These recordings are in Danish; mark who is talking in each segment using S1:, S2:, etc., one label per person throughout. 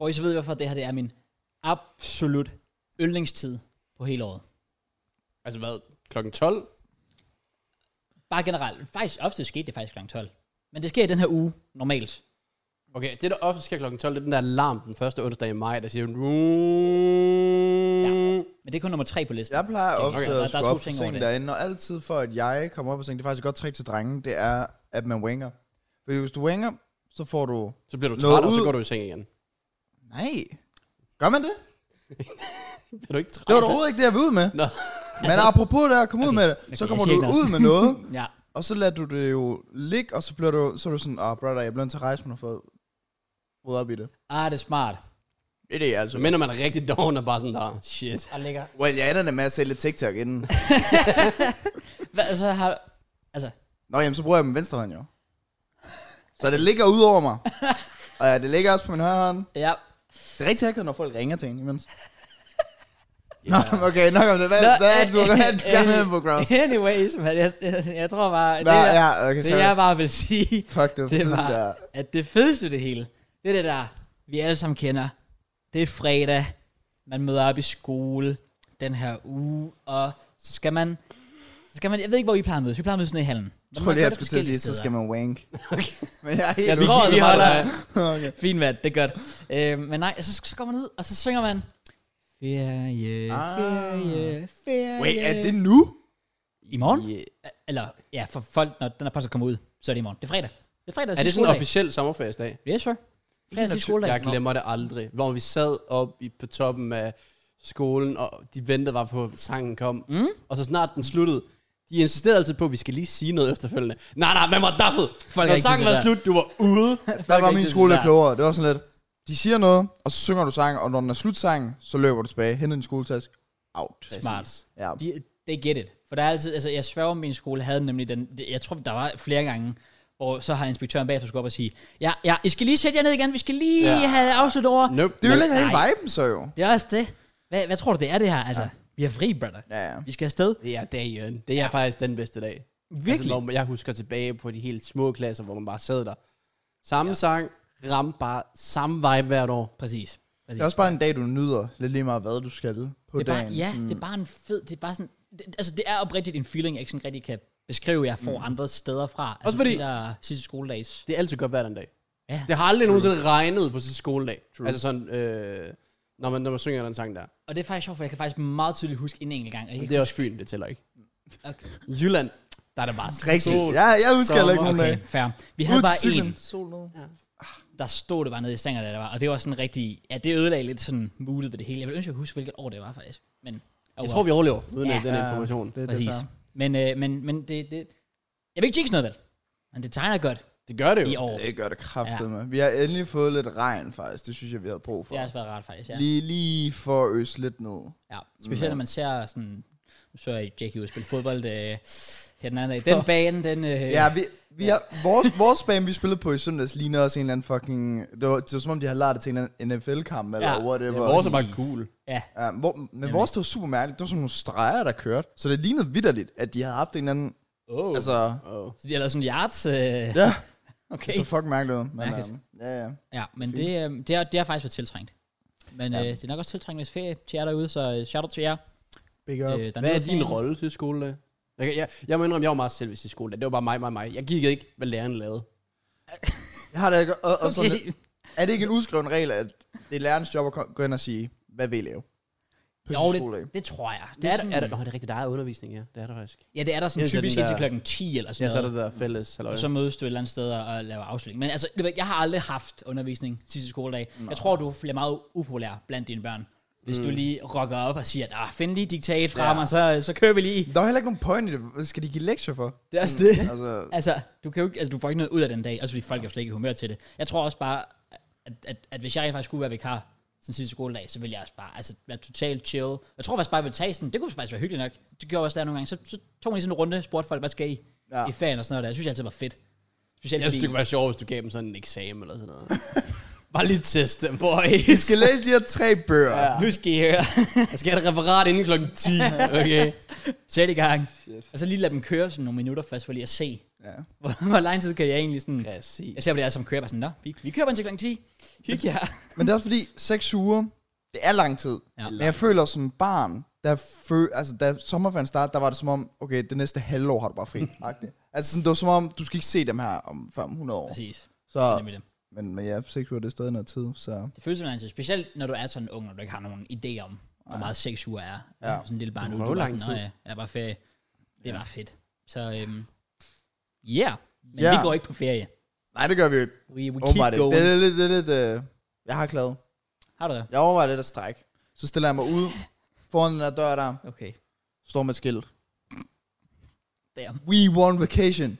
S1: Og I så ved I, hvorfor det her det er min absolut yndlingstid på hele året.
S2: Altså hvad? Klokken 12?
S1: Bare generelt. Faktisk ofte skete det faktisk kl. 12. Men det sker i den her uge, normalt.
S2: Okay, det der ofte sker klokken 12, det er den der alarm den første onsdag i maj, der siger...
S1: Men det er kun nummer tre på listen.
S3: Jeg plejer
S1: Okay, der-
S3: ofte
S1: der er
S3: at skulle
S1: to
S3: op for
S1: ting over
S3: sengen
S1: det.
S3: derinde, og altid for at jeg kommer op for sengen, det er faktisk et godt trick til drenge, det er, at man winger. For hvis du winger, så får du...
S2: Så bliver du
S3: Noget
S2: træt, og så
S3: ud.
S2: går du i seng igen.
S3: Nej. Gør man det?
S2: Bliver du ikke træt?
S3: Det var altså, overhovedet ikke det, jeg var ude med.
S2: Nå.
S3: Men altså, apropos det at komme okay, ud med det,
S1: okay,
S3: så
S1: jeg
S3: kommer
S1: siger
S3: du
S1: ikke noget.
S3: ud med noget,
S1: Ja.
S3: og så lader du det jo ligge, og så bliver du, så er du sådan, ah, oh, brother, jeg bliver nødt til at rejse mig for at rydde op i det.
S1: Ah, det er smart.
S3: Det er det, altså.
S2: Så minder man er rigtig doven og bare sådan der, shit.
S1: Og lækker.
S3: Well, jeg ender med at sælge TikTok inden.
S1: Hvad, så har... Altså,
S3: Nå, jamen, så bruger jeg min venstre hånd jo. Så det ligger ud over mig. Og ja, det ligger også på min højre hånd.
S1: ja.
S3: Det er rigtig akavet, når folk ringer til en imens. Nå, okay, nok om det. Hvad,
S1: Nå,
S3: hvad er det, du, hvad er det, du gerne
S1: øh,
S3: med på, Gross?
S1: Anyways, man, jeg, jeg, jeg tror bare...
S3: Hvad,
S1: det,
S3: ja,
S1: jeg,
S3: okay,
S1: det
S3: sorry.
S1: jeg bare vil sige,
S3: Fuck, det var for
S1: det
S3: tidligt der.
S1: var, at det fedeste i det hele, det er det der, vi alle sammen kender. Det er fredag, man møder op i skole den her uge, og så skal man, så skal man jeg ved ikke, hvor I plejer at mødes. Vi plejer at mødes nede i hallen.
S3: Jeg tror lige, jeg skulle til at sige, så skal man wank. Men jeg er helt
S1: Jeg
S3: ude.
S1: tror, vi holder
S3: okay.
S1: Fint mand, det er godt. Øh, men nej, så, så går man ud, og så synger man, ferie,
S3: Ah.
S1: ferie, ferie.
S3: Wait, er det nu?
S1: I morgen?
S2: Yeah.
S1: Eller, ja, for folk, når den her podcast kommer ud, så er det i morgen. Det er fredag. Det er fredag,
S2: Er det sådan en officiel sommerferiesdag?
S1: Yes, sir. Fredag sidste skoledag.
S2: Jeg glemmer det aldrig. Hvor vi sad op i, på toppen af skolen, og de ventede bare på, at sangen kom. Mm. Og så snart den sluttede, de insisterede altid på, at vi skal lige sige noget efterfølgende. Nej, nej, man var daffet.
S1: er
S2: Folk Når
S1: ikke
S2: sangen
S1: til
S2: var
S1: det
S2: slut, du var ude.
S3: Der var
S1: ikke
S3: min
S1: til
S3: skole
S1: det
S3: der
S1: der.
S3: klogere. Det var sådan lidt, de siger noget, og så synger du sangen, og når den er slutsangen, så løber du tilbage, henter din skoletask, out.
S1: Smart.
S3: Ja.
S1: De, they get it. For der er altid, altså jeg sværger, min skole havde nemlig den, det- jeg tror, der var flere gange, hvor så har inspektøren bagefter skulle op og sige, ja, ja, I skal lige sætte jer ned igen, vi skal lige
S2: Ja.
S1: ja. have afsluttet over.
S2: Nope.
S3: Det ødelægger hele
S1: nej.
S3: viben så jo.
S1: Det er også det. Hvad, hvad tror du, det er det her? Altså, ja. vi har fri, brother.
S3: Ja, ja.
S1: Vi skal afsted.
S2: Det er dagen. Det er ja. faktisk den bedste dag.
S1: Virkelig.
S2: Altså, hvor jeg husker tilbage på de helt små klasser, hvor man bare sad der. Samme ja. sang, ramte bare samme vibe hvert år.
S1: Præcis.
S3: Det
S1: Præcis.
S3: er også bare en dag, du nyder lidt lige meget, hvad du skal på
S1: det er bare,
S3: dagen.
S1: ja,
S3: Sådan-
S1: det er bare en fed, det er bare sådan, det, altså det er oprigtigt en feeling, jeg ikke sådan rigtig kan beskrive, jeg får mm. andre steder fra. Altså,
S2: fordi-
S1: de der sidste skoledags.
S2: Det er altid godt hver den dag.
S1: Ja.
S2: Det har aldrig nogensinde regnet på sin skoledag. True. Altså sådan, øh, når, man, når man synger den sang der.
S1: Og det er faktisk sjovt, for jeg kan faktisk meget tydeligt huske en enkelt gang. Og jeg
S2: Men
S1: kan
S2: det er også Fyn, det tæller ikke.
S1: ikke- okay.
S2: Jylland, der er det bare
S3: Rigtigt.
S2: sol.
S3: Ja, jeg husker heller ikke nogen dag.
S1: Okay, fair. Vi havde
S3: Ud til
S1: bare
S3: cyklen.
S1: en,
S3: Sol ned.
S1: der stod det bare nede i stængerne, der var, og det var sådan rigtig, ja, det ødelagde lidt sådan moodet ved det hele. Jeg vil ønske, at huske, hvilket år det var faktisk, men... Oh,
S2: Jeg tror, vi overlever uden
S1: Ja.
S2: ja. den
S3: Ja,
S2: information.
S3: Det, er det,
S1: Præcis.
S3: der.
S1: Men, øh, men, men det, det... Jeg vil ikke jinx noget, vel? Men det tegner godt
S2: Det gør det
S1: i
S2: jo.
S1: år.
S3: Det gør det kraftigt med. Vi har endelig fået lidt regn faktisk. Det synes jeg, vi havde brug for.
S1: Det har også været rart, faktisk, ja.
S3: Lige, lige for at øse lidt ned.
S1: ja. Specielt når man ser sådan... Nu så jeg Jackie ud spille fodbold øh, her den anden dag. Den bane, den... Øh,
S3: Ja, vi, vi har, vores, vores bane, vi spillede på i søndags, ligner også en eller anden fucking... Det var, det var som om, de havde lært det til en eller anden NFL-kamp eller
S1: Ja.
S3: whatever.
S1: Ja,
S2: Vores er
S3: var...
S2: bare cool.
S1: ja.
S3: Ja, hvor, men vores, det var super mærkeligt. Det var sådan nogle streger, der kørte. Så det lignede vidderligt, at de havde haft en eller anden...
S2: Oh.
S3: Altså,
S2: oh.
S1: Så de har lavet sådan en yards. Øh,
S3: ja,
S1: okay.
S3: det så fucking mærkeligt ud. Men,
S1: Mærkeligt.
S3: øhm, ja, ja.
S1: Ja, men det, øh, det, har, det har faktisk været tiltrængt. Men ja. øh, det er nok også tiltrængt, hvis ferie til jer derude, så øh, shout out til jer.
S3: Big up.
S1: Øh, der
S2: Hvad
S1: nyder
S2: er din
S1: ferien.
S2: rolle til skoledag? Jeg, kan- jeg, jeg må indrømme, jeg var meget selv i skoledag. Det var bare mig, mig, mig. Jeg kiggede ikke, hvad læreren lavede.
S3: Jeg har da ikke... Og, og sådan,
S1: Okay.
S3: Er det ikke en uskreven regel, at det er lærernes job at kom- gå ind og sige, hvad vil I lave? På
S1: Jo,
S3: sin skoledag.
S1: det, det tror jeg. Det
S2: Det er,
S1: sådan,
S2: er, er, nå, det er rigtigt, der er undervisning, ja. Det er der faktisk.
S1: Ja, det er der sådan
S2: Ja, så
S1: typisk
S2: den
S1: indtil
S2: der-
S1: klokken 10 eller
S2: Ja,
S1: sådan
S2: så er der
S1: noget.
S2: det der fælles. Eller,
S1: Og så mødes du et eller andet sted og og laver afslutning. Men altså, det ved, jeg, jeg har aldrig haft undervisning sidste skoledag. Jeg tror, du bliver meget upopulær blandt dine børn. Hvis mm. du lige rocker op og siger, at ah, find lige diktat frem,
S2: Ja.
S1: ja. og så, så kører vi lige.
S3: Der er heller ikke nogen point i det. Hvad skal de give lektier for?
S1: Det er også
S3: Sådan,
S1: det.
S3: Altså,
S1: Altså, du, kan jo ikke, altså, du får ikke noget ud af den dag, altså fordi folk er jo slet ikke i humør til det. Jeg tror også bare, at, at, at hvis jeg faktisk skulle være vikar sådan sidste skoledag, så ville jeg også bare altså, være totalt chill. Jeg tror faktisk bare, jeg ville tage sådan, det kunne faktisk være hyggeligt nok. Det gjorde jeg også der nogle gange. Så, så tog man lige sådan en runde, spurgte folk, hvad skal I
S3: Ja.
S1: ja. i ferien og sådan noget der. Jeg synes, det altid var fedt. Specielt
S2: jeg synes,
S1: fordi,
S2: det kunne være sjovt, hvis du gav dem sådan en eksamen eller sådan noget. bare lige test dem, boy.
S3: I skal læse de her tre bøger. Ja.
S1: nu skal I høre.
S2: Jeg skal have et referat inden klokken 10, okay?
S1: Sæt i gang. Og så lige lade dem køre sådan nogle minutter først, for lige at se,
S3: Ja.
S1: Hvor, hvor lang tid kan jeg egentlig sådan...
S2: Præcis.
S1: Jeg ser, hvor det er som kører, bare sådan, nå, vi, vi kører bare indtil klokken 10. Hygge jer.
S3: Men det er også fordi, seks uger, det er lang tid.
S1: Ja.
S3: Ja. Men jeg føler som barn, da, fø, altså, da sommerferien startede, der var det som om, okay, det næste halvår har du bare fri. agtigt. altså sådan, det var som om, du skal ikke se dem her om 500 år.
S1: Præcis.
S3: Så,
S1: Nemlig det.
S3: men, men ja, seks uger, det er stadig noget tid, så...
S1: Det føles som en anden tid. Specielt når du er sådan ung, og du ikke har nogen idé om, hvor meget sex uger er. Ja. Sådan en lille barn. nu,
S2: Det var
S1: du
S2: jo
S1: bare
S2: lang
S1: sådan, "Nå
S2: tid."
S1: Ja, jeg er bare ferie. Det var fedt. Så øhm, yeah. Men
S3: Ja.
S1: vi går ikke på ferie.
S3: Nej, det gør vi jo ikke.
S1: We, we keep
S3: Overvej det.
S1: going.
S3: Det er lidt, det er lidt, øh, jeg har klaget.
S1: Har du det?
S3: Jeg overvejer lidt at strække. Så stiller jeg mig ud foran den der dør der,
S1: Okay.
S3: står med et skilt.
S1: Damn.
S3: We want vacation.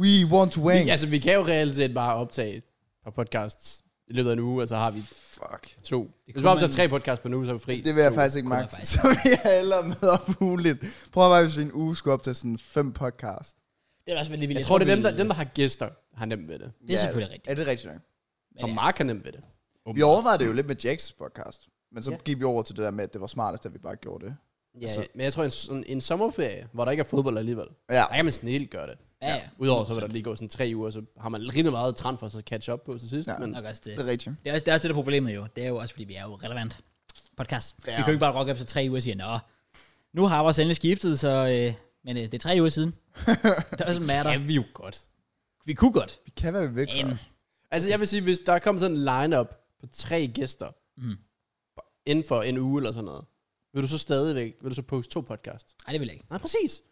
S3: We want to
S2: Vi,
S3: wang.
S2: altså, vi kan jo reelt set bare optage et par podcasts i løbet af en uge, og så har vi
S3: Fuck.
S2: to. Hvis vi
S1: kunne
S2: optager
S1: man-
S2: tre podcasts på en uge, så er vi fri.
S3: Det vil jeg
S2: to.
S3: faktisk ikke
S1: kunne jeg
S3: magte.
S1: faktisk.
S3: Så vi er hellere med op ugenligt. Prøv at være, hvis vi en uge skulle op til sådan fem podcast.
S1: Det er også veldig vildt.
S2: Jeg tror, det er dem der,
S1: vi-
S2: dem, der har gæster, har nemt ved det.
S1: Det er selvfølgelig rigtigt.
S3: Ja, det er rigtigt nok.
S2: Så
S1: ja.
S2: Mark har nemt ved det.
S3: Vi overvejede det jo lidt med Jacks podcast. Men så
S1: Ja.
S3: gik vi over til det der med, at det var smartest, at vi bare gjorde det.
S2: Ja, altså, men jeg tror, en, sådan, en sommerferie, hvor der ikke er fodbold alligevel,
S3: Ja.
S2: der kan man snilt gøre det.
S1: Ja, ja.
S2: Udover så vil der lige gå sådan tre uger, så har man rimelig meget trend for at så catch up på til sidst.
S3: Ja.
S2: Ja. Men
S1: Nok også det.
S3: Det er rigtigt.
S1: Det er også det, er også det der er problemet jo. Det er jo også, fordi vi er jo relevant podcast. Ja.
S3: Ja.
S1: Vi kan jo ikke bare rocke op til tre uger og sige, nå, nu har vores endelig skiftet, så... Øh, men øh, det er tre uger siden. det er også en matter.
S2: vi jo godt.
S1: Vi kunne godt.
S3: Vi kan være væk.
S1: Men
S2: Altså jeg vil sige, hvis der kommer sådan en lineup på tre gæster, mm. inden for en uge eller sådan noget, vil du så stadigvæk, vil du så poste to podcasts?
S1: nej, det vil jeg ikke.
S2: Nej, præcis.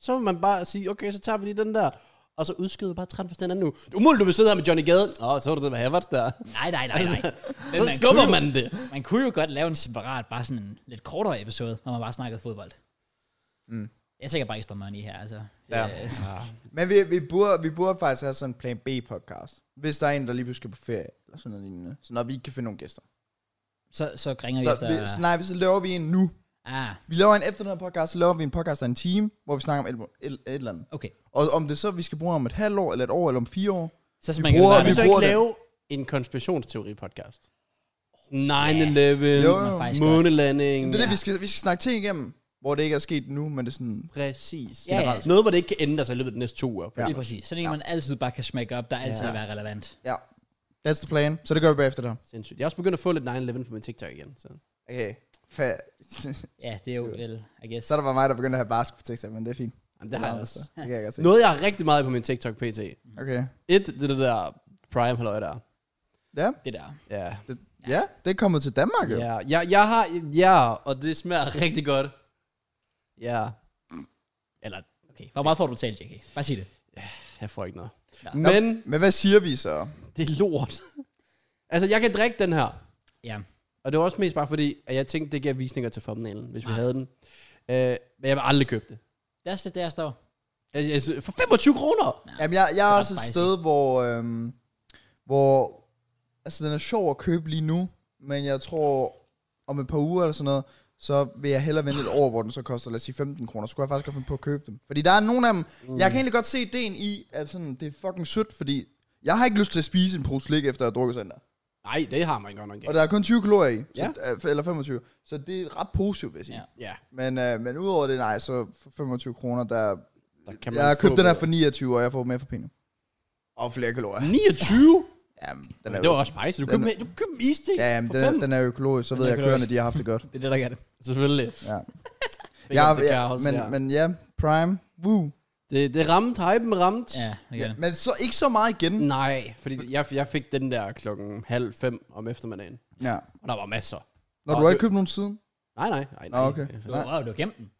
S2: Så vil man bare sige, okay, så tager vi lige den der, og så udskyder vi bare trend for den anden nu. Det er umuligt, du vil sidde her med Johnny Gade. Åh, oh, så var det det med Havert der.
S1: Nej, nej, nej, nej. Men
S2: så
S1: man
S2: skubber
S1: kunne
S2: man det.
S1: Jo, man kunne jo godt lave en separat, bare sådan en lidt kortere episode, hvor man bare snakkede fodbold.
S3: Mm.
S1: Jeg tænker bare ekstra money her, altså.
S3: Ja.
S1: Øh,
S3: Men vi, vi, burde, vi burde faktisk have sådan en plan B podcast. Hvis der er en, der lige pludselig skal på ferie, eller sådan noget lignende. Så når vi ikke kan finde nogle gæster.
S1: så, så ringer vi
S3: Så,
S1: efter...
S3: vi, så nej, så laver vi en nu.
S1: ah,
S3: Vi laver en efter den her podcast, så laver vi en podcast af en time, hvor vi snakker om et, et, et eller andet.
S1: okay.
S3: Og om det så, vi skal bruge om et halvt år, eller et år, eller om fire år.
S1: Så
S3: Vi
S1: smager det
S3: bruger-
S2: Kan
S1: bare
S2: vi
S1: vi
S2: så
S3: bruger
S2: ikke
S3: det.
S2: lave en konspirationsteori-podcast? 9-11,
S3: Jo,
S1: Det er faktisk godt.
S2: månelanding.
S3: Det er det,
S2: Ja.
S3: vi skal, vi skal snakke ting igennem, hvor det ikke er sket nu, men det er sådan...
S2: Præcis.
S1: Ja, ja.
S2: Generelt. Noget, hvor det ikke kan ændre sig i løbet af de næste to uger.
S1: Lige præcis. Sådan en, man altid bare kan smække op, der altid vil være relevant.
S3: Ja. That's the plan. Så det gør vi bagefter der.
S2: Sindssygt. Jeg er også begyndt at få lidt 9-11 på min TikTok igen. Så.
S3: Okay. Fa-
S1: Ja, det er jo vel, I guess.
S3: så er der bare mig, der begyndte at have barsk på TikTok, men det er fint.
S2: Jamen, det har
S3: altså.
S2: jeg også.
S3: Det kan jeg godt se.
S2: Noget, jeg har rigtig meget på min TikTok pt.
S3: Okay.
S2: Et, det er det der Prime halløj der.
S3: Ja.
S1: Det der.
S2: Ja.
S3: Det, ja, det er kommet til Danmark jo.
S2: Ja, jeg, jeg har, ja, og det smager rigtig godt. Ja. Eller,
S1: Okay, hvor meget får du betalt, JK? Bare sig det.
S2: jeg får ikke noget.
S1: Ja.
S2: Ja. Men,
S3: Men hvad siger vi så?
S2: det er lort. altså, jeg kan drikke den her.
S1: Ja.
S2: Og det var også mest bare fordi, at jeg tænkte, det gav visninger til thumbnailen, hvis vi havde den. Øh, men jeg vil aldrig købe det.
S1: Det er også det, der står.
S2: Altså, altså, for 25 kroner!
S3: Jamen, jeg, jeg er
S1: ret
S3: også et
S1: spicy.
S3: sted, hvor... Øhm, hvor... Altså, den er sjov at købe lige nu, men jeg tror, om et par uger eller sådan noget, så vil jeg hellere vente et år, hvor den så koster, lad os sige 15 kroner. Så skulle jeg faktisk godt finde på at købe dem. Fordi der er nogle af dem, mm. jeg kan egentlig godt se ideen i, at sådan, det er fucking sødt, fordi jeg har ikke lyst til at spise en pose slik, efter at have drukket sådan der.
S2: Nej, det har man godt nok
S3: Og
S2: ikke.
S3: der er kun 20 kalorier i,
S2: Ja.
S3: så, ja. eller 25, så det er ret positivt, vil jeg sige.
S1: Ja.
S3: Ja.
S2: Ja,
S3: Men, øh, men udover det, nej, så for 25 kroner, der...
S2: der kan man
S3: Jeg har
S2: få
S3: købt den her
S2: på-
S3: for 29, og jeg får mere for penge. Og flere kalorier.
S2: 29?
S3: Jamen, den er,
S2: Men det var også spicy. Du
S3: den
S2: købte, du købte en iste.
S3: ja, jamen,
S2: for
S3: den,
S2: fanden.
S3: er- den er økologisk, så
S1: Den
S3: ved
S1: er
S3: jeg, at køerne
S1: økologisk.
S3: de har haft det godt.
S1: Det er det, der gør det.
S2: Selvfølgelig.
S3: Ja.
S2: Big
S3: Jeg,
S2: up the
S3: ja,
S2: cows,
S3: men,
S2: ja.
S3: men ja, Prime, woo.
S2: Det, det ramte, hypen ramte.
S1: Ja, det gør
S3: Ja,
S1: det.
S3: men så ikke så meget igen.
S2: Nej, fordi jeg, jeg fik den der klokken halv fem om eftermiddagen.
S3: Ja.
S2: Og der var masser.
S3: Når du
S2: Nå,
S3: har ikke
S2: det-
S3: købt nogen siden?
S2: Nej, nej. nej,
S3: Nå,
S2: nej.
S3: okay.
S1: Du har jo du har gemt den.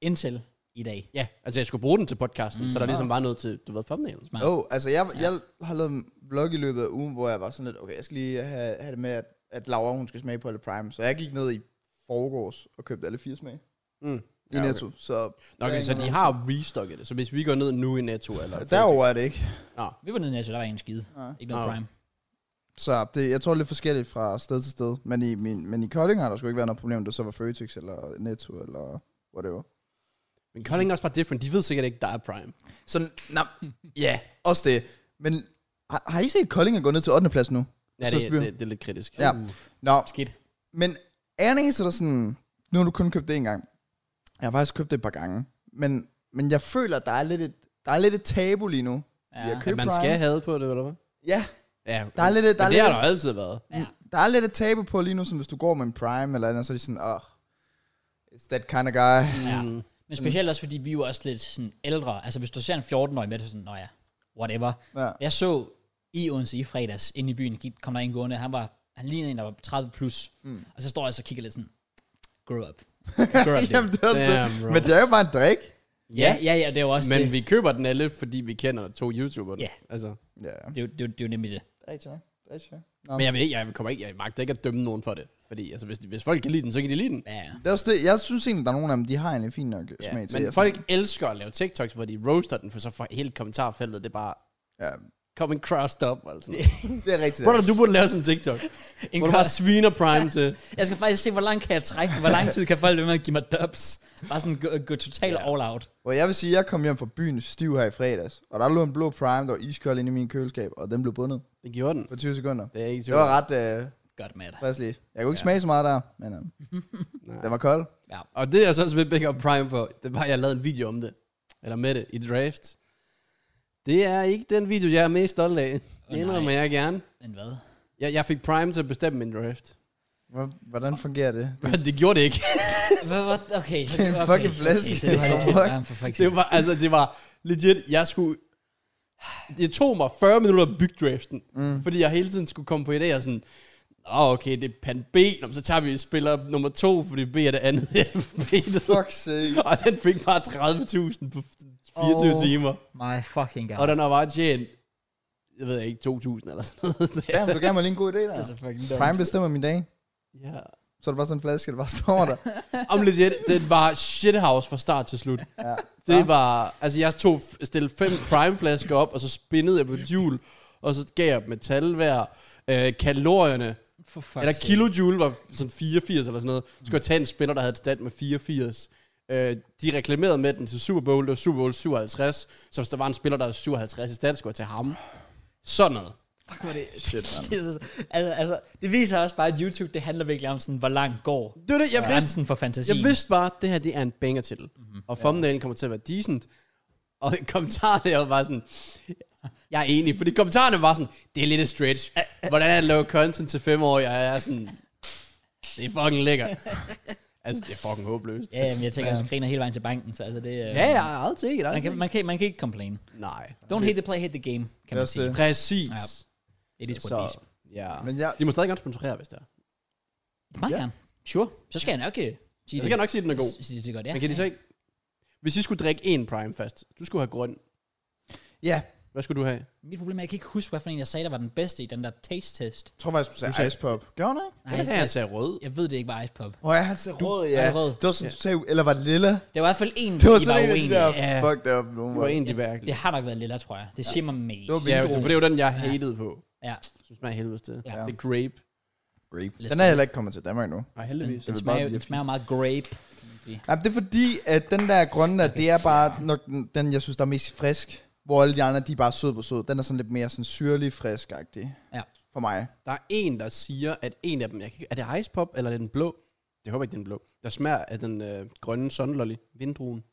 S1: Indtil i dag.
S2: Ja, altså jeg skulle bruge den til podcasten, mm, så der ligesom var noget til, du ved, thumbnails.
S1: Smart.
S3: Jo, oh, altså jeg, jeg har lavet en vlog i løbet af ugen, hvor jeg var sådan lidt, okay, jeg skal lige have, have det med, at, at Laura, hun skal smage på alle Prime. Så jeg gik ned i forgårs og købte alle fire smag
S2: Mm.
S3: i ja, Netto. Så
S2: Nå, okay, så de har restocket det. Så hvis vi går ned nu i Netto eller...
S3: derover er det ikke.
S1: Vi var nede i Netto, der var ingen skide. Ikke noget
S2: Nå.
S1: prime.
S3: Så det, jeg tror det er lidt forskelligt fra sted til sted. Men i, min, men i Kolding har der sgu ikke været noget problem, om det så var Føtex eller Netto eller whatever.
S2: Men Kolding er også bare different. De ved sikkert ikke, der er Prime.
S3: Så nå, ja, også det. Men har, har I set Kolding gå ned til 8. plads nu?
S2: Ja,
S3: Så
S2: det,
S3: spyr-
S2: det, det, er lidt kritisk. Mm.
S3: Ja. Nå,
S1: Skidt.
S3: Men er jeg den eneste, der sådan... Nu har du kun købt det en gang. Jeg har faktisk købt det et par gange. Men, men jeg føler, at der er lidt et, Der er lidt et tabu lige nu.
S1: Ja.
S3: Ja,
S2: At man skal have på det, eller hvad?
S3: Ja,
S2: Ja,
S3: der er lidt, et- der
S2: der
S3: er
S2: det
S3: lidt,
S2: har
S3: et-
S2: der jo altid været.
S3: Der er lidt et tabu på lige nu, som hvis du går med en Prime eller andet, så er de sådan, åh, oh, it's that kind of guy.
S1: Ja. Men specielt også, fordi vi er jo også lidt sådan ældre. Altså, hvis du ser en 14-årig med det, så er sådan, nå ja, whatever.
S3: Ja.
S1: Jeg så i Odense i fredags, inde i byen, gik, kom der en gående, han var, han lignede en, der var 30 plus. Mm. Og så står jeg så og kigger lidt sådan, grow up. Grow up
S3: Jamen,
S1: Jamen,
S3: det er også
S2: Damn,
S3: det.
S2: bro.
S3: Men det er jo bare en drik.
S1: ja, ja, ja, det er jo også
S2: Men
S1: det.
S2: vi køber den alle, fordi vi kender to YouTubere.
S1: Ja.
S2: Altså,
S3: Ja,
S1: Det, er jo- det, er jo- det er jo nemlig det.
S3: det er rigtigt. nok. Det er rigtigt nok.
S2: men jeg ved ikke, jeg kommer ikke, jeg magter ikke at dømme nogen for det. Fordi altså, hvis, hvis folk kan lide den, så kan de lide den.
S1: Ja, ja.
S3: Det er også det. Jeg synes egentlig, der er nogen af dem, de har egentlig fin nok
S2: Ja,
S3: smag til.
S2: men
S3: Jeg
S2: folk elsker at lave TikToks, hvor de roaster den, for så får hele kommentarfeltet, det er bare
S3: Ja,
S2: coming crossed up. Altså.
S3: det er rigtigt.
S2: Brother, du burde lave sådan en TikTok,
S1: En
S2: hvor du
S1: kort-
S2: bare sviner Prime til.
S1: Jeg skal faktisk se, hvor langt kan jeg trække, hvor lang tid kan folk være med at give mig dubs. Bare sådan gå, gå totalt
S2: Ja.
S1: all out.
S3: Og jeg vil sige, jeg kom hjem fra byen stiv her i fredags, og der lå en blå Prime, der var iskold inde i min køleskab, og den blev bundet
S2: Det gjorde den.
S3: på 20 sekunder.
S2: Det er ikke
S3: Det var ret øh,
S1: Godt, Matt.
S3: friskligt. Jeg kunne ikke
S2: Ja.
S3: smage så meget der, men øh, den var kold.
S2: Og det er så også ved Big Up Prime på, det var, jeg lavede en video om det. Eller med det, i draft. Det er ikke den video, jeg er mest stolt af.
S1: Åh,
S2: Det indrømmer
S1: nej.
S2: jeg gerne.
S1: Men hvad?
S2: Jeg, jeg fik Prime til at bestemme min draft.
S3: Hvor- Hvordan fungerer det?
S2: Men det gjorde det ikke.
S1: Hvad- hvad- Okay, så-
S3: Det er en
S1: okay,
S3: fucking flaske.
S1: Okay, så det var lidt-
S3: Fuck.
S1: ja, for fuck's sake.
S2: Det var, altså, det var legit, jeg skulle... Det tog mig 40 minutter at bygge draften. Mm. Fordi jeg hele tiden skulle komme på idéer sådan... Åh, oh, okay, det er pan B. Nå, men så tager vi spiller nummer to, fordi B er det andet i alfabetet.
S3: Fuck sake.
S2: Og den fik bare 30.000 på 24
S1: Åh.
S2: oh. timer.
S1: My fucking god.
S2: Og den har bare tjent, jeg ved ikke, 2.000 eller sådan noget.
S3: Damn, du gav mig lige en god idé der.
S1: Det er så fucking dumt.
S3: Prime bestemmer min dag.
S2: ja.
S3: Så er det bare sådan en flaske, der bare står der.
S2: Om legit, den var shithouse fra start til slut.
S3: Ja.
S2: Det var, altså jeg tog, stillede fem Prime-flasker op, og så spinnede jeg på Joule, og så gav jeg dem et tal hver. Øh, kalorierne,
S1: For fuck's
S2: eller
S1: sake.
S2: kilojoule var sådan 84 eller sådan noget. Så skulle jeg tage en spinner, der havde et stand med 84. Øh, de reklamerede med den til Super Bowl, det var Super Bowl 57. Så hvis der var en spiller, der havde 57 i stand, skulle jeg tage ham. Sådan noget.
S1: Fuck, hvor er det.
S3: Shit, mand.
S1: det, er så, altså, altså, det viser også bare, at YouTube, det handler virkelig om sådan, hvor langt går
S2: Det var det, jeg vidste.
S1: grænsen for fantasien.
S2: Jeg vidste bare, at det her det er en banger titel. Mm-hmm.
S1: Mhm.
S2: Og thumbnailen kommer til at være decent. Og kommentarerne der var sådan, jeg er enig, fordi kommentarerne var sådan, det er lidt et stretch. Hvordan er det at lave content til fem år? Jeg er sådan, det er fucking lækkert. altså, det er fucking håbløst.
S1: Ja, men jeg tænker, at jeg griner hele vejen til banken, så altså det... øh,
S2: Ja, ja, I'll take it. I'll
S1: Man
S2: take
S1: kan,
S2: it.
S1: man, kan, man kan ikke complain.
S2: Nej.
S1: Don't hate the play, hate the game, kan man
S3: Også
S1: sige.
S3: det.
S2: Præcis.
S1: Ja. It is what it is.
S2: Så, ja.
S3: Men jeg-
S2: De må stadig gerne sponsorere, hvis det er.
S1: Meget
S3: Ja.
S1: gerne. Sure. Så skal jeg nok øh, sige
S2: Jeg
S1: det.
S2: kan nok sige, at den er god.
S1: Sige det godt, ja.
S2: Men kan de så ikke... Hvis I skulle drikke en prime fast, du skulle have grøn.
S3: Ja,
S2: Hvad skulle du have?
S1: Mit problem er, at jeg kan ikke huske, hvad for en jeg sagde, der var den bedste i den der taste test.
S3: jeg tror faktisk, du sagde Ice Pop. Gjorde han ikke?
S1: Nej,
S2: Jeg
S1: jeg,
S2: sagde, sagde rød.
S1: jeg ved det ikke var Ice Pop.
S3: Åh, ja, han sagde rød, ja.
S1: Ja, rød.
S3: Det var sådan, du sagde, eller var det lilla?
S1: Der var i hvert fald en,
S3: Det var
S1: I var
S3: sådan en,
S1: uenige.
S3: der
S2: Ja.
S3: fucked up. nogen
S2: Det var
S3: var-
S2: en, de virkelig.
S1: Det har nok været lilla, tror jeg. Det siger mig mest.
S3: Det var
S2: Ja,
S3: vindruer.
S2: for det var den, jeg hatede på.
S1: Ja,
S2: Som smager helvedes til.
S1: Ja.
S2: Ja. Det er grape.
S3: Den er heller ikke kommet til Danmark nu.
S2: Nej,
S1: den,
S2: heldigvis.
S1: den,
S3: vil
S1: smager,
S3: bare blive
S1: den smager meget grape, kan man sige.
S3: Jamen, det er fordi, at den der grønne der, det er bare nok den- den, jeg synes, der er mest frisk. Hvor alle de andre, de er bare sød på sød. Den er sådan lidt mere sådan syrlig frisk-agtig
S1: Ja.
S3: for mig.
S2: Der er en, der siger, at en af dem, jeg kan, ikke- er det Ice Pop, eller er det den blå? Jeg håber ikke, det er den blå. Der smager af den øh, grønne sunlolly, vindruen.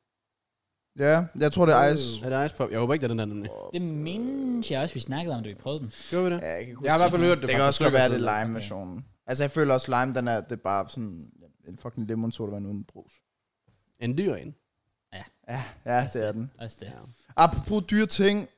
S2: Øh,
S3: Ja, jeg tror, det er ice.
S2: Er det Ice Pop? Jeg håber ikke, det er den der nemlig.
S1: Det mindes jeg også, vi snakkede om, da vi prøvede den.
S2: Gjorde vi det?
S3: Ja, jeg, kan ikke
S2: Jeg har i hvert fald hørt det.
S3: det kan
S2: fra
S3: også godt være, det
S2: forskellige
S3: er lime-versionen. Altså, jeg føler også, lime, den er, det er bare sådan en fucking lemon sodavand uden brus.
S2: sider. En dyr en.
S3: Ja, ja,
S2: Altså.
S3: det er den.
S1: Også det.
S2: Ja.
S3: Apropos dyre ting,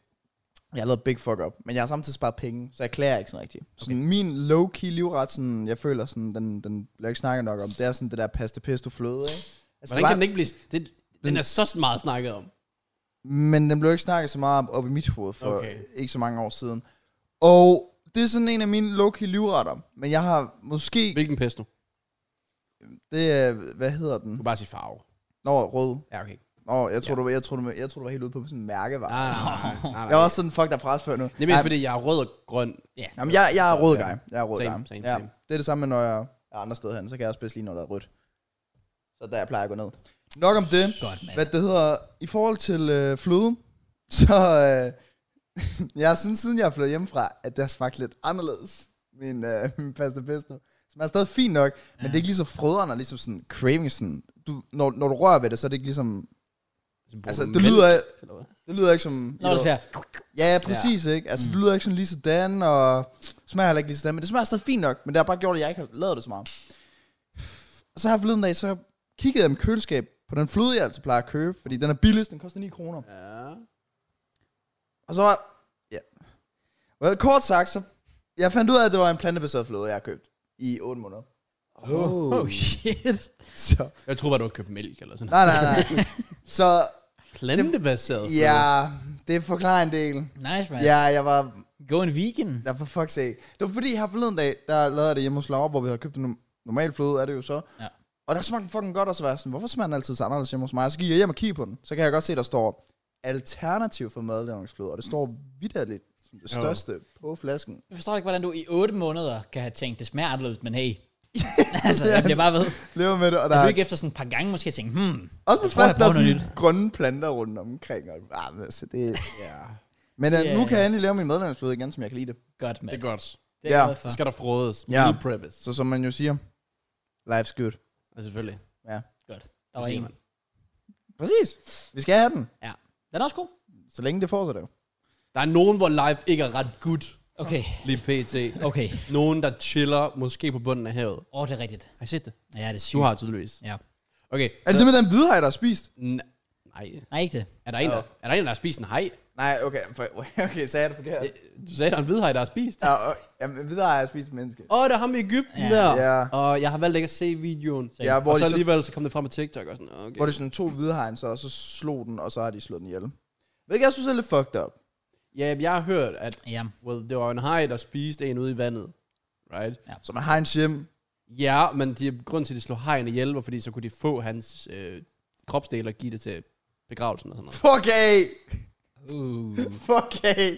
S3: jeg har lavet big fuck up, men jeg har samtidig sparet penge, så jeg klager ikke sådan rigtigt. Sådan min low-key livret, sådan, jeg føler, sådan, den, den bliver ikke snakket nok om, det er sådan det der pasta pesto fløde, ikke? Altså,
S2: Hvordan
S3: det var,
S2: kan den ikke blive... Det, den er så meget snakket om.
S3: Men den blev ikke snakket så meget op, op i mit hoved for okay.
S2: Okay.
S3: ikke så mange år siden. Og det er sådan en af mine low-key livretter, men jeg har måske,
S2: Hvilken pesto?
S3: det er, hvad hedder
S2: Du
S3: den?
S2: kan bare sige farve.
S3: Nå, rød.
S2: Ja, okay.
S3: Nå, jeg tror, du, var- jeg tror, du, jeg tror, du var helt ude på sådan en mærkevare.
S2: Nej, nej, nej. nej,
S3: Jeg
S2: nej.
S3: var også sådan, fuck, der er pres før nu.
S2: Det er mest, fordi jeg er rød og grøn.
S3: Jamen, jeg, jeg er rød guy. Jeg er rød
S2: Same,
S3: guy.
S2: same,
S3: ja.
S2: same.
S3: Det er det samme, med, når jeg er andre steder hen, så kan jeg også bedst lige, når der er rødt. Så der jeg plejer at gå ned. Nok om det.
S1: Godt, mand.
S3: Hvad det hedder, i forhold til øh, fløde, så øh, jeg synes, siden jeg er flyttet hjemmefra, at det har smagt lidt anderledes. Min, øh, min pasta pesto. Som er stadig fint nok, men det er ikke lige så frøderen og ligesom sådan craving. Sådan, du, når, når du rører ved det, så er det ikke ligesom Altså, det
S2: Men-
S3: lyder,
S2: Eller hvad?
S3: det lyder ikke som...
S1: Nå, det er svært.
S3: Ja, præcis, ja. ikke? Altså, mm. det lyder ikke sådan lige sådan, og smager heller ikke lige sådan, men det smager stadig fint nok, men det har bare gjort, at jeg ikke har lavet det så meget. Og så her forleden dag, så kiggede jeg i mit køleskab på den fløde, jeg altid plejer at købe, fordi den er billigst, den koster 9 kroner.
S2: Ja.
S3: Og så var... Ja. Well, kort sagt, så... Jeg fandt ud af, at det var en plantebaseret fløde, jeg har købt i 8 måneder.
S2: Oh.
S1: Oh shit.
S3: Så...
S2: Jeg tror bare, du har købt mælk eller sådan noget.
S3: Nej, nej, nej. så...
S2: Plantebaseret.
S3: Ja, det forklarer en del.
S1: Nice, man.
S3: Ja, jeg var
S1: Go en vegan.
S3: Ja, for fuck's sake. Det var fordi, her forleden dag, der lavede jeg det hjemme hos Laura, hvor vi havde købt en norm- normal fløde, er det jo så.
S1: Ja.
S3: Og der smagte den fucking godt, og så var jeg sådan, hvorfor smager den altid så anderledes hjemme hos mig? Og så gik jeg hjem og kiggede på den, så kan jeg godt se, der står alternativ for madlavningsfløde, og det står vidderligt som det
S2: Jo.
S3: største på flasken.
S1: Jeg forstår ikke, hvordan du i 8 måneder kan have tænkt, det smager anderledes, men hey. altså, jeg bliver bare ved.
S3: Lever med det, og der
S1: Er du
S3: er
S1: ikke efter sådan et par gange måske tænkt, hmm,
S3: også
S1: tror,
S3: på
S1: jeg
S3: flasken, der er
S1: prøver noget
S3: sådan grønne planter rundt omkring. Og, ah, men altså, det,
S2: Ja.
S3: men yeah.
S1: Ja.
S3: nu kan jeg endelig lave min madlavningsfløde igen, som jeg kan lide det.
S1: godt,
S2: Det
S1: mand.
S2: er godt.
S1: Det er jeg
S3: Ja.
S1: glad for.
S2: Så skal der frådes.
S3: Ja.
S2: Meal preppes.
S3: Så som man jo siger, life's good.
S2: Ja, selvfølgelig.
S1: Der var en.
S3: Præcis. Vi skal have den,
S1: Den er også god.
S3: så længe det fortsætter.
S2: Der er nogen, hvor live ikke er ret good,
S1: Okay,
S2: lige pt.
S1: okay.
S2: Nogen, der chiller, måske på bunden af havet.
S1: Åh, oh, det er rigtigt.
S2: Har I set det?
S1: Ja, det er
S2: Du
S1: sygt.
S2: har tydeligvis.
S1: Ja.
S2: Okay.
S3: Er det det med den hvide haj, der er spist?
S2: N- Nej.
S1: Nej, ikke det.
S2: Er der en, der, er der, en, der har spist en hej?
S3: Nej, okay, for, okay, sagde jeg det forkert?
S2: Du sagde, der er en hvidhej, der har spist. Åh,
S3: Ja, og, jamen, videre har jeg spist et menneske.
S2: oh, der er ham i Ægypten
S1: Ja.
S2: der.
S3: Ja.
S2: Og jeg har valgt ikke at se videoen.
S1: Ja,
S3: hvor
S2: og så
S3: de så-
S2: alligevel, så kom det frem på TikTok og sådan, okay.
S3: Hvor det er sådan to hvide hegn, så, og så slog den, og så har de slået den ihjel. Hvilket jeg synes er lidt fucked up.
S2: Ja, jeg har hørt, at
S1: Ja.
S2: well, det var en hej, der spiste en ude i vandet. Right?
S3: Så man har en hjem.
S2: Ja, men de, grunden til, at de slog hejen ihjel, var fordi så kunne de få hans øh, kropsdel og give det til begravelsen og sådan noget.
S3: Fuck af!
S1: Uh.
S3: Fuck af!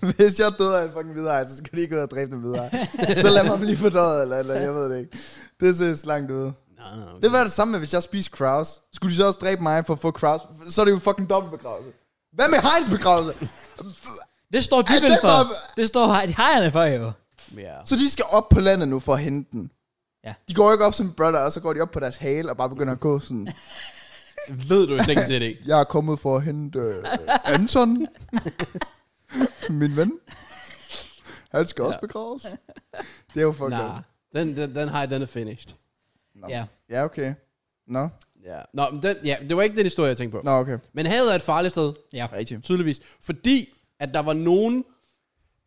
S3: Hvis jeg døde af en fucking hvide hej, så skal de ikke ud og dræbe den hvide hej. så lad mig blive fordøjet, eller, eller jeg ved det ikke. Det er seriøst langt ude.
S2: Nej, nej,
S3: Det var det samme med, hvis jeg spiste Kraus. Skulle de så også dræbe mig for at få Kraus? Så er det jo fucking dobbelt begravelse. Hvad med Heinz begravelse?
S1: Det står
S3: Ej,
S1: dybden
S3: den
S1: for.
S3: var-
S1: Det står hej- hejerne for, jo.
S2: Ja.
S3: Så de skal op på landet nu for at hente den.
S1: Ja.
S3: De går ikke op som brother, og så går de op på deres hale og bare begynder at gå sådan.
S2: Ved du ikke set ikke?
S3: Jeg er kommet for at hente øh, Anton, min ven. Han skal ja. også begraves. Det er jo fucked
S2: Nej.
S3: up.
S2: Den, den, den hej, den er finished.
S3: Nå.
S1: Ja.
S3: Ja, okay. Nå,
S2: Ja. Nå, men den, ja, det var ikke den historie, jeg tænkte på.
S3: Nå okay.
S2: Men havet er et farligt sted.
S1: Ja.
S3: Rigtigt.
S2: tydeligvis. Fordi, at der var nogen,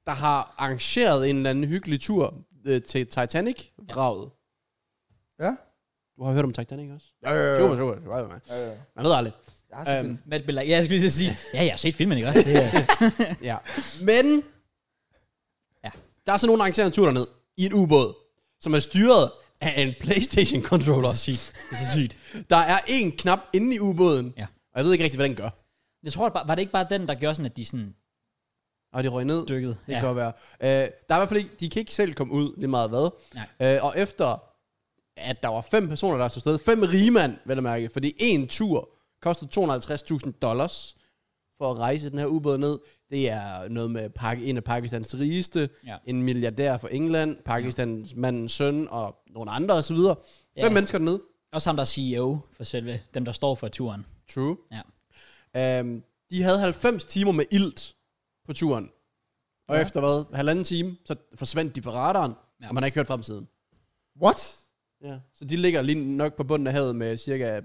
S2: der har arrangeret en eller anden hyggelig tur øh, til Titanic-vraget.
S3: Ja?
S2: Du har hørt om Titanic også?
S3: Ja, ja, ja.
S2: Jo, jo, jo, jo, jo.
S3: Ja, ja.
S2: Man ved aldrig.
S3: Jeg har set
S2: Øhm,
S3: den.
S1: Matt Bellak. Ja, jeg skulle lige så sige. Ja, jeg har set filmen, ikke også? Det er,
S2: Ja. Men,
S1: Ja.
S2: der er så nogen, der arrangerer en tur derned i en ubåd, som er styret af en Playstation-controller.
S1: det er sygt. Det er så sygt.
S2: Der er en knap inde i ubåden,
S1: Ja.
S2: og jeg ved ikke rigtig, hvad den gør.
S1: Jeg tror, det bare, var det ikke bare den, der gjorde sådan, at de sådan
S2: Og det røg ned.
S1: dykkede?
S2: Det kan godt være. Øh, der er i hvert fald ikke, de kan ikke selv komme ud, lige meget hvad. Øh, og efter, at der var fem personer, der stod sted, fem rigmand, vel at mærke, fordi en tur kostede 250.000 dollars for at rejse den her ubåd ned. Det er noget med pak- en af Pakistans rigeste,
S1: Ja.
S2: en milliardær fra England, Pakistans mandens søn og nogle andre osv. Fem
S1: Ja.
S2: mennesker ned.
S1: Også ham, der er CEO for selve, dem der står for turen.
S2: True.
S1: Ja.
S2: Øhm, de havde 90 timer med ilt på turen. Og ja. efter hvad? Halvanden time, så forsvandt de på radaren,
S1: Ja.
S2: ja. og man har ikke hørt fra dem siden.
S3: What?
S2: Ja. Så de ligger lige nok på bunden af havet med cirka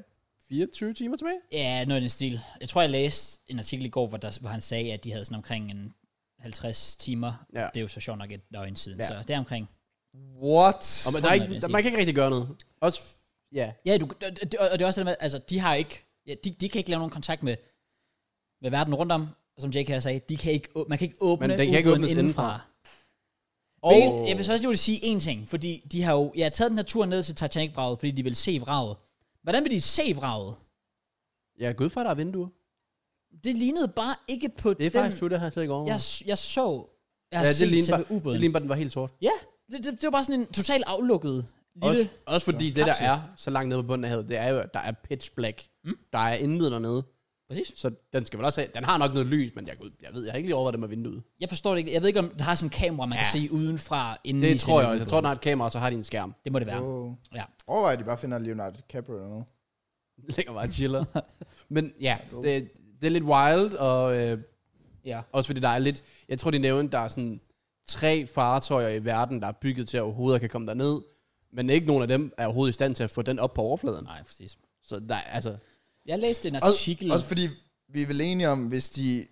S2: 24 timer tilbage.
S1: Ja, noget i den stil. Jeg tror, jeg læste en artikel i går, hvor, der, hvor han sagde, at de havde sådan omkring en 50 timer.
S2: Ja.
S1: Det er jo så sjovt nok et døgn siden,
S2: Ja.
S1: ja. så det er omkring.
S3: What?
S2: Og man,
S1: Sådan
S2: der er
S1: er
S2: ikke,
S1: det,
S2: der,
S1: jeg
S2: man kan ikke rigtig gøre noget. Også, f- ja.
S1: Ja, du, og det- og det er også det med, altså de har ikke, ja, de, de kan ikke lave nogen kontakt med, med verden rundt om, og som JK her sagde, de kan ikke, å- man kan ikke åbne
S2: den kan ikke
S1: ubåden
S2: åbnes indenfra.
S1: Og Hvilket, jeg vil så også lige vil sige en ting, fordi de har jo, jeg har taget den her tur ned til Titanic-vraget, fordi de vil se vraget. Hvordan vil de se vraget?
S2: Ja, gud for, der er vinduer.
S1: Det lignede bare ikke på
S2: Det er
S1: den,
S2: faktisk true, det har jeg slet ikke over.
S1: jeg, s- jeg så, jeg har ja,
S2: ja, det
S1: set
S2: ligner
S1: selve
S2: bare,
S1: ubåden.
S2: det ligner bare, den var helt sort.
S1: Ja, det, det, det var bare sådan en totalt aflukket lille...
S2: Også, også fordi det, der
S1: kapsel.
S2: er så langt nede på bunden af havet, det er jo, at der er pitch black. Mm. Der er intet dernede.
S1: Præcis.
S2: Så den skal vel også have, den har nok noget lys, men jeg, gud, jeg ved, jeg har ikke lige overvejet det med vinduet.
S1: Jeg forstår det ikke. Jeg ved ikke, om det har sådan en kamera, man ja. kan
S2: Ja.
S1: se udenfra. Inden
S2: Det tror jeg også. Jeg tror, den har et kamera, og så har de en skærm.
S1: Det må det være.
S3: Oh.
S1: Ja.
S3: Overvej, at de bare finder Leonardo DiCaprio eller noget.
S2: Ligger bare og chiller. Men ja, det, det er lidt wild, og øh,
S1: Ja.
S2: også fordi der er lidt... Jeg tror, de nævnte, der er sådan tre fartøjer i verden, der er bygget til at overhovedet kan komme derned. Men ikke nogen af dem er overhovedet i stand til at få den op på overfladen.
S1: Nej, præcis.
S2: Så der, er- altså,
S1: Jeg læste en artikel.
S3: Også, også fordi, vi er vel enige om, hvis de...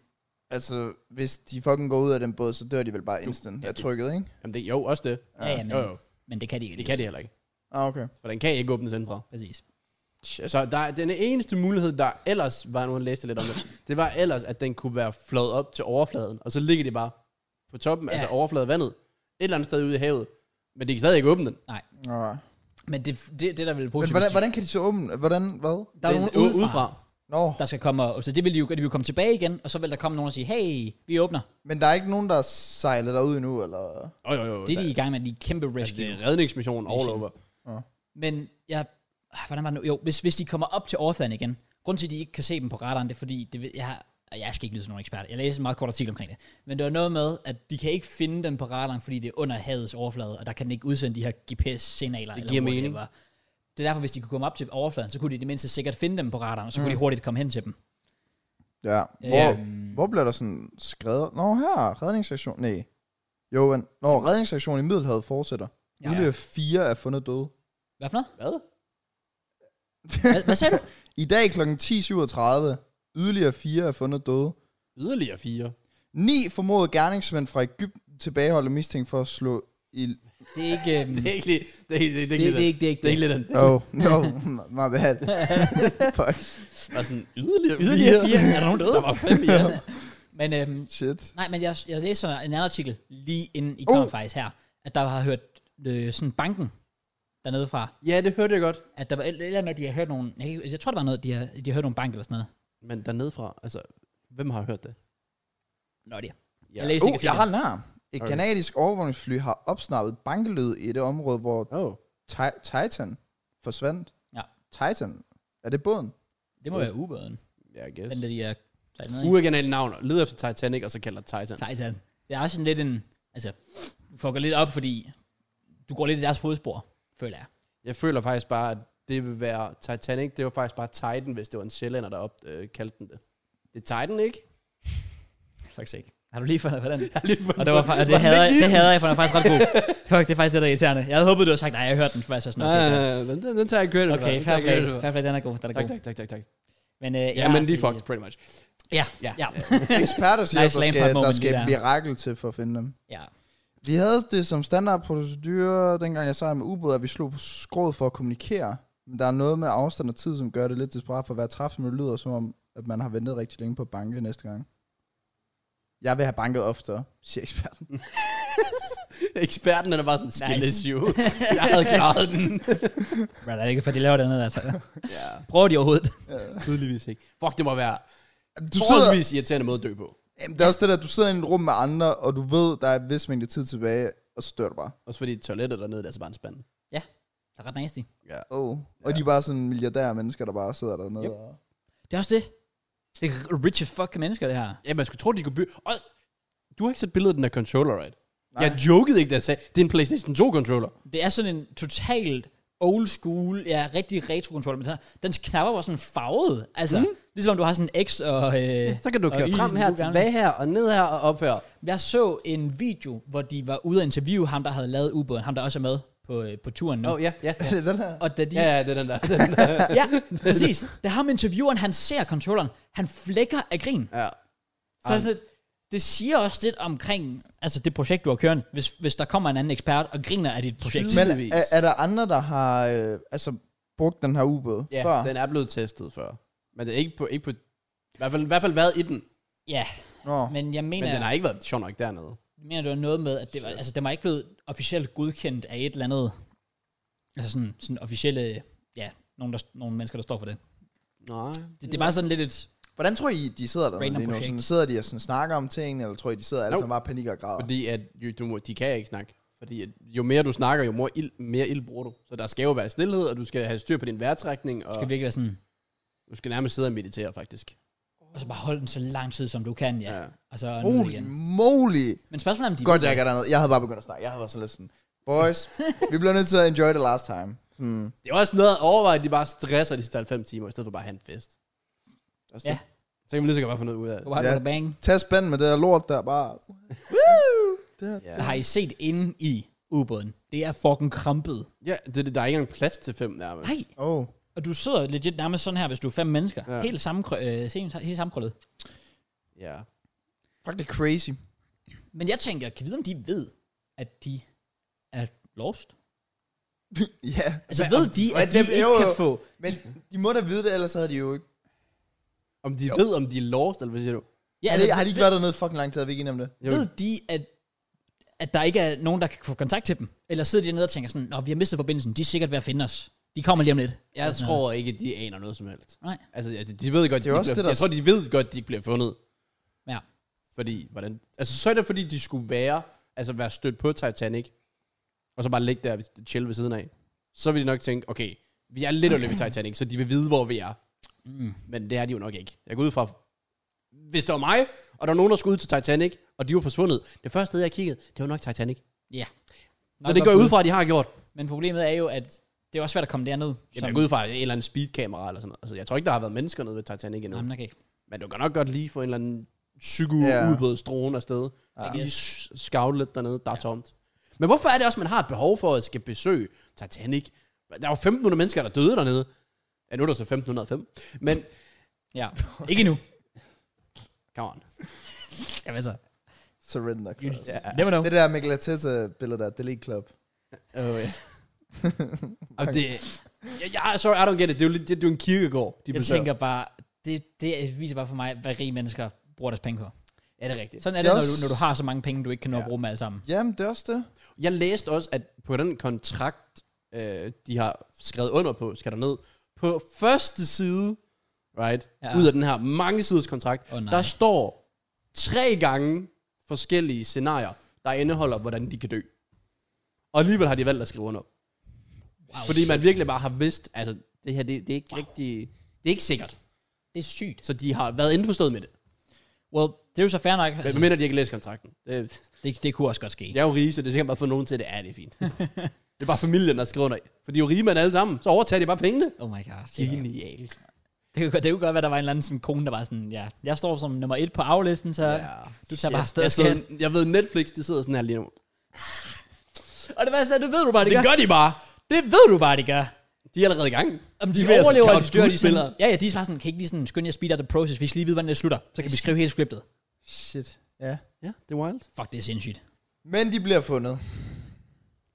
S3: Altså, hvis de fucking går ud af den båd, så dør de vel bare instant af trykket, ikke?
S2: jamen det, jo, også det.
S1: ja, ja, men,
S2: Jo, jo.
S1: men det kan de ikke.
S2: Det kan de heller ikke.
S3: Ah, okay.
S2: For den kan ikke åbnes indfra.
S1: Præcis.
S2: Så der, er- den eneste mulighed, der ellers var, nu har jeg læst lidt om det, det var ellers, at den kunne være flået op til overfladen, og så ligger de bare på toppen, ja. altså overfladen af vandet, et eller andet sted ude i havet, men de kan stadig ikke åbne den.
S3: Alright.
S1: Men det, det, det der vil
S3: Men
S1: positivt.
S3: hvordan, hvordan kan de så åbne? Hvordan? Hvad?
S1: der er nogen
S2: Den-
S1: udefra, udefra,
S3: Nå,
S1: der skal komme, og, så det vil de jo, de vil komme tilbage igen, og så vil der komme nogen og sige, hey, vi åbner.
S3: men der er ikke nogen, der sejler derud endnu, eller...
S2: Jo, jo, jo.
S1: Det er de
S2: der-
S1: i gang med, de er kæmpe
S2: altså,
S1: rescue.
S2: det er redningsmissionen all
S1: Mission.
S2: over.
S1: Men jeg, ah, hvordan var det nu? Jo, hvis, hvis de kommer op til overfladen igen, grund til, at de ikke kan se dem på radaren, det er fordi, det, ved- jeg, har- og jeg skal ikke lyde som nogen ekspert, jeg læste en meget kort artikel omkring det, men det var noget med, at de kan ikke finde dem på radaren, fordi det er under havets overflade, og der kan den ikke udsende de her GPS-signaler.
S2: Det
S1: eller
S2: giver
S1: whatever.
S2: mening.
S1: Det er derfor, hvis de kunne komme op til overfladen, så kunne de i det mindste sikkert finde dem på radaren, og så kunne de hurtigt komme hen til dem.
S3: Ja. Hvor,
S1: Øhm.
S3: hvor bliver der sådan skrevet? Nå, her, redningssektion. Nej. Jo, men... Nå, redningssektionen i Middelhavet fortsætter.
S1: Ja.
S3: Ja. Yderligere fire er fundet døde.
S1: Hvad for noget?
S2: Hvad?
S1: Hvad, hvad sagde du?
S3: I dag kl. 10.37. Yderligere fire er fundet døde.
S2: Yderligere fire.
S1: Mm.
S3: Ni formodede gerningsmænd fra Ægypten tilbageholdt og mistænkt for at slå ild.
S1: Det er ikke... Øhm,
S2: Det er ikke lige... Det er, ikke- det er,
S1: det,
S2: ikke
S1: det, er
S2: lige
S1: ikke, det er ikke
S2: det er ikke lidt den.
S3: Oh, no, my bad. Fuck,
S2: Bare sådan, yderligere,
S1: Yderligere fire. Er der nogen døde?
S2: Der var fem i alt.
S1: Men, øhm,
S3: shit.
S1: nej, men jeg, jeg læste sådan en anden artikel lige inden I kom
S2: Uh.
S3: Oh.
S1: faktisk her, at der har hørt øh, sådan banken dernede fra,
S2: Ja, det hørte jeg godt.
S1: at der var et et eller andet, de har hørt nogle, jeg, kan ikke- jeg tror, det var noget, de har, de har hørt nogle bank eller sådan noget.
S2: Men dernede fra, altså, hvem har hørt det?
S1: Nå, det er.
S2: Ja.
S1: Jeg læste
S2: Uh,
S1: ikke
S3: Oh, jeg har
S1: artiklen.
S3: en larm. Et
S2: Okay.
S3: kanadisk overvågningsfly har opsnappet bankelyd i det område, hvor
S2: Oh.
S3: Ti- Titan forsvandt.
S1: Ja.
S3: Titan? Er det båden?
S1: Det må være ubåden,
S2: Ja, I guess.
S1: den der, de har taget ned, ikke?
S2: Uoriginale navn. Led efter Titanic, og så kalder det Titan.
S1: Titan. Det er også sådan lidt en, altså, du fucker lidt op, fordi du går lidt i deres fodspor, føler jeg.
S2: Jeg føler faktisk bare, at det vil være Titanic. Det var faktisk bare Titan, hvis det var en sjællænder, der op, øh, kaldte den det. Det er Titan, ikke?
S1: Faktisk ikke. Har du lige fundet på den?
S2: Lige for-
S1: Og det, var, fa- og det,
S2: Var den
S1: hader, jeg-
S2: ikke
S1: det
S2: lige
S1: hader jeg, for den er faktisk ret god. Fuck, det er faktisk det, der er irriterende. Jeg havde håbet, du havde sagt, nej, jeg hørte den faktisk. var Sådan, okay,
S2: sådan- Nej, den, den, den tager jeg credit for.
S1: Okay,
S2: Den tager
S1: fair
S2: jeg
S1: play.
S2: credit for.
S1: Fair play, den er god. Den er
S2: Tak,
S1: god.
S2: tak, tak, tak, tak.
S1: Men, øh,
S2: Ja, men de er fucked, pretty much.
S1: Ja,
S2: Ja.
S1: ja, ja.
S3: Eksperter siger,
S1: Nice landmark
S3: at der skal, der
S1: moment,
S3: skal
S1: det
S3: et
S1: der.
S3: mirakel til for at finde dem.
S1: ja.
S3: Vi havde det som standardprocedur, dengang jeg sejlede med ubåd, at vi slog på skrået for at kommunikere. Men der er noget med afstand og tid, som gør det lidt desperat for at være træf, men det lyder som om, at man har ventet rigtig længe på at banke næste gang. Jeg vil have banket oftere, siger eksperten.
S2: Eksperten, den er bare sådan, skill
S1: Nice.
S2: issue. jeg havde klaret den.
S1: Men det er ikke, for de laver det andet, altså.
S2: ja,
S1: Prøver de overhovedet?
S2: tydeligvis ikke. Fuck, det må være
S3: Du sidder,
S2: forholdsvis irriterende måde at dø på.
S3: Jamen, det er også det der, at du sidder i et rum med andre, og du ved, der er et vis mængde tid tilbage, og så dør du bare.
S2: Også fordi toilettet dernede, det er altså bare en spand.
S1: Det er ret nasty.
S2: Ja.
S3: Oh. Og de er bare sådan milliardære mennesker, der bare sidder dernede.
S2: Yep.
S3: Og...
S1: Det er også det. Det er rich as fuck mennesker, det her.
S2: Ja, man skulle tro, de kunne bygge... Og, du har ikke set billedet af den der controller, right? Nej.
S3: Nej.
S2: Jeg jokede ikke, da jeg sagde, det er en PlayStation 2-controller.
S1: Det er sådan en totalt old school, ja, rigtig retro controller, men sådan- dens knapper var sådan farvet. Altså, mm. ligesom om du har sådan en X og... Øh,
S2: Så kan du
S1: og
S2: køre
S1: Y,
S2: frem
S1: som
S2: her,
S1: du gerne vil.
S2: tilbage her, og ned her og op her.
S1: Jeg så en video, hvor de var ude og interviewe ham, der havde lavet ubåden, ham der også er med på, øh, på turen nu.
S2: Åh, oh, ja, ja.
S3: Er det den her?
S1: Og da de
S2: Ja, ja, det er den der. Den der.
S1: ja, præcis. Da ham intervieweren, han ser controlleren, han flækker af grin.
S2: ja.
S1: Så er sådan, lidt- det siger også lidt omkring altså det projekt, du har kørende, hvis, hvis der kommer en anden ekspert og griner af dit projekt.
S2: Men-
S3: Men er, er der andre, der har øh, altså, brugt den her ubåd
S2: ja,
S3: før?
S2: den er blevet testet før. Men det er ikke på... Ikke på i hvert, fald, I hvert fald været i den,
S1: Ja,
S3: Nå. Men,
S1: men jeg mener,
S2: men den
S1: men
S2: har ikke været sjov nok dernede.
S1: mener det var noget med, at det var, altså, den var ikke blevet officielt godkendt af et eller andet, altså sådan, sådan officielle, ja, nogle, der, nogle mennesker, der står for det.
S2: Nej.
S1: Det, det er bare sådan lidt et,
S3: Hvordan tror I, de sidder der
S1: Random
S3: lige nu?
S1: projekt.
S3: Sådan, sidder de og sådan, snakker om ting, eller tror I, de sidder alle
S2: Jo.
S3: sammen bare i panik og græder?
S2: Fordi at jo, du, må- de kan ikke snakke. Fordi at jo mere du snakker, jo mere ild, mere ild bruger du. Så der skal jo være stillhed, og du skal have styr på din vejrtrækning, og
S1: skal virkelig være sådan,
S2: du skal nærmest sidde og meditere, faktisk.
S1: og så bare holde den så lang tid, som du kan, ja.
S2: Ja.
S1: ja. Og så nu
S3: Holy
S1: igen.
S3: moly!
S1: Men spørgsmålet er, om de...
S3: Godt, jeg ikke er dernede. Jeg havde bare begyndt at snakke. Jeg havde været sådan lidt sådan, boys, vi bliver nødt til at enjoy the last time. Hmm. Sådan,
S2: Det er også noget at overveje, at de bare stresser de sidste 90 timer, i stedet for bare at have en fest. Også
S1: Ja.
S2: det. Så kan man lige så godt bare få noget ud af det.
S1: Go hard
S3: Ja.
S1: with a bang.
S3: tag spanden med det der lort der, bare... det her.
S1: Har I set inde i ubåden? Det er fucking krampet.
S2: Ja, det, er det, der er ikke engang plads til fem nærmest.
S1: Nej.
S3: Oh.
S1: Og du sidder legit nærmest sådan her, hvis du er fem mennesker. Ja.
S2: Ja.
S1: Helt, samme, øh, helt, helt sammenkrøllet.
S2: Ja.
S3: Fuck, det er crazy.
S1: Men jeg tænker, kan vi vide, om de ved, at de er lost?
S3: ja.
S1: Altså
S3: Men-
S1: ved de,
S3: men
S1: at de
S3: det-
S1: ikke
S3: jo, jo.
S1: kan få...
S3: Men de må da vide det, ellers havde de jo ikke...
S2: Om de jo. ved, om de er lost, eller hvad siger du?
S1: Ja, altså,
S3: Har de, har de ikke været dernede fucking lang tid, er vi ikke enige om det?
S2: Jo,
S1: Ved de, at, at der ikke er nogen, der kan få kontakt til dem? Eller sidder de dernede og tænker sådan, Nå, vi har mistet forbindelsen, de er sikkert ved at finde os. De kommer lige om lidt.
S2: jeg tror ikke, de aner noget som helst.
S1: Nej.
S2: Altså, altså de ved godt,
S3: Det er
S2: de ikke
S3: også
S2: bliver,
S3: det, der-
S2: jeg tror, de ved godt, de ikke bliver fundet.
S1: Ja.
S2: Fordi, hvordan... Altså, så er det, fordi de skulle være, altså være stødt på Titanic, og så bare ligge der og chill ved siden af. Så vil de nok tænke, okay, vi er lidt ved Titanic, så de vil vide, hvor vi er.
S1: Mm.
S2: Men det er de jo nok ikke. Jeg går ud fra, hvis det var mig, og der var nogen, der skulle ud til Titanic, og de var forsvundet. Det første sted, jeg kiggede, det var nok Titanic.
S1: Ja.
S2: Så det går jeg ud fra, at de har gjort.
S1: Men problemet er jo, at det er også svært at komme derned.
S2: Jamen, jeg går ud fra et eller andet speedkamera eller sådan noget. Altså, jeg tror ikke, der har været mennesker nede ved Titanic endnu.
S1: Jamen, okay.
S2: Men du kan nok godt lige få en eller anden psyko
S3: Ja.
S2: yeah. udbåd stråen afsted.
S3: Ja.
S2: Ja. Lige s- scout lidt dernede, der er tomt. Men hvorfor er det også, man har et behov for at skal besøge Titanic? Der var 1.500 mennesker, der døde dernede. Ja, nu er der så 1.505. Men,
S1: Ja. Ikke endnu.
S2: come on.
S1: Jamen altså,
S3: Surrender
S1: you
S3: Club.
S2: Ja.
S1: never know.
S3: Det der Mikkel Arteta-billede der, Delete Club.
S2: Oh, yeah. Jamen, det, jeg, jeg, sorry, I don't get it. Det er jo, lidt- det, det er jo en kirkegård, de
S1: Jeg
S2: besøger.
S1: tænker bare, det, det viser bare for mig, hvad rige mennesker bruger deres penge på.
S2: Ja, det er rigtigt.
S1: Sådan er det,
S3: Det er
S1: når du,
S3: også-
S1: når du har så mange penge, du ikke kan nå at
S2: Ja.
S1: bruge dem alle sammen.
S3: Jamen, det er også det.
S2: Jeg læste også, at på den kontrakt, øh, de har skrevet under på, skal der ned, på første side, right,
S1: Ja.
S2: ja. ud af den her mange siders kontrakt,
S1: Åh, nej.
S2: der står tre gange forskellige scenarier, der indeholder, hvordan de kan dø. Og alligevel har de valgt at skrive under. Wow. Fordi man virkelig bare har vidst, altså, det her, det, det er ikke wow. rigtig, det er ikke sikkert.
S1: Det er sygt.
S2: Så de har været indforstået med det.
S1: Well, det er jo så fair nok.
S2: Men
S1: Altså,
S2: mindre de ikke læser kontrakten. Det,
S1: det, det kunne også godt ske.
S2: Jeg er jo rige, så det er sikkert bare for nogen til, at det er, det er fint. det er bare familien, der skriver under. For de er jo rige mænd alle sammen, så overtager de bare pengene.
S1: Oh my god. Det, det,
S2: Genialt.
S1: kunne, godt- det kunne godt være, der var en eller anden sådan, kone, der var sådan, ja, jeg står som nummer et på aflisten, så ja. du tager bare afsted.
S2: Jeg,
S1: skat.
S2: sidder, jeg ved, Netflix, de sidder sådan her lige nu.
S1: Og det værste er, det ved du bare, de
S2: Det
S1: gør.
S2: gør de bare.
S1: Det ved du bare, de gør.
S2: De er allerede i gang.
S1: Om de,
S2: De er ved
S1: de
S2: at
S1: overlever,
S2: scoute
S1: de dør, de er
S2: skuespillere.
S1: sådan, ja, ja, de er bare sådan, kan I ikke lige sådan, skynde jer speed up the process, vi skal lige vide, hvordan det slutter. Så kan vi skrive hele scriptet.
S3: Shit. Ja.
S2: Ja, det er wild.
S1: Fuck, det er sindssygt.
S3: Men de bliver fundet.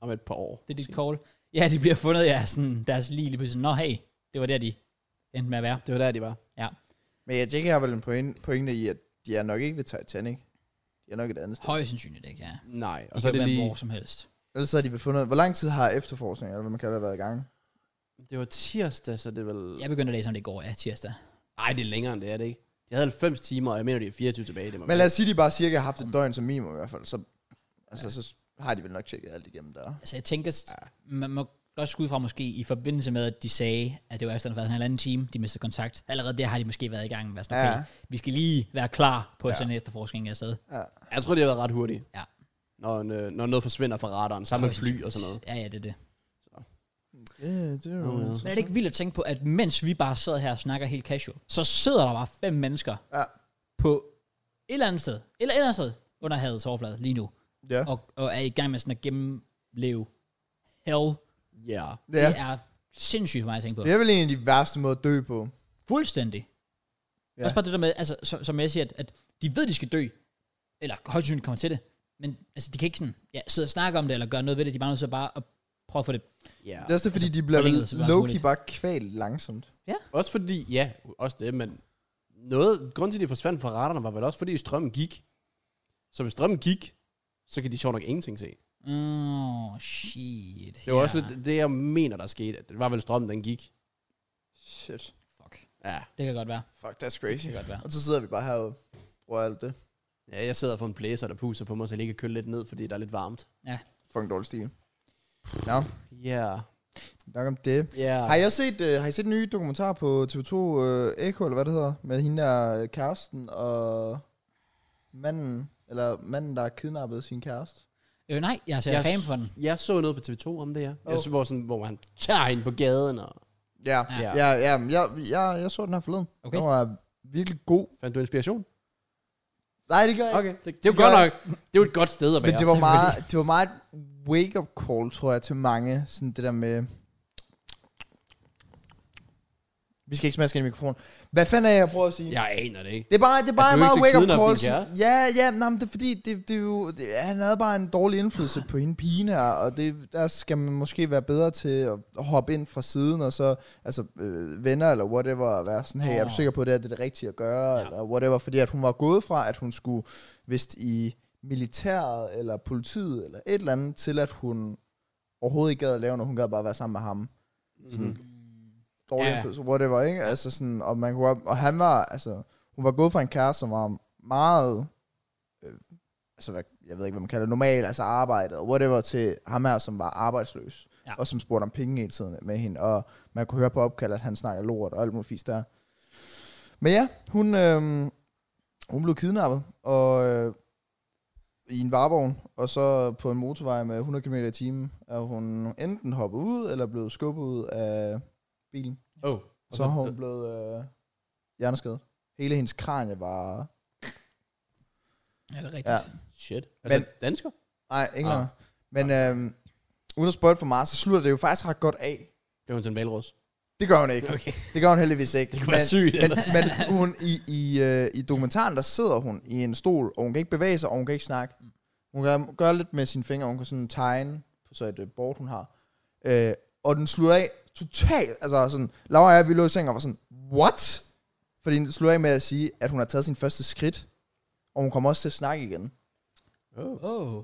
S2: Om et par år.
S1: Det er dit call. Ja, de bliver fundet, ja, sådan, deres lige lige pludselig. Nå, hey, det var der, de endte med at være.
S2: Det var der, de var.
S1: Ja.
S3: Men jeg tænker, jeg har vel en pointe, pointe i, at de er nok ikke ved Titanic. De er nok et andet sted.
S1: Højst sandsynligt ikke, ja.
S2: Nej,
S1: Og
S2: og så er det lige...
S1: hvor som helst.
S3: Ellers så har de vel fundet... Hvor lang tid har efterforskningen, eller hvad man kalder det, været i gang?
S2: Det var tirsdag, så det er vel...
S1: Jeg begyndte at læse om det i går, ja, tirsdag.
S2: Nej, det er længere end det er det ikke. De havde 90 timer, og jeg mener, de er 24 tilbage. Det må
S3: Men lad os sige, de bare cirka har haft et døgn som minimum i hvert fald. Så, altså, så har de vel nok tjekket alt igennem der.
S1: Altså, jeg tænker, ja. man må også skulle ud fra måske i forbindelse med, at de sagde, at det var efter, at der havde været en halvanden time, de mistede kontakt. Allerede der har de måske været i gang med at være sådan,
S3: Ja.
S1: okay, vi skal lige være klar på
S3: Ja.
S1: ja. sådan en efterforskning af sted.
S3: Ja.
S2: være. Jeg tror, de har været ret hurtige.
S1: Ja.
S2: Når, en, øh, når noget forsvinder fra radaren, sammen med
S1: Højst
S2: fly og sådan noget.
S1: Ja, ja, det er det.
S3: Det, det er jo...
S2: Nå, ja.
S1: Men er det ikke vildt at tænke på, at mens vi bare sidder her og snakker helt casual, så sidder der bare fem mennesker
S3: Ja.
S1: på et eller andet sted, eller et eller andet sted under havets overflade lige nu,
S3: Ja.
S1: og, og er i gang med sådan at gennemleve hell.
S2: Ja. Yeah.
S1: Ja.
S3: ja.
S1: Det er sindssygt for mig at tænke på.
S3: Det er vel en af de værste måder at dø på.
S1: Fuldstændig.
S3: Ja.
S1: Ja. Også bare det der med, altså, som, som jeg siger, at, at de ved, de skal dø, eller højst sandsynligt kommer til det, men altså, de kan ikke sådan, ja, sidde og snakke om det, eller gøre noget ved det, de er bare nødt til at bare at prøve at få det.
S2: Yeah.
S3: Det er også det, fordi
S1: Altså,
S3: de bliver vel
S1: forlænget så meget som
S3: low-key
S1: muligt.
S3: bare kvalt langsomt.
S2: Også fordi, ja, også det, men noget, grund til, at de forsvandt fra raderne, var vel også, fordi strømmen gik. Så hvis strømmen gik, så kan de sjovt nok ingenting se.
S1: Åh, oh, shit.
S2: Det var
S1: ja.
S2: også lidt det, jeg mener, der skete. Det var vel strømmen, den gik.
S3: Shit.
S1: Fuck.
S2: Ja,
S1: Det kan godt være.
S3: Fuck, that's
S1: Det
S3: crazy.
S1: kan godt være.
S3: Og så sidder vi bare herude. Bruger alt det.
S2: ja jeg sidder for en blæser, der puser på mig, så jeg lige kan køle lidt ned, fordi der er lidt varmt.
S3: Fucking dårlig stil. Nå,
S2: Ja,
S3: nok om det.
S2: ja.
S3: Har I også set, øh, har I set en ny dokumentar på TV2 øh, Echo, eller hvad det hedder? Med hende der, øh, kæresten og manden, eller manden, der har kidnappet sin kæreste.
S1: Øh, nej, jeg ser yes. for den.
S2: jeg så noget på TV2 om det, ja. Oh.
S3: Oh.
S2: Jeg så, hvor, sådan, hvor han tager hende på gaden, og
S3: Ja,
S1: Ja.
S3: ja, ja, ja, men jeg, jeg, jeg så den her forleden.
S1: Okay.
S3: Den var virkelig god.
S2: fandt du inspiration?
S3: Nej, det gør jeg ikke.
S2: Okay, det, det er jo godt
S3: gør-
S2: nok. Det er jo et godt sted at være.
S3: Men det var, meget, det var meget wake-up call, tror jeg, til mange. Sådan det der med... Vi skal ikke smaske ind i mikrofonen. Hvad fanden er jeg prøver at sige?
S2: Jeg aner det ikke.
S3: Det er bare, det er bare
S2: du
S3: meget
S2: ikke skal
S3: wake-up
S2: kidnappe din
S3: call. sådan- Ja, ja, nej, men det er fordi, det, det er jo, det, han havde bare en dårlig indflydelse på hende pigen her, og det, der skal man måske være bedre til at hoppe ind fra siden, og så altså, øh, venner eller whatever, og være sådan, hey, er du
S1: Åh.
S3: sikker på, at det er det, er det rigtige at gøre,
S1: Ja.
S3: ja. eller whatever, fordi at hun var gået fra, at hun skulle, vist i militæret, eller politiet, eller et eller andet, til at hun overhovedet ikke gad at lave noget, hun gad bare være sammen med ham
S2: Mm-hmm.
S3: dårlig
S1: Ja.
S3: ja. indflydelse, whatever, ikke? Altså sådan, og man kunne op, og han var, altså, hun var gået fra en kæreste, som var meget, øh, altså, hvad, jeg ved ikke, hvad man kalder det, normal, altså arbejdet, og whatever, til ham her, som var arbejdsløs,
S1: Ja.
S3: ja. og som spurgte om penge hele tiden med hende, og man kunne høre på opkald, at han snakker lort og alt muligt fisk der. Men ja, hun, øh, hun blev kidnappet, og øh, i en varevogn, og så på en motorvej med 100 km i timen, er hun enten hoppet ud, eller blevet skubbet ud af bilen.
S2: Oh.
S3: Og så har hun blevet øh, hjerneskadet. Hele hendes kranje var...
S1: Ja, det er
S3: Ja.
S1: rigtigt.
S2: Shit. Altså,
S3: Men-
S2: dansker?
S3: Nej, englænder. Ah. Men øh, uden at spoil for meget, så slutter det jo faktisk ret godt af.
S2: Blev hun til en valros?
S3: Det gør hun ikke.
S2: Okay.
S3: Det gør hun heldigvis ikke.
S2: Det kunne være sygt. altså.
S3: Men, men hun, i, i, øh, i dokumentaren, der sidder hun i en stol, og hun kan ikke bevæge sig, og hun kan ikke snakke. Hun kan gøre lidt med sine fingre, og hun kan sådan tegne på så et øh, board, hun har. Øh, og den slutter af totalt, altså sådan, Laura og jeg, vi lå i sengen og var sådan, what? Fordi den slutter af med at sige, at hun har taget sin første skridt, og hun kommer også til at snakke igen.
S2: oh.
S1: Oh.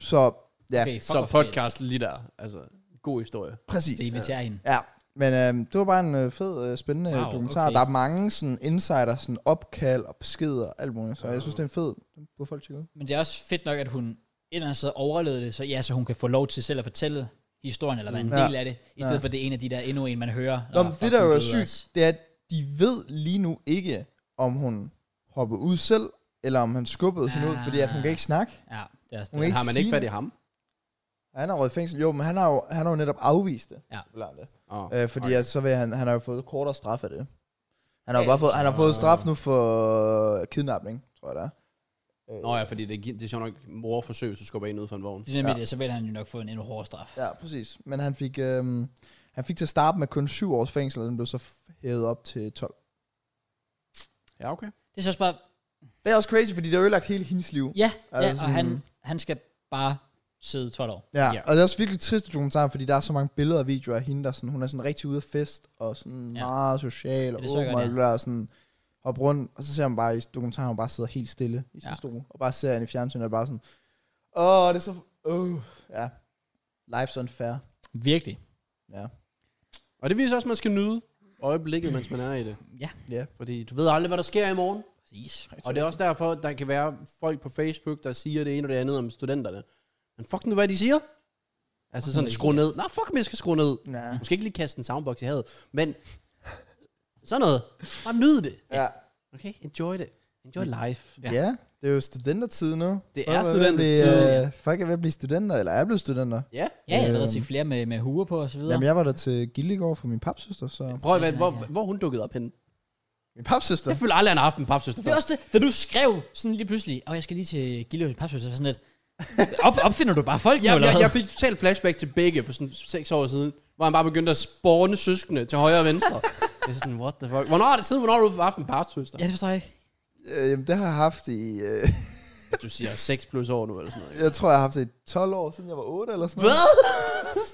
S3: Så ja, okay.
S1: Okay, fuck
S2: Så
S1: hvor fedt.
S2: podcast lige der. Altså, god historie.
S3: præcis.
S1: Det inviterer hende.
S3: Ja, men øh, det var bare en øh, fed, øh, spændende
S1: Wow,
S3: wow, dokumentar.
S1: okay.
S3: Okay. Der er mange sådan, insider, sådan, opkald og beskeder og alt muligt. Så jeg synes, det er en fed. Den burde folk tjekke ud.
S1: Men det er også fedt nok, at hun et eller andet sted overlevede det, så ja, så hun kan få lov til selv at fortælle historien, eller være en
S2: Mm.
S1: del
S3: Ja.
S1: af det, i stedet
S3: Ja.
S1: for det er en af de der endnu en, man hører.
S3: Nå,
S1: "Åh,
S3: men
S1: fuck,
S3: det, der
S1: hun
S3: jo er
S1: døde også."
S3: sygt, det er, at de ved lige nu ikke, om hun hoppede ud selv, eller om han skubbede hende ud, fordi at hun kan
S2: Ah.
S3: ikke snakke.
S1: Ja, det er også
S3: Hun
S1: det.
S3: kan
S2: Men har man ikke
S3: sige
S2: fat i ham?
S3: Han har røget i fængsel. Jo, men han har jo, han har jo netop afvist det.
S1: Ja.
S3: det.
S2: Oh.
S3: Øh, fordi at så vil han, han har jo fået kortere straf af det. Han har
S1: Ja,
S3: jo bare fået, han har fået
S2: så-
S3: straf nu for kidnapning, tror jeg det er. Øh,
S2: Nå ja, fordi det, gi- det er sjovt nok morforsøg, hvis du skubber en ud fra en vogn.
S1: Det er nemlig
S3: Ja.
S1: det, så vil han jo nok få en endnu hårdere straf.
S3: Ja, præcis. Men han fik, øhm, han fik til at starte med kun syv års fængsel, og den blev så f- hævet op til 12.
S2: Ja, okay.
S1: Det er så også bare,
S3: Det er også crazy, fordi det har ødelagt hele hendes liv.
S1: ja, ja
S3: Altså
S1: og
S3: sådan-
S1: han, han skal bare sidde 12 år.
S3: Ja,
S2: Ja.
S3: ja. og det er også virkelig trist dokumentar, fordi der er så mange billeder og videoer af hende, der sådan, hun er sådan rigtig ude af fest, og sådan
S1: Ja.
S3: ja. meget social, og
S1: det så jeg
S3: åben,
S1: godt,
S3: og alt det der, og sådan hoppe rundt, og så ser man bare i dokumentaren, hun bare sidder helt stille i sin
S1: Ja.
S3: ja. stol, og bare ser hende i fjernsynet, og bare sådan, åh, det er så, øh, ja, life's unfair.
S1: Virkelig.
S3: Ja.
S2: Og det viser også, at man skal nyde øjeblikket, mens man er i det.
S1: Ja.
S3: Ja.
S2: Fordi du ved aldrig, hvad der sker i morgen.
S1: Præcis.
S2: Og det er også derfor, der kan være folk på Facebook, der siger det ene og det andet om studenterne. Men fuck nu, hvad de siger. Altså sådan, skru ned. Nå, fuck, men jeg skal skrue ned.
S3: Ja.
S2: Måske ikke lige kaste en soundbox i havet, men sådan noget. Bare nyd det.
S3: Ja.
S2: Okay, enjoy det. Enjoy life.
S1: Ja.
S3: Ja. ja, det er jo studentertid nu.
S2: Det
S3: Folk
S2: er
S3: ved at blive,
S2: studentertid.
S3: øh, Folk er ved at blive studenter, eller er blevet studenter.
S2: Ja.
S1: Ja, jeg har allerede
S3: Øhm.
S1: set flere med, med huer på og så videre.
S3: Jamen, jeg var der til Gilde i går for min papsøster, så...
S2: Prøv at være,
S1: Ja,
S2: hvor,
S1: ja.
S2: hvor er hun dukkede op henne.
S3: Min papsøster?
S2: Jeg føler aldrig, han har haft en papsøster
S1: Det er
S2: før.
S1: også det, da du skrev sådan lige pludselig, og jeg skal lige til Gilde og Papsøs, så var sådan lidt, op, opfinder du bare folk nu,
S2: Jeg,
S1: eller
S2: jeg,
S1: hvad?
S2: jeg fik totalt flashback til begge for sådan seks år siden, hvor han bare begyndte at spåne søskende til højre og venstre. det er sådan, what the fuck. Hvornår er det siden, hvornår har du haft en papsøster?
S1: Ja, det forstår jeg ikke.
S3: Øh, jamen, det har jeg haft i... Øh,
S2: Du siger 6 plus år nu, eller sådan noget.
S3: jeg tror, jeg har haft det i 12 år, siden jeg var 8 eller sådan noget.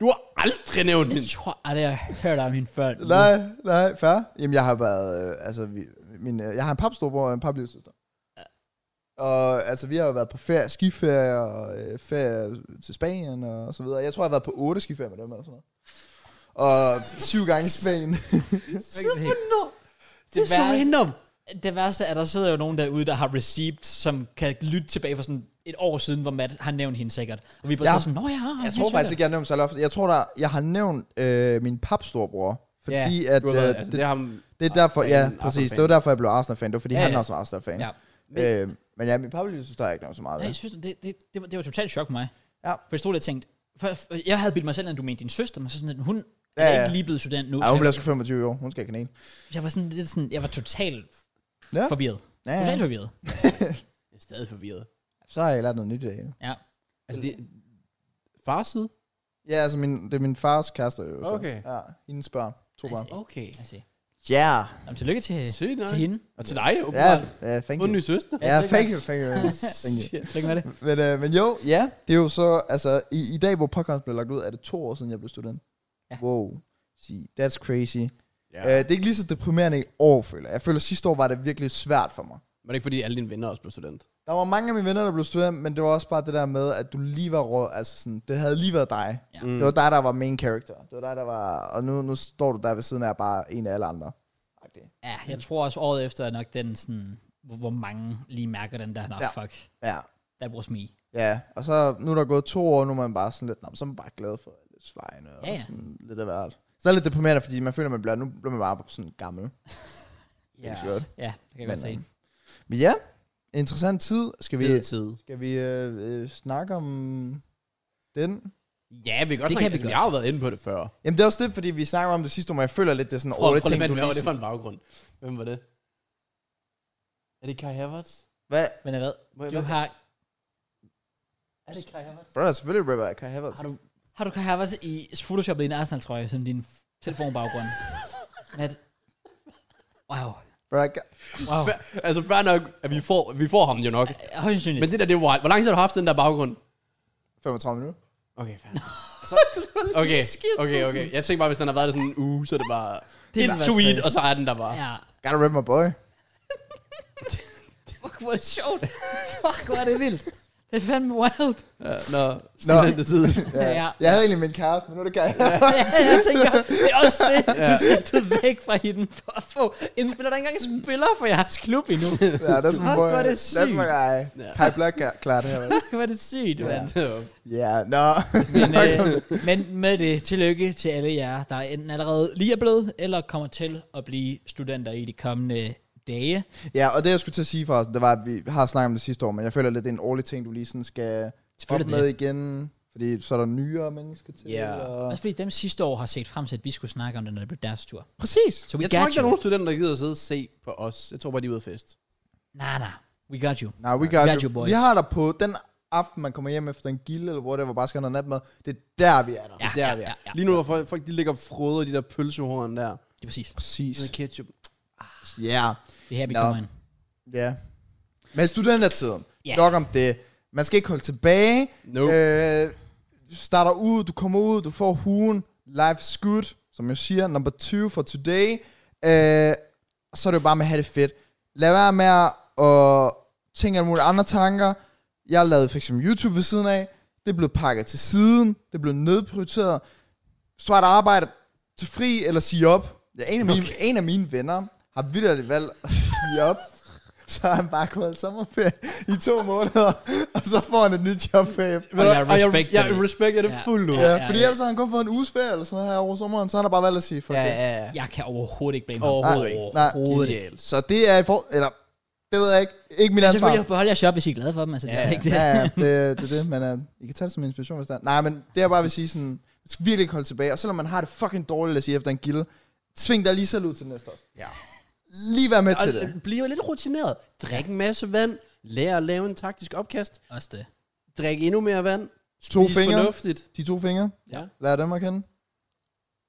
S2: Du har aldrig nævnt
S1: Jeg
S2: den.
S1: tror aldrig, jeg har hørt om hende før. nu.
S3: Nej, nej, fair. Jamen, jeg har været... Øh, altså, vi, min, øh, jeg har en papstorbror og en paplivsøster. Og altså, vi har jo været på ferie, skiferie og øh, ferie til Spanien og så videre. Jeg tror, jeg har været på 8 skiferier med dem eller sådan noget. Og syv gange i Spanien.
S2: Det er så
S1: værste-
S2: random.
S1: Det værste er, at der sidder jo nogen derude, der har received, som kan lytte tilbage for sådan et år siden, hvor Matt har nævnt hende sikkert. Og vi er bare
S3: Ja.
S1: ja. sådan, nå ja,
S3: Jeg tror faktisk ikke, jeg har nævnt særlig ofte. Jeg tror, der, jeg har nævnt øh, min papstorbror. Fordi
S2: Ja,
S3: at,
S2: du har
S3: øh,
S2: været, altså, det,
S3: det,
S2: er ham.
S3: det er derfor, ja,
S2: Arsenal-fan.
S3: præcis. Det var derfor, jeg blev Arsenal-fan. Det var fordi,
S2: Ja,
S3: han
S2: ja.
S3: også var Arsenal-fan.
S1: Ja.
S3: Ja. Men, øh, men ja, min papillys, synes der er ikke noget så meget
S1: Ja, jeg
S3: ved.
S1: synes, det, det, det, var, det var totalt chok for mig.
S3: Ja.
S1: For jeg stod lidt og tænkte, for, for jeg havde bildt mig selv, at du mente din søster, men så sådan, at hun ja,
S3: Ja,
S1: er
S3: ja.
S1: ikke lige blevet student nu.
S3: Ej, hun
S1: Så
S3: bliver
S1: jeg,
S3: sgu 25 år. Hun skal ikke have kanel.
S1: jeg, var sådan lidt sådan, jeg var totalt
S3: Ja.
S1: ja. forvirret.
S3: Ja,
S1: Totalt
S3: ja.
S1: forvirret.
S2: Jeg er stadig forvirret.
S3: Så har jeg lært noget nyt i dag.
S1: Ja.
S2: Altså, det, fars side?
S3: Ja, altså min, det er min fars kæreste. Jo, så.
S2: Okay.
S3: Ja, hendes børn. To
S1: Altså,
S3: børn.
S2: Okay.
S1: Altså,
S3: Ja.
S1: jamen, tillykke til,
S2: Sygt nok.
S1: til hende.
S2: Og til dig,
S3: Ja,
S2: åbenbart.
S3: ja, thank
S2: Få en
S3: you.
S2: ny søster.
S3: Ja,
S1: det er
S3: thank you, thank you. Thank you.
S2: Shit.
S1: Tillykke med det.
S3: Men, øh, men jo, ja, det er jo så, altså i, i dag, hvor podcast blev lagt ud, er det to år siden, jeg blev student.
S1: Ja.
S3: Wow. Sige, that's crazy.
S2: Ja.
S3: Ja. Øh, det er ikke lige så deprimerende i år, føler jeg. Jeg føler, at sidste år var det virkelig svært for mig.
S2: Var det ikke, fordi alle dine venner også blev student?
S3: Der var mange af mine venner, der blev student, men det var også bare det der med, at du lige var rå, altså sådan, det havde lige været dig.
S1: Ja.
S3: Mm. Det var dig, der var main character. Det var dig, der var, og nu, nu står du der ved siden af bare en af alle andre. Agtig.
S1: Ja, jeg tror også, året efter er nok den sådan, hvor, hvor mange lige mærker den der, nå,
S3: Ja.
S1: ja. fuck,
S3: Ja,
S1: that was me.
S3: ja. Og så, nu er der gået to år, nu er man bare sådan lidt, nå, men så er man bare glad for lidt svejende og
S1: Ja, ja.
S3: sådan lidt af hvert. Så er det lidt deprimerende, fordi man føler, man bliver, nu bliver man bare sådan gammel. ja. Godt.
S1: Ja, det kan jeg
S3: Men,
S1: godt se.
S3: øhm, Men ja, interessant tid. Skal vi,
S2: Fed tid.
S3: skal vi øh, øh, snakke om den?
S2: Ja, vi kan godt
S1: Det
S2: snakke-
S1: kan vi
S2: altså,
S1: godt.
S2: Jeg har jo været inde på det før.
S3: Jamen det er også det, fordi vi snakker om det sidste år, men jeg føler lidt, det er sådan,
S2: Prøv,
S3: åh, det
S2: prøv lige,
S3: tænkte
S2: hvad
S3: du
S2: hvad var det
S3: lige.
S2: for en baggrund? Hvem var det? Er det Kai Havertz?
S3: Hvad?
S1: Men jeg ved,
S2: Må jeg-
S1: du har,
S2: Er det Kai Havertz?
S3: Bro, der er selvfølgelig rapper Kai Havertz.
S2: Har du...
S1: har du kan have også i photoshoppet en Arsenal-trøje, som din f- telefonbaggrund. Matt. Wow.
S3: Bro, Ka-
S1: Wow.
S2: Altså, fair nok, at vi får, vi får ham jo nok.
S1: Højst sandsynligt.
S2: Men det der, det er wild. Hvor lang tid har du haft den der baggrund?
S3: 35 minutter.
S2: Okay, fair. Så, okay, okay, okay. Jeg tænkte bare, hvis den har været der sådan en uge, så er det bare... Det
S1: Det
S2: er
S1: ville
S2: en
S1: være
S2: tweet,
S1: trist.
S2: og så er den der bare.
S1: Ja.
S3: Gotta rap my boy.
S1: Fuck, hvor er det sjovt. Fuck, hvor er det vildt. Det er fandme wild.
S2: Ja, nå, studentetid.
S1: Ja, ja.
S3: Jeg havde egentlig min kæreste, men nu er det Kai Havertz.
S1: ja jeg tænker, det er også det. Du skiftede væk fra hende for at få en spiller, der ikke engang spiller for jeres klub endnu.
S3: Ja, that's my
S1: Fuck,
S3: boy.
S1: hvor er det
S3: That's
S1: sygt.
S3: my guy. Kai Black er klar det her.
S1: Fuck, hvor er det sygt,
S3: Ja.
S1: ja. mand.
S3: Ja, nå.
S1: Men, øh, men med det, tillykke til alle jer, der enten allerede lige er blevet, eller kommer til at blive studenter i de kommende dage.
S3: Ja, og det jeg skulle til at sige for os, det var, at vi har snakket om det sidste år, men jeg føler lidt, det er en årlig ting, du lige sådan skal op
S1: Selvfølgelig
S3: med igen. Fordi så er der nyere mennesker til.
S2: Ja.
S3: Og...
S1: Også fordi dem sidste år har set frem til, at vi skulle snakke om det, når det blev deres tur.
S3: Præcis.
S1: Så we
S2: Jeg
S1: got
S2: tror ikke, der
S1: you.
S2: er nogen studenter, der gider at sidde og se på os. Jeg tror bare, de er ude at fest.
S1: Nej, nej. We got you.
S3: Nej, we
S1: We
S3: got,
S1: got you,
S3: you.
S1: boys.
S3: Vi har dig på den aften, man kommer hjem efter en gilde, eller hvor det var bare skal have noget natmad. Det er der, vi er der.
S1: Ja,
S2: Der
S1: ja,
S2: vi er.
S1: ja, ja.
S2: Lige nu, hvor folk, folk de ligger og froder de der pølsehorn der.
S1: Det er præcis.
S2: Med
S3: Præcis.
S2: ketchup.
S3: Ja. Yeah.
S1: Det er her, vi
S3: Nå.
S1: kommer ind.
S3: Ja. Men studentertiden.
S1: Ja.
S3: Yeah. Nok om det. Man skal ikke holde tilbage.
S2: Nope.
S3: Øh, du starter ud, du kommer ud, du får hugen. Life's good, som jeg siger. Number 20 for today. Øh, så er det jo bare med at have det fedt. Lad være med at tænke alle mulige andre tanker. Jeg lavede fx YouTube ved siden af. Det blev pakket til siden. Det blev nedprioriteret. Stort arbejde til fri eller sige op. Ja, en, af mine, okay. en af mine venner har vildt valgt at sige op. Så har han bare gået sommerferie i to måneder, og så får han et nyt job bagefter.
S1: Og jeg
S2: og jeg,
S1: respekter
S2: jeg,
S1: det.
S2: respekter det
S1: Ja.
S2: fuldt ud.
S3: Ja,
S1: ja,
S3: fordi
S1: ja.
S3: ellers har han kun fået en uges ferie eller sådan noget her over sommeren, så har han bare valgt at sige, fuck
S2: Ja,
S3: det.
S2: ja, ja.
S1: Jeg kan overhovedet ikke blame ham.
S2: Overhovedet ikke.
S3: Nej.
S1: Overhovedet ikke.
S2: Genialt.
S3: Så det er i for... Eller, det ved jeg ikke. Ikke mit ansvar.
S1: Selvfølgelig beholder Altså, jeg shop, hvis I er glade for dem. Altså, det er
S2: Ja,
S1: slet ikke det.
S3: Ja, ja, det, det er det, men uh, I kan tage det som inspiration, hvis der Nej, men det er bare vil sige sådan, man skal virkelig ikke holde tilbage, og selvom man har det fucking dårligt at sige efter en gilde, sving dig lige selv ud til næste år.
S2: Ja.
S3: Lige vær med til det.
S2: Og blive lidt rutineret. Drik en masse vand. Lær at lave en taktisk opkast.
S1: Også det.
S2: Drik endnu mere vand.
S3: To
S2: Spis
S3: fingre,
S2: fornuftigt.
S3: de to fingre,
S2: Ja.
S3: lad dem at kende.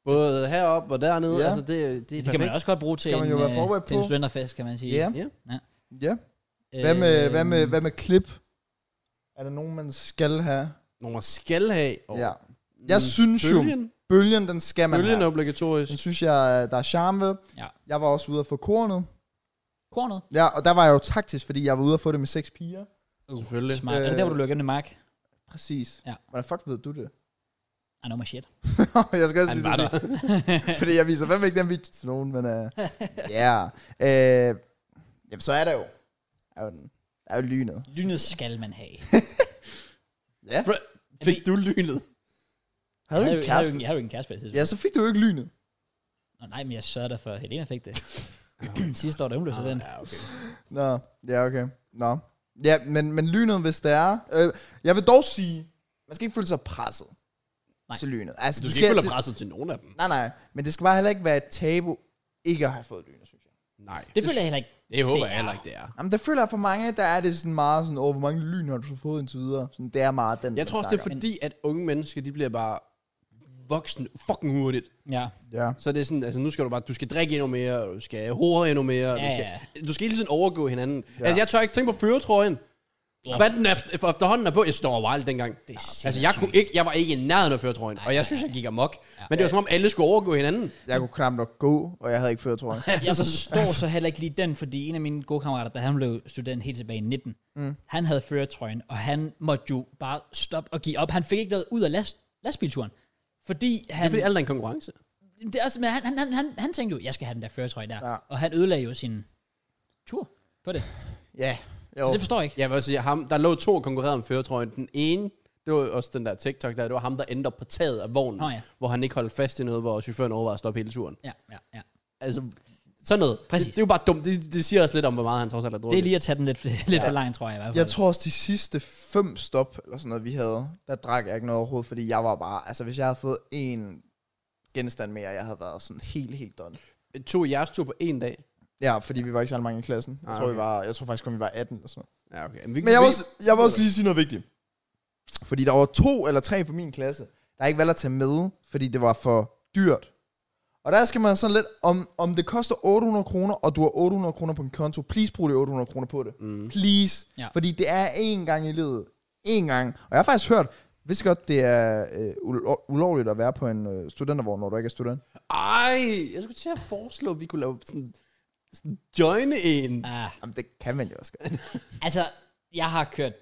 S2: Både heroppe og dernede.
S3: Ja.
S2: Altså, det, det er
S1: Det kan man også godt bruge til,
S3: Kan man
S1: en,
S3: jo være
S1: øh,
S3: forberedt
S1: til en
S3: på.
S1: studenterfest, kan man sige. Øh,
S3: Ja.
S2: Ja.
S3: Ja. Hvad
S1: Øhm.
S3: med, hvad med, hvad med klip? Er der nogen, man skal have?
S2: Nogle skal have. Og
S3: Ja. Jeg synes jo,
S2: Mm. Bølgen,
S3: bølgen, den skal man
S2: bølgen er
S3: have.
S2: obligatorisk.
S3: Den synes jeg, øh, der er charme ved.
S1: Ja.
S3: Jeg var også ude at få kornet.
S1: Kornet?
S3: Ja, og der var jeg jo taktisk, fordi jeg var ude at få det med seks piger.
S1: Uh,
S2: Selvfølgelig.
S1: Smart. Øh, er
S3: Øh,
S1: det der, hvor du løber gennem Mark?
S3: Præcis.
S1: Ja.
S3: Hvordan fuck ved du det?
S1: I know my shit.
S3: jeg skal også
S2: Han
S3: lige til
S2: var
S3: at
S2: der.
S3: sige, fordi jeg viser hvem ikke den video til nogen, men øh, ja. Øh, jamen, så er der jo. Er jo, den, er jo lynet.
S1: Lynet skal man have.
S3: Ja.
S2: Bro, Fik du lynet?
S1: Jeg
S3: Havde
S1: havde jo- jeg
S3: du en
S1: havde jo
S3: kæreste?
S1: ikke- jeg havde jo ikke en kæreste på det tidspunkt.
S3: Ja, så fik du jo ikke lynet.
S1: Nå, nej, men jeg sørger da for, at Helena fik det. Sidste år, da hun blev student.
S2: Ah, ja, okay.
S3: Nå, ja, okay. Nå. Ja, men, men lynet, hvis det er... Øh, jeg vil dog sige, man skal ikke føle sig presset
S1: Nej.
S3: nej. til lynet. Altså,
S2: Du
S3: det
S2: skal ikke føle
S3: det-
S2: dig presset til nogen af dem.
S3: Nej, nej. Men det skal bare heller ikke være et tabu, ikke at have fået lynet, synes jeg.
S2: Nej.
S1: Det føler jeg heller ikke.
S2: det håber
S1: det
S2: jeg
S1: er-
S2: heller ikke, det er.
S3: Jamen, der føler jeg for mange, der er det sådan meget sådan, åh, hvor mange lyn har du så fået indtil videre? Sådan, det er meget den,
S2: Jeg
S3: man
S2: tror også, det er
S3: snakker
S2: fordi, at unge mennesker, de bliver bare voksne fucking hurtigt.
S1: Ja.
S3: om. Ja.
S2: Så det er sådan, altså nu skal du bare, du skal drikke endnu mere, og du skal hore endnu mere, og
S1: Ja,
S2: du, skal, du skal hele tiden overgå hinanden. Ja.
S3: Ja.
S2: Altså jeg tør ikke tænke på føretrøjen.
S1: Ja.
S2: Hvad den efter, for efterhånden er på, jeg står wild dengang.
S1: Det er
S2: altså jeg, kunne ikke, jeg var ikke i nærheden af føretrøjen, og jeg synes, jeg gik amok. Men det var som om, alle skulle overgå hinanden.
S3: Jeg kunne knap nok gå, og jeg havde ikke før, tror jeg.
S1: Jeg forstår så heller ikke lige den, fordi en af mine gode kammerater, da han blev student helt tilbage i 19, mm. han havde føretrøjen, og han måtte jo bare stoppe og give op. Han fik ikke noget ud af last, lastbilturen. Fordi han,
S2: Det er fordi, alle er en konkurrence.
S1: det er også, men han, han, han, han, han tænkte jo, jeg skal have den der føretrøje der. Ja.
S3: Ja.
S1: Og han ødelagde jo sin tur på det.
S3: Ja, jo.
S1: Så det forstår jeg ikke.
S2: Jeg vil også sige, ham, der lå to og konkurrerede om føretrøjen. Den ene, det var også den der TikTok der, det var ham, der endte op på taget af vognen,
S1: Nå ja.
S2: hvor han ikke holdt fast i noget, hvor chaufføren overvejede at stoppe hele turen.
S1: Ja, ja, ja.
S2: Altså, sådan noget.
S1: Præcis.
S2: Det, det er jo bare dumt. Det, det siger også lidt om, hvor meget han trods alt er drukket.
S1: Det er lige at tage den lidt, lidt ja. for langt, tror jeg i hvert fald.
S3: Jeg tror også, de sidste fem stop, eller sådan noget, vi havde, der drak jeg ikke noget overhovedet, fordi jeg var bare, altså hvis jeg havde fået en genstand mere, jeg havde været sådan helt, helt done.
S2: To jeres tur på en dag.
S3: Ja, fordi vi var ikke så mange i klassen. Jeg
S2: Ah,
S3: tror, vi
S2: okay.
S3: var, jeg tror faktisk kun, vi var 18 eller sådan noget.
S2: Ja, okay. Men, vi,
S3: Men jeg
S2: vi,
S3: vil, også, jeg vil også lige sige noget vigtigt. Fordi der var to eller tre fra min klasse, der ikke valgte at tage med, fordi det var for dyrt. Og der skal man sådan lidt, om, om det koster 800 kroner, og du har 800 kroner på en konto, please brug de 800 kroner på det. Mm. Please.
S1: Ja.
S3: Fordi det er én gang i livet. Én gang. Og jeg har faktisk hørt, hvis godt det er øh, ulo- ulovligt at være på en øh, studentervogn, når du ikke er student.
S2: Ej, jeg skulle til at foreslå, at vi kunne lave sådan, sådan joine en.
S1: Ah,
S3: Jamen, det kan man jo også godt.
S1: altså, jeg har kørt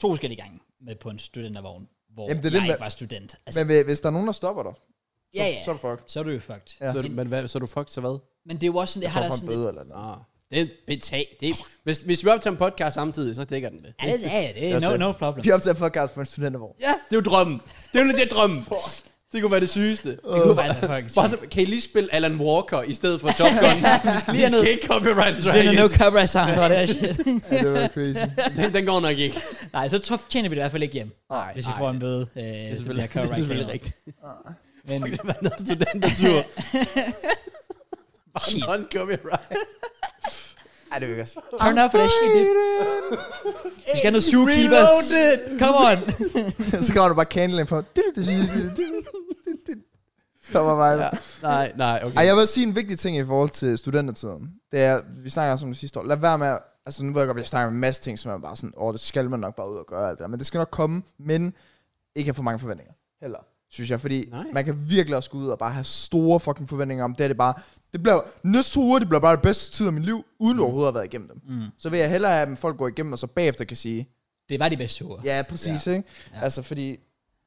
S1: to forskellige gange med på en studentervogn, hvor Jamen,
S3: Jamen,
S1: det
S3: det
S1: jeg
S3: er det,
S1: ikke
S3: men-
S1: var student. Altså,
S3: Men hvis- hvis der er nogen, der stopper dig, så,
S1: ja, ja.
S3: så er du fucked.
S1: så er du jo fucked.
S3: Ja.
S2: Så, men hvad, så er du fucked, så hvad?
S1: Men det er jo også sådan, jeg,
S3: Jeg
S1: har
S3: tror,
S1: da
S3: for en
S1: sådan lidt...
S3: bøde eller noget.
S2: Ah, det er betag. Det, er- hvis, hvis vi optager en podcast samtidig, så dækker den det.
S1: Ja, det, ja, ja, det er
S3: også
S1: no,
S3: det.
S1: no problem.
S3: Vi optager podcast på en studentervogn.
S2: Ja, det er jo drømmen. Det er jo legit drømmen. Det kunne være det sygeste.
S1: Det kunne faktisk være fucking
S2: Bare
S1: sjovt.
S2: så, kan I lige spille Alan Walker i stedet for Top Gun? lige skal ikke copyright
S1: Det er no
S2: strike.
S1: copyright sound, tror jeg, det er shit.
S3: Ja, det var crazy.
S2: Den, den går nok ikke.
S1: Nej, så tof tjener vi det i hvert fald ikke hjem,
S3: Nej,
S1: hvis vi får en bøde. Øh,
S2: Det
S1: det bliver
S2: er selvfølgelig, det er
S1: copyright
S2: selvfølgelig
S1: sound.
S2: rigtigt.
S1: Men
S2: Det var noget studentertur. Bare non-copyright.
S3: Ej, det vil jeg også.
S1: fair enough for that shit, dude. Vi skal have noget zookeepers.
S2: Reloaded.
S1: Come on.
S3: så kommer du bare candlen for. Stopper mig. Ja.
S2: Nej, nej, okay.
S3: Ej, jeg vil også sige en vigtig ting i forhold til studentertiden. Det er, vi snakker også om det sidste år. Lad være med at, altså nu ved jeg godt, at jeg snakker om en masse ting, som er bare sådan, åh, det skal man nok bare ud og gøre alt det der. Men det skal nok komme, men ikke have for mange forventninger. Heller. Synes jeg, fordi
S2: Nej.
S3: Nej. man kan virkelig også gå ud og bare have store fucking forventninger om, det er det bare, det bliver, næste to uger, det bliver bare det bedste tid af mit liv, uden mm. overhovedet at have været igennem dem.
S1: Mm.
S3: Så vil jeg hellere have, at folk går igennem, og så bagefter kan sige,
S1: Det var de bedste ture.
S3: Ja, præcis, ikke?
S1: Ja.
S3: Ja. Altså, fordi...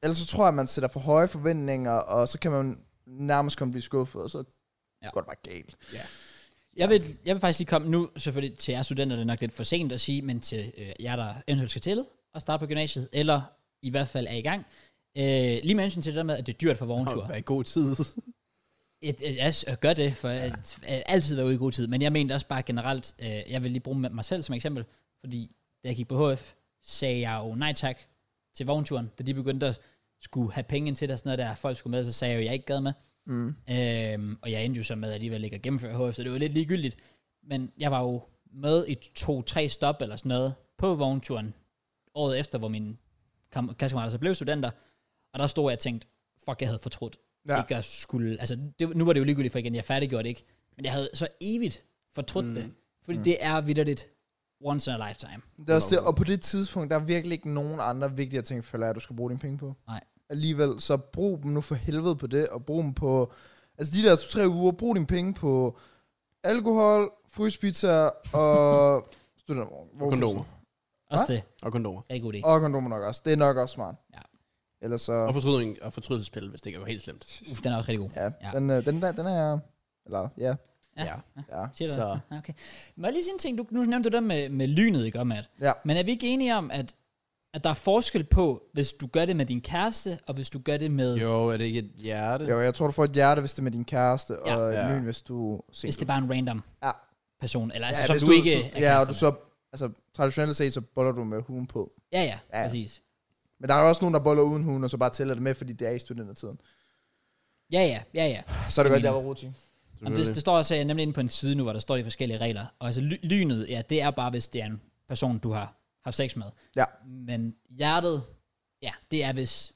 S3: Ellers så tror jeg, at man sætter for høje forventninger, og så kan man nærmest kun blive skuffet, og så
S1: Ja.
S3: ja. går det bare galt.
S1: Jeg vil, jeg vil faktisk lige komme nu, selvfølgelig til jer studenter, det er nok lidt for sent at sige, men til øh, jer, der eventuelt skal til at starte på gymnasiet, eller i hvert fald er i gang. Øh, lige med hensyn til det der med, at det er dyrt for vogntur.
S2: Åh, Hvad god tid.
S1: Et, et, jeg s- øh, gør det, for ja. at, at altid være ude i god tid. Men jeg mente også bare generelt, øh, jeg vil lige bruge mig selv som eksempel, fordi da jeg gik på HF, sagde jeg jo nej tak til vognturen, da de begyndte at skulle have penge til det og sådan noget der, folk skulle med, så sagde jeg jo, jeg ikke gad med.
S3: Mm.
S1: Øhm, og jeg endte jo så med alligevel ikke at gennemføre HF, så det var lidt ligegyldigt. Men jeg var jo med i to-tre stop eller sådan noget på vognturen året efter, hvor mine kam- klassekammerater så blev studenter. Og der stod jeg og tænkte, fuck, jeg havde fortrudt. Ja.
S3: Ja.
S1: Ikke at skulle, altså, det, nu var det jo ligegyldigt for igen, jeg færdiggjorde det ikke. Men jeg havde så evigt fortrudt mm. det. Fordi mm. det er vidderligt once in a lifetime.
S3: Det er også det, og på det tidspunkt, der er virkelig ikke nogen andre vigtige ting, føler jeg, du skal bruge dine penge på.
S1: Nej.
S3: Alligevel, så brug dem nu for helvede på det, og brug dem på... Altså, de der to-tre uger, brug dine penge på alkohol, fryspizza og... studentervogn.
S2: Kondomer.
S1: Også
S3: Hva?
S1: det.
S2: Og kondomer.
S1: Rigtig god idé.
S3: Og kondomer nok også. Det er nok også smart.
S1: Ja.
S3: Ellers så...
S2: Og fortrydning og fortrydelsespille, hvis det ikke er helt slemt.
S1: Uh, den er også rigtig god.
S3: Ja,
S1: Ja.
S3: ja. Den, øh, den, der, den er... Eller, ja.
S1: Ja.
S3: ja.
S1: Siger du
S2: Så-
S1: det? Ja, Okay. Må jeg lige sige en ting? Du, nu nævnte du det med, med lynet, ikke om at...
S3: Ja.
S1: Men er vi ikke enige om, at, at der er forskel på, hvis du gør det med din kæreste, og hvis du gør det med... Jo.
S2: Jo, er det ikke et hjerte?
S3: Jo, jeg tror, du får et hjerte, hvis det er med din kæreste,
S1: Ja.
S3: og
S2: Ja.
S3: ja. lyn, hvis du er
S1: Hvis det
S3: single.
S1: er bare en random.
S3: Ja.
S1: person, eller altså,
S3: ja,
S1: ja, som
S3: hvis
S1: du, ikke er
S3: Ja, og
S1: kærester
S3: du
S1: med.
S3: så... Altså, traditionelt set, så boller du med huen på.
S1: Ja, ja,
S3: Ja, ja.
S1: ja, præcis.
S3: Men der er jo også nogen, der boller uden huen, og så bare tæller det med, fordi det er i studentertiden.
S1: Ja, ja, ja, ja.
S3: Så er det
S1: Jeg
S3: godt,
S1: mener-
S3: jeg var rotig.
S1: Jamen, det, det står også øh, nemlig inde på en side nu, hvor der står de forskellige regler. Og altså ly- lynet, ja, det er bare, hvis det er en person, du har haft sex med.
S3: Ja.
S1: Men hjertet, ja, det er, hvis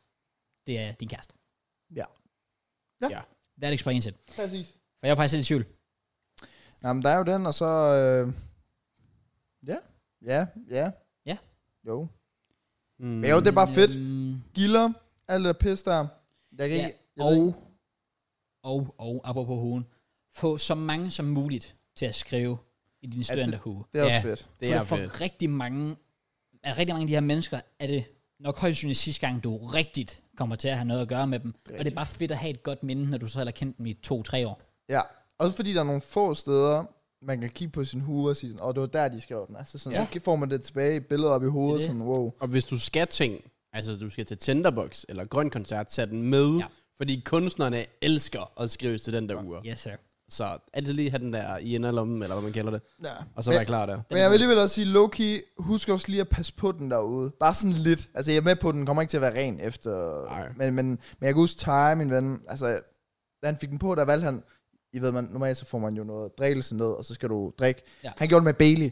S1: det er din kæreste.
S3: Ja.
S2: Ja.
S3: Ja.
S2: ja.
S1: Hvad er det explains it?
S3: Præcis.
S1: For jeg er faktisk lidt i tvivl.
S3: Jamen, der er jo den, og så... Øh... Ja. Ja, ja.
S1: Ja.
S3: Jo.
S2: Mm.
S3: Men jo, det er bare fedt.
S1: Øhm,
S3: Gilder, alt det der pis der. Jeg kan
S1: Ja,
S3: ikke... Jeg ved
S1: og-
S3: ikke.
S1: og, og apropos huen, få så mange som muligt til at skrive i din studenterhue.
S3: Det er også
S2: Ja.
S3: fedt.
S2: Det
S1: for,
S2: er
S1: for
S2: fedt.
S1: rigtig mange af rigtig mange af de her mennesker, er det nok højst sandsynligt sidste gang, du rigtigt kommer til at have noget at gøre med dem. Rigtig. Og det er bare fedt at have et godt minde, når du så heller kendt dem i to-tre år.
S3: Ja, også fordi der er nogle få steder, man kan kigge på sin hue og sige sådan, åh, oh, det var der, de skrev den. Altså sådan,
S1: Ja.
S3: ja. så får man det tilbage i billedet op i hovedet,
S1: Det er det.
S3: sådan, wow.
S2: Og hvis du skal ting, altså du skal til Tinderbox eller Grøn Koncert, tag den med, ja.
S1: Ja.
S2: fordi kunstnerne elsker at skrive til den der uger.
S1: Yes, sir.
S2: Så altid lige have den der i inderlommen, eller hvad man kalder det,
S3: Ja.
S2: og så
S3: Men-
S2: være klar der.
S3: Men jeg vil alligevel også sige, Loki, husk også lige at passe på den derude. Bare sådan lidt. Altså, jeg er med på, at den kommer ikke til at være ren efter...
S2: Nej.
S3: Men, men, men jeg kan huske Ty, min ven, altså, da han fik den på, der valgte han... I ved, man, normalt så får man jo noget drikkelse ned, og så skal du drikke.
S1: Ja.
S3: Han gjorde det med Bailey.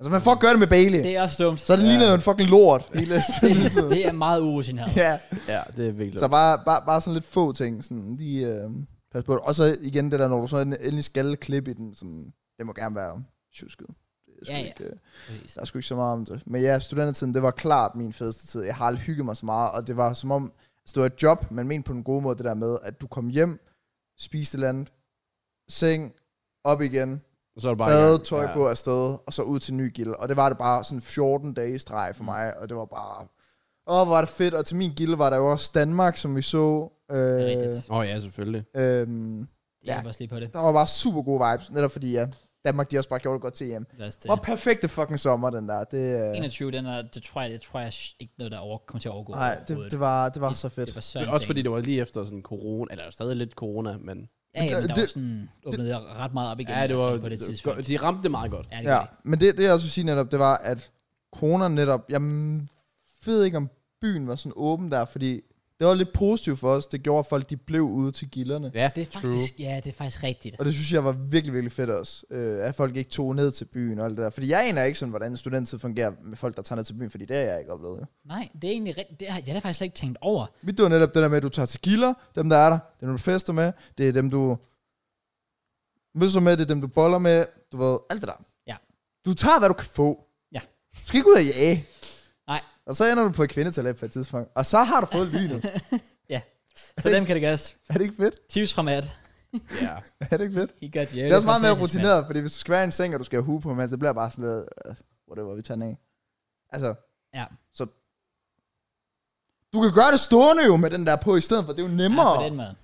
S3: Altså, man får gøre det med Bailey.
S1: Det
S3: Det,
S1: er også dumt.
S3: så det lignede jo en fucking lort. Hele
S1: det,
S3: tiden.
S1: det er meget urutineret.
S3: ja.
S2: Ja, det er virkelig.
S3: Så bare, bare, bare sådan lidt få ting, sådan lige øh, pas på det. Og så igen det der, når du så end- endelig skal klippe i den, sådan, det må gerne være tjusket. Det er sgu
S1: Ja, ja.
S3: Ikke, øh,
S1: Præcis.
S3: der er sgu ikke så meget om det. Men ja, studentertiden, det var klart min fedeste tid. Jeg har aldrig hygget mig så meget, og det var som om, altså det var et job, men men på den gode måde det der med, at du kom hjem, spiste et eller andet, seng, op igen,
S2: så er det bare i
S3: bade,
S2: gang.
S3: tøj på afsted, og så ud til ny gilde. Og det var det bare sådan 14 dage i streg
S1: Mm.
S3: for mig, og det var bare... Åh, hvor var det fedt, og til min gilde var der jo også Danmark, som vi så. Øh,
S1: Det er rigtigt.
S2: Åh oh, ja, selvfølgelig.
S3: øhm,
S1: Jeg
S3: ja.
S1: ja. også lige på det.
S3: der var bare super gode vibes, netop fordi ja, Danmark de også bare gjorde det godt til hjem.
S1: Lad os det.
S3: Det var perfekte fucking sommer, den der. Det, øh,
S1: 21, den er, det tror jeg, det tror jeg ikke noget, der over, kommer til at overgå.
S3: nej, det,
S1: overhovedet.
S3: det, var, det var så fedt.
S1: Det var så
S2: Men også fordi det var lige efter sådan corona, eller der er stadig lidt corona, men
S1: Ja, ja, men der
S3: det-
S1: var sådan, åbnede jeg ret meget op igen.
S2: ja, det var,
S1: på det tidspunkt.
S2: de ramte det meget godt.
S1: Ja, det
S3: Ja,
S1: ja.
S3: men det, det jeg også vil sige netop, det var, at corona netop, jeg ved ikke, om byen var sådan åben der, fordi det var lidt positivt for os. Det gjorde, at folk de blev ude til gilderne.
S2: Ja,
S1: Det er faktisk, ja, det er faktisk rigtigt.
S3: Og det synes jeg var virkelig, virkelig fedt også, øh, at folk ikke tog ned til byen og alt det der. Fordi jeg aner ikke sådan, hvordan studenttid fungerer med folk, der tager ned til byen, fordi det har jeg ikke oplevet. jo.
S1: Nej, det er egentlig rigtigt. Det har, jeg har faktisk slet ikke tænkt over.
S3: Mit det var netop det der med, at du tager til gilder, dem der er der, dem du fester med, det er dem du mødes med, det er dem du boller med, du ved, alt det der.
S1: Ja.
S3: Du tager, hvad du kan få.
S1: Ja.
S3: Du skal ikke ud og jage.
S1: Nej.
S3: Og så ender du på et kvindetalab på et tidspunkt, og så har du fået lynet.
S1: Så dem kan det gøres.
S3: er det ikke fedt?
S1: Tips fra Matt.
S2: Ja.
S3: Er det ikke fedt?
S1: I got you.
S3: Det er også meget mere
S1: fantastisk, Matt.
S3: rutineret, fordi hvis du skal være i en seng, og du skal have hue på, men så bliver jeg bare sådan lidt, uh, whatever, vi tager den af. Altså,
S1: Ja.
S3: så... Du kan gøre det stående jo med den der på i stedet for, det er jo
S1: Ja,
S3: nemmere.
S1: på den måde.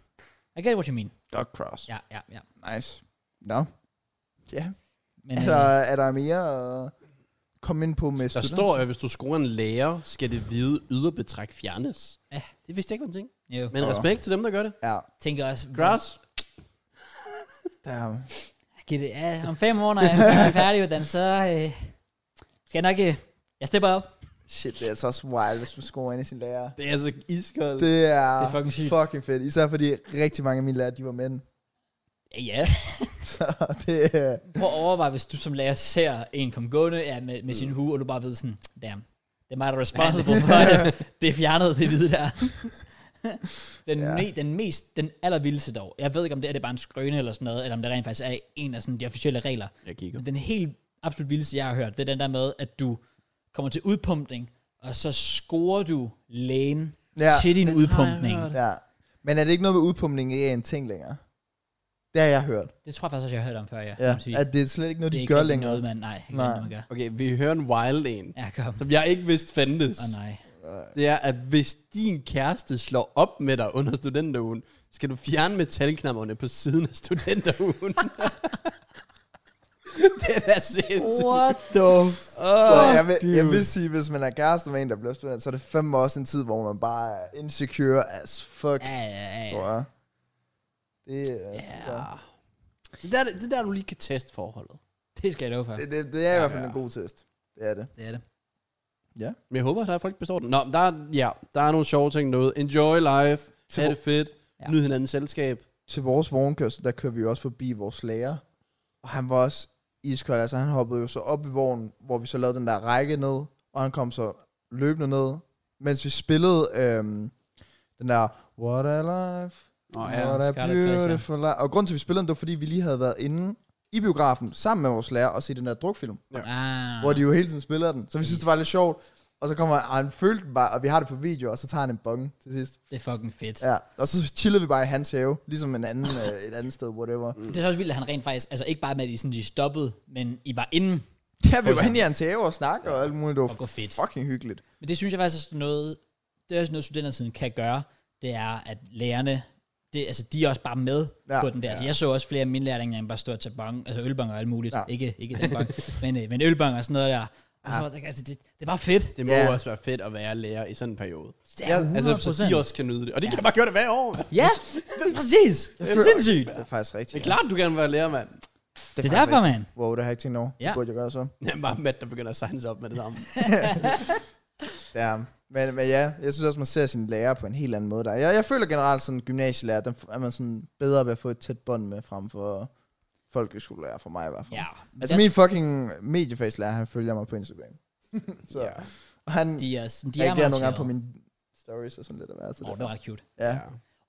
S1: I get what you mean.
S3: Dog cross.
S1: Ja, ja, ja.
S3: Nice. Nå. Ja.
S1: Men,
S3: Er
S1: øh,
S3: der, er der mere at komme ind på med
S2: Der står, at hvis du scorer en lærer, skal det hvide yderbetræk fjernes.
S1: Ja.
S2: Det vidste jeg ikke var en ting.
S1: jo,
S2: Men
S3: Åh.
S2: respekt til dem, der gør det.
S3: Ja.
S1: tænker også,
S2: Grass.
S3: Der,
S1: Giv det, ja, om fem år, når jeg er færdig med den, så øh, skal jeg nok... Øh, jeg stepper op.
S3: shit, det er altså også wild, hvis man scorer ind i sin lærer.
S2: Det er altså iskoldt.
S3: Det er,
S1: Det er fucking sygt.
S3: fucking fedt. Især fordi rigtig mange af mine lærere, de var mænd.
S1: Ja, ja.
S3: Så det er...
S1: Prøv at overveje, hvis du som lærer ser en komme gående ja, med, med
S3: Mm.
S1: sin hue, og du bare ved sådan, damn, det er mig, der er responsible for det. Det er fjernet, det hvide der. den,
S3: Ja.
S1: ja. me, den mest, den allervildeste dog. Jeg ved ikke, om det er, det er bare en skrøne eller sådan noget, eller om det rent faktisk er en af sådan de officielle regler.
S2: Jeg kigger.
S1: Men den helt absolut vildeste, jeg har hørt, det er den der med, at du kommer til udpumpning, og så scorer du lægen ja,
S3: Ja,
S1: til din udpumpning.
S3: ja. Men er det ikke noget med udpumpning ikke er en ting længere? Det har jeg hørt.
S1: Det tror jeg faktisk også, jeg har hørt om før, ja.
S3: Ja.
S1: kan man sige.
S3: At det er slet ikke noget,
S1: det
S3: de
S1: er
S3: gør
S1: rigtig
S3: længere.
S1: noget, man, nej, ikke
S3: Nej.
S1: noget, man gør.
S2: Okay, vi hører en wild en,
S1: Ja, kom.
S2: som jeg ikke vidste fandtes.
S1: Åh oh, nej.
S2: Det er, at hvis din kæreste slår op med dig under studenterugen, skal du fjerne metalknapperne på siden af studenterugen. det er sindssygt.
S1: What the
S3: Så
S2: Oh,
S3: jeg, vil, jeg vil sige, hvis man er kæreste med en, der bliver student, så er det fandme også en tid, hvor man bare er insecure as fuck,
S1: Ja, ja, ja,
S3: tror
S1: ja.
S3: jeg. Det, øh, ja.
S2: ja. Det er der, det er der, du lige kan teste forholdet.
S1: Det skal jeg love for.
S3: Det, det, det er i hvert fald en god test. Det er det.
S1: Det er det.
S2: Men jeg håber, at der er folk, der består den. Nå, men der er, ja, der er nogle sjove ting noget. Enjoy life.
S3: Så
S2: Ha'
S3: hvor-
S2: det fedt.
S1: Ja.
S2: Ja. Nyd hinandens selskab.
S3: Til vores vognkørsel, der kører vi jo også forbi vores lærer. Og han var også iskold. Altså han hoppede jo så op i vognen, hvor vi så lavede den der række ned. Og han kom så løbende ned, mens vi spillede øhm, den der What a life,
S2: Nå,
S1: Åh,
S2: ja.
S3: what a
S1: Scarlet Pleasure.
S3: beautiful life. Og grunden til, at vi spillede den, det var fordi, vi lige havde været inde i biografen sammen med vores lærer og set den der drukfilm.
S1: Ja. Ah.
S3: hvor de jo hele tiden spiller den. Så vi synes, det var lidt sjovt. Og så kommer han, og han følte den bare, og vi har det på video, og så tager han en bong til sidst.
S1: Det er fucking fedt.
S3: Ja, og så chillede vi bare i hans have, ligesom en anden, øh, et andet sted, whatever.
S1: Det er så også vildt, at han rent faktisk, altså ikke bare med, at I, sådan, de stoppede, men I var inde.
S3: Ja, vi var inde i hans have og snakke og alt muligt. Det
S1: Altså. Og gå
S3: var
S1: fedt.
S3: fucking hyggeligt.
S1: Men det synes jeg faktisk er sådan noget, det er også noget, studentersiden kan gøre, det er, at lærerne, det, altså de er også bare med ja,
S3: Ja,
S1: på den der. Ja. Altså, jeg så også flere af mine lærere, bare stå og tage bong, altså ølbonger og alt muligt. Ja.
S3: Ja.
S1: Ikke, ikke den bong, men, øh, men ølbonger og sådan noget der. Og så, var det- altså, det, det er bare fedt.
S2: Det må
S3: Ja.
S2: yeah. også være fedt at være lærer i sådan en periode.
S1: Det er ja, 100%.
S2: Altså, så de også kan nyde det. Og det kan jeg bare gøre det hver år, mand.
S1: Ja, præcis. Det er
S3: føler-
S1: sindssygt.
S3: Det er faktisk
S2: Det
S3: rigtigt.
S2: er klart, du gerne vil være lærer, mand.
S1: Det er
S3: faktisk
S1: derfor,
S3: rigtigt.
S1: mand.
S3: Wow, det har jeg ikke tænkt over.
S1: Ja.
S3: Det burde jeg gøre så.
S2: Jamen, bare Matt, der begynder at signe sig op med det samme.
S3: Ja. Men, men ja, jeg synes også, man ser sine lærer på en helt anden måde der. Jeg, jeg føler generelt sådan, gymnasielærer, den f- er man sådan bedre ved at få et tæt bånd med, frem for folkeskolelærer, for mig i hvert fald.
S1: Ja, men
S3: Altså min fucking mediefagslærer, han følger mig på Instagram. så
S2: ja.
S3: ja. han de,
S1: de er, de
S3: de
S1: er
S3: reagerer
S1: meget
S3: nogle gange på
S1: sjove.
S3: mine stories og sådan lidt af hvert. så
S1: Åh, oh,
S3: det-
S1: det var ret cute.
S3: Ja.
S2: ja.
S1: Åh,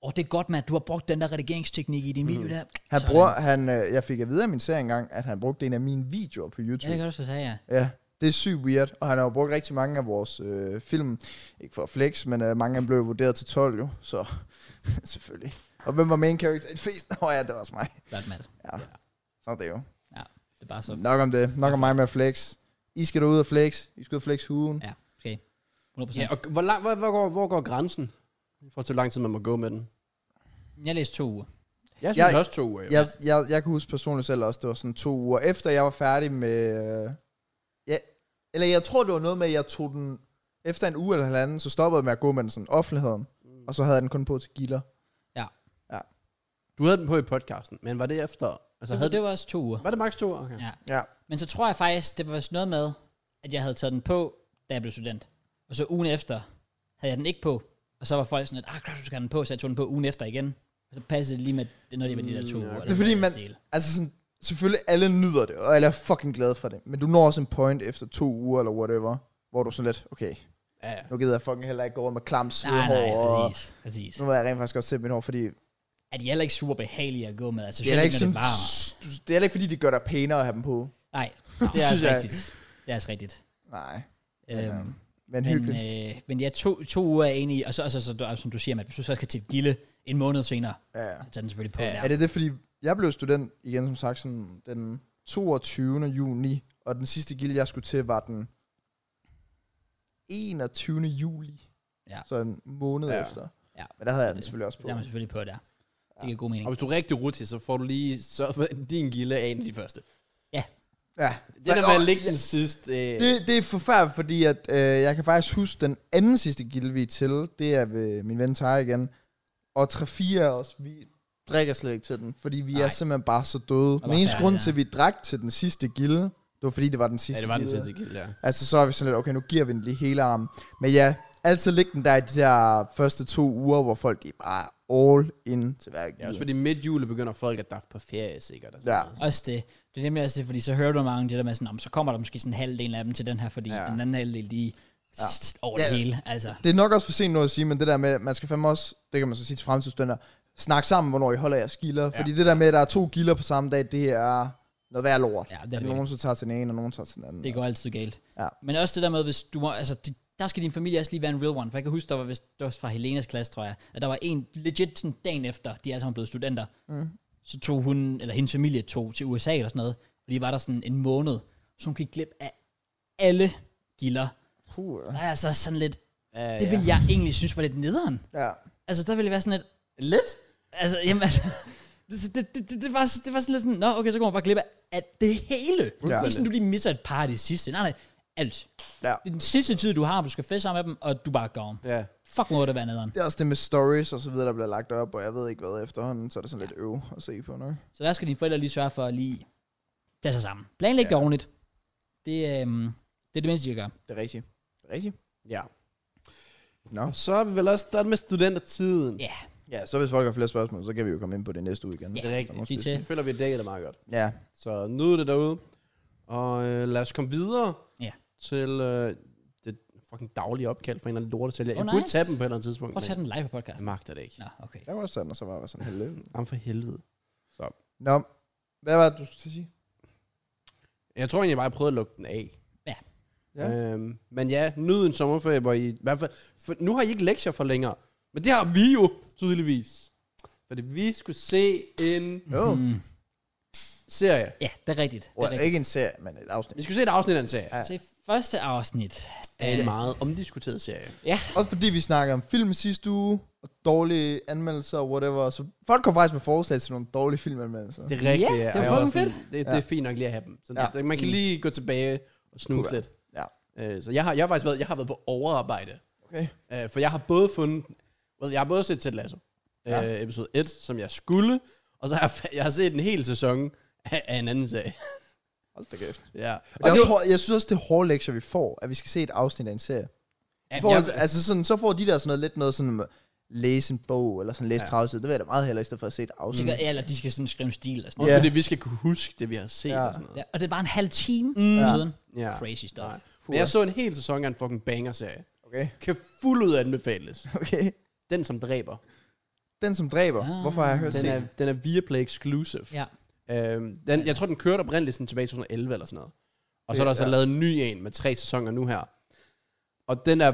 S1: oh, det er godt, Matt. Du har brugt den der redigeringsteknik i din video der.
S3: Mm-hmm. Han
S1: Sådan.
S3: bruger, han, øh, jeg fik at vide af min serie engang, at han brugte en af mine videoer på
S1: Ja,
S3: YouTube.
S1: det
S3: Ja,
S1: kan du så sige, ja.
S3: ja det er sygt weird, og han har jo brugt rigtig mange af vores øh, film. Ikke for at flex, men øh, mange af dem blev jo vurderet til 12 jo, så selvfølgelig. Og hvem var main character? Et fest? Åh oh, ja, det var også mig.
S1: Godt, Matt.
S3: Ja, sådan er det jo.
S1: Det er bare så
S3: Nok om det. Nok om mig med at flex. I skal derud og flex. I skal ud og flex hugen.
S1: Ja, okay. 100%.
S2: ja og hvor, lang, hvor, hvor, går, hvor går grænsen? I forhold til, hvor lang tid man må gå med den.
S1: Jeg læste to uger.
S2: Jeg synes
S3: Jeg-
S2: også to uger. jo.
S3: jeg, jeg, jeg kan huske personligt selv også, det var sådan to uger efter jeg var færdig med... Øh, ja, eller jeg tror, det var noget med, at jeg tog den... Efter en uge eller halvanden, så stoppede jeg med at gå med den sådan offentligheden.
S1: Mm.
S3: Og så havde jeg den kun på til gilder.
S2: Du havde den på i podcasten, men var det efter? Altså,
S1: Så
S2: havde
S1: havde det var også to uger.
S2: Var det maks to år? Okay.
S1: Ja.
S3: Ja.
S1: Men så tror jeg faktisk, det var sådan noget med, at jeg havde taget den på, da jeg blev student. Og så ugen efter havde jeg den ikke på. Og så var folk sådan, at ah, crap, du skal have den på, så jeg tog den på ugen efter igen. Og så passede det lige med, det, når det var de der to
S2: Mm,
S1: uger.
S2: ja.
S1: eller
S3: Det er fordi,
S1: sådan
S3: man-
S1: noget i den stil.
S3: Altså sådan, selvfølgelig alle nyder det, og alle er fucking glade for det. Men du når også en point efter to uger eller whatever, hvor du er sådan lidt, okay,
S2: Ja, ja.
S3: nu gider jeg fucking heller ikke gå rundt med klam
S1: Nej,
S3: hår.
S1: nej,
S3: Og
S1: præcis. præcis.
S3: nu har jeg rent faktisk også set mit hår, fordi det
S1: At de er heller ikke super behagelige at gå med. Altså,
S3: er, heller
S1: specielt
S3: ikke
S1: når
S3: sådan,
S1: det varmer.
S3: det er heller ikke fordi, det gør dig pænere at have dem på.
S1: Nej, det er
S3: synes
S1: altså
S3: jeg-
S1: rigtigt. Det er altså rigtigt.
S3: Nej,
S1: Øhm,
S3: men
S1: Men,
S3: hyggeligt.
S1: øh, men ja, to, to uger er egentlig, og så, og så, så, du- som du siger, at hvis du så skal til Gilde en måned senere,
S3: ja, ja.
S1: så tager den selvfølgelig på.
S2: Ja,
S1: der.
S3: Er det det, fordi jeg blev student igen, som sagt, sådan den 22. juni, og den sidste gilde, jeg skulle til, var den 21. juli.
S1: Ja.
S3: Så en måned
S2: Ja.
S3: efter.
S1: Ja.
S3: Men der havde jeg den
S1: Det-
S3: selvfølgelig også på.
S1: Der er man selvfølgelig på der. Det giver god mening.
S2: Og hvis du er rigtig rutig, så får du lige sørget for, at din gilde er en af de første.
S3: Ja.
S2: Det der med at ligge den sidste... Øh,
S3: det, det er forfærdeligt, fordi at, øh, jeg kan faktisk huske den anden sidste gilde, vi er til. Det er ved min ven Tej igen. Og 3-4 af os, vi drikker slet ikke til den, fordi vi
S1: Nej.
S3: er simpelthen bare så døde.
S1: bare
S3: Den eneste
S1: færdige,
S3: grund
S1: ja.
S3: til, at vi drak til den sidste gilde, det var fordi, det var den sidste
S2: ja, det var den
S3: gilde.
S2: sidste gilde, ja.
S3: Altså, så er vi sådan lidt, okay, nu giver vi den lige hele armen. Men ja, altid ligge den der i de der første to uger, hvor folk de er bare all in til hver
S2: Ja, også
S3: giver.
S2: fordi midt jule begynder folk at daffe på ferie, sikkert. og sådan
S3: Ja.
S2: noget.
S1: Også det. Det er nemlig også det, fordi så hører du mange af det der med sådan, "Nå, men så kommer der måske sådan en halvdel af dem til den her, fordi ja.
S2: Ja.
S1: den anden halvdel de ja.
S3: Ja.
S1: over det
S3: Ja.
S1: hele. Altså,
S3: Det er nok også for sent noget at sige, men det der med, man skal fandme også, det kan man så sige til fremtidsstønder, snakke sammen, hvornår I holder jeres gilder.
S2: Ja.
S3: Fordi det der med, at der er to gilder på samme dag, det er noget værd lort.
S1: ja, det,
S3: Ja,
S1: er
S3: nogen så tager til den ene, og nogen tager til den anden.
S1: det, det går altid galt.
S3: Ja.
S1: Men også det der med, hvis du må, altså, de, der skal din familie også lige være en real one. For jeg kan huske, der var, hvis, det var fra Helenas klasse, tror jeg, at der var en legit sådan dagen efter, de er alle sammen blevet studenter,
S3: Mm.
S1: så tog hun, eller hendes familie tog til USA eller sådan noget, og de var der sådan en måned, så hun gik glip af alle gilder.
S3: Puh,
S1: Der er altså sådan lidt,
S2: Ja, ja.
S1: det ville jeg egentlig synes var lidt nederen.
S3: ja.
S1: Altså, der ville det være sådan lidt,
S2: Lidt?
S1: altså, jamen altså, det, det, det, det, det, var, det var sådan lidt sådan, nå, okay, så går man bare glip af, af det hele.
S3: Ja.
S1: Ikke sådan, du lige misser et par af de sidste. Nej, nej, alt.
S3: Ja.
S1: Det er den sidste tid, du har, du skal feste sammen med dem, og du bare går om.
S2: Ja.
S1: Fuck, må det være nederen.
S3: Det er også det med stories og så videre, der bliver lagt op, og jeg ved ikke hvad efterhånden, så er det sådan lidt øv at se på, nok?
S1: Så der skal dine forældre lige sørge for at lige tage sig sammen. Planlæg ja. det
S2: Ja.
S1: ordentligt. Det, øhm, det er det mindste, de kan gøre.
S3: Det er rigtigt. Det er rigtigt.
S2: ja.
S3: Nå.
S2: Og så er vi vel også startet med studentertiden.
S1: Ja.
S3: Ja, så hvis folk har flere spørgsmål, så kan vi jo komme ind på det næste uge igen.
S1: Ja,
S2: Det er
S3: Der må
S2: rigtigt.
S1: Sig
S3: spidse.
S1: til.
S2: Jeg føler, vi dækker det meget godt.
S3: Ja,
S2: Så nyd det derude. Og øh, lad os komme videre
S1: Ja.
S2: til øh, det fucking daglige opkald fra en eller anden lortesælger.
S1: Oh,
S2: jeg burde
S1: nice.
S2: tage dem på et eller andet tidspunkt.
S1: Prøv at tage
S2: men
S1: den live på podcast.
S2: Jeg magter det ikke.
S1: Nå, okay.
S3: jeg var også sådan, og så var jeg sådan heldig.
S2: Jamen for helvede.
S3: Nå, hvad var det, du skulle til at sige?
S2: Jeg tror egentlig bare, jeg prøvede at lukke den af.
S1: Ja.
S3: Ja.
S2: Øhm, men ja, nyd en sommerferie, hvor I, i hvert fald, for, nu har I ikke lektier for længere. Men det har vi jo, tydeligvis. Fordi vi skulle se en
S3: Jo,
S1: Mm.
S2: serie.
S1: Ja, det er rigtigt. Det
S3: oh,
S1: er rigtigt.
S3: ikke en serie, men et afsnit.
S2: Vi skulle se et afsnit af en serie.
S3: Ja.
S1: Se, første afsnit. Øh,
S2: Af en meget omdiskuteret serie.
S3: Også fordi vi snakker om film sidste uge, og dårlige anmeldelser og whatever. Så folk kom faktisk med forslag til nogle dårlige filmanmeldelser.
S2: Det er rigtigt.
S1: Ja, det
S2: og
S1: var
S2: jeg var
S1: fucking
S2: sådan, Det, det
S3: Ja.
S2: er fint nok lige at have dem. Så
S3: Ja.
S2: ja. Man kan lige gå tilbage og snuse
S3: Kunne
S2: lidt.
S3: Ja.
S2: Øh, så jeg har, jeg har faktisk været, jeg har været på overarbejde.
S3: Okay.
S2: Øh, for jeg har både fundet, well, jeg har både set Ted Lasso, ja. øh, episode 1, som jeg skulle, og så har jeg, fa- jeg har set en hel sæson af, af en anden serie.
S3: Hold da kæft.
S2: ja. Og
S3: Det er
S2: nu-
S3: også, hård- jeg synes også, det er hårde lektier, vi får, at vi skal se et afsnit af en serie.
S2: ja,
S3: Forhold,
S2: jeg-
S3: altså sådan, så får de der sådan noget, lidt noget sådan, med læse en bog, eller sådan læse ja. 30 sider. Det vil jeg da meget hellere, i stedet for at se et afsnit.
S1: Sikkert, eller de skal sådan skrive en stil og sådan
S2: Også
S3: Ja.
S2: fordi vi skal kunne huske det, vi har set
S3: Ja.
S2: og sådan noget.
S1: Ja, og det er bare en halv time
S2: Mm.
S1: ja.
S3: Ja.
S1: siden.
S2: Ja.
S1: Crazy stuff.
S2: Nej. Men jeg så en hel sæson af en fucking banger-serie.
S3: Okay.
S2: Kan fuldt ud anbefales.
S3: Okay.
S2: Den, som dræber.
S3: Den, som dræber.
S1: Ah.
S3: Hvorfor har jeg hørt
S2: Den
S3: det?
S2: er, den er Viaplay exclusive.
S1: Ja.
S2: Øhm, den, jeg tror, den kørte oprindeligt sådan tilbage i 2011 eller sådan noget. Og så er
S3: Ja,
S2: der så
S3: ja.
S2: lavet en ny en med tre sæsoner nu her. Og den er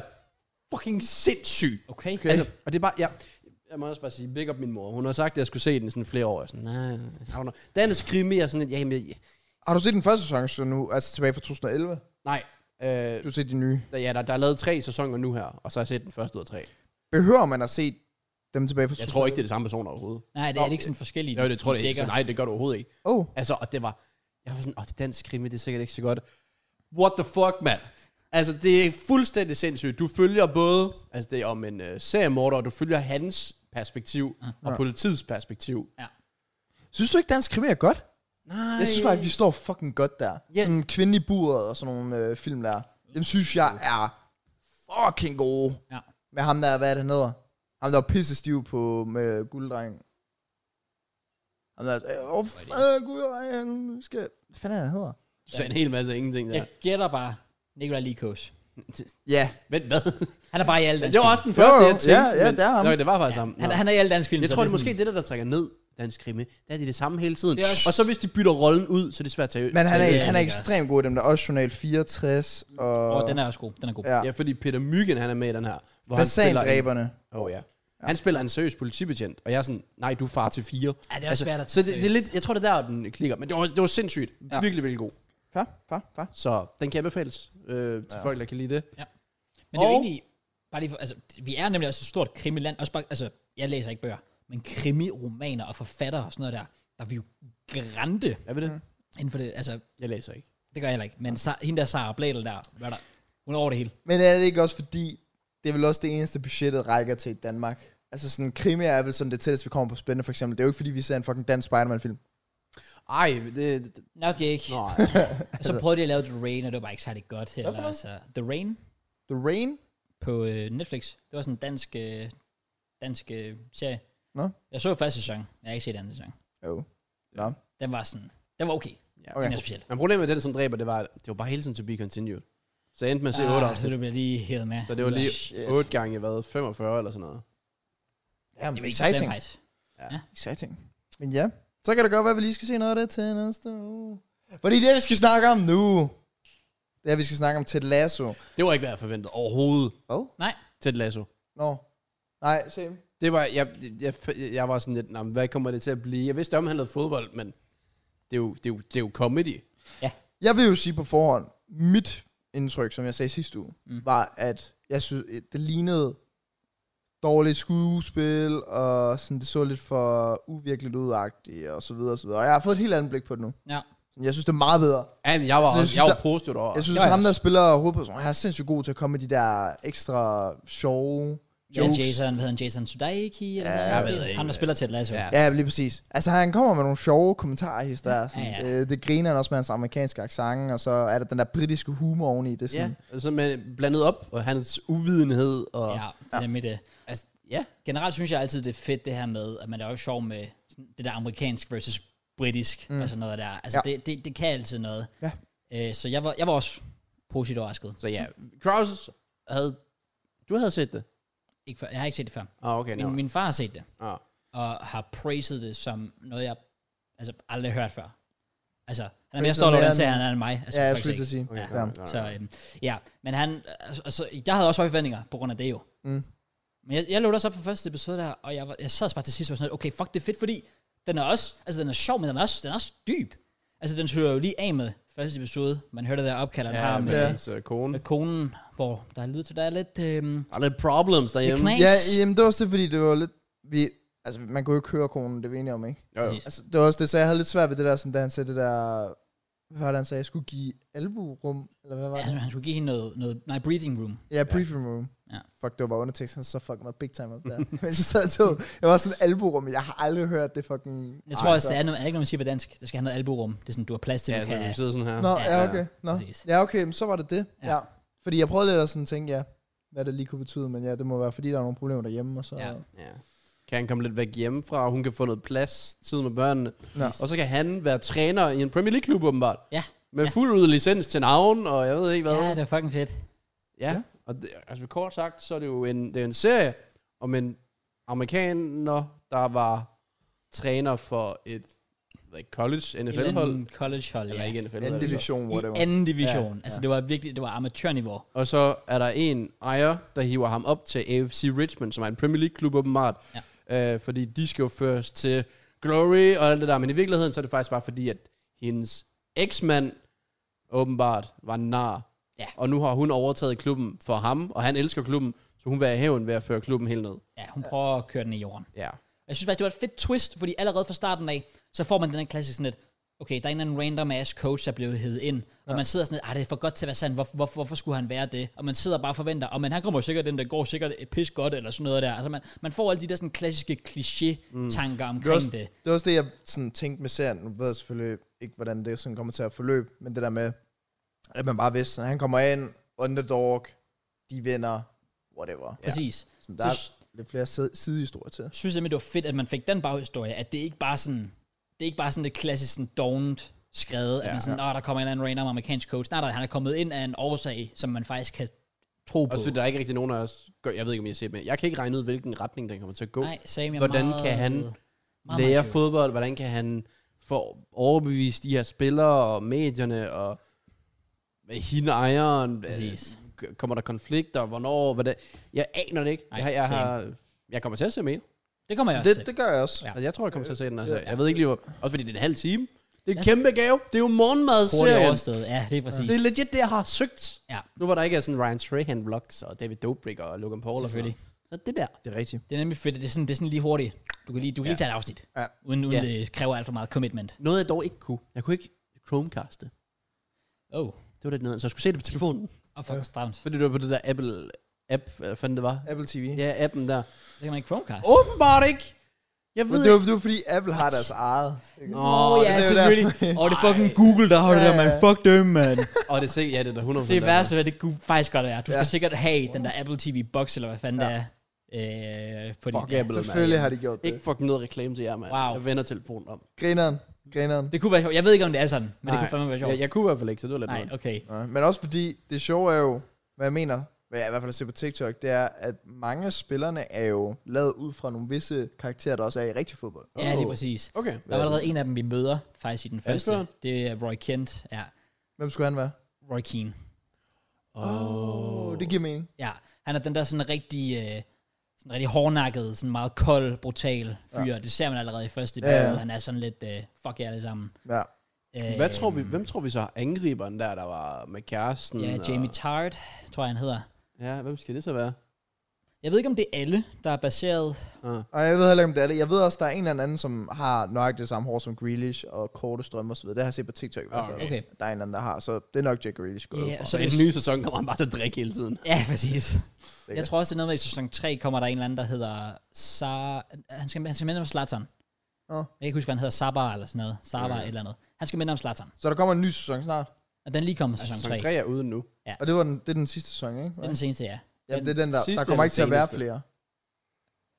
S2: fucking sindssyg.
S1: Okay.
S3: Okay.
S2: Altså, og det er bare, ja, jeg må også bare sige, big up min mor. Hun har sagt, at jeg skulle se den i sådan flere år. Jeg er sådan, nej, nah, nah. Den er skrevet mere sådan, at ja, jamen, jeg-
S3: Har du set den første sæson så nu, altså tilbage fra 2011?
S2: nej. Øh,
S3: Du har set de nye.
S2: der, ja, der, der er lavet tre sæsoner nu her, og så har jeg set den første ud af tre.
S3: Behøver man at se dem tilbage fra
S2: Jeg tror ikke, det er det samme person overhovedet.
S1: Nej, det er det ikke sådan forskellige.
S2: Jo, det tror
S1: de
S2: jeg ikke.
S1: dækker.
S2: Så nej, det gør du overhovedet ikke.
S3: Åh, oh,
S2: Altså, og det var... Jeg var sådan, åh, oh, det er dansk krimi, det er sikkert ikke så godt. What the fuck, mand? Altså, det er fuldstændig sindssygt. Du følger både... Altså, det er om en øh, seriemorder, og du følger hans perspektiv og
S3: Ja.
S2: politiets perspektiv.
S3: synes du ikke, dansk krimi er godt?
S2: Nej.
S3: Jeg synes faktisk, vi står fucking godt der.
S2: Ja.
S3: Sådan kvinde i buret og sådan nogle øh, film der. Dem synes jeg er fucking gode.
S1: Ja.
S3: Med ham der, hvad er det han hedder? Ham der var pisse stiv på med gulddreng. Ham der, øh, åh, øh, gulddreng, skal... Hvad fanden er det, han hedder?
S2: Du sagde en hel masse af ingenting der.
S1: Jeg gætter bare Nikolaj Likos.
S3: Ja.
S2: Vent, hvad?
S1: Han er bare i alle dansk
S2: det var også den første,
S3: jo,
S2: jeg tænkte.
S3: ja, ja,
S2: men-
S3: det er ham.
S2: Nå, det var faktisk ham.
S1: Han,
S2: Nå.
S1: han er i alle dansk film.
S2: jeg
S1: så
S2: tror, det
S1: det
S2: er måske det, der, der trækker ned dansk krimi. Der er de det samme hele tiden.
S1: Det er også-
S2: Og så hvis de bytter rollen ud, så er det svært at tage
S3: Men han
S1: det
S3: er,
S1: er
S3: han er
S1: ikke os.
S3: ekstremt god i dem der. Også Journal 64 og...
S1: Åh, oh, den er også god. Den er god.
S3: ja.
S2: Ja, fordi Peter Myggen, han er med i den her. Hvor han spiller en-
S3: Fasandræberne.
S2: Åh oh, ja. Han spiller en seriøs politibetjent, og jeg er sådan, nej, du er far til fire. Altså,
S1: Ja, det er også svært at
S2: så det,
S1: tage
S2: det er lidt, Jeg tror, det er der, den klikker, men det var, det var sindssygt.
S1: Ja.
S2: Ja. Virkelig, virkelig god.
S3: Far, far, far.
S2: Så den kan anbefales øh, til ja. folk, der kan lide det.
S1: Men det er jo
S2: Og-
S1: egentlig, bare lige for, altså, vi er nemlig også et stort krimiland, også bare, altså, jeg læser ikke bøger, men krimiromaner og forfattere og sådan noget der, der er vi jo grænte
S2: Er vi det? Mm.
S1: inden for det, altså,
S2: Jeg læser ikke.
S1: det gør jeg heller ikke, men Sa- hende der Sara Bladel der, hvad er der, hun er over det hele.
S3: Men er det ikke også fordi, det er vel også det eneste budgettet rækker til i Danmark? Altså sådan, krimi er vel sådan det tætteste, vi kommer på spændende, for eksempel. Det er jo ikke fordi, vi ser en fucking dansk Spider-Man-film.
S2: Ej, det... det altså.
S1: Nok ikke. Nå.
S2: nej.
S1: Så prøvede de at lave The Rain, og det var bare ikke særlig godt. Eller,
S3: noget?
S1: altså, The Rain
S3: The Rain?
S1: på øh, Netflix, det var sådan en dansk, øh, dansk øh, serie.
S3: Nå.
S1: Jeg så første sæson, jeg har ikke set anden sæson.
S3: Jo. Nå.
S1: Den var sådan, den var okay,
S2: ja.
S3: Okay.
S1: den er speciel.
S2: Men problemet med den, som dræber, det var, at det var bare hele tiden to be continued. Så jeg endte med at se ah, 8
S1: så
S2: afsnit.
S1: du bliver lige hævet med.
S2: Så det var lige
S3: Shit.
S2: 8 gange, hvad, 45 eller sådan noget.
S3: Jamen,
S1: Det var ikke så slemt,
S3: exciting.
S1: faktisk.
S3: Exciting. Men ja, så kan det godt være, at vi lige skal se noget af det til næste uge. Fordi det, vi skal snakke om nu, det er, vi skal snakke om Ted Lasso.
S2: Det var ikke, hvad jeg forventede overhovedet
S3: Hvad?
S1: Nej,
S2: til Lasso.
S3: Nå. Nej, se.
S2: Det var, jeg, jeg, jeg var sådan lidt, "Nå, men hvad kommer det til at blive? Jeg vidste, om han lavede fodbold, men det er jo, det er jo, det er jo comedy.
S3: Jeg vil jo sige på forhånd, mit indtryk, som jeg sagde sidste uge,
S1: Mm.
S3: mm. var, at jeg synes, at det lignede dårligt skuespil, og sådan, det så lidt for uvirkeligt udagtigt, og så videre, og så videre. Og jeg har fået et helt andet blik på det nu.
S1: Ja.
S3: Jeg synes, det er meget bedre.
S2: Ja, men jeg var,
S3: Så jeg
S2: også,
S3: synes,
S2: jeg var
S3: der-
S2: positiv over.
S3: Jeg synes,
S1: Ja, ja.
S3: ham, der spiller hovedpersonen, han er sindssygt god til at komme med de der ekstra sjove...
S1: Ja,
S3: jokes.
S1: Jason, hvad hedder han? Jason Sudeiki? Eller
S3: Ja,
S1: ja,
S2: jeg
S1: jeg
S2: ved ikke,
S1: Han, der
S2: øh,
S1: spiller til et lasso.
S2: ja.
S1: Ja.
S3: Ja, lige præcis. Altså, han kommer med nogle sjove kommentarer, his, der. er Sådan,
S1: Ja,
S3: ja,
S1: ja.
S3: ja. Øh, det griner han også med hans amerikanske accent, og så er der den der britiske humor oveni. Det er sådan,
S2: Ja, altså med blandet op, og hans uvidenhed, og...
S1: ja, det er øh, med det.
S2: Altså, ja.
S1: Generelt synes jeg altid, det er fedt det her med, at man er jo sjov med sådan det der amerikansk versus britisk, mm. og sådan noget der. Altså, ja.
S3: Ja.
S1: det, det, det kan altid noget.
S3: Ja.
S1: Øh, så jeg var, jeg var også positivt overrasket.
S2: Så ja, Kraus havde... Du havde set det?
S1: Ikke før, jeg har ikke set det før.
S2: Ah, okay.
S1: Min,
S2: Min,
S1: min far har set det,
S2: ah.
S1: og har praised det som noget, jeg altså, aldrig har hørt før. Altså, han er mere
S3: Praised
S1: stolt over
S3: mere
S1: den serie,
S3: end-
S1: han er end mig. Altså,
S3: ja, jeg
S1: faktisk
S3: skulle lige
S1: ikke.
S3: til at
S2: Okay,
S3: sige. Ja.
S2: fair nok, fair nok.
S1: Så øhm, ja, men han, altså, altså, jeg havde også høje forventninger på grund af det jo.
S3: Mm.
S1: Men jeg, jeg lå også op på første episode der, og jeg, var, jeg sad også bare til sidst og var sådan, lidt, okay, fuck, det er fedt, fordi den er også, altså den er sjov, men den er også, den er også dyb. Altså den slutter jo lige af med første episode. Man hørte det der opkald, han har
S2: Ja,
S1: med,
S2: med
S3: Ja.
S2: hans øh, kone.
S1: med konen, hvor der lyder til, der er lidt, øhm,
S2: Der er lidt problems
S1: lidt
S2: derhjemme.
S1: knas.
S3: ja, jamen det var også det, fordi det var lidt... Vi, altså, man kunne jo ikke høre konen, det er vi enige om, ikke?
S2: Jo, jo.
S1: Præcis.
S3: Altså, det var også det, så jeg havde lidt svært ved det der, sådan, da han sagde det der... Hvad var det, han sagde? Jeg skulle give alburum, eller hvad var
S1: Ja,
S3: det?
S1: han, han skulle give hende noget, noget nej, breathing room.
S3: Ja, briefing room.
S1: Ja.
S3: Fuck, det var bare undertekst, han så fucking mig big time op der. Men jeg sad tog, jeg var sådan alburum, jeg har aldrig hørt det fucking...
S1: Jeg tror
S3: Ej,
S1: også,
S3: så-
S1: det er, noget, er det ikke noget, man siger på dansk. Du skal have noget alburum. Det er sådan, du har plads til,
S2: Ja,
S1: ja,
S2: så
S1: kan,
S2: vi sidder sådan her.
S3: Nå, ja,
S2: ja.
S3: okay. Nå.
S1: Præcis.
S3: Ja, okay, men så var det det.
S1: Ja.
S3: Ja. ja. Fordi jeg prøvede lidt at sådan tænke, ja, hvad det lige kunne betyde, men ja, det må være, fordi der er nogle problemer derhjemme, og så...
S1: Ja.
S3: Ja.
S2: Ja. Kan han komme lidt væk hjemmefra, og hun kan få noget plads, tid med børnene.
S3: Nå.
S2: Og så kan han være træner i en Premier League-klub, åbenbart.
S1: Ja.
S2: Med
S1: Ja.
S2: fuld licens til navn, og jeg ved ikke hvad.
S1: ja, det er fucking fedt.
S2: Ja, og det, altså kort sagt, så er det jo en, det er en serie om en amerikaner, der var træner for et hvad, college NFL-hold.
S1: En college hold,
S2: Eller
S1: ja.
S2: ikke NFL-hold.
S3: Anden
S2: altså.
S3: division,
S1: I
S3: whatever.
S1: anden division. Ja,
S2: Ja,
S1: altså, det var virkelig, det var amatørniveau.
S2: Og så er der en ejer, der hiver ham op til AFC Richmond, som er en Premier League-klub åbenbart. Ja. Øh, fordi de skal jo først til Glory og alt det der. Men i virkeligheden, så er det faktisk bare fordi, at hendes eksmand åbenbart var en nar.
S1: Ja.
S2: Og nu har hun overtaget klubben for ham, og han elsker klubben, så hun vil have hævn ved at føre klubben helt ned.
S1: Ja, hun prøver at køre den i jorden.
S2: Ja.
S1: Jeg synes faktisk, det var et fedt twist, fordi allerede fra starten af, så får man den her klassisk sådan lidt, okay, der er en eller anden random ass coach, der blev heddet ind, og man sidder sådan lidt, "Ej, det er for godt til at være sandt, hvorfor, hvorfor, hvorfor skulle han være det? Og man sidder bare og forventer, og man, han kommer jo sikkert den, der går sikkert pis godt, eller sådan noget der. Altså man, man får alle de der sådan klassiske kliché-tanker
S3: Det var, også,
S1: omkring det.
S3: det var også det, jeg sådan tænkte med serien. Nu ved jeg selvfølgelig ikke, hvordan det sådan kommer til at forløbe, men det der med, at man bare vidste, at han kommer ind, underdog, de vinder, whatever.
S2: Ja.
S1: Præcis.
S3: Så der er lidt flere si- sidehistorier til.
S1: Jeg synes simpelthen, det var fedt, at man fik den baghistorie, at det ikke bare sådan, det er ikke bare sådan det klassisk sådan dovent skrevet, at
S2: Ja.
S1: man sådan, åh, der kommer en eller anden random amerikansk coach. Nej, nej, han er kommet ind af en årsag, som man faktisk kan tro på.
S2: Og så der er ikke rigtig nogen af os, gør- jeg ved ikke, om jeg ser med. Jeg kan ikke regne ud, hvilken retning den kommer til at gå.
S1: Nej, Sam, jeg er
S2: Hvordan
S1: meget,
S2: kan han
S1: meget
S2: lære
S1: tvivl.
S2: fodbold, hvordan kan han få overbevist de her spillere og medierne og hende ejeren,
S1: Præcis.
S2: Øh, k- kommer der konflikter, hvornår, hvordan, jeg aner det ikke,
S1: Nej,
S2: jeg, har- jeg,
S1: same.
S2: har, jeg kommer til at se mere,
S1: Det kommer jeg også
S3: Det,
S1: det, til.
S3: det gør jeg også.
S1: Ja. Øh,
S3: Ja.
S2: altså, jeg tror jeg kommer til at se den, altså,
S3: Ja.
S2: jeg ved ikke lige hvor, også fordi det er en halv time, det er en
S1: Yes.
S2: kæmpe gave, det er jo
S1: Hurtigt
S2: morgenmadsserien,
S1: overstået. Ja, det er præcis.
S2: det er legit det, jeg har søgt,
S1: Ja.
S2: nu hvor der ikke er sådan Ryan Strahan vlogs og David Dobrik og Logan Paul og sådan
S1: Selvfølgelig.
S2: noget. så det der,
S3: Det er rigtigt.
S1: Det er nemlig fedt, at det er sådan, det er sådan lige hurtigt. Du kan lige, du kan lige
S2: Ja.
S1: tage et afsnit,
S3: Ja.
S1: uden, uden
S2: Ja.
S1: det kræver alt for meget commitment.
S2: noget jeg dog ikke kunne, jeg kunne ikke Chromecaste,
S1: Oh,
S2: det var lidt nederen, så jeg skulle se det på telefonen,
S1: og fuck stramt.
S2: Fordi du var på det der Apple app, eller hvad fanden det var?
S3: Apple TV. Ja.
S2: Ja, appen der.
S1: Det kan man ikke Chromecast.
S2: Åbenbart ikke! Jeg
S3: Men
S2: ved
S3: det var,
S2: ikke.
S3: det var fordi, Apple har deres eget.
S1: Åh,
S2: Nå,
S3: det er
S1: ja,
S3: jo
S1: selvfølgelig.
S3: derfor.
S1: Åh, oh, det er fucking Google, der holder
S3: Ja,
S1: det der, man.
S3: ja.
S1: Fuck dem, man.
S2: Og det er sikkert, ja, det er der 100
S1: Det værste, hvad det kunne faktisk godt være. Du skal
S3: Ja.
S1: sikkert have den der Apple TV box, eller hvad fanden ja. det er. Øh, på din,
S2: Fuck
S1: ja.
S2: Apple,
S3: Selvfølgelig
S2: mand.
S3: har de gjort det.
S2: Ikke fucking noget reklame til jer, mand.
S1: Wow.
S2: Jeg vender telefonen om.
S3: Grineren. Grineren.
S1: Det kunne være sjovt. Jeg ved ikke, om det er sådan, men Nej. det
S2: Nej.
S1: kunne fandme være sjovt.
S2: Jeg, jeg kunne i hvert fald ikke, så det var lidt
S1: Nej,
S2: noget.
S1: okay.
S3: Nej, men også fordi, det sjove er jo, hvad jeg mener, hvad jeg i hvert fald ser på TikTok, det er, at mange af spillerne er jo lavet ud fra nogle visse karakterer, der også er i rigtig fodbold.
S1: Ja, lige
S2: Oh.
S1: præcis.
S2: Okay.
S1: Der var allerede en af dem, vi møder faktisk i den første.
S2: det
S1: Det er Roy Kent. Ja,
S3: Hvem skulle han være?
S1: Roy Keane.
S2: Åh.
S3: Oh, det giver mening.
S1: Ja, han er den der sådan rigtig, øh, sådan rigtig hårdnakket, sådan meget kold, brutal fyr. Ja. Det ser man allerede i første
S3: Ja, ja.
S1: episode. Ja, ja. Han er sådan lidt, øh, fuck jer alle sammen.
S3: Ja.
S1: Øh,
S2: Hvad tror vi, hvem tror vi så er angriberen der, der var med kæresten?
S1: Ja, Jamie Tart, tror jeg han hedder.
S2: Og, ja, hvem skal det så være?
S1: Jeg ved ikke, om det er alle, der er baseret...
S2: Ah.
S3: Og jeg ved heller ikke, om det er det. Jeg ved også, der er en eller anden, som har nøjagtigt det samme hår som Grealish og korte strømme osv. Det har jeg set på TikTok. i hvert fald.
S1: Ah, Okay. Okay.
S3: Der er en eller anden, der har, så det er nok Jack Grealish gået
S1: Ja,
S3: for.
S1: så
S2: Så
S1: det
S2: i
S1: er
S2: den nye sæson kommer han bare til at drikke hele tiden.
S1: Ja, præcis. Jeg tror også, det er noget med, at i sæson 3 kommer der en eller anden, der hedder... Sa... Han skal, han skal minde om Zlatan. Jeg
S3: Nå.
S1: kan ikke huske, hvad han hedder. Sabar eller sådan noget. Sabar et eller andet. Han skal minde om Zlatan.
S3: Så der kommer en ny sæson snart.
S1: Og den lige kommer i sæson
S2: Altså, Sæson
S1: 3.
S2: 3 er ude nu.
S3: Og det, var den, det er den sidste sæson, ikke?
S1: Den seneste, ja.
S3: Ja, det er den, der,
S2: sidste
S3: der kommer
S2: eller
S3: ikke til at være
S2: seneste?
S3: flere.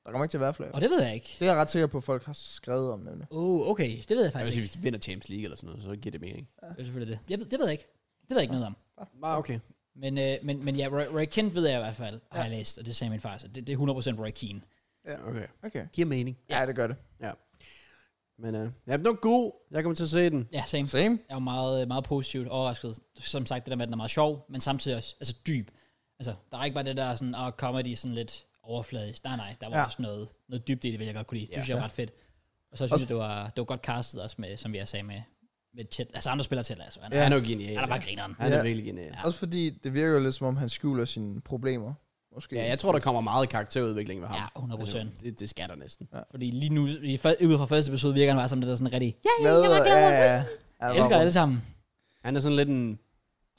S3: Der kommer ikke til at være flere.
S1: Og det ved jeg ikke.
S3: Det er jeg ret sikker på, at folk har skrevet om, nemlig.
S1: Oh, okay. Det ved jeg
S2: Jeg vil
S1: faktisk
S2: sige,
S1: ikke.
S2: hvis de vinder Champions League eller sådan noget, så giver det mening.
S1: Det er selvfølgelig det. Jeg ved, det ved jeg ikke. Det ved jeg ikke noget om.
S2: Ah, okay.
S1: Men, øh, men, men ja, Roy, Roy Kent ved jeg i hvert fald, har jeg læst, og det sagde min far, så det, det er 100% Roy Keane.
S2: Okay.
S3: Okay.
S2: Giver mening.
S3: Ja, det gør det.
S2: Men øh, ja, den var god. Jeg kommer til at se den.
S1: Ja, same.
S3: Same.
S1: Jeg er jo meget, øh, meget positivt overrasket. Som sagt, det der med, at den er meget sjov, men samtidig også altså dyb. Altså, der er ikke bare det der sådan, og comedy sådan lidt overfladisk. Nej, nej, der var ja.
S3: Ja.
S1: også noget, noget dybt i det, vil jeg godt kunne lide. Det
S2: Ja.
S1: synes jeg var ret fedt. Og så synes jeg, det var, det var godt castet også, med, som jeg sagde, med, med Chet, altså andre spillere til, altså. Han,
S3: Ja.
S1: ja.
S2: Han er jo genial.
S1: han er bare grineren.
S2: Han er
S3: Ja.
S2: virkelig genial.
S1: Ja.
S3: Også fordi det virker jo lidt, som om han skjuler sine problemer. Måske.
S2: Ja, jeg tror, der kommer meget karakterudvikling ved ham.
S1: Ja, 100%.
S2: Altså, det, det skal der næsten.
S1: Fordi lige nu, i, fø- ud fra første episode, virker han bare som det der sådan rigtig, ja,
S3: glad,
S1: jeg var glad.
S3: Ja, ja.
S1: jeg
S3: Ja,
S1: elsker
S3: hvor-
S1: alle sammen.
S2: Han er sådan lidt en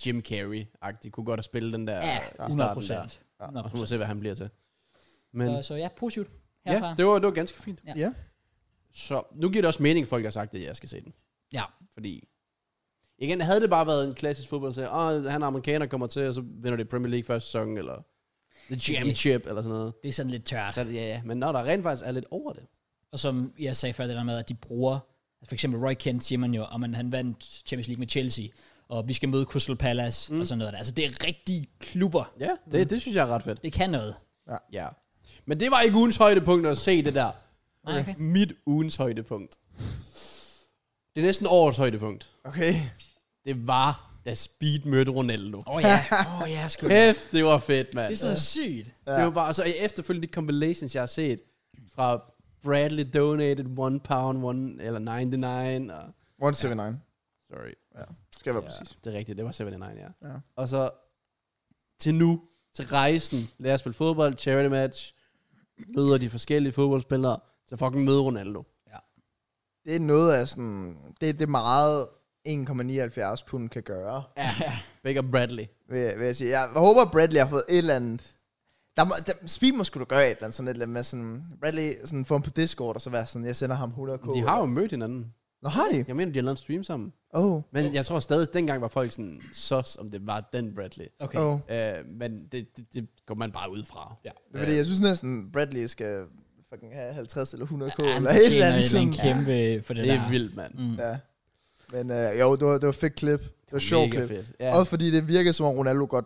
S2: Jim Carrey-agtig. Kunne godt have spillet den der
S1: Ja,
S2: øh,
S1: 100
S2: starten
S1: procent.
S2: der. Og så må vi se, hvad han bliver til. Men
S1: Så, så ja, positivt
S2: ja,
S1: herfra. Ja,
S2: det var, det var ganske fint.
S1: Ja.
S3: Ja.
S2: Så nu giver det også mening, at folk har sagt, at jeg skal se den.
S1: ja.
S2: Fordi, igen, havde det bare været en klassisk fodboldserie, åh, han er amerikaner, kommer til, og så vinder det Premier League første sæson, eller The Championship, eller sådan noget.
S1: det er sådan lidt tørt.
S2: Så, ja, ja. Men når der rent faktisk er lidt over det.
S1: Og som jeg sagde før, det der med, at de bruger, for eksempel Roy Kent siger man jo, om man, han vandt Champions League med Chelsea, og vi skal møde Crystal Palace, mm. og sådan noget der. Altså, det er rigtige klubber.
S2: Ja, det, mm. det synes jeg er ret fedt.
S1: Det kan noget.
S2: Ja. Men det var ikke ugens højdepunkt at se det der.
S1: Nej, okay.
S2: Mit ugens højdepunkt. Det er næsten årets højdepunkt.
S3: Okay.
S2: Det var, da Speed mødte Ronaldo.
S1: Åh oh, ja, åh oh, ja, sgu.
S2: Kæft, det var fedt, mand.
S1: Det er så sygt.
S2: Det var bare, så i efterfølgende de compilations, jeg har set, fra Bradley donated one pound, one, eller 99, og,
S3: 179.
S2: sorry,
S3: Skal jeg være
S2: ja,
S3: præcis.
S2: det er rigtigt, det var 79, ja.
S3: Ja.
S2: Og så til nu, til rejsen, lad os spille fodbold, charity match, møder de forskellige fodboldspillere, så fucking møde Ronaldo.
S3: Det er noget af sådan... Det er det er meget 1,79 pund kan gøre,
S2: Ja, Baker Bradley.
S3: vil, jeg- vil jeg sige. Jeg håber, Bradley har fået et eller andet... Der må, der, Speed må skulle gøre et eller andet sådan et eller andet med sådan... Bradley sådan få ham på Discord, og så være sådan, jeg sender ham 100k.
S2: De har jo mødt hinanden.
S3: Nå, har de?
S2: Jeg mener, de har lavet en stream sammen.
S3: Oh,
S2: Men jeg tror stadig, dengang var folk sådan sus, om det var den Bradley.
S1: Okay.
S3: oh.
S2: Øh, men det, det, det, går man bare ud fra.
S1: Ja.
S3: Det er Fordi jeg synes næsten, Bradley skal fucking have 50 eller 100k,
S1: Ja, han
S3: eller et
S1: fortjener
S3: eller andet sådan.
S1: en kæmpe for det,
S2: Det
S1: der.
S2: er vildt, mand.
S1: Mm.
S3: Ja. Men øh, jo, det var, det var et fedt klip. Det var et sjovt
S2: Mega
S3: klip.
S2: fedt.
S3: Ja.
S2: Ja.
S3: Også fordi det virkede som om Ronaldo godt...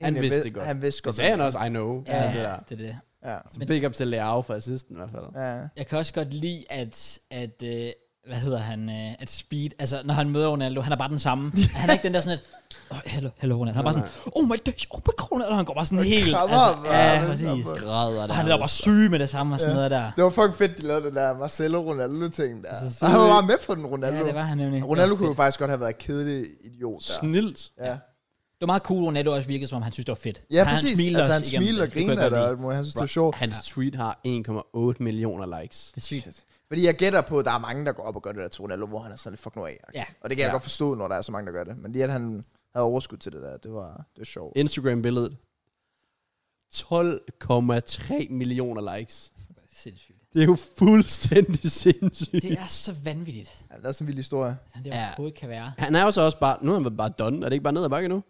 S2: Han
S3: egentlig
S2: vidste
S3: ved-
S2: det godt.
S3: Han vidste
S2: Det
S3: godt.
S2: sagde han
S3: hvad-
S2: også, I know.
S1: Ja,
S2: det
S1: ja,
S2: der.
S1: det er det.
S3: Ja.
S2: Så big up til Leao for assisten i hvert fald.
S3: ja.
S1: Jeg kan også godt lide, at, at øh, hvad hedder han, øh, at Speed, altså når han møder Ronaldo, han er bare den samme. han er ikke den der sådan et, oh, hello, hello Ronaldo. Han er bare sådan, oh my days, oh my god, Ronaldo. Han går bare sådan helt,
S3: krammer ham,
S1: altså,
S3: og
S1: ja,
S3: han
S1: præcis.
S3: krammer.
S2: Græder
S1: Og han er da bare syg med det samme og sådan noget der.
S3: Det var fucking fedt, de lavede den der Marcelo Ronaldo-ting der.
S1: Altså, så-
S3: Og han var bare med på den, Ronaldo.
S1: Ja, det var han nemlig.
S3: Ronaldo
S1: det, var
S3: kunne
S1: fedt.
S3: jo faktisk godt have været en kedelig idiot der.
S2: Snilt.
S3: Ja,
S1: det var meget cool, Ronaldo også virkede, som om han synes, det var fedt.
S3: ja
S1: Han
S3: præcis.
S1: smilede
S3: altså,
S1: også
S3: han
S1: igennem
S3: smiler og
S1: det. Det kunne jeg
S3: griner
S1: godt
S3: der. og
S1: lide.
S3: alt muligt. Han synes, det var sjovt.
S2: Hans tweet har 1,8 millioner likes.
S1: Det er sygt.
S3: Fordi jeg gætter på, at der er mange, der går op og gør det der til Ronaldo, hvor han er sådan lidt fuck nu af.
S1: Ja.
S3: Og det kan jeg
S2: Ja.
S3: godt forstå, når der er så mange, der gør det. Men lige at han havde overskud til det der, det var, det var sjovt.
S2: Instagram-billedet. 12,3 millioner likes.
S1: Sindssygt.
S2: Det er jo fuldstændig sindssygt.
S1: Det er så vanvittigt,
S3: Ja, det er sådan en vild historie.
S1: som det
S2: Ja.
S1: overhovedet kan være.
S2: Han er jo så også bare, nu er han bare done. Er det ikke bare ned ad bakke nu?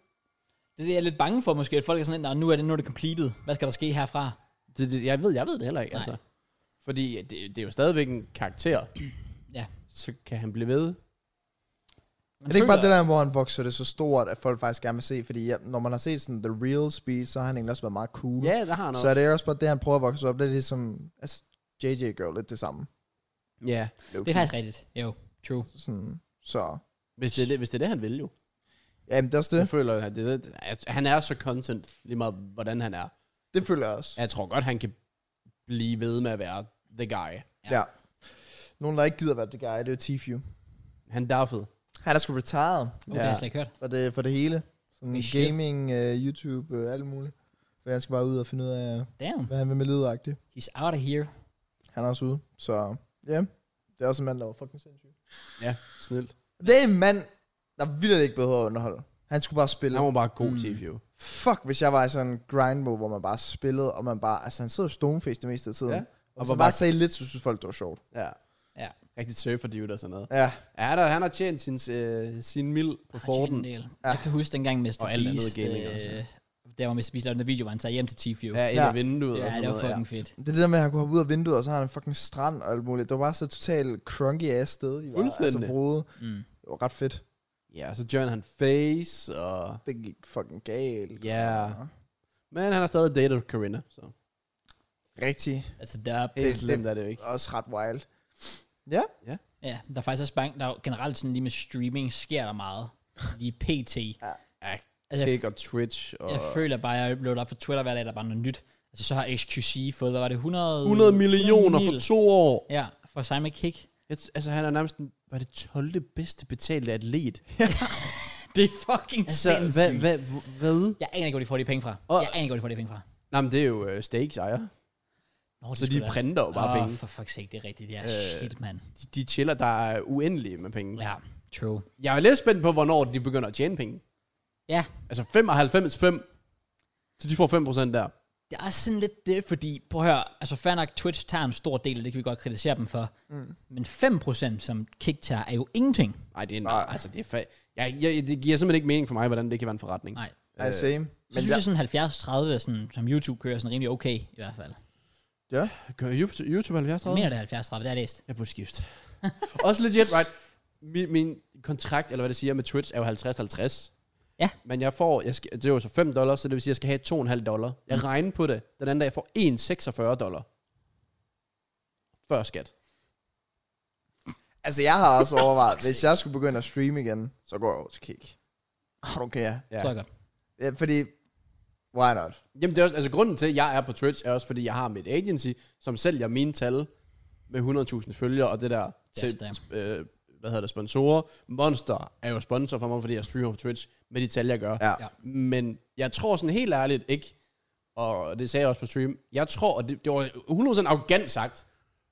S1: Det er det, jeg er lidt bange for måske, at folk er sådan, "Nå, nu er det, nu er det completed. Hvad skal der ske herfra?
S2: Det, det, jeg, ved, jeg ved det heller ikke,
S1: Nej.
S2: altså. Fordi det, det, er jo stadigvæk en karakter.
S1: Ja.
S2: Så kan han blive ved.
S3: Men det er ikke bare det der, hvor han vokser det så stort, at folk faktisk gerne vil se, fordi ja, når man har set sådan The Real Speed, så har han egentlig også været meget cool.
S2: Ja, der har han
S3: så er det også bare det, han prøver at vokse op. Det er ligesom, altså, JJ gør jo lidt det samme.
S2: Ja,
S1: Det er faktisk rigtigt. Jo, true.
S3: Sådan, så,
S2: hvis det, er det, hvis det er det, han vil jo.
S3: ja, men det er også
S2: Jeg
S3: det.
S2: føler, at det, det, at han er så content, lige meget hvordan han er.
S3: Det føler jeg også.
S2: Jeg tror godt, han kan blive ved med at være the guy.
S1: Ja.
S3: Ja. Nogen, der ikke gider være det guy, det er jo Tfue.
S2: Han daffede.
S3: Han er sgu retired
S1: Okay, det har jeg slet ikke hørt.
S3: for det, for det hele. Sådan
S1: Okay, shit.
S3: gaming, uh, YouTube, uh, alt muligt. For jeg skal bare ud og finde ud af,
S1: Damn,
S3: hvad han vil med lydagtigt.
S1: he's out of here.
S3: Han er også ude. Så ja, yeah. det er også en mand, der var fucking sindssyg.
S2: Ja, snilt.
S3: Det er en mand, der vildt ikke behøver at underholde. Han skulle bare spille.
S2: Han var bare god
S1: Mm.
S2: mm. til jo.
S3: Fuck, hvis jeg var i sådan en grind mode, hvor man bare spillede, og man bare... Altså, han sidder jo stoneface det meste af tiden.
S2: Ja.
S3: Ja. Og
S2: Og
S3: så
S2: var
S3: bare
S2: bare-
S3: sagde lidt, så synes folk, det var sjovt.
S2: Ja.
S1: Ja.
S2: Rigtig surfer dude og sådan noget.
S3: Ja,
S2: Ja, der, han har tjent sin, øh, sin mil på
S1: Han tjente
S2: Forden.
S1: en del. Jeg kan huske dengang Mr.
S2: Og alt andet
S1: Beast,
S2: gaming
S1: øh,
S2: også.
S1: der var Mr. Beast lavede den der video, hvor han tager hjem til Tifio. Ja,
S2: Ja, ind ja.
S3: Ja.
S2: vinduet og
S1: ja
S2: sådan
S1: det var
S2: noget. ja.
S1: fucking fedt.
S3: det er det der med, at han kunne hoppe ud af vinduet, og så har han en fucking strand og alt muligt. Det var bare så totalt crunky ass sted, de var altså
S2: Fuldstændig.
S3: brode.
S1: Mm.
S3: Det var ret fedt.
S2: Ja, og så joiner han Face, og...
S3: Det gik fucking galt.
S2: Ja. Men han har stadig datet Corinna, så...
S3: Rigtig.
S1: Altså, der er,
S2: Helt
S3: Det-
S2: slemt er det jo ikke.
S3: Også ret wild.
S1: ja, der er faktisk også bange, der er jo generelt sådan lige med streaming, sker der meget. Lige pt.
S2: Ja,
S1: Altså, jeg,
S2: Kick og Twitch og...
S1: jeg føler bare, jeg blev op for Twitter hver dag, der var noget nyt. Altså, så har XQC fået, hvad var det, 100,
S2: 100 millioner for
S1: mil?
S2: to år.
S1: Ja, for Simon Kick.
S2: Jeg, t- altså, han er nærmest den, var det 12. bedste betalte atlet.
S1: Det er fucking
S2: Altså,
S1: sindssygt.
S2: hvad, hvad, hvad?
S1: Jeg aner ikke, hvor de får de penge fra.
S2: Og-
S1: Jeg aner ikke, hvor de får de penge fra.
S2: Nej, men det er jo øh, stakes ejer.
S1: Nå, det
S2: Så de printer jo bare
S1: Åh,
S2: oh, penge.
S1: for fuck's sake, det er rigtigt. Ja,
S2: Øh.
S1: shit, mand.
S2: De, de chiller, der er uendelige med penge.
S1: Ja, true.
S2: Jeg er lidt spændt på, hvornår de begynder at tjene penge.
S1: Ja.
S2: Altså 95, 5. Så de får 5% der.
S1: Det er sådan lidt det, fordi, prøv at høre, altså fair nok, Twitch tager en stor del, og det kan vi godt kritisere dem for, mm. men 5% som Kick tager, er jo ingenting.
S2: Nej, det er
S3: Nej.
S2: nej. Altså, det er fa- jeg, jeg, det giver simpelthen ikke mening for mig, hvordan det kan være en forretning. Øh,
S1: Nej.
S3: I same.
S1: Så
S3: Men
S1: synes
S3: jeg,
S1: jeg sådan 70-30, er sådan, som YouTube kører, sådan rimelig okay, i hvert fald.
S2: Gør YouTube, YouTube 70
S1: Jeg
S2: 30?
S1: mener, det er 70-30, det har jeg læst.
S2: Jeg burde skifte. Også legit, right? Min, min kontrakt, eller hvad det siger, med Twitch er jo 50-50.
S1: Ja.
S2: Men jeg får, jeg skal, det er jo så 5 dollars, så det vil sige, at jeg skal have 2,5 dollar.
S1: Mm.
S2: Jeg regner på det. Den anden dag, jeg får 1,46 dollar. Før skat.
S3: altså, jeg har også overvejet, hvis jeg skulle begynde at streame igen, så går jeg over til Kick. I don't care.
S1: Ja.
S2: Ja.
S1: Så er det godt.
S3: Ja, fordi, why not?
S2: Jamen, det er også, altså grunden til, at jeg er på Twitch, er også, fordi jeg har mit agency, som sælger mine tal med 100.000 følgere, og det der til,
S1: damn.
S2: øh, hvad hedder det, sponsorer. Monster er jo sponsor for mig, fordi jeg streamer på Twitch med de tal, jeg gør.
S3: Ja.
S1: Ja.
S3: ja.
S2: Men jeg tror sådan helt ærligt ikke, og det sagde jeg også på stream, jeg tror, og det, det var 100% arrogant sagt,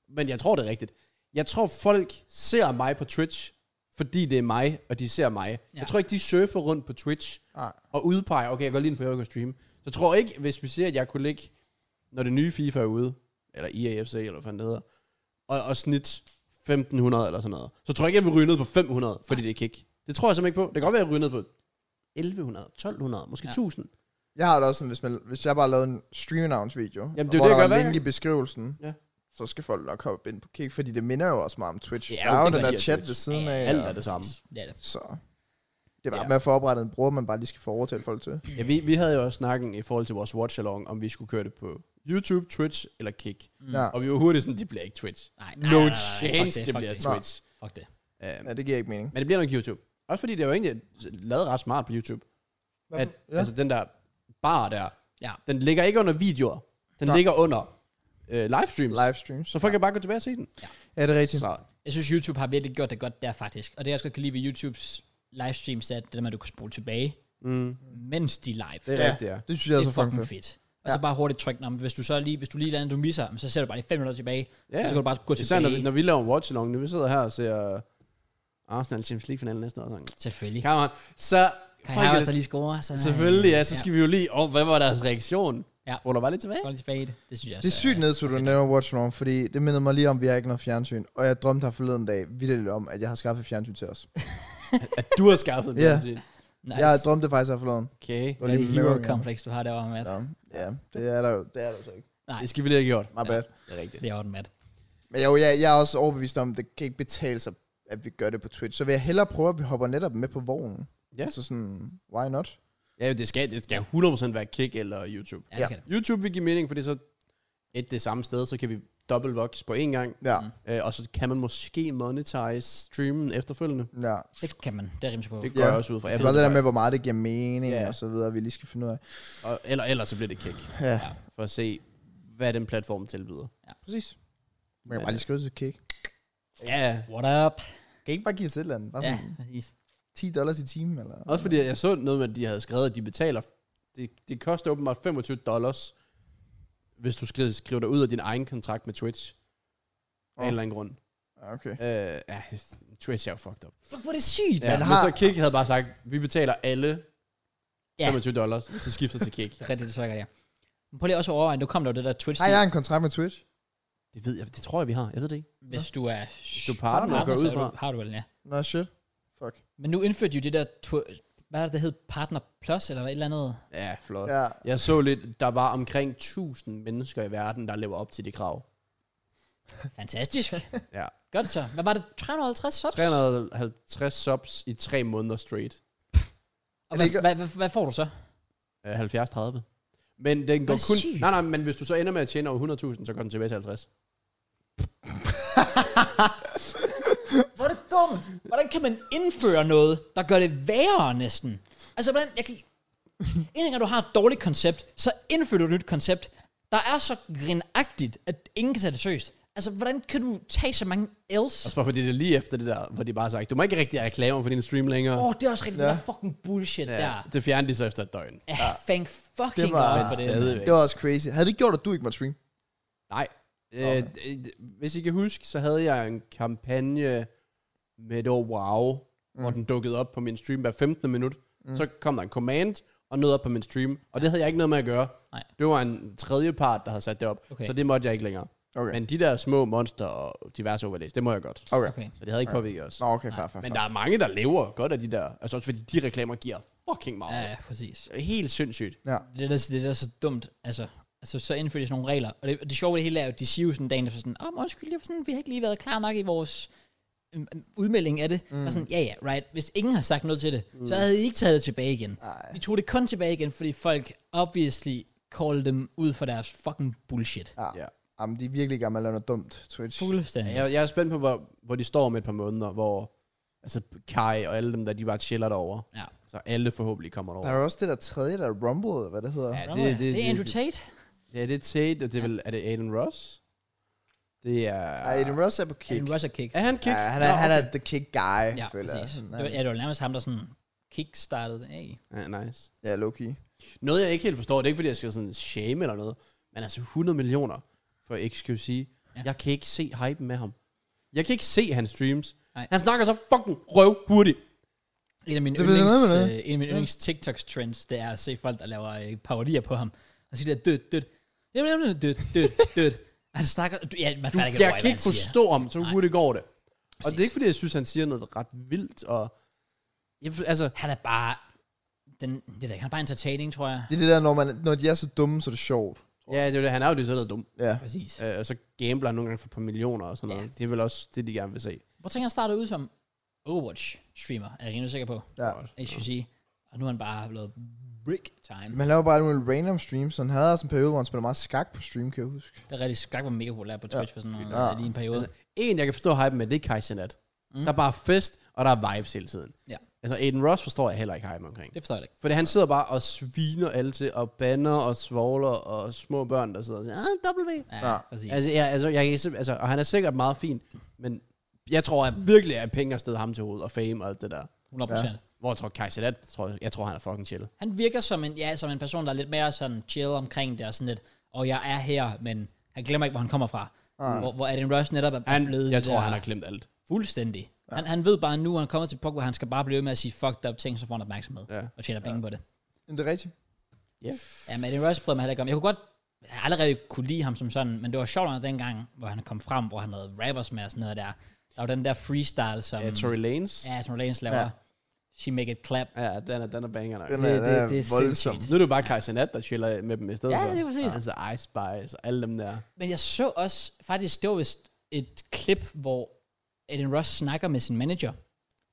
S2: men jeg tror det er rigtigt. Jeg tror folk ser mig på Twitch, fordi det er mig, og de ser mig. Ja. Jeg tror ikke, de surfer rundt på Twitch
S3: Nej.
S2: og udpeger, okay, jeg går lige en periode, jeg kan streame. Så jeg tror ikke, hvis vi siger, at jeg kunne ligge, når det nye FIFA er ude, eller E EAFC, eller hvad fanden det hedder, og, og snit 1500 eller sådan noget, så tror jeg ikke, jeg vil ryge ned på 500, fordi det er kick. Det tror jeg simpelthen ikke på. Det kan godt være, at jeg ryger ned på 1100, 1200, måske
S1: Ja.
S2: ja. 1000.
S3: Jeg har det også sådan, hvis, man, hvis jeg bare lavede en stream announce video,
S2: det er jo
S3: hvor
S2: det,
S3: der
S2: jeg
S3: var
S2: gør hver
S3: link i
S2: gang.
S3: beskrivelsen,
S2: Ja.
S3: så skal folk nok hoppe ind på Kick, fordi det minder jo også meget om Twitch.
S2: Ja,
S3: Ja, der er
S2: det
S3: jo
S2: gør
S3: den der
S2: de af
S3: chat
S2: Twitch.
S3: ved siden
S1: Ja,
S3: af.
S2: Alt
S3: og-
S2: er det samme.
S1: Det er det.
S3: Så det er bare
S2: Ja.
S3: ja. med at få oprettet en bruger, man bare lige skal få overtalt folk til.
S2: Ja, vi, vi havde jo også snakken i forhold til vores watch along, om vi skulle køre det på YouTube, Twitch eller Kick.
S1: Mm.
S3: Ja.
S2: Og vi var hurtigt sådan, det bliver ikke Twitch.
S1: Nej, nej, nej,
S2: No
S1: nej, nej, fuck
S2: chance, det,
S1: fuck
S2: bliver
S1: det.
S2: Twitch.
S1: Fuck det.
S2: Uh,
S3: ja, det giver ikke mening.
S2: men det bliver nok YouTube. Også fordi det er jo egentlig lavet ret smart på YouTube. At, ja.
S3: ja.
S2: Altså den der bar der,
S1: Ja.
S2: den ligger ikke under videoer. Den
S3: Nej.
S2: ligger under øh, livestreams. Live.
S3: Livestreams.
S2: Så folk kan bare gå tilbage og se den.
S3: Ja, det er rigtigt.
S2: Så,
S1: Jeg synes, YouTube har virkelig gjort det godt der, faktisk. Og det, jeg også godt kan lide ved YouTubes livestreams, er det der med, at du kan spole tilbage,
S2: mm,
S1: mens de er live.
S2: det er
S3: Ja.
S2: rigtigt, ja.
S3: Det synes jeg
S1: det
S3: er
S1: er
S3: så
S1: fucking
S3: fucking fedt.
S1: fedt. Og så bare hurtigt tryk, om hvis du så lige, hvis du lige lander, du misser, men så ser du bare lige fem minutter tilbage,
S2: ja.
S1: og så kan du bare gå
S2: Især når vi,
S1: tilbage.
S2: når vi laver en watch along, når vi sidder her og ser Arsenal Champions League finalen næste år. Sådan.
S1: Selvfølgelig.
S2: Come on. Så
S1: Kan
S2: folk
S1: jeg
S2: er
S1: også der lige score? Så
S2: Selvfølgelig, ja. Så skal vi jo lige... Åh, oh, hvad var deres reaktion?
S1: Ja.
S2: Ruller bare lidt tilbage.
S1: Gå lige tilbage i det. Det synes jeg
S2: Altså,
S3: Det er sygt ned, så du nævner Watch Along, fordi det minder mig lige om, at vi har ikke noget fjernsyn. Og jeg drømte her forleden dag vildt om, at jeg har skaffet fjernsyn til os.
S2: At du har skaffet en
S3: Ja.
S2: yeah.
S1: Nice.
S3: Nice. Jeg drømte faktisk her forleden.
S2: Okay.
S3: Det var
S1: det er
S3: lige
S1: et hero
S3: mirroring.
S1: complex, du har derovre, Matt.
S3: Ja, ja, det er der jo, det er der jo så ikke.
S1: Nej,
S2: Det skal vi lige have gjort.
S3: My bad.
S2: Det er rigtigt.
S1: det er orden, Matt.
S3: Men jo, jeg, jeg er også overbevist om, at det kan ikke betale sig, at vi gør det på Twitch. Så vil jeg hellere prøve, at vi hopper netop med på vognen.
S2: Ja.
S3: Så sådan, why not?
S2: Ja, det skal, det skal 100% være Kick eller YouTube.
S1: Ja, det
S3: Ja.
S1: kan det.
S2: YouTube vil give mening, fordi så et det samme sted, så kan vi dobbeltvox på én gang.
S3: Ja,
S1: Mm.
S2: Øh, og så kan man måske monetize streamen efterfølgende.
S3: ja.
S1: Det kan man. Det er rimelig på.
S2: Det går
S3: Ja.
S2: jeg også ud fra. Jeg
S3: Det
S2: ved
S3: var det
S2: det
S3: der med, hvor meget det giver mening
S2: Ja.
S3: yeah. og så videre, vi lige skal finde ud af.
S2: godt. Og, eller ellers så bliver det Kick,
S3: Ja,
S2: for at se, hvad den platform tilbyder.
S3: præcis. Man kan bare lige skrive til Kick.
S2: øh, Ja,
S1: What up?
S3: Kan I ikke bare give os et eller andet? Bare
S1: Ja,
S3: sådan
S1: præcis.
S3: 10 dollars i timen, eller?
S2: Også fordi jeg så noget med, at de havde skrevet, at de betaler det, det koster åbenbart 25 dollars, hvis du skriver, skriver dig ud af din egen kontrakt med Twitch. Af
S3: Åh.
S2: en eller anden grund.
S3: Ja, okay.
S2: Øh, ja, Twitch er jo fucked up.
S1: Fuck, hvor er det sygt,
S2: Ja,
S1: ja.
S2: men
S3: har-
S2: så Kik havde bare sagt, vi betaler alle
S1: Ja.
S2: 25 dollars, hvis du skifter til Kik.
S1: Rigtigt, det så ja. Men prøv lige også at overveje, nu kom der jo det der twitch
S3: Har jeg en kontrakt med Twitch?
S2: Det ved jeg, det tror jeg, vi har. Jeg ved det ikke.
S1: hvis du er...
S2: Du er partner,
S1: partner,
S2: går
S1: så
S2: ud
S1: er du-
S2: fra.
S1: Har du vel, ja.
S3: Nå, shit. Fuck.
S1: Men nu indførte de jo det der... Tw- hvad er det, der hed Partner Plus, eller et eller andet?
S2: Ja, flot.
S3: Ja.
S2: Jeg så lidt, der var omkring 1000 mennesker i verden, der lever op til de krav.
S1: Fantastisk.
S2: Ja.
S1: Godt så. Hvad var det? 350 subs?
S2: 350 subs i 3 måneder straight.
S1: Og
S3: Er det
S1: hvad,
S3: ikke-
S1: hvad, hvad, hvad, får du så?
S2: Øh, 70-30. Men den går
S1: det
S2: kun...
S1: sygt.
S2: Nej, nej, men hvis du så ender med at tjene over 100.000, så går den tilbage til 50.
S1: Hvor er det dumt. Hvordan kan man indføre noget, der gør det værre næsten? Altså, hvordan... Jeg kan... En gang du har et dårligt koncept, så indfører du et nyt koncept, der er så grinagtigt, at ingen kan tage det seriøst. Altså, hvordan kan du tage så mange else?
S2: Også bare fordi det er lige efter det der, hvor de bare har sagt, du må ikke rigtig have reklamer for din stream længere.
S1: Åh, oh, det er også rigtig
S3: Ja.
S1: ja. fucking bullshit ja. der.
S2: Det fjernede de så efter et døgn.
S1: Ja, thank fucking
S3: Det var-
S1: God for det.
S2: Stadigvæk.
S3: Det var også crazy. Havde det ikke gjort, at du ikke måtte streame?
S2: Nej. Okay. Øh, d- d- hvis I kan huske, så havde jeg en kampagne med et år wow, mm. hvor den dukkede op på min stream hver 15. minut. Mm. Så kom der en command og noget op på min stream, og det havde jeg ikke noget med at gøre.
S1: Nej.
S2: Det var en tredje part, der havde sat det op,
S1: Okay.
S2: okay. så det måtte jeg ikke længere.
S3: Okay.
S2: Men de der små monster og diverse overlæs, det må jeg godt.
S3: Okay.
S1: Okay.
S2: Så det havde ikke påvirket os.
S3: Nå, okay, fair, fair,
S2: Men
S3: fair.
S2: der er mange, der lever godt af de der, altså også fordi de reklamer giver fucking
S1: Ja,
S2: meget.
S1: ja, præcis.
S2: Ja. Helt sindssygt.
S3: Ja.
S1: Det er, der, det er der så dumt. Altså, altså så indfører de sådan nogle regler. Og det, det sjove ved det hele er jo, at de siger jo sådan dagen efter sådan, åh, oh, undskyld, jeg var sådan, vi har ikke lige været klar nok i vores øhm, øhm, udmelding af det. Mm. Og sådan, ja, ja, right. Hvis ingen har sagt noget til det, mm. så havde I ikke taget det tilbage igen.
S3: Ej.
S1: De tog det kun tilbage igen, fordi folk obviously called dem ud for deres fucking bullshit.
S3: Ja.
S2: Ja.
S3: Jamen, de er virkelig i gang med at lave noget dumt, Twitch.
S1: Fuldstændig.
S2: Jeg, jeg er spændt på, hvor, hvor de står om et par måneder, hvor altså Kai og alle dem der, de bare chiller derovre.
S1: Ja.
S2: Så alle forhåbentlig kommer derover.
S3: Der er jo også det der tredje, der er Rumble, eller hvad det hedder.
S2: Ja,
S1: det, det, det, er Andrew
S2: det-
S1: Tate.
S2: Ja, det er Tate, og det er, vel, er det Aiden Ross? Det er...
S3: Ej, Aiden Ross er på kick.
S1: Han Russell kick.
S2: Er han kick?
S3: Ja, han er,
S2: Nå,
S3: han er
S2: okay.
S3: the kick guy,
S1: Ja,
S3: føler jeg.
S1: præcis.
S3: Sådan,
S1: Det var, ja, det var nærmest ham, der sådan kickstartede det af.
S2: Ja, nice.
S3: Ja, low-key.
S2: Noget, jeg ikke helt forstår, det er ikke, fordi jeg skal sådan shame eller noget, men altså 100 millioner for XQC.
S1: Ja.
S2: Ja. Jeg kan ikke se hypen med ham. Jeg kan ikke se hans streams.
S1: Nej.
S2: Nej. Han snakker så fucking røv hurtigt.
S1: En af mine,
S3: Det ved jeg
S1: yndlings,
S3: noget med
S1: øh, en af mine yndlings TikToks trends, det er at se folk, der laver øh, parodier på ham. Og siger der, død, død. Jamen, jamen, død, død, død. Han snakker, du, ja, man
S2: Du,
S1: fatter
S2: jeg
S1: ikke,
S2: kan
S1: over, hvad
S2: ikke
S1: han siger.
S2: forstå ham, så
S1: Nej.
S2: hurtigt går det. Og det
S1: Præcis.
S2: er ikke, fordi jeg synes, han siger noget ret vildt. Og jeg, altså,
S1: Han er bare, den, det ved jeg, ikke, han er bare entertaining, tror jeg.
S3: Det er det der, når, man, når de er så dumme, så er det sjovt.
S2: ja, det er jo det. Han er jo det sådan noget dumt.
S3: Ja.
S1: Præcis.
S2: Øh, og så gambler han nogle gange for et par millioner og sådan
S1: Ja.
S2: noget. Det er vel også det, de gerne vil se.
S1: Hvor tænker han startede ud som Overwatch-streamer, er jeg rimelig sikker på.
S3: ja.
S1: HCC. Og nu er han bare blevet brick time.
S3: Man laver bare nogle random streams, så han havde også en periode, hvor han spillede meget skak på stream, kan jeg huske.
S1: Det er rigtig skak, var mega populær på Twitch for sådan noget,
S3: Ja.
S1: lige en periode.
S2: Altså, en, jeg kan forstå hypen med, det er Kai Sinat. Mm. Der er bare fest, og der er vibes hele tiden.
S1: Ja.
S2: Altså, Aiden Ross forstår jeg heller ikke hypen omkring.
S1: det forstår jeg da ikke.
S2: Fordi han sidder bare og sviner alle til, og banner og svogler, og små børn, der sidder og siger, ah, W.
S1: Ja,
S3: Ja.
S1: præcis.
S2: Altså, jeg, altså, jeg, kan simp- altså, og han er sikkert meget fin, men jeg tror at virkelig, at penge er stedet ham til hovedet, og fame og alt det der.
S1: 100 procent.
S2: Hvor jeg tror, Kai Sinat, tror, jeg- jeg tror, han er fucking chill.
S1: Han virker som en, ja, som en person, der er lidt mere sådan chill omkring det, og sådan lidt, og jeg er her, men han glemmer ikke, hvor han kommer fra.
S3: Nej.
S1: Hvor, hvor Adam Rush netop er
S2: Han,
S1: blevet
S2: jeg
S1: det
S2: tror,
S1: der Mm.
S2: han har glemt alt.
S1: fuldstændig. Ja. Han, han ved bare nu, han kommer til et punkt, hvor han skal bare blive ved med at sige fucked up ting, så får han opmærksomhed
S2: Ja.
S1: og tjener penge på det.
S3: Men det er rigtigt.
S1: Ja, men Adam Rush prøvede mig heller ikke om. Jeg kunne godt jeg har allerede kunne lide ham som sådan, men det var sjovt nok dengang, hvor han kom frem, hvor han havde rappers med og sådan noget der. Der var den der freestyle, som,
S2: Ja, Tory Lanez.
S1: ja, som Lance laver.
S3: Ja.
S1: She make it clap.
S2: Ja, den er, den er banger nok.
S3: Den
S1: Det-
S3: er,
S1: det-
S3: den er
S1: det er
S3: voldsom.
S1: sindssygt.
S2: Nu er det jo bare Kai Sinat, der chiller med dem i stedet
S1: Ja,
S2: for.
S1: det er præcis.
S2: Altså Ice Spice og alle dem der.
S1: Men jeg så også, faktisk det var vist et klip, hvor Aiden Ross snakker med sin manager,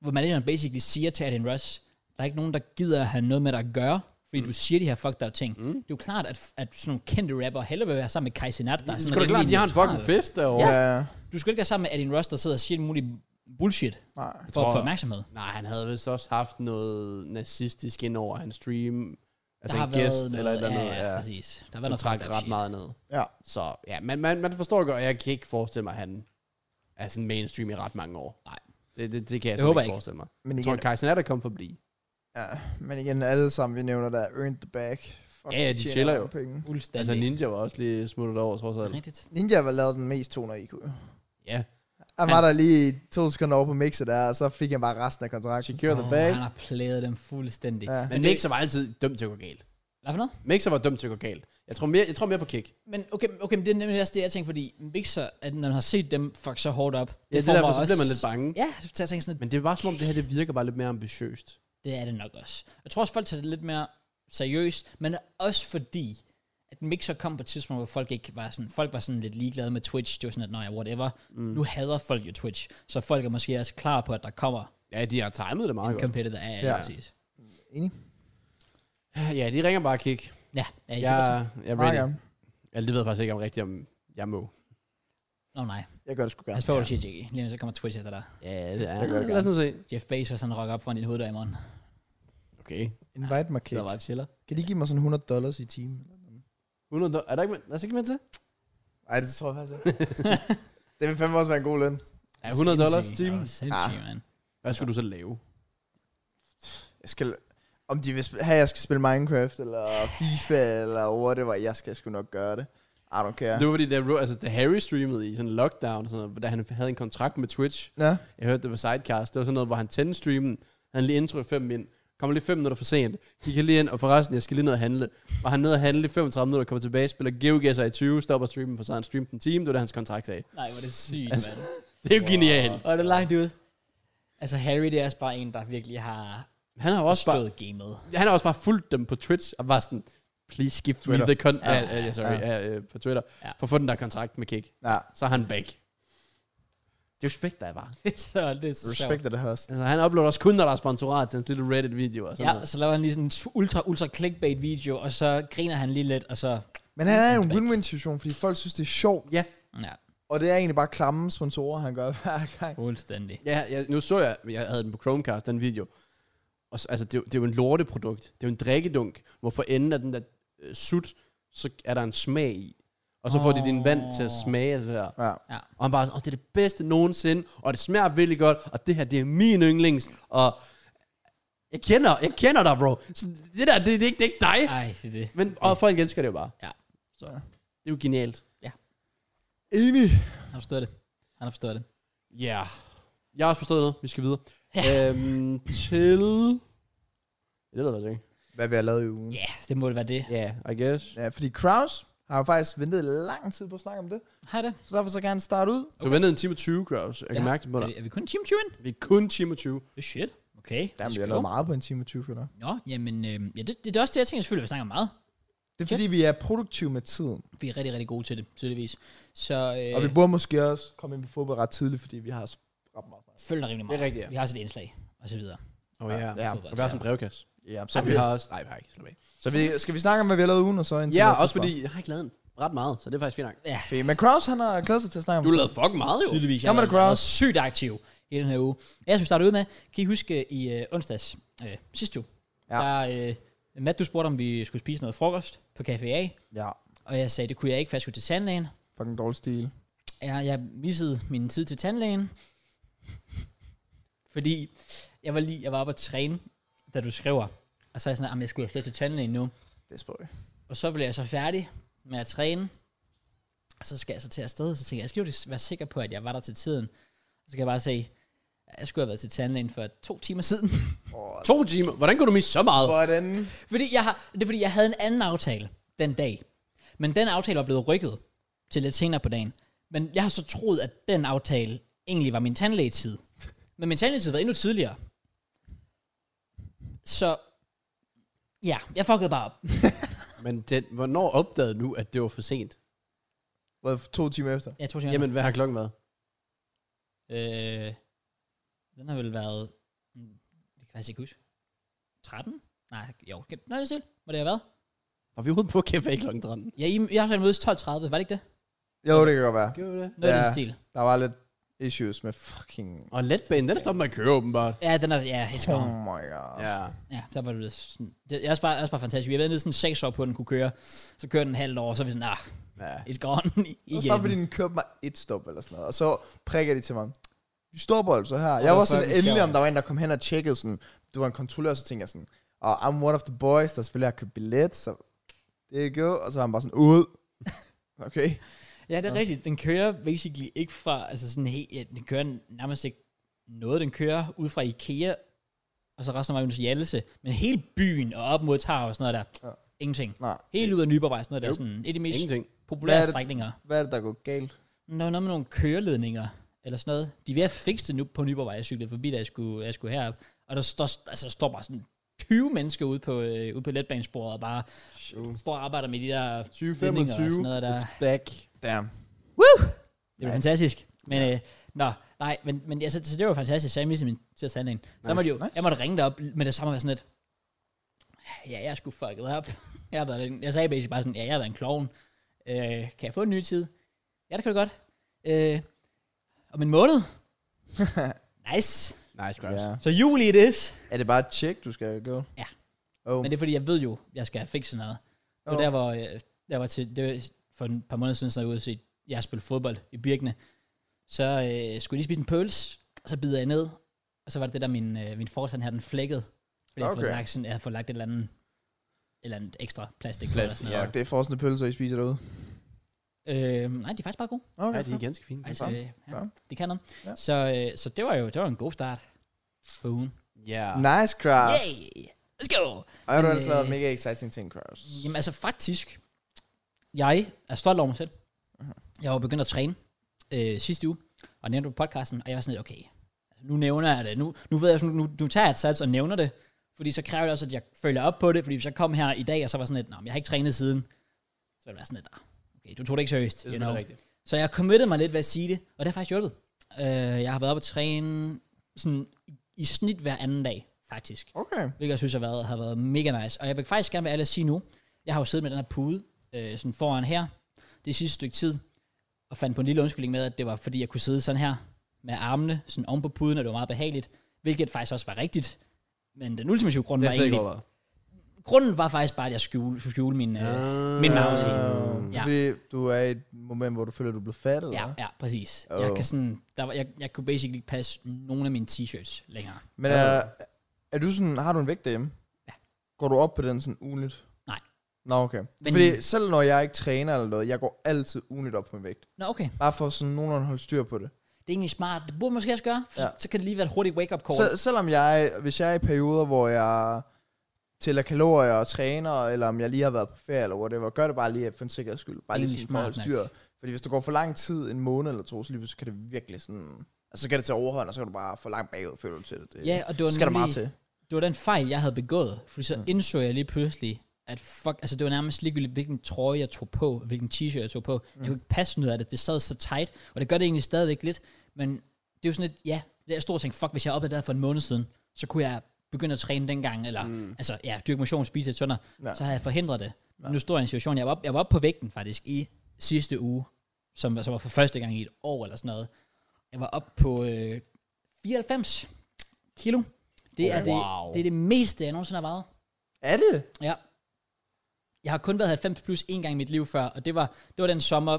S1: hvor manageren basically siger til Aiden Ross, der er ikke nogen, der gider at have noget med dig at gøre, fordi mm. du siger de her fucked up ting. Mm. Det er jo klart, at, at sådan nogle kendte rapper hellere vil være sammen med Kai Sinat, der er
S2: Det
S1: sådan
S2: skulle da klart,
S1: rimelig
S2: de har en
S1: neutral.
S2: fucking fest derovre.
S3: Ja.
S2: Ja.
S3: ja.
S1: Du skal ikke være sammen med Aiden Ross, der sidder og siger en mulig bullshit for at
S3: Nej.
S2: tror- altså
S1: få opmærksomhed.
S2: Nej, han havde vist også haft noget nazistisk ind over hans stream. Altså
S1: der
S2: en gæst eller et eller
S1: ja,
S2: andet.
S1: ja,
S2: Ja,
S1: præcis. Der var
S2: som
S1: noget
S2: trak
S1: fucked up
S2: ret
S1: shit.
S2: meget ned.
S3: Ja.
S2: Så ja, man, man, man forstår godt, og jeg kan ikke forestille mig, at han er sådan mainstream i ret mange år.
S1: Nej.
S2: Det, det, det kan jeg,
S1: Det
S2: simpelthen
S1: håber jeg
S2: ikke
S1: ikke.
S2: forestille mig.
S3: Men
S2: Jeg
S3: igen,
S2: tror, Kai Sinat er kommet forbi.
S3: Ja, men igen, alle sammen, vi nævner, der er earned the bag. Fuck,
S2: Ja, ja, de
S3: tjener
S2: chiller
S3: mange
S2: jo.
S3: Penge.
S1: Fuldstændig.
S2: Altså Ninja var også lige smuttet over, trods alt.
S1: Rigtigt.
S3: Ninja var lavet den mest 200 IQ.
S2: Ja.
S3: Han var der lige to sekunder over på mixet der, og så fik han bare resten af kontrakten.
S2: Secure the
S1: Åh,
S2: bag.
S1: han har plædet dem fuldstændig.
S3: Ja.
S2: Men Mixer var altid dømt til at gå galt.
S1: Hvad for noget?
S2: Mixer var dømt til at gå galt. Jeg tror mere, jeg tror mere på kick.
S1: Men okay, men- okay men det er nemlig også det, jeg tænker, fordi Mixer, at når man har set dem fuck så hårdt op,
S2: Ja, det
S1: får
S2: er
S1: mig
S2: derfor, så bliver man lidt bange.
S1: Ja, så jeg tænker sådan, at
S2: Men det er bare som om, det her det virker bare lidt mere ambitiøst.
S1: det er det nok også. Jeg tror også, folk tager det lidt mere seriøst, men også fordi, at Mixer kom på et tidspunkt, hvor folk ikke var sådan, folk var sådan lidt ligeglade med Twitch, det var sådan, at nej, whatever, mm. nu hader folk jo Twitch, så folk er måske også klar på, at der kommer
S2: Ja, de har timet det meget
S1: en
S2: godt.
S1: competitor af,
S3: Ja.
S1: ja. præcis.
S3: Enig?
S2: Ja, de ringer bare kick.
S1: Ja, ja,
S2: Jeg,
S1: ja.
S2: jeg er
S3: Meget
S2: ready.
S3: gerne.
S2: Ja, det ved jeg faktisk ikke om rigtigt, om jeg må.
S1: Nå nej,
S3: Jeg gør det sgu gerne.
S1: pas på, hvad du siger, Jiggy. Lige nu så kommer Twitch efter dig.
S2: Ja, det er.
S3: Det gør jeg
S2: Lad os nu se.
S1: Jeff Bezos, han rocker op foran din hoveddør i morgen.
S2: Okay,
S3: Invite mig,
S2: så der
S3: Kik.
S2: bare chiller.
S3: Kan de give mig sådan 100 dollars i timen?
S2: 100, do- er der ikke, er der ikke mere til?
S3: Nej, det tror jeg faktisk ikke. det vil fandme også være en god løn.
S1: Ja,
S2: 100 dollars Ah.
S1: sindssygt.
S2: timen.
S1: Ja, Sindssygt, mand.
S2: Hvad skulle du så lave?
S3: Jeg skal, om de vil spille, have, jeg skal spille Minecraft, eller FIFA, eller whatever, jeg skal sgu nok gøre det. I don't care.
S2: Det var fordi, da, Ro- altså, da Harry streamede i sådan en lockdown, og sådan noget, da han havde en kontrakt med Twitch,
S3: Ja,
S2: jeg hørte det på Sidecast, det var sådan noget, hvor han tændte streamen, han lige intro 5 ind, kommer lige 5 minutter for sent, gik han lige ind, og forresten, jeg skal lige ned og handle. Var han ned og handle i 35 minutter, kommer tilbage, spiller GeoGuessr i 20, stopper streamen, for så har han streamet en time, det var det, hans kontrakt sagde.
S1: Nej, hvor er det sygt,
S2: Altså,
S1: mand.
S2: Det er jo genialt.
S1: Og er det langt ud. Altså, Harry, det er også bare en, der virkelig har
S2: Han har, også bare,
S1: forstået gamet.
S2: han har også bare fulgt dem på Twitch, og var sådan, please give
S3: Twitter.
S2: me the con-
S1: Ja,
S2: ja, ja, ja, sorry, ja. Ja, øh, på Twitter,
S1: Ja.
S2: ja. for at få den der kontrakt med Kik.
S3: ja.
S2: Så er han væk. Det respekter jeg bare.
S1: så det er så
S3: Respect the host.
S2: Altså, han uploader også kun, når der er sponsorat til hans lille Reddit-video og sådan
S1: Ja,
S2: noget.
S1: så laver han lige sådan en ultra, ultra clickbait video, og så griner han lige lidt, og så...
S3: Men han er jo en win-win situation, fordi folk synes, det er sjovt.
S2: Ja,
S1: Ja,
S3: Og det er egentlig bare klamme sponsorer, han gør hver gang.
S1: fuldstændig.
S2: Ja, jeg, nu så jeg, jeg havde den på Chromecast, den video. Og så, altså, det, er jo- det er jo en lorteprodukt. Det er jo en drikkedunk, hvor for enden af den der øh, sut, så er der en smag i. Og så oh. får de din vand til at smage af det der.
S3: Ja.
S1: Ja.
S2: Og han bare, oh, det er det bedste nogensinde, og det smager virkelig godt, og det her, det er min yndlings, og jeg kender, jeg kender dig, bro. Så det der, det, det, er ikke, det er ikke dig.
S1: Ej, det er det.
S2: Men, og folk elsker det jo bare.
S1: Ja.
S2: Så, det er jo genialt.
S3: Enig.
S1: Han har forstået det. Han har forstået det.
S2: Ja. Yeah. Jeg har også forstået noget. Vi skal videre. øhm, til... Det ved jeg faktisk ikke.
S3: Hvad vi har lavet i ugen.
S1: Ja, det må det være det.
S2: Ja, yeah, I guess.
S3: Ja, fordi Kraus har jo faktisk ventet lang tid på at snakke om det.
S1: Hej det.
S3: Så derfor så kan han starte ud.
S2: Du ventede en time og 20, Kraus. Jeg kan
S1: Ja.
S2: mærke det på
S1: Er
S2: dig.
S1: vi, er vi kun en time 20 ind?
S2: Vi er kun en time og 20.
S1: Oh, shit. Okay.
S3: Jamen, vi har
S1: Let's
S3: lavet
S1: go.
S3: meget på en time og 20 føler jeg.
S1: Nå, jamen, øh, ja, det, det, er også det, jeg tænker selvfølgelig, at vi snakker meget.
S3: Det er fordi, vi er produktive med tiden.
S1: Vi er rigtig, rigtig gode til det, tydeligvis. Så øh,
S3: Og vi burde måske også komme ind på fodbold ret tidligt, fordi vi har ret meget.
S1: følger dig rimelig meget.
S2: rigtigt,
S1: Vi har også et indslag, og så videre.
S2: Åh, oh, ja.
S3: Ja.
S1: Fodbold.
S2: Og vi har også en brevkasse.
S3: Ja, så,
S2: Så
S3: vi,
S2: vi har også... Nej, vi har ikke. Slap af.
S3: så vi, skal vi snakke om, hvad vi har lavet ugen, og så en
S2: Ja, også fordi jeg har ikke lavet en ret meget, så det er faktisk fint nok.
S1: Ja,
S3: Men Kraus, han har glædet sig til at snakke om
S2: Du har lavet fucking meget, jo.
S1: tydeligvis. Jeg
S3: Jamen,
S1: har
S3: det
S1: været
S3: Kraus.
S1: sygt aktiv i den her uge. Jeg skulle starte ud med, kan I huske i øh, onsdags øh, sidste uge,
S3: Ja.
S1: ja. der øh, Matt, du spurgte, om vi skulle spise noget frokost på Café A,
S3: Ja,
S1: og jeg sagde, det kunne jeg ikke, for jeg skulle til tandlægen.
S3: fucking dårlig stil.
S1: Jeg, jeg missede min tid til tandlægen, fordi jeg var lige, jeg var oppe at træne, da du skriver, og så er jeg sådan, at jeg skulle jo slet til tandlægen nu.
S3: Det er spøj.
S1: Og så blev jeg så færdig med at træne. Og så skal jeg så til afsted. Så tænkte jeg, jeg skal jo være sikker på, at jeg var der til tiden. Og så kan jeg bare se, at jeg skulle have været til tandlægen for to timer siden.
S2: To timer. Hvordan kunne du misse så meget?
S3: Hvordan?
S1: fordi jeg har, det er fordi, jeg havde en anden aftale den dag. Men den aftale var blevet rykket til lidt senere på dagen. Men jeg har så troet, at den aftale egentlig var min tandlægetid. Men min tandlægetid var endnu tidligere. Så ja, jeg fuckede bare op.
S2: Men den, hvornår opdagede du, at det var for sent?
S3: Hvad, to timer efter?
S1: Jeg tog til
S2: Jamen, hvad har klokken været?
S1: Øh, den har vel været... hmm, Det kan jeg faktisk ikke huske. 13? Nej, jo. kan- Nej, det er stille. Må det have været?
S2: Var vi ude på Café klokken 13?
S1: Ja, I, jeg har sådan mødes 12.30. Var det ikke det?
S3: Jo, det kan godt være.
S2: Gjorde vi det?
S1: Noget ja. i
S3: Ja.
S1: den stil.
S3: Der var lidt issues med fucking...
S2: Og letbanen, den er stoppet med at køre, åbenbart.
S1: Ja, den er... Ja, helt
S3: Oh
S1: oh.
S3: my god.
S2: Ja.
S1: Ja, der var det sådan... Det er også bare, også bare fantastisk. Vi har været nede sådan 6 år på, at den kunne køre. Så kører den halvt år, så er vi sådan, ah,
S2: ja.
S1: it's gone
S3: Også bare fordi
S1: igen.
S3: den kørte mig et stop eller sådan noget, og så prikker de til mig. de stopper altså her.
S2: det
S3: Jeg var
S2: var
S3: sådan
S2: fucking
S3: endelig,
S2: sjovt.
S3: om der var en, der kom hen og tjekkede sådan, det var en kontrollør, så tænkte jeg sådan, og oh, I'm one of the boys, der selvfølgelig har købt billet, så det er go, og så var han bare sådan, ud. Okay.
S1: Ja, det er ja. rigtigt. Den kører basically ikke fra, altså sådan helt, ja, den kører nærmest ikke noget. Den kører ud fra Ikea, og så resten af vejen ud til Hjallese. Men hele byen og op mod Tarv og sådan noget der, ja.
S3: Ja.
S1: ingenting.
S3: Nej.
S1: Helt ud af Nyborgvej, sådan noget der,
S2: Jo.
S1: sådan et af de mest
S2: Ingenting.
S1: populære
S3: Hvad er det?
S1: strækninger.
S3: Hvad er det, der går galt?
S1: Men Der var noget med nogle køreledninger, eller sådan noget. De er ved at fikse det nu på Nyborgvej, jeg cyklede forbi, da jeg skulle, jeg skulle herop. Og der står, altså, der står bare sådan 20 mennesker ude på, øh, ude på letbanesporet, og bare står og arbejder med de der
S2: 20,
S1: ledninger og sådan noget der.
S2: It's back.
S3: Damn.
S1: Det var fantastisk. Men, øh, nå, nej, men, men ja, så, så det var fantastisk, så jeg mistede min til at sande en. Så nice, måtte jeg jo, nice.
S3: nice.
S1: jeg måtte ringe dig op med det samme og være sådan lidt, ja, jeg skulle fucket op. Jeg, har været, en- jeg sagde basically bare sådan, ja, jeg har været en klovn. Øh, kan jeg få en ny tid? Ja, det kan du godt. Øh, om en måned? nice.
S2: Nice, Grimes.
S3: Ja.
S1: Så juli it is.
S3: Er det bare et tjek, du skal gå?
S1: Ja.
S3: Oh.
S1: Men det er fordi, jeg ved jo, jeg skal have fikset noget. Det var
S3: Oh.
S1: der, hvor jeg, der var til, det var for et par måneder siden, så jeg var ude og se, jeg spille fodbold i Birkene. Så øh, skulle jeg lige spise en pølse, og så bider jeg ned, og så var det det der, min, øh, min forsand her, den flækkede. Fordi okay. jeg, havde fået
S3: Okay.
S1: lagt sådan, jeg havde fået lagt et eller andet, et eller andet ekstra plastik. på
S2: Plastik,
S1: eller
S3: Ja,
S1: sådan
S3: det er forsende pølser, I spiser derude.
S1: noget. Øh, nej, de er faktisk bare gode.
S2: Ja,
S3: Okay,
S2: de er ganske fine.
S1: Altså,
S3: samme.
S1: øh, ja,
S3: Samme.
S1: de kan noget. Ja.
S3: Ja.
S1: Så, øh, så det var jo det var en god start for ugen.
S2: Ja.
S3: Nice, Kraus. Yeah.
S1: Yay! Let's go!
S3: Og har du
S1: Men,
S3: altså lavet
S1: øh,
S3: mega exciting ting, Kraus.
S1: Jamen altså faktisk, jeg er stolt over mig selv.
S2: Mhm.
S1: Jeg var begyndt at træne øh, sidste uge, og nævnte det på podcasten, og jeg var sådan lidt, okay, altså, nu nævner jeg det, nu, nu ved jeg, sådan, nu, nu tager jeg et sats og nævner det, fordi så kræver det også, at jeg følger op på det, fordi hvis jeg kom her i dag, og så var sådan lidt, nej, jeg har ikke trænet siden, så ville det være sådan lidt, "Ah, okay, du tog det ikke seriøst.
S2: Det
S1: you
S2: er
S1: know.
S2: selvfølgelig rigtigt.
S1: Så jeg committed mig lidt ved at sige det, og det har faktisk hjulpet. Øh, jeg har været oppe at træne sådan, i, i snit hver anden dag, faktisk.
S3: Okay.
S1: Hvilket jeg synes har været, har været mega nice. Og jeg vil faktisk gerne være ærlig at sige nu, jeg har jo siddet med den her pude øh, sådan foran her, det sidste stykke tid, og fandt på en lille undskyldning med, at det var fordi, jeg kunne sidde sådan her med armene sådan om på puden, og det var meget behageligt, hvilket faktisk også var rigtigt. Men den ultimative grund
S2: Det
S1: var
S2: er slet ikke
S1: egentlig...
S2: overvejet.
S1: Grunden var faktisk bare, at jeg skjule, skulle skjule min... Øh,
S2: Ah.
S1: min mouse i.
S3: Uh,
S1: Ja.
S3: ja. Fordi du er i et moment, hvor du føler, du er blevet fat, eller
S1: ja,
S3: hvad?
S1: ja, præcis. Oh.
S3: Åh.
S1: Jeg, kan sådan, der var, jeg, jeg kunne basically ikke passe nogen af mine t-shirts længere.
S3: Men er, er du sådan, har du en vægt derhjemme?
S1: Ja.
S3: Går du op på den sådan ugenligt?
S1: Nej.
S3: Nå, okay.
S1: Men-
S3: Men, Fordi selv når jeg ikke træner eller noget, jeg går altid ugenligt op på min vægt.
S1: Nå, okay.
S3: Bare for sådan nogenlunde at holde styr på det.
S1: Det er egentlig smart. Det burde man måske også gøre. Ja.
S3: Ja.
S1: Så kan det lige være et hurtigt wake-up call.
S3: Sel- selvom jeg, hvis jeg er i perioder, hvor jeg tæller kalorier og træner, eller om jeg lige har været på ferie eller whatever, gør det bare lige for en sikkerheds skyld. Bare lige
S1: Egentlig
S3: sådan for at holde
S1: smart
S3: styr. Fordi hvis det går for lang tid, en måned eller to, så lige pludselig kan det virkelig sådan... Altså, så kan det tage overhånd, og så kan du bare for langt bagud, føler du til det. det
S1: ja, og det var
S3: så skal der meget
S1: nemlig-
S3: til.
S1: det var den fejl, jeg havde begået. Fordi så indså jeg lige pludselig, at fuck, altså det var nærmest ligegyldigt, hvilken trøje jeg tog på, og hvilken t-shirt jeg tog på. Jeg kunne ikke passe noget af det. Det sad så tight, og det gør det egentlig stadigvæk lidt. Men det er jo sådan lidt, ja, det er stort tænkt, fuck, hvis jeg opdagede det her for en måned siden, så kunne jeg begynde at træne dengang, eller mm. altså, ja, dyrke motion, spise et sundere, ja.
S3: Ja.
S1: så havde jeg forhindret det. Ja. Nu står jeg i en situation, jeg var, op, jeg var oppe på vægten faktisk i sidste uge, som, som var for første gang i et år eller sådan noget. Jeg var oppe på øh, 94 kilo. Det, er
S2: Wow.
S1: det, det er det meste, jeg nogensinde har vejet.
S3: Er det?
S1: Ja. Jeg har kun været 90 plus en gang i mit liv før, og det var, det var den sommer,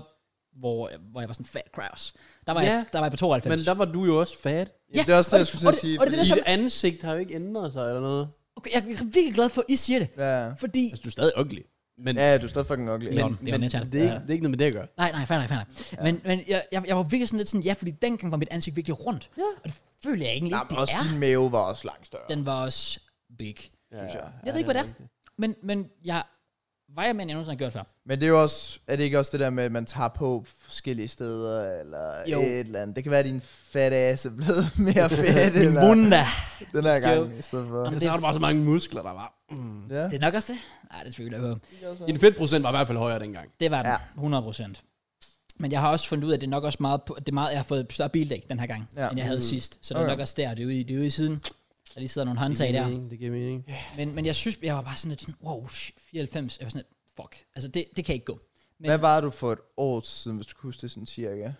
S1: hvor, hvor jeg var sådan fat crowds. Der var, ja.
S2: Ja.
S1: jeg, der var jeg på 92.
S2: Men der var du jo også fat.
S1: Ja,
S3: Ja, det er også
S1: og
S3: det, jeg
S1: det-
S3: skulle
S1: og
S3: til
S1: det-
S3: at sige.
S1: og det er det,
S3: fordi-
S1: som-
S2: Dit ansigt har jo ikke ændret sig eller noget.
S1: okay, jeg er virkelig glad for, at I siger det.
S3: Ja,
S1: Fordi...
S2: Altså, du er stadig ugly. Men,
S3: ja, du er stadig fucking ugly.
S1: Men-
S3: Men,
S1: jo- det er jo
S2: men det,
S1: nettet.
S2: er ikke,
S1: Ja.
S2: det er ikke noget med det at gøre.
S1: Nej, nej, fair nok, fair nok. Ja. Men, men jeg, jeg, jeg var virkelig sådan lidt sådan, ja, fordi dengang var mit ansigt virkelig rundt. Ja. Og det føler jeg egentlig ikke,
S3: Jamen,
S1: det
S3: også
S1: er.
S3: din mave var også langt større.
S1: Den var også big.
S3: synes jeg.
S1: Jeg ved ikke, hvad det er. Men, men jeg vejer mere, end jeg nogensinde har gjort før.
S3: Men det er jo også, er det ikke også det der med, at man tager på forskellige steder, eller
S1: Jo.
S3: jo. et eller andet. Det kan være, at din fat ass er blevet mere fedt,
S1: Min
S3: eller
S1: munda.
S3: den her
S1: skal
S3: gang, i stedet for.
S1: Jamen,
S2: Men
S1: det
S2: så
S1: er
S2: har du bare så mange muskler, der var.
S3: Ja.
S1: Det er nok også det. Nej, det tvivler jeg på.
S2: Din fedtprocent var i hvert fald højere dengang.
S1: Det var den,
S3: Ja.
S1: 100 procent. Men jeg har også fundet ud af, at det er nok også meget, på- det er meget jeg har fået større bildæk den her gang, ja.
S3: Ja. Mm.
S1: end jeg havde sidst. Så det er
S3: Okay. Mm.
S1: nok også der, det er ude, i- det er ude i siden. Der lige sidder nogle håndtag der.
S2: mening, det giver mening.
S1: Men, men jeg synes, jeg var bare sådan lidt sådan, wow, shit, 94. Jeg var sådan lidt, fuck. Altså, det, det kan ikke gå. Men
S3: Hvad var du for et år siden, hvis du kunne huske det sådan cirka?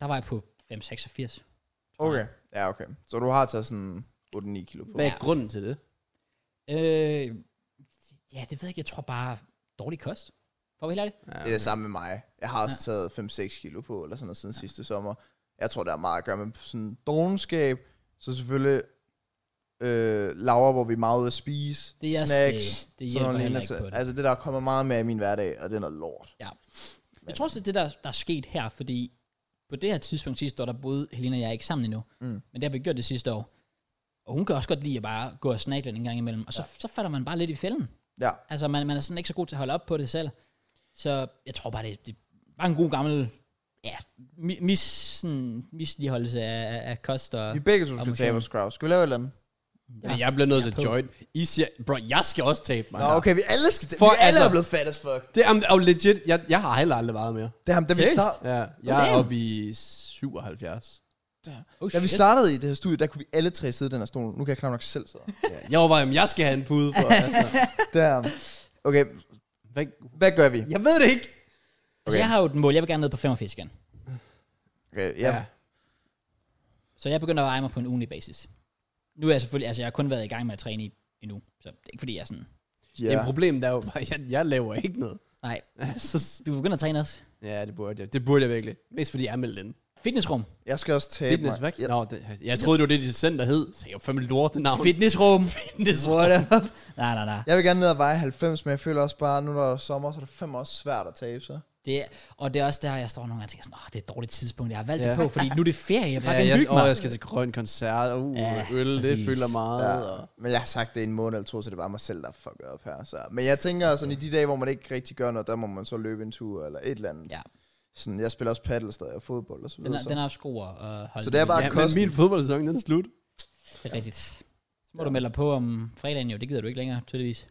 S1: der var jeg på 5,86.
S3: Okay. Ja, okay. Så du har taget sådan 8-9 kilo på.
S2: Hvad er
S1: Ja.
S2: grunden til det?
S1: Øh, ja, det ved jeg ikke. Jeg tror bare, dårlig kost. For at være helt ærlig.
S3: Det er det samme med mig. Jeg har også taget 5-6 kilo på, eller sådan noget, siden sidste sommer. Jeg tror, det har meget at gøre med sådan dogenskab. Så selvfølgelig øh, laver, hvor vi er meget ude at spise.
S1: Det er jeres
S3: snacks,
S1: sted. Det
S3: sådan
S1: hjælper
S3: nogle
S1: heller ikke
S3: lignende
S1: på
S3: ting.
S1: det.
S3: Altså det, der kommer meget med i min hverdag, og det er noget lort.
S1: Ja. Jeg tror også, det er det, der, der er sket her, fordi på det her tidspunkt sidste år, der boede Helena og jeg ikke sammen endnu. Mm. Men det har vi gjort det sidste år. Og hun kan også godt lide at bare gå og snakke lidt en gang imellem. Og så, ja. så falder man bare lidt i fælden.
S3: Ja.
S1: Altså, man, man er sådan ikke så god til at holde op på det selv. Så jeg tror bare, det, det var en god gammel ja, mi- mis, sådan, misligeholdelse af, af- af kost og...
S3: Vi begge to
S1: og
S3: skal
S1: motion.
S3: tabe os, Kraus. Skal vi lave et eller andet?
S2: Ja. Men jeg bliver nødt til
S1: er på.
S2: at join. I siger, bro, jeg skal også tabe mig.
S3: Nå,
S2: her.
S3: okay, vi alle skal tabe.
S2: For
S3: Vi alle
S2: altså-
S3: er blevet fat as fuck.
S2: Det er og legit. Jeg, jeg har heller aldrig vejet mere.
S3: Det er ham, da vi,
S1: Seriøst?
S3: start,
S2: Ja, jeg er
S1: Damn.
S2: oppe i 77.
S1: Oh,
S3: da vi
S1: shit.
S3: startede i det her studie, der kunne vi alle tre sidde i den her stol. Nu kan jeg knap nok selv sidde.
S2: Ja. Jeg overvejer, om jeg skal have en pude for. altså.
S3: der. Okay,
S2: Hvad?
S3: hvad gør vi?
S2: Jeg ved det ikke.
S1: Altså,
S3: Okay.
S1: jeg har jo et mål. Jeg vil gerne ned på 85 igen.
S3: Okay, ja.
S2: Ja.
S1: Så jeg begynder at veje mig på en ugenlig basis. Nu er jeg selvfølgelig... Altså, jeg har kun været i gang med at træne i, endnu. Så det er ikke, fordi jeg er sådan...
S3: ja.
S2: Jamen, problemet er jo bare, at jeg, jeg laver ikke noget.
S1: Nej,
S2: Altså,
S1: du begynder at træne også.
S2: ja, det burde jeg. Det burde jeg virkelig. Mest fordi jeg er meldt ind.
S1: Fitnessrum.
S3: Jeg skal også tabe
S2: Fitness,
S3: mig.
S2: hvad? Nå, det, jeg troede, det var det, dit center hed. Så jeg var fandme lortet navn.
S1: Fitnessrum. Fitnessrum. What up? Nej, nej, nej.
S3: Jeg vil gerne ned og veje 90, men jeg føler også bare, nu når der er sommer, så er det fem år svært at tabe sig.
S1: Det er, og det er også der, jeg står nogle gange og tænker sådan, åh, det er et dårligt tidspunkt, jeg har valgt ja. det
S2: Ja.
S1: på, fordi nu er det ferie, jeg bare
S2: Ja,
S1: ja, kan
S2: jeg,
S1: hygge mig.
S2: åh, jeg skal til grøn koncert. Uh,
S1: Ja,
S2: ja, øl, det
S1: præcis.
S2: fylder meget. Ja.
S3: Ja. Men jeg har sagt det i en måned eller to, så det er bare mig selv, der er fucket op her. Så. Men jeg tænker sådan, i de dage, hvor man ikke rigtig gør noget, der må man så løbe en tur eller et eller andet.
S1: Ja.
S3: Sådan, jeg spiller også paddle stadig og fodbold og så
S1: Den
S3: videre.
S1: er,
S3: så.
S1: den er også god at øh, holde
S3: Så det er
S1: ved.
S3: bare-
S1: ja,
S2: Ja, men
S3: kosten.
S2: min fodboldsæson, den er slut.
S1: det er rigtigt. Så må du melde dig på om fredagen jo, det gider du ikke længere, tydeligvis.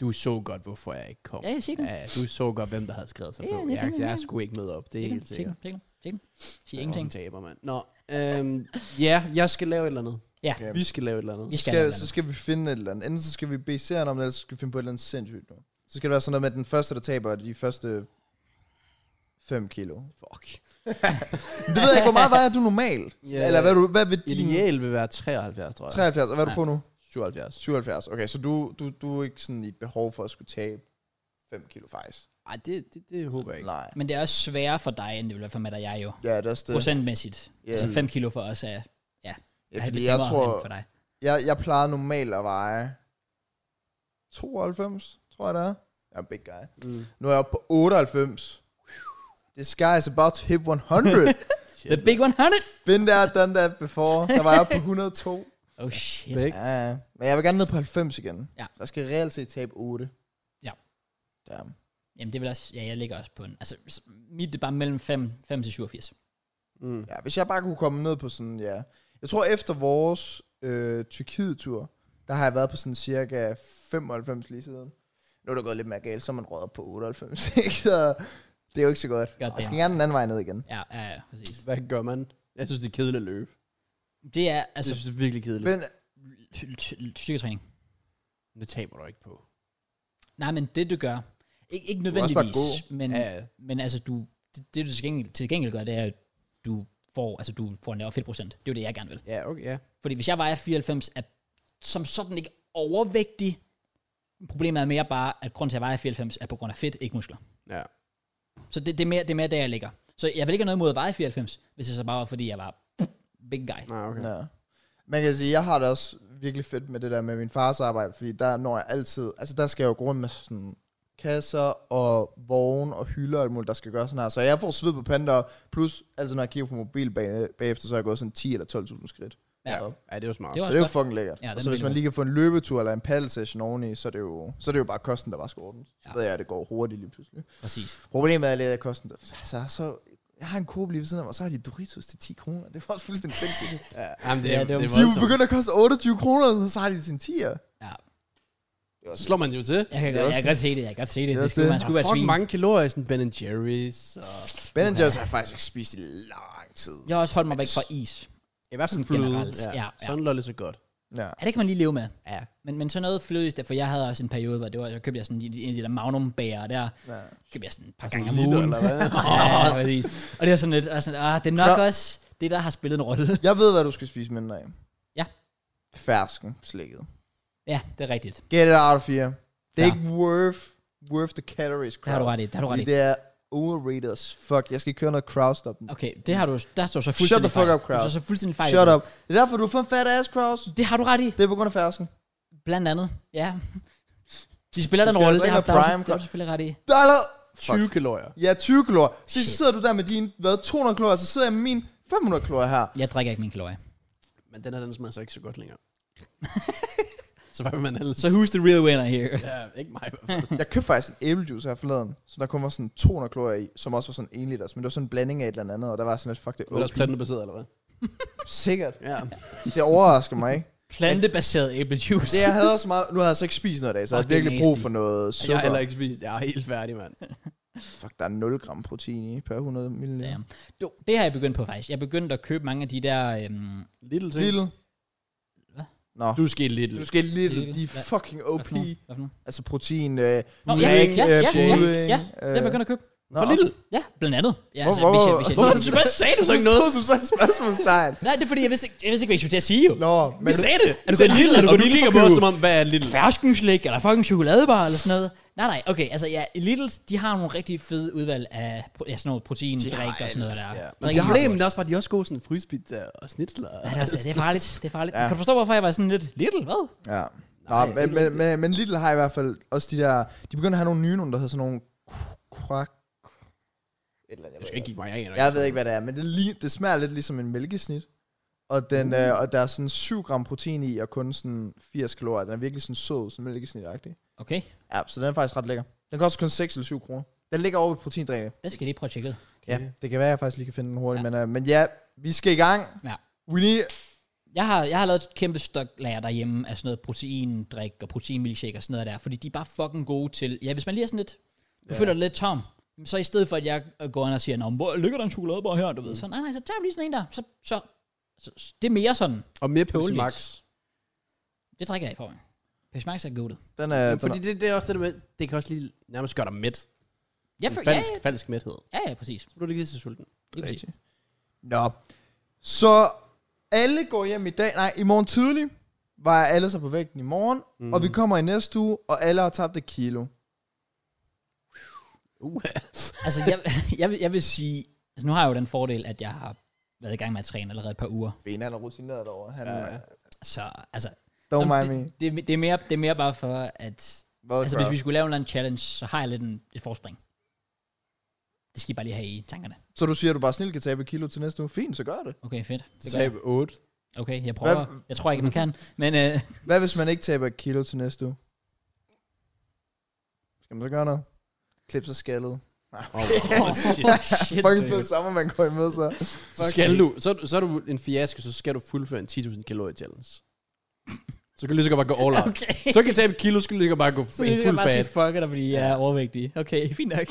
S2: Du så godt, hvorfor jeg ikke kom.
S1: Ja, jeg siger den.
S2: Ja, ja, du så godt, hvem der havde skrevet sig
S1: Ja,
S2: på.
S1: det er
S2: Jeg,
S1: fint, ja.
S2: jeg skulle ikke møde op, det er helt
S1: Sig den,
S2: sikkert.
S1: sig den, sig den. Sig
S2: Jeg
S1: ingenting.
S2: taber, mand. Nå, øhm, ja, jeg skal lave et eller andet.
S1: Ja.
S3: Okay.
S2: Vi skal lave et eller
S1: Vi
S2: andet.
S1: skal,
S3: skal, så skal vi finde et eller andet. Enten så skal vi bede serien om det, eller så skal vi finde på et eller andet sindssygt nu. Så skal det være sådan noget med, at den første, der taber, er de første 5 kilo.
S2: Fuck.
S3: Det ved jeg ikke, hvor meget vejer du normalt?
S2: Ja.
S3: Eller hvad, er du, hvad vil din...
S2: Ideal vil være 73, tror jeg.
S3: 73, og hvad er du på nu?
S2: 77.
S3: 77. Okay, så du, du, du er ikke sådan i et behov for at skulle tabe 5 kilo faktisk?
S2: Ej, det, det, det håber jeg ikke.
S3: Nej.
S1: Men det er også sværere for dig, end det vil være for Matt og jeg jo.
S3: Ja, det er også det.
S1: Procentmæssigt.
S3: Ja.
S1: Altså 5 kilo for os er,
S3: Ja,
S1: er lidt
S3: fordi jeg
S1: nemmere end
S3: tror,
S1: for dig.
S3: jeg, jeg plejer normalt at veje 92, tror jeg det er. Jeg er en big guy.
S2: Mm.
S3: Nu er jeg oppe på 98. The sky is about to hit 100.
S1: The big 100!
S3: Been there, done that before. Der var jeg oppe på 102.
S1: Oh shit.
S2: Vægt.
S3: Ja, ja. men jeg vil gerne ned på 90 igen.
S1: Ja.
S3: Så jeg skal reelt set tabe 8.
S1: Ja.
S3: Damn.
S1: Jamen det vil også, ja jeg ligger også på en, altså s- mit det er bare mellem 5, 5 til 87.
S2: Mm.
S3: Ja, hvis jeg bare kunne komme ned på sådan, ja. Jeg tror efter vores øh, Tyrkiet-tur, der har jeg været på sådan cirka 95 lige siden. Nu er det gået lidt mere galt, så er man røget op på 98, ikke? Så det er jo ikke så godt.
S1: God
S3: Jeg skal
S1: damn.
S3: gerne den anden vej ned igen.
S1: Ja, ja, ja, præcis.
S2: Hvad gør man? Jeg synes, det er kedeligt at løbe.
S1: Det er
S2: Jeg
S1: altså
S2: synes, det er virkelig kedeligt.
S3: Men
S1: ty- ty- styrketræning.
S2: Det taber du ikke på.
S1: Nej, men det du gør, ikke, ikke
S3: bare
S1: nødvendigvis, men,
S2: Ja, ja.
S1: men altså du, det, det du til gengæld, til gengæld gør, det er, at du får, altså, du får en lavere fedtprocent. Det er jo det, jeg gerne vil.
S2: ja, okay, ja.
S1: Fordi hvis jeg vejer 94, er som sådan ikke overvægtig. Problemet er mere bare, at grunden til, at jeg vejer 94, er på grund af fedt, ikke muskler.
S2: ja.
S1: Så det, det, er, mere, det er mere der, jeg ligger. Så jeg vil ikke have noget imod at veje 94, hvis det så bare var, fordi jeg var big guy.
S2: Nej, okay.
S3: Ja. Man kan sige, jeg har det også virkelig fedt med det der med min fars arbejde, fordi der når jeg altid, altså der skal jeg jo gå rundt med sådan kasser og vogn og hylder og alt muligt, der skal gøre sådan her. Så jeg får sved på pander, plus altså når jeg kigger på mobilbane bagefter, så har jeg gået sådan 10 eller 12.000 skridt.
S1: Ja.
S3: Så
S2: Ja, det er jo smart.
S1: Det var
S3: det er jo
S1: også godt.
S3: fucking lækkert.
S1: Ja,
S3: Ja,
S1: den
S3: og
S1: er
S3: så hvis
S1: virkelig
S3: man
S1: god.
S3: lige kan få en løbetur eller en paddle session oveni, så er det jo, så er det jo bare kosten, der bare skal ordnes. Så
S1: Ja.
S3: ved jeg, at det går hurtigt lige pludselig.
S1: Præcis.
S3: Problemet er lidt, at kosten, der, så, så, jeg har en Coop lige ved siden af mig, og så har de Doritos til 10 kroner. Det var også fuldstændig sindssygt.
S2: Ja, jamen, det,
S1: Ja,
S2: ja,
S1: det
S2: det,
S1: er
S2: er,
S1: jo-
S2: det er
S3: De er jo
S2: voldsomt.
S3: begyndt at koste 28 kroner, og så har de sin 10'er.
S1: Ja.
S2: Så slår man jo til.
S1: Jeg kan,
S3: Det er
S1: godt, jeg
S3: også
S1: kan godt se det, jeg kan godt se det.
S3: er
S1: det
S3: også
S1: skulle,
S3: det.
S1: man
S2: Der
S1: skulle
S2: er
S1: være
S2: fucking
S1: svin.
S2: mange kalorier i sådan Ben Jerry's. Og
S3: Ben Jerry's har jeg faktisk ikke spist i lang tid.
S1: Jeg har også holdt mig væk fra is.
S2: I hvert
S1: Sådan
S2: fald fløde.
S1: generelt,
S2: Ja.
S1: ja,
S2: Ja,
S1: ja.
S2: ja. Sådan lå det så godt.
S3: Ja.
S1: Ja, det kan man lige leve med.
S2: Ja.
S1: Men, men sådan noget flødes, der- for jeg havde også en periode, hvor det var, så købte jeg sådan en en af de der magnum bager der.
S3: ja.
S1: Købte jeg sådan et par
S2: Sådan
S1: gange om
S2: en liter,
S1: ugen.
S2: eller hvad?
S1: ja, præcis. Og det var sådan lidt, og sådan, ah, det er nok
S3: Klar.
S1: også det, der har spillet en rolle.
S3: Jeg ved, hvad du skal spise mindre af.
S1: Ja.
S3: Fersken slikket.
S1: ja, det er rigtigt.
S3: Get it out of here. Det er
S1: Ja.
S3: ikke worth, worth the calories.
S1: Det har du ret i, det har du ret i.
S3: Det er overrated as fuck. Jeg skal køre noget crowdstopping.
S1: Okay, det har du, der står så fuldstændig
S3: the fuck
S1: fejl.
S3: up, crowd.
S1: Du står så fuldstændig fejl.
S3: Shut up. Det er derfor, du har fået en fat ass, Kraus.
S1: Det har du ret i,
S3: Det er på grund af fersken.
S1: blandt andet. Ja. De spiller den
S3: skal
S1: rolle, det
S3: drikke
S1: har
S3: noget
S1: der er
S3: Prime,
S1: du- der er du selvfølgelig ret i.
S3: Der er allerede...
S2: 20 kalorier.
S3: Ja, 20 kalorier. Så
S1: Shit.
S3: sidder du der med din, hvad, 200 kalorier, så sidder jeg med min 500 kalorier her.
S1: Jeg drikker ikke min kalorier.
S2: Men den her, den smager så ikke så godt længere. så hvad vil man ellers?
S1: Så who's the real winner here?
S2: Ja, ikke mig i hvert fald.
S3: Jeg købte faktisk en æblejuice her forleden, så der kun var sådan 200 kalorier i, som også var sådan 1 liters, men det var sådan en blanding af et eller andet, og der var sådan lidt, fuck det
S2: Du er også
S3: er OP.
S2: plantebaseret, eller hvad?
S3: Sikkert.
S2: Ja.
S3: Det overrasker mig ikke.
S1: Plantebaseret æblejuice.
S3: Det jeg havde så meget, nu havde jeg så ikke spist noget i dag, så jeg
S1: Fuck,
S3: havde
S1: det er
S3: virkelig brug
S1: nasty.
S3: for noget
S2: Jeg
S3: sukker.
S2: har heller ikke spist. Jeg er helt færdig, mand.
S3: Fuck, der er 0 gram protein i per 100 ml.
S1: Ja. Du, det har jeg begyndt på faktisk. Jeg er begyndt at købe mange af de der... Øhm,
S2: Little ting.
S3: Little.
S1: Hvad?
S3: Nå.
S2: Du skal i little.
S3: Du skal little,
S1: Little.
S3: de er
S1: Hvad-
S3: fucking
S1: hvad
S3: OP.
S1: for nogle- hvad for nogle?
S3: Altså protein, øh,
S1: Nå, ja,
S3: drink,
S1: ja,
S3: øh,
S1: ja, ja,
S3: pudding,
S1: ja.
S3: øh,
S1: Det er jeg begyndt at købe.
S3: nå.
S2: For little.
S1: Ja, blandt andet. Ja, altså,
S3: Hvor-
S1: hvis jeg,
S3: hvor-
S1: hvis jeg,
S3: hvorfor-
S1: Hvad sagde du så ikke noget?
S3: Det stod som sådan et spørgsmålstegn.
S1: Nej, det er fordi, jeg vidste ikke, jeg vidste ikke hvad jeg skulle til at sige jo.
S3: Nå,
S1: Men
S3: men
S1: du sagde det. Er du
S2: Så
S1: gået lille, er du
S2: og
S1: gået
S2: du
S1: lille
S2: kigger
S1: for
S2: på os
S1: at
S2: som
S1: købe
S2: om, hvad er little?
S1: ferskenslik, eller fucking chokoladebar, eller sådan noget. Nej, nej, okay, altså ja, Lidl's, de har nogle rigtig fede udvalg af pro- ja, sådan noget protein, drik og sådan noget der.
S2: Ja.
S1: Ja.
S2: Men problemet er også bare, at de er også gode sådan fryspizza og snitsler.
S1: Ja, det, er, også- det er farligt, det er farligt.
S3: Ja.
S1: Ja. Kan du forstå, hvorfor jeg var sådan lidt, Lidl, hvad?
S3: Ja. Nej, Nå, men, men, men, men Little har i hvert fald også de der... De begynder at have nogle nye nogle, der hedder sådan nogle... k- Krak... Et eller andet,
S2: Jeg skal ikke give mig af.
S3: jeg ved ikke, hvad det er, men det, li- det smager lidt ligesom en mælkesnit. Og, den, mm. øh, og der er sådan 7 gram protein i, og kun sådan 80 kalorier. Den er virkelig sådan sød, sådan mælkesnit
S1: Okay,
S3: Ja, så den er faktisk ret lækker. Den koster kun 6 eller 7 kroner. Den ligger over ved proteindrænet.
S1: det skal jeg lige prøve at tjekke ud.
S3: Ja, det kan være, jeg faktisk lige kan finde den hurtigt.
S1: Ja.
S3: Ja. Men, øh, men ja, vi skal i gang.
S1: Ja.
S3: We need...
S1: Jeg har, jeg har lavet et kæmpe stok lager derhjemme af sådan noget proteindrik og proteinmilkshake og sådan noget der, fordi de er bare fucking gode til, ja, hvis man lige er sådan lidt, du ja. føler dig lidt tom, jamen så i stedet for, at jeg går ind og siger, Nå, men hvor ligger der en chokoladebar her, du
S3: Mm.
S1: ved, så nej, nej, så tager du lige sådan en der, så, så, så, så det er mere sådan,
S2: Og mere Pepsi
S1: Tåleligt.
S2: Max.
S1: det drikker jeg i forvejen. Pepsi Max er goated.
S3: Den er,
S2: Ja,
S3: den
S2: fordi det, det, er også det der med, det kan også lige nærmest gøre dig mæt.
S1: Jeg
S2: En
S1: føler, ja,
S2: falsk, falsk mæthed.
S1: ja, ja, præcis.
S2: Så bliver du ikke lige så sulten.
S1: Lige præcis.
S3: Rigtigt. Nå. Så alle går hjem i dag. Nej, i morgen tidlig var alle så på vægten i morgen. Mm.
S1: Mhm.
S3: Og vi kommer i næste uge, og alle har tabt et kilo.
S2: Uh.
S1: Altså, jeg, jeg, vil, jeg vil sige, altså nu har jeg jo den fordel, at jeg har været i gang med at træne allerede et par uger.
S3: Fene, han er rutineret over. Han,
S2: Ja,
S3: ja.
S2: ja.
S1: Så, altså,
S3: Don't mind me.
S1: det, det, det, er mere, det er mere bare for, at
S3: Hvad
S1: altså, hvis vi skulle lave en eller anden challenge, så har jeg lidt en, et forspring. Det skal I bare lige have i tankerne.
S3: Så du siger, at du bare snilt kan tabe et kilo til næste uge. Fint, så gør det.
S1: Okay, fedt. Det gør jeg.
S2: Tab 8.
S1: Okay, jeg prøver.
S3: Hvad-
S1: Jeg tror ikke, man kan. Men øh,
S3: Hvad hvis man ikke taber et kilo til næste uge? Skal man så gøre noget? Klip sig skaldet.
S2: Oh,
S1: shit,
S3: Fucking
S1: dude.
S3: fed sommer, man går imod så.
S2: så skal du, så, så er du en fiasko, så skal du fuldføre en 10.000 kalorie challenge. Så kan du lige så godt bare gå all out.
S1: Okay.
S2: Så kan du tabe et kilo, så skal du lige så godt bare gå
S1: Så
S2: en
S1: jeg
S2: fuld
S1: kan bare sige,
S2: fat.
S1: fuck dig, fordi jeg er overvægtig. Okay, fint nok.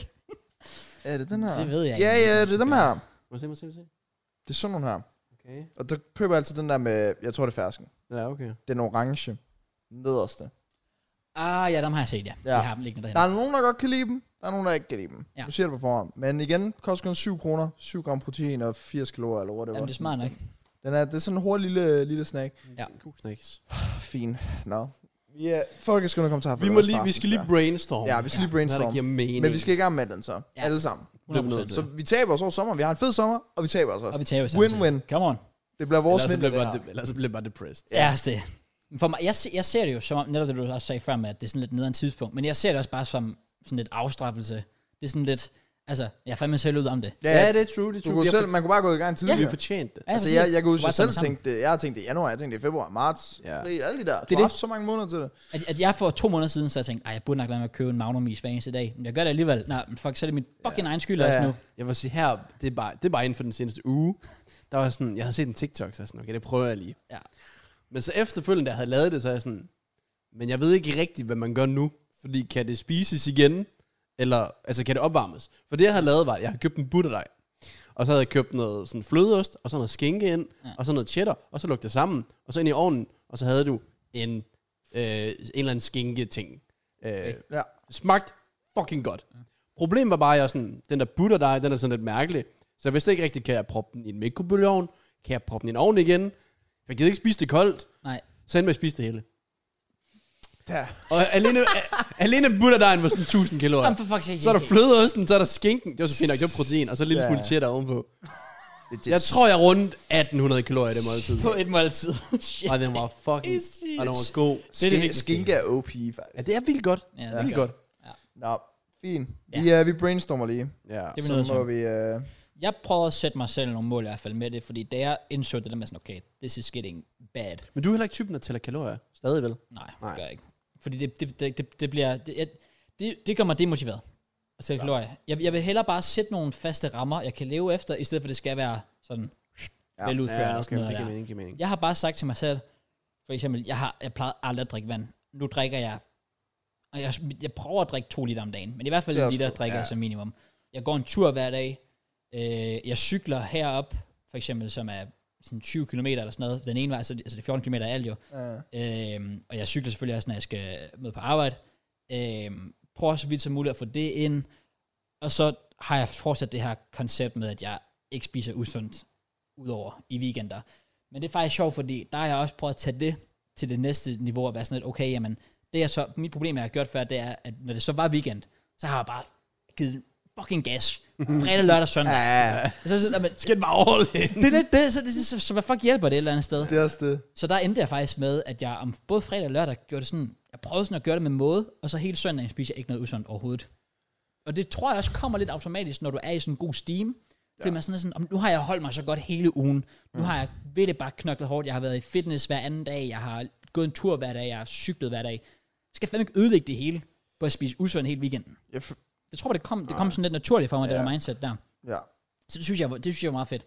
S3: Er det den her?
S1: Det ved jeg
S3: Ja,
S1: ikke.
S3: ja, det er dem her.
S2: Må se, må se, må se.
S3: Det er sådan nogle her.
S2: Okay.
S3: Og der køber jeg altid den der med, jeg tror det er fersken.
S2: Ja, okay.
S3: Den orange. Nederste.
S1: Ah, ja, dem har jeg set, ja. ja.
S3: Ja.
S1: Jeg har dem liggende
S3: Der
S1: derhen.
S3: er nogen, der godt kan lide dem. Der er nogen, der ikke kan lide dem.
S1: Ja.
S3: Ja. Du siger det på forhånd. Men igen, koster kun 7 kroner, 7 gram protein og 80 kalorier eller hvad det
S1: Jamen, det er smart nok.
S3: Den er, det er sådan en hurtig lille, lille snack.
S1: Ja.
S2: God snacks.
S3: Fint. Nå. No. Yeah. Folk skal nogle kommentarer. for
S2: Vi,
S3: det
S2: må
S3: var
S2: lige, vi
S3: starten,
S2: skal lige
S3: der.
S2: brainstorme.
S3: Ja, vi skal lige
S2: Hvad der
S3: brainstorme.
S2: giver mening.
S3: Men vi skal i gang med den så.
S1: Ja.
S3: Ja. Alle sammen.
S1: 100%.
S3: Så vi taber os over sommeren. Vi har en fed sommer, og vi taber os
S1: Og
S3: også.
S1: vi tager jo
S3: Win-win.
S1: Come on.
S3: Det bliver
S2: Ellers
S3: vores
S2: så
S3: vinter.
S2: bliver
S3: det
S2: jeg bare,
S3: her.
S2: de- ellers så bliver jeg bare depressed.
S1: Ja, altså det. Men For mig, jeg, se- jeg ser det jo som om, netop det du også sagde før med, at det er sådan lidt nederen tidspunkt, men jeg ser det også bare som sådan lidt afstraffelse. Det er sådan lidt, altså, jeg fandt mig selv ud om det.
S3: Ja,
S2: Ja,
S3: ja,
S2: det er true, det er
S3: du
S2: true.
S3: kunne
S2: Vi har
S3: selv, man kunne bare gå i gang
S2: for- Vi
S3: tidligere.
S2: har fortjent det.
S1: Ja,
S3: Altså,
S1: præcis.
S3: jeg, jeg kan huske,
S1: Du
S3: jeg
S1: var
S3: selv
S1: sådan sammen.
S3: tænkte, jeg har tænkt det i januar, jeg tænkte det i februar, marts,
S2: Ja.
S3: ja. april, alle de der. Du
S1: det.
S3: har haft så mange måneder til det.
S1: At, at jeg for to måneder siden, så jeg tænkte, ej, jeg burde nok lade mig at købe en Magnum is hver eneste dag, men jeg gør det alligevel. Nej, men fuck, så er det min fucking ja. egen skyld ja,
S3: Ja,
S1: også
S3: ja.
S1: nu.
S2: Jeg vil sige, her, det er, bare, det er bare inden for den seneste uge. Der var sådan, jeg havde set en TikTok, så jeg sådan, okay, det prøver jeg lige.
S1: Ja.
S2: Men så efterfølgende, da jeg havde lavet det, så er jeg sådan, men jeg ved ikke rigtigt, hvad man gør nu. Fordi kan det spises igen? Eller, altså kan det opvarmes? For det, jeg havde lavet, var, at jeg havde købt en butterdej. Og så havde jeg købt noget sådan flødeost, og så noget skinke ind,
S1: Ja.
S2: ja. og så noget cheddar, og så lugte det sammen, og så ind i ovnen, og så havde du en, øh, en eller anden skinke-ting. Øh,
S3: Ja.
S2: Smagt fucking godt. Problemet var bare, at jeg sådan, den der butterdej, den er sådan lidt mærkelig. Så jeg vidste ikke rigtigt, kan jeg proppe den i en mikrobølgeovn? Kan jeg proppe den i en ovn igen? Jeg gider ikke spise det koldt.
S1: Nej.
S2: Så endte jeg med at spise det hele.
S3: Der.
S2: Og alene, alene butterdejen var sådan 1000 kalorier.
S1: Jamen for fuck's sake.
S2: Så er der flødeosten, så er der skinken. Det var så fint nok, det var protein, og så en lille
S3: Ja.
S2: smule cheddar ovenpå.
S3: Det,
S2: Jeg tror, jeg rundt 1800 kalorier i det måltid.
S1: På et måltid. Shit.
S2: Og den var fucking...
S1: er sygt.
S2: Og den var god.
S1: det er det
S3: skin,
S1: vigtigste.
S3: skinke er OP, faktisk.
S2: Ja, det er vildt godt.
S1: Ja, det
S2: vildt
S1: gør
S2: godt.
S3: Nå, fint. Vi, uh, vi brainstormer lige.
S2: Ja.
S1: Det er vi nødt til.
S3: Så må vi... Uh,
S1: Jeg prøvede at sætte mig selv nogle mål i hvert fald med det, fordi da jeg indså det der med sådan, okay, this is getting bad.
S2: Men du er heller ikke typen, der tæller kalorier. Stadig vel?
S1: Nej, Nej.
S2: Nej.
S1: det gør jeg ikke. Fordi det, det, det, det, det bliver... Det, jeg, det, det gør mig demotiveret. At tælle kalorier. Jeg, jeg vil hellere bare sætte nogle faste rammer, jeg kan leve efter, i stedet for at det skal være sådan ja,
S3: Ja,
S1: veludført.
S2: Ja,
S1: og
S2: okay,
S1: sådan noget
S2: det giver
S1: der.
S2: mening, giver mening.
S1: Jeg har bare sagt til mig selv, for eksempel, jeg, har, jeg plejede aldrig at drikke vand. Nu drikker jeg, og jeg, jeg prøver at drikke to liter om dagen, men i hvert fald
S3: Det er
S1: en
S3: også
S1: liter
S3: godt,
S1: drikker
S2: ja.
S1: jeg som minimum. Jeg går en tur hver dag. Øh, jeg cykler herop, for eksempel, som er sådan 20 km eller sådan noget. Den ene vej, så, altså det er 14 km alt jo.
S3: uh,
S1: Øhm, og jeg cykler selvfølgelig også, når jeg skal med på arbejde. Øhm, prøver så vidt som muligt at få det ind. Og så har jeg fortsat det her koncept med, at jeg ikke spiser usundt udover i weekender. Men det er faktisk sjovt, fordi der har jeg også prøvet at tage det til det næste niveau og være sådan lidt, okay, jamen, det er så, mit problem, jeg har gjort før, det er, at når det så var weekend, så har jeg bare givet fucking gas. Fredag, lørdag, søndag.
S3: ja, ja.
S1: Så, så, så, men,
S2: Skal den bare all in?
S1: det er lidt det, så, så, så, så hvad fuck hjælper det et eller andet sted?
S3: Det er også det.
S1: Så der endte jeg faktisk med, at jeg om både fredag og lørdag gjorde det sådan, jeg prøvede sådan at gøre det med måde, og så hele søndagen spiser jeg ikke noget usundt overhovedet. Og det tror jeg også kommer lidt automatisk, når du er i sådan en god steam. Fordi man sådan er sådan, "Om, nu har jeg holdt mig så godt hele ugen. Nu
S3: Mm.
S1: har jeg virkelig bare knoklet hårdt. Jeg har været i fitness hver anden dag. Jeg har gået en tur hver dag. Jeg har cyklet hver dag. Jeg skal fandme ikke ødelægge det hele på at spise usundt hele weekenden.
S3: Jeg f-
S1: Det tror jeg, det kom, det kom sådan lidt naturligt for mig, ja. det
S3: Ja.
S1: der mindset der.
S3: ja,
S1: Så det synes jeg, var- det synes jeg var meget fedt.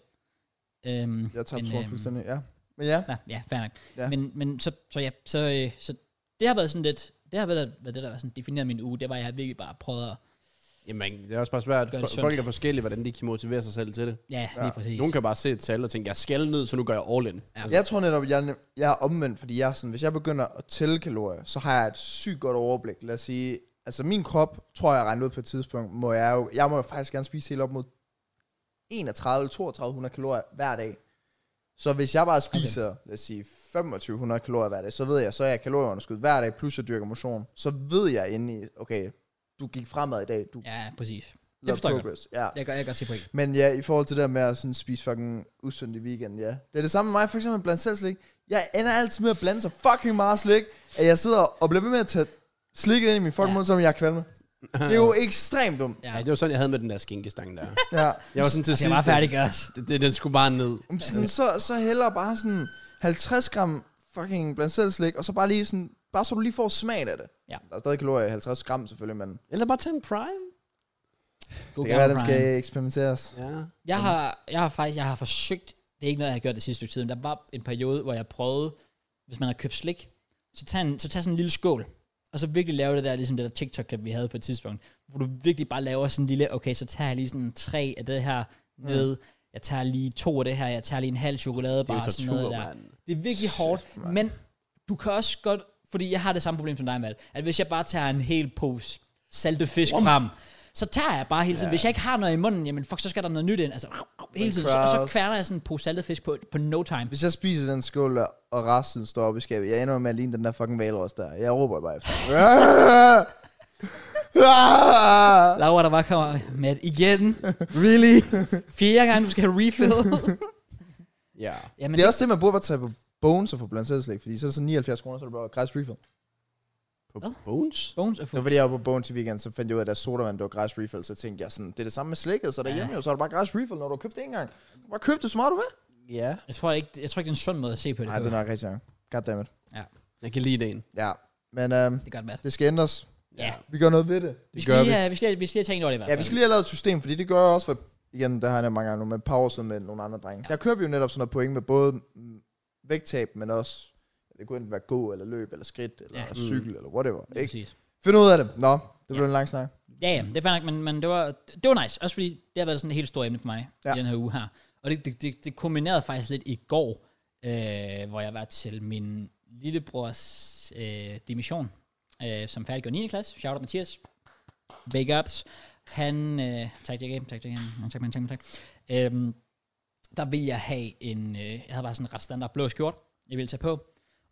S1: Øhm,
S3: jeg tabte
S1: men,
S3: tror
S1: øhm,
S3: fuldstændig. Ja. Men ja,
S1: Ja, ja fair nok. Ja.
S3: Ja.
S1: Men, men så, så, ja, så, øh, så det har været sådan lidt, det har været, været det, der var sådan defineret min uge. Det var, jeg har virkelig bare prøvet at,
S2: Jamen, det er også bare svært.
S1: Gør det
S2: Fol-
S1: sundt.
S2: Folk er forskellige, hvordan de kan motivere sig selv til det.
S1: ja, lige præcis.
S2: Nogen kan bare se et tal og tænke, jeg skal ned, så nu gør jeg all in.
S1: Altså-
S3: jeg tror netop, jeg, er nem- jeg er omvendt, fordi jeg er sådan, hvis jeg begynder at tælle kalorier, så har jeg et sygt godt overblik. Lad os sige, altså min krop, tror jeg, regnet ud på et tidspunkt, må jeg jo, jeg må jo faktisk gerne spise helt op mod 31 3200 kalorier hver dag. Så hvis jeg bare spiser, okay. lad os sige, 2500 kalorier hver dag, så ved jeg, så er jeg kalorieunderskud hver dag, plus jeg dyrker motion, så ved jeg inde i, okay, du gik fremad i dag, du
S1: Ja, præcis.
S3: lavede
S1: forstår jeg godt.
S3: progress. Ja.
S1: Jeg kan, jeg kan godt se på ikke.
S3: Men ja, i forhold til det der med at sådan spise fucking usundt i weekenden, ja. Det er det samme med mig, for eksempel blandt selv slik. Jeg ender altid med at blande så fucking meget slik, at jeg sidder og bliver ved med at tage slikket ind i min fucking
S1: Ja.
S3: ja. mund, som jeg er kvalme. Det er jo ekstremt dumt.
S1: Ja. Altså,
S2: Ja, det var sådan, jeg havde med den der skinkestang der.
S3: Ja.
S2: Jeg var sådan til
S1: Jeg
S2: sidst.
S1: var færdig, gørs.
S2: Det, det, den skulle bare ned.
S3: Men Sådan, så, så heller bare sådan 50 gram fucking blandt selv slik, og så bare lige sådan, bare så du lige får smagen af det.
S1: Ja.
S3: Der er stadig kalorier i 50 gram selvfølgelig, men
S2: Eller bare tage en prime.
S1: God
S3: det kan være, den
S1: Brian.
S3: skal eksperimenteres.
S2: Ja.
S1: Jeg har, jeg har faktisk, jeg har forsøgt, det er ikke noget, jeg har gjort det sidste stykke tid, men der var en periode, hvor jeg prøvede, hvis man har købt slik, så tag, en, så tag sådan en lille skål, og så virkelig lave det der, ligesom det der TikTok-klip, vi havde på et tidspunkt, hvor du virkelig bare laver sådan en lille, okay, så tager jeg lige sådan tre af det her ned, jeg tager lige to af det her, jeg tager lige en halv
S2: Mm. Det er
S1: chokoladebar
S2: jo
S1: og sådan noget
S2: tortur,
S1: der.
S2: mand.
S1: Det er virkelig hårdt, men du kan også godt, fordi jeg har det samme problem som dig, Matt, at hvis jeg bare tager en hel pose salte fisk frem, så tager jeg bare hele tiden. Hvis jeg ikke har noget i munden, jamen fuck, så skal der noget nyt ind. Altså, hele tiden. Så, og så
S3: crowds.
S1: kværner jeg sådan en pose saltet fisk på, på no time.
S3: Hvis jeg spiser den skål, der, og resten står oppe i skabet, jeg ender med at ligne den der fucking valros der. Jeg råber bare efter.
S1: Laura, der bare kommer, Matt, igen.
S3: really?
S1: Fjerde gang, du skal have refill.
S2: Ja.
S1: jamen,
S3: det er også det, man burde bare tage på Bones og få blandt selv slik, fordi så er det sådan 79 kroner, så er det bare græs refill.
S2: På
S1: Hvad?
S2: Bones?
S1: Bones er
S3: Det var
S1: fuld.
S3: fordi, jeg var på Bones i weekenden, så fandt jeg ud af, at der sodavand, det var græs refill, så tænkte jeg sådan, det er det samme med slikket, så derhjemme jo, så er det bare græs refill, når du har købt det en gang. Du kan bare køb det så meget, du vil.
S2: Ja.
S1: Jeg tror ikke, jeg tror ikke, det er en sund måde at se på det.
S3: Nej, det
S1: på.
S3: er nok rigtig nok. Goddammit.
S2: Jeg kan lide den.
S3: Ja, men øhm,
S1: det er godt, Matt.
S3: det skal ændres.
S1: Ja.
S3: Vi gør noget ved det.
S1: Vi
S2: Det
S1: skal,
S2: gør
S1: lige,
S2: vi.
S1: have- vi. skal, vi skal lige have tænkt over det i hvert
S3: Ja,
S1: fald.
S3: vi skal lige have lavet et system, fordi det gør jeg også for, igen, der har jeg nævnt mange gange nu, med pause med nogle andre drenge. Ja. Der kører vi jo netop sådan noget point med både mm, vægttab, men også, det kunne enten være gå, eller løb, eller skridt, eller
S1: Ja.
S3: ja. cykel, eller whatever.
S1: Lige
S3: Ikke?
S1: præcis.
S3: Find ud af det. Nå, det blev en lang snak.
S1: Ja, ja, det er fair nok, men, men det, var, det var nice. Også fordi det har været sådan et helt stort emne for mig ja.
S3: Ja.
S1: i den her uge her. Og det, det, det, det kulminerede faktisk lidt i går, øh, hvor jeg var til min lillebrors øh, dimission, øh, som færdiggjorde 9. klasse. Shout out Mathias. Big ups. Han, øh, tak JK, tak JK, tak man, tak man, tak. Øhm, der ville jeg have en, øh, jeg havde bare sådan en ret standard blå skjorte, jeg ville tage på.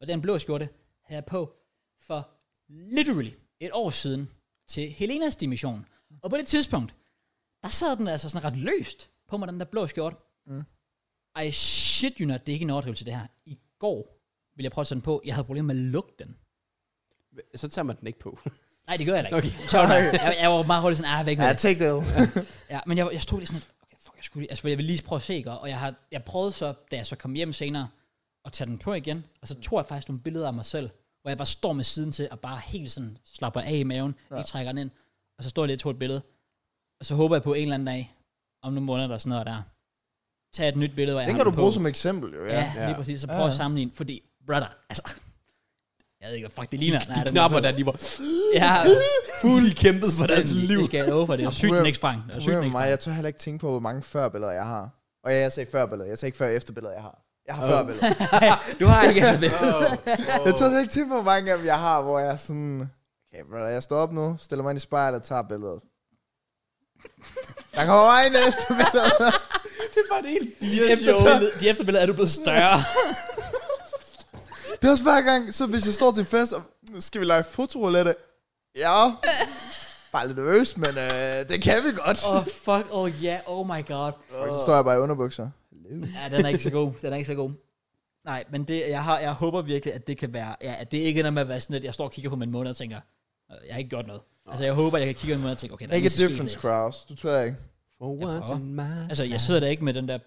S1: Og den blå skjorte havde jeg på for literally et år siden til Helenas dimission. Og på det tidspunkt, der sad den altså sådan ret løst på mig, den der blå skjorte. Mm. I shit you not, det er ikke en overdrivelse det her. I går ville jeg prøve at tage den på, jeg havde problemer med at lukke den.
S2: Så tager man den ikke på.
S1: Nej, det gør jeg da ikke.
S2: Okay.
S1: Okay. Sjovt, nok. jeg, jeg, var meget hurtigt sådan, ah, væk med
S3: Ja,
S1: det.
S3: take that.
S1: Ja, men jeg, jeg stod lige sådan lidt, okay, fuck, jeg, skulle lige, altså, jeg ville lige prøve at se, ikke? og jeg, har, jeg prøvede så, da jeg så kom hjem senere, at tage den på igen, og så tog jeg faktisk nogle billeder af mig selv, hvor jeg bare står med siden til, og bare helt sådan slapper af i maven, ja. ikke trækker den ind, og så står jeg lige og tog et billede, og så håber jeg på en eller anden dag, om nogle måneder eller sådan noget der, tage et nyt billede, hvor jeg
S3: Den
S1: har
S3: kan du
S1: på.
S3: bruge som eksempel, jo. Ja.
S1: Ja, ja, lige
S2: Ja.
S1: præcis, så
S3: Ja,
S1: prøv at
S3: ja.
S1: sammenligne, fordi, brother, altså, jeg ved ikke, hvad fuck det ligner.
S2: De
S1: den er
S2: knapper
S1: på.
S2: der, de var
S1: Ja,
S2: fuldt kæmpet for deres
S1: fuldstændig.
S2: liv.
S1: Det skal jeg love for, det er
S3: Jeg
S1: sygt, den
S3: prøver-
S1: ikke sprang. Det er sygt,
S3: Problemet
S1: den
S3: med
S1: ikke
S3: mig,
S1: sprang.
S3: jeg tør heller ikke tænke på, hvor mange førbilleder jeg har. Og ja, jeg sagde førbilleder. Jeg sagde ikke før og efterbilleder, jeg har. Jeg har
S2: Oh.
S3: førbilleder.
S1: Du har ikke altså det.
S3: Jeg tør slet ikke tænke på, hvor mange af dem jeg har, hvor jeg er sådan... Okay, brother, jeg står op nu, stiller mig ind i spejlet og tager billedet. Der kommer mig ind efter billedet.
S2: Det var det hele.
S1: Efterbillede, de efterbilleder er du blevet større.
S3: Det er også hver gang, så hvis jeg står til en fest, og "Nu skal vi lege fotorulette? Ja. Bare lidt nervøs, men øh, det kan vi godt.
S1: Åh, oh, fuck, oh yeah, oh my god.
S3: Og så står jeg bare i underbukser.
S1: Ja, den er ikke så god, den er ikke så god. Nej, men det, jeg, har, jeg håber virkelig, at det kan være, ja, at det ikke ender med at være sådan, at jeg står og kigger på min måned og tænker, "Øh, jeg har ikke gjort noget. Altså, jeg håber, jeg kan kigge på min måned og tænke, okay, der er
S3: Make
S1: ikke
S3: a
S1: så skidt
S3: difference,
S1: i dag.
S3: Kraus. Du tror jeg ikke.
S1: once in Altså, jeg sidder da ikke med den der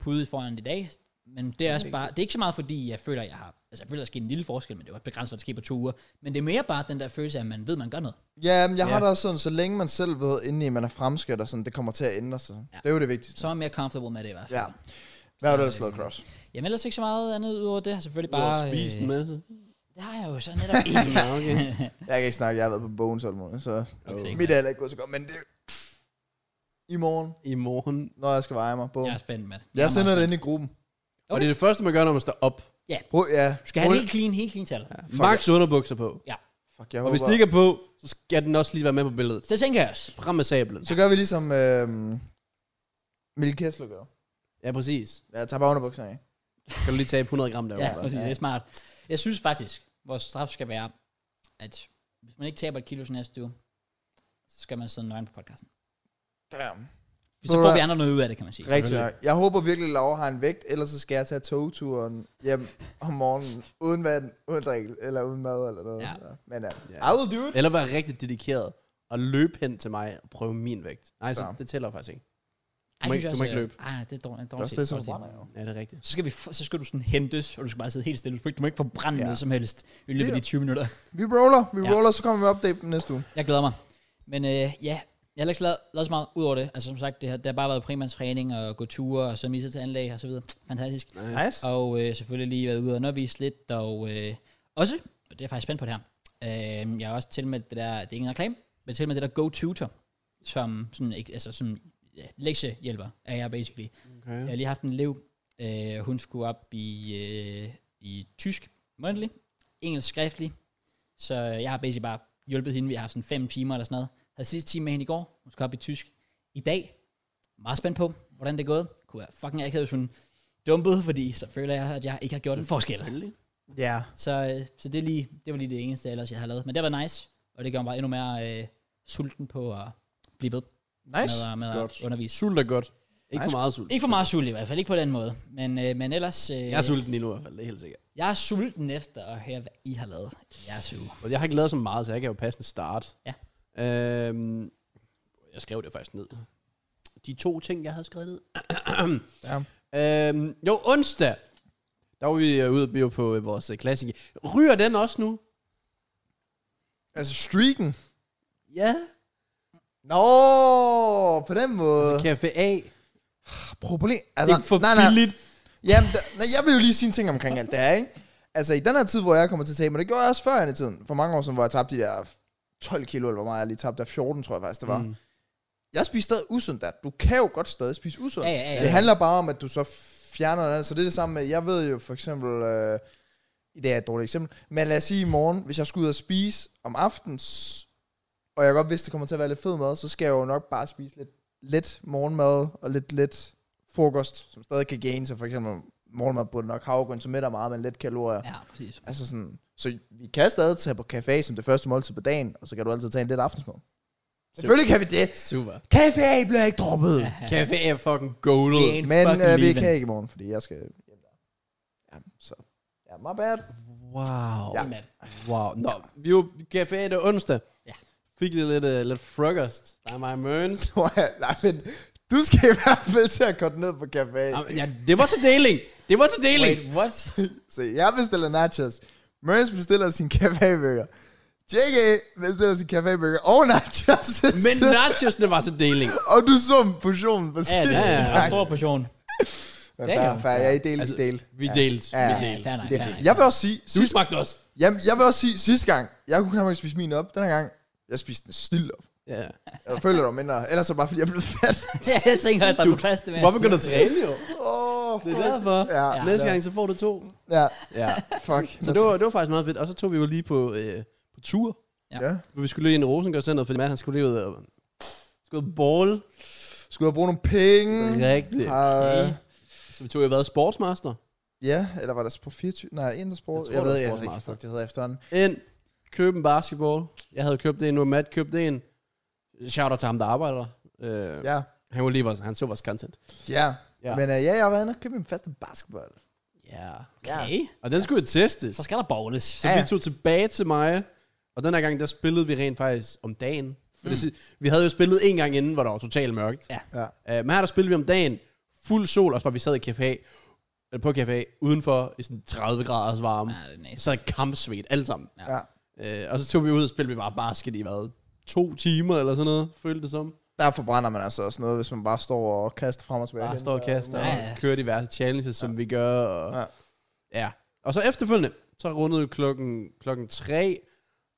S1: pude foran i dag, men det er, også bare, det er ikke så meget, fordi jeg føler, jeg har, altså, jeg føler, der sker en lille forskel, men det var begrænset, hvad der sker på to uger. Men det er mere bare den der følelse af, at man ved, man gør noget.
S3: Ja, men jeg har
S2: Ja.
S3: det også sådan, så længe man selv ved, indeni man er fremskridt og sådan, det kommer til at ændre sig.
S1: Ja.
S3: Det er jo det vigtigste.
S1: Så er jeg mere comfortable med det i hvert fald.
S3: Ja. Hvad har du ellers lavet, Kraus?
S1: Jamen ellers ikke så meget andet udover det. Jeg har selvfølgelig
S2: Bare
S1: bare... øh,
S2: spise en masse.
S1: det har jeg jo så netop ikke.
S2: Ja, okay.
S3: Jeg kan ikke snakke, jeg har været på bogen så måned, så
S1: sikkert.
S3: mit er heller ikke gået så godt, men det... I morgen,
S2: I morgen.
S3: når jeg skal veje mig, bogen.
S1: jeg er spændt, Matt. altså,
S3: Jeg sender det ind i gruppen.
S2: Og det er det første, man gør, når man står op.
S3: Prøv, ja.
S1: Du skal have helt clean, helt clean tal. Ja.
S3: Fuck,
S2: Max underbukser på.
S3: Fuck, jeg
S2: Og hvis
S3: håber.
S2: det ikke er på, så skal den også lige være med på billedet.
S1: Så det tænker jeg også.
S2: Frem med sablen.
S3: Så gør vi ligesom øh, Mikkel Kessler gør.
S2: Ja, præcis.
S3: Jeg tager bare underbukserne af.
S2: Kan du lige tabe 100 gram derovre?
S1: Ja, præcis, det er smart. Jeg synes faktisk, vores straf skal være, at hvis man ikke taber et kilo til næste uge, så skal man sidde nøgen på podcasten.
S3: Damn.
S1: Så får vi andre noget ud af det, kan man sige.
S3: Rigtig nok. Jeg håber virkelig, at Laura har en vægt, ellers så skal jeg tage togturen hjem om morgenen, uden vand, uden drik, eller uden mad, eller noget.
S1: Ja.
S3: Ja. Men ja,
S2: Ja.
S3: I will do it.
S2: Eller være rigtig dedikeret og løbe hen til mig og prøve min vægt. Nej, så
S3: Ja.
S2: det tæller faktisk ikke.
S1: Ej,
S2: Du må
S1: synes
S2: ikke-
S1: jeg
S2: du
S1: også,
S2: må ikke
S1: øh,
S2: løbe.
S1: Ej, nej, det er dårligt.
S3: Det er
S1: dårligt
S3: også
S1: set,
S3: det, som
S1: dårligt set.
S3: brænder jo.
S2: Ja, det er rigtigt.
S1: så skal, vi, f- så skal du sådan hentes, og du skal bare sidde helt stille. Du må ikke, du må ikke forbrænde
S3: Ja.
S1: ja. noget som helst i løbet af de 20 minutter.
S3: Vi roller, vi
S1: Ja.
S3: roller, så kommer vi med update næste uge.
S1: Jeg glæder mig. Men øh, ja, jeg har heller ikke lavet, lavet så meget ud over det. Altså som sagt, det har, det har bare været primært træning og gå ture og så misset til anlæg og så videre. Fantastisk.
S3: Nice.
S1: Og øh, selvfølgelig lige været ude og undervise lidt. Og øh, også, og det er jeg faktisk spændt på det her, øh, jeg har også tilmeldt det der, det er ikke en reklame, men tilmeldt det der GoTutor, som sådan, ikke- altså sådan ja, lektiehjælper er jeg basically.
S2: Okay.
S1: Jeg har lige haft en elev, øh, hun skulle op i, øh, i tysk mundtlig, engelsk skriftlig, så jeg har basically bare hjulpet hende, vi har haft sådan fem timer eller sådan noget. Havde sidste time med hende i går, hun skal op i tysk. I dag, meget spændt på, hvordan det er gået. Kunne jeg fucking ikke hvis hun dumpede, fordi så føler jeg, at jeg ikke har gjort en forskel.
S2: Selvfølgelig.
S3: Ja.
S1: Så, øh, så det, er lige, det var lige det eneste ellers, jeg havde lavet. Men det var nice, og det gør mig bare endnu mere øh, sulten på at blive ved
S3: Nice.
S1: med, at- med
S2: Godt.
S1: at undervise.
S2: Sult er godt. Ikke
S3: Nice.
S2: for meget sult.
S1: Ikke for meget sult i hvert fald, ikke på den måde. Men, øh, men ellers, øh,
S2: Jeg er sulten lige nu i hvert fald, det er helt sikkert.
S1: jeg er sulten efter at høre, hvad I har lavet i jeres uge.
S2: Og jeg har ikke lavet så meget, så jeg kan jo passe en start.
S1: Ja.
S2: Øhm, jeg skrev det faktisk ned. De to ting, jeg havde skrevet ned.
S3: Ja.
S2: Øhm, jo, onsdag. Der var vi øh, ude og blive på øh, vores øh, klassiker. Ryger den også nu?
S3: Altså streaken.
S2: Ja.
S3: Nå, på den måde.
S2: Så Café A.
S3: Problem.
S1: Altså, Det
S3: Altså,
S1: er for
S3: nej, nej.
S1: billigt.
S3: Jamen, da, nej, jeg vil jo lige sige en ting omkring alt det her, ikke? Altså, i den her tid, hvor jeg kommer til at tabe mig, det gjorde jeg også før i tiden. For mange år siden, hvor jeg tabte de der 12 kilo, eller hvor meget jeg lige tabte der 14, tror jeg faktisk, det var. Mm. Jeg spiser stadig usundt der. Du kan jo godt stadig spise usundt.
S1: Ja, ja, ja,
S3: Det
S1: ja.
S3: handler bare om, at du så fjerner noget andet. Så det er det samme med, jeg ved jo for eksempel, øh, i dag er et dårligt eksempel, men lad os sige i morgen, hvis jeg skulle ud og spise om aftenen, s- og jeg godt vidste, det kommer til at være lidt fed mad, så skal jeg jo nok bare spise lidt let morgenmad og lidt let frokost, som stadig kan gaine sig for eksempel morgenmad burde nok havregryn til middag meget, men let kalorier. Ja.
S1: Ja, præcis.
S3: Altså sådan, så vi kan stadig tage på café som det første måltid på dagen, og så kan du altid tage en lidt aftensmad. Selvfølgelig kan vi det.
S2: Super.
S3: Café bliver ikke droppet.
S1: Ja, ja.
S2: Café er fucking golden.
S1: Det er en-
S3: Men
S1: Fucking
S3: øh, vi
S1: leaving.
S3: kan ikke i morgen, fordi jeg skal hjem der. Ja, så. Ja, my bad.
S2: Wow.
S3: Ja.
S1: Mad.
S2: Wow. Nå, vi var café det er onsdag.
S1: Ja.
S2: Fik lige lidt, uh, lidt frokost. Der er mig og Mørens.
S3: Øh, Nej, men du skal i hvert fald til at korte ned på café.
S2: Jamen, Ah, Ja, det var til deling. Det var til deling.
S1: Wait, what?
S3: Så jeg bestiller nachos. Mørens bestiller sin cafébøger. JK bestiller sin cafébøger og nachos.
S2: Men nachosene var til deling.
S3: og du så portionen på
S1: Ja, det
S3: sidste
S1: er
S2: ja,
S1: en
S2: ja.
S1: ret stor portion.
S3: Ja, fair, fair. Ja, I delte, altså,
S2: Altså,
S3: delte.
S2: Vi delte.
S3: Ja.
S2: Vi
S3: Ja,
S2: delte.
S1: fair nok,
S3: Det,
S1: fair
S3: det.
S1: nok.
S3: Jeg vil også sige,
S2: Du
S3: sidst,
S2: smagte også.
S3: jamen, jeg vil også sige, sidste gang, jeg kunne knap ikke spise min op. Den her gang, jeg spiste den stille op.
S2: Ja.
S3: Jeg føler dig mindre. Ellers er det bare, fordi jeg blev fat.
S1: Ja, jeg tænker også, der er på plads det med.
S2: Hvorfor går du til træne, jo?
S3: Åh,
S2: Det er derfor.
S3: Ja,
S1: Ja.
S2: Næste gang, så får du to.
S3: Ja,
S2: Ja.
S3: fuck.
S2: Så det var, det var faktisk meget fedt. Og så tog vi jo lige på, øh, på tur.
S3: Ja.
S2: hvor Vi skulle lige ind i Rosengård Center, fordi Matt, han skulle lige ud og skulle ball.
S3: Skulle jeg bruge nogle penge?
S2: Rigtigt.
S3: Okay. Uh,
S2: Så vi tog jo været sportsmaster.
S3: Ja, eller var det på 24? Nej, Intersport.
S2: Jeg
S3: Jeg, jeg
S2: tror,
S3: ved
S2: det
S3: jeg
S2: var
S3: ved ikke,
S2: Sportsmaster.
S3: fuck, det hedder efterhånden.
S2: Ind, køb en basketball. Jeg havde købt en, nu har Matt købt en. Shout out til ham, der arbejder. Øh, ja.
S3: Ja,
S2: Han var lige vores, han så vores content.
S3: ja.
S2: Ja.
S3: ja. Men uh, ja, jeg har været inde og købt min faste basketball.
S2: Ja. Yeah.
S3: Ja.
S1: Okay,
S2: Og den skulle jo testes.
S1: så skal der bowles.
S2: Så
S3: Ja.
S2: vi tog tilbage til mig, og den her gang, der spillede vi rent faktisk om dagen. For det, si- vi havde jo spillet en gang inden, hvor der var totalt mørkt.
S1: Ja.
S3: Ja.
S2: Uh, men her der spillede vi om dagen, fuld sol, og så var vi sad i café, eller på café, udenfor i sådan 30 graders varme.
S1: Ja, det er nice.
S2: Så i kampsvedt, alle sammen.
S1: Ja.
S3: Ja.
S2: Uh, og så tog vi ud og spillede vi bare basket i, hvad, to timer eller sådan noget, følte det som.
S3: Der forbrænder man altså også noget, hvis man bare står og kaster frem og tilbage.
S2: Bare
S3: hen,
S2: står og
S3: og-
S2: kaster,
S1: Ja, ja.
S2: og kører diverse challenges, som vi gør. Og,
S3: Ja.
S2: Ja. Og så efterfølgende, så rundede vi klokken, klokken tre,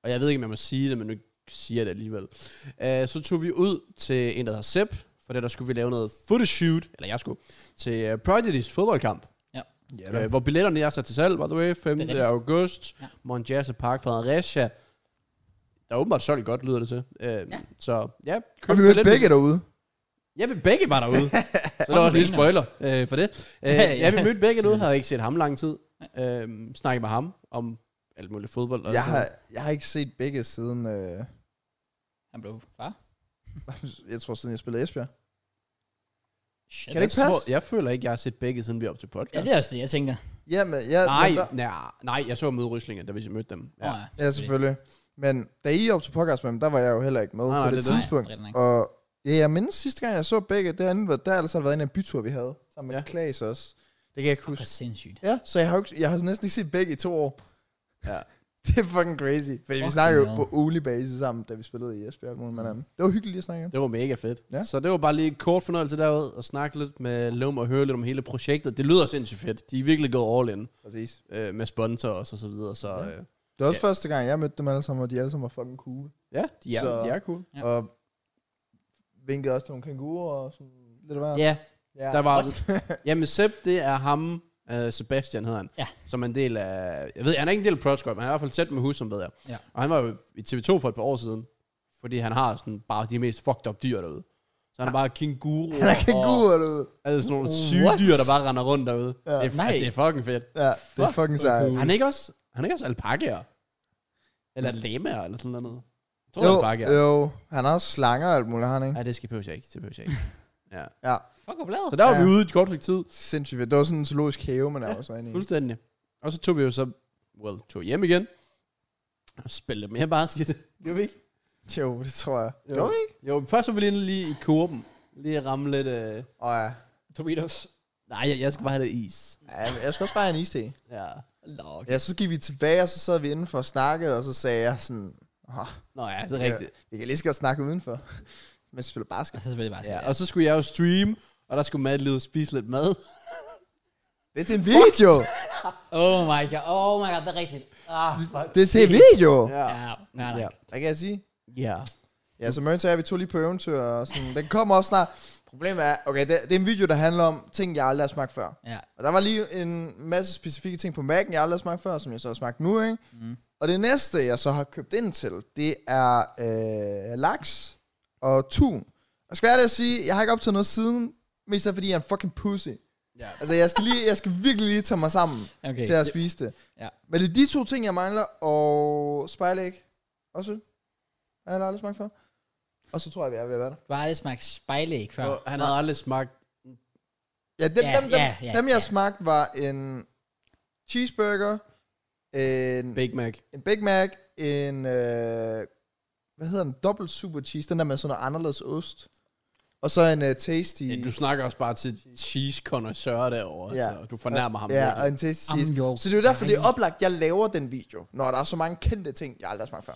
S2: og jeg ved ikke, om jeg må sige det, men nu siger jeg det alligevel. Uh, så tog vi ud til en, der hedder Sepp, for der, der skulle vi lave noget photoshoot, eller jeg skulle, til uh, Prodigy's fodboldkamp.
S1: Ja.
S2: Uh, hvor billetterne er sat til salg, by the way, 5.
S1: rigtigt.
S2: august,
S1: Ja.
S2: ja. Monjasa Park, Fredericia. Der er åbenbart solgt godt, lyder det til. Uh, ja. Så ja, køb
S3: Og vi
S2: billetten,
S3: mødte
S2: hvis
S3: begge derude.
S2: Ja, vi begge var derude. så der var også en lille spoiler øh, for det. Øh,
S1: Ja, ja.
S2: ja, vi mødte begge derude, havde ikke set ham lang tid. Øh, snakket med ham om alt muligt fodbold. Og
S3: Jeg
S2: sådan
S3: har,
S2: noget.
S3: jeg har ikke set begge siden, øh,
S1: Han blev far.
S3: jeg tror siden jeg spillede i Esbjerg.
S1: Shit.
S3: Kan det ikke
S2: Jeg
S3: passe?
S2: tror- Jeg føler ikke, jeg har set begge, siden vi op til
S1: Ja,
S2: podcast.
S1: det er også det, jeg tænker.
S3: Ja, men, ja,
S2: Nej,
S3: men der,
S2: nej, nej, jeg så møde Ryslinger, da vi mødte dem.
S1: Ja,
S2: Ja.
S3: ja, selvfølgelig. Men da I op til podcast med dem, der var jeg jo heller ikke med
S2: Nej,
S3: nej,
S2: nej,
S3: på det,
S2: det
S3: det
S2: er det.
S3: tidspunkt.
S1: Nej, det er det ikke.
S3: og ja, jeg mindes sidste gang, jeg så begge, det andet, var- der har altså været en af bytur, vi havde, sammen med
S2: Ja.
S3: ja. Klaas også. Det kan jeg ikke
S1: Det
S3: huske.
S1: er sindssygt.
S3: Ja, så jeg har, jo ikke, jeg har næsten ikke set begge i to år.
S2: Ja.
S3: Det er fucking crazy. Fordi vi
S1: Fucking
S3: snakker jo
S1: hell.
S3: på ulig basis sammen, da vi spillede i Esbjerg. Mm. Men, um, det var hyggeligt lige at snakke om.
S2: Det var mega fedt.
S3: Ja.
S2: Så det var bare lige en kort fornøjelse derud, og snakke lidt med Lum og høre lidt om hele projektet. Det lyder sindssygt fedt. De er virkelig gået all in
S3: Præcis.
S2: øh, med sponsor og så, så videre. Så
S3: Ja.
S2: øh,
S3: Det var også yeah. første gang, jeg mødte dem alle sammen, og de alle sammen var fucking cool.
S2: ja, de er,
S3: Så-
S2: de er cool.
S1: Ja.
S3: Ja. Og vinkede også til nogle kænguruer og sådan lidt af hvert.
S2: Ja,
S3: Ja.
S2: Der var, jamen Sepp, det er ham, øh, Sebastian hedder han,
S1: Ja.
S2: som er en del af, jeg ved, han er ikke en del af Proscore, men han er i hvert fald tæt med Husum, ved jeg.
S1: Ja.
S2: Og han var jo i TV2 for et par år siden, fordi han har sådan bare de mest fucked up dyr derude. Så han er bare kænguru
S3: Han er
S2: og
S3: kænguruer derude.
S2: altså sådan nogle
S1: What?
S2: syge dyr, der bare render rundt derude.
S3: Ja.
S2: Det, er,
S1: Nej.
S2: det er fucking fedt.
S3: Ja, det er
S1: Fuck,
S3: fucking
S1: hvor
S3: sejt.
S1: cool.
S2: Han er ikke også, han er ikke også alpakaer? Eller lamaer, eller sådan noget. Jeg tror,
S3: Jo, Øh.
S2: han er alpakaer.
S3: jo, han har også slanger og alt muligt, har han ikke?
S2: Ja, det skal behøver jeg ikke. Det behøver jeg ikke. Ja.
S3: Ja,
S1: Fuck, hvor bladet.
S2: Så der var
S3: Ja.
S2: vi ude i et kort stykke tid.
S3: sindssygt fedt. Det var sådan en zoologisk have, man er
S2: Ja,
S3: også inde i.
S2: Mm. Fuldstændig. Og så tog vi jo så, well, tog hjem igen. Og spillede mere basket. Gjorde vi ikke?
S3: Jo, det tror jeg.
S2: Jo.
S3: Jo, jo ikke?
S2: Jo, først var vi lige, lige i kurven. Lige at ramme lidt, øh...
S3: Åh ja.
S1: Doritos.
S2: Nej, jeg, jeg skal bare have lidt is.
S3: ja. men Jeg skal også bare have en iste.
S2: Ja.
S1: Nå, okay.
S3: Ja, så gik vi tilbage, og så sad vi indenfor og snakkede, og så sagde jeg sådan, oh,
S2: Nå ja, det er rigtigt.
S3: vi kan lige så godt snakke udenfor, mens vi spiller
S1: Og
S3: basket.
S1: så selvfølgelig bare
S2: Ja. Og så skulle jeg jo streame, og der skulle Matt lige ud og spise lidt mad.
S3: Det er til en video!
S1: Oh my god, oh my god, det er rigtigt. Ah, fuck.
S3: Det er til en video!
S2: Ja.
S1: Ja, nej, nej.
S2: Ja.
S3: Hvad kan jeg sige?
S2: ja.
S3: Ja, så Mørn sagde, at vi tog lige på eventyr, og sådan, den kommer også snart. Problemet er, okay, det, det er en video, der handler om ting, jeg aldrig har smagt før.
S1: Ja.
S3: Og der var lige en masse specifikke ting på Mac'en, jeg aldrig har smagt før, som jeg så har smagt nu, ikke? Mm. Og det næste, jeg så har købt ind til, det er øh, laks og tun. Og skal jeg ærligt at sige, jeg har ikke optaget noget siden, mest af fordi jeg er en fucking pussy.
S2: Ja.
S3: Altså, jeg skal, lige, jeg skal virkelig lige tage mig sammen
S1: Okay.
S3: okay. til at spise det.
S1: Ja.
S3: Men det er de to ting, jeg mangler, og spejlæg også. Jeg har aldrig smagt før. Og så tror jeg, vi er ved at være der.
S1: Du har aldrig smagt spejlæg før.
S2: Og han havde aldrig smagt...
S3: Ja, dem,
S1: Ja,
S3: dem, dem,
S1: ja, ja,
S3: dem jeg
S1: ja.
S3: smagte, var en cheeseburger, en,
S2: Big Mac.
S3: en Big Mac, en, øh, hvad hedder den, dobbelt super cheese, den der med sådan noget anderledes ost, og så en øh, tasty,
S2: Ja, du snakker også bare til cheese connoisseur derovre.
S3: Ja.
S2: Ja. Altså. Du fornærmer ham.
S3: ja,
S2: virkelig.
S3: og en tasty
S1: Jamen,
S3: cheese.
S1: jo.
S3: så det er jo derfor, det er oplagt, jeg laver den video, når der er så mange kendte ting, jeg aldrig har smagt før.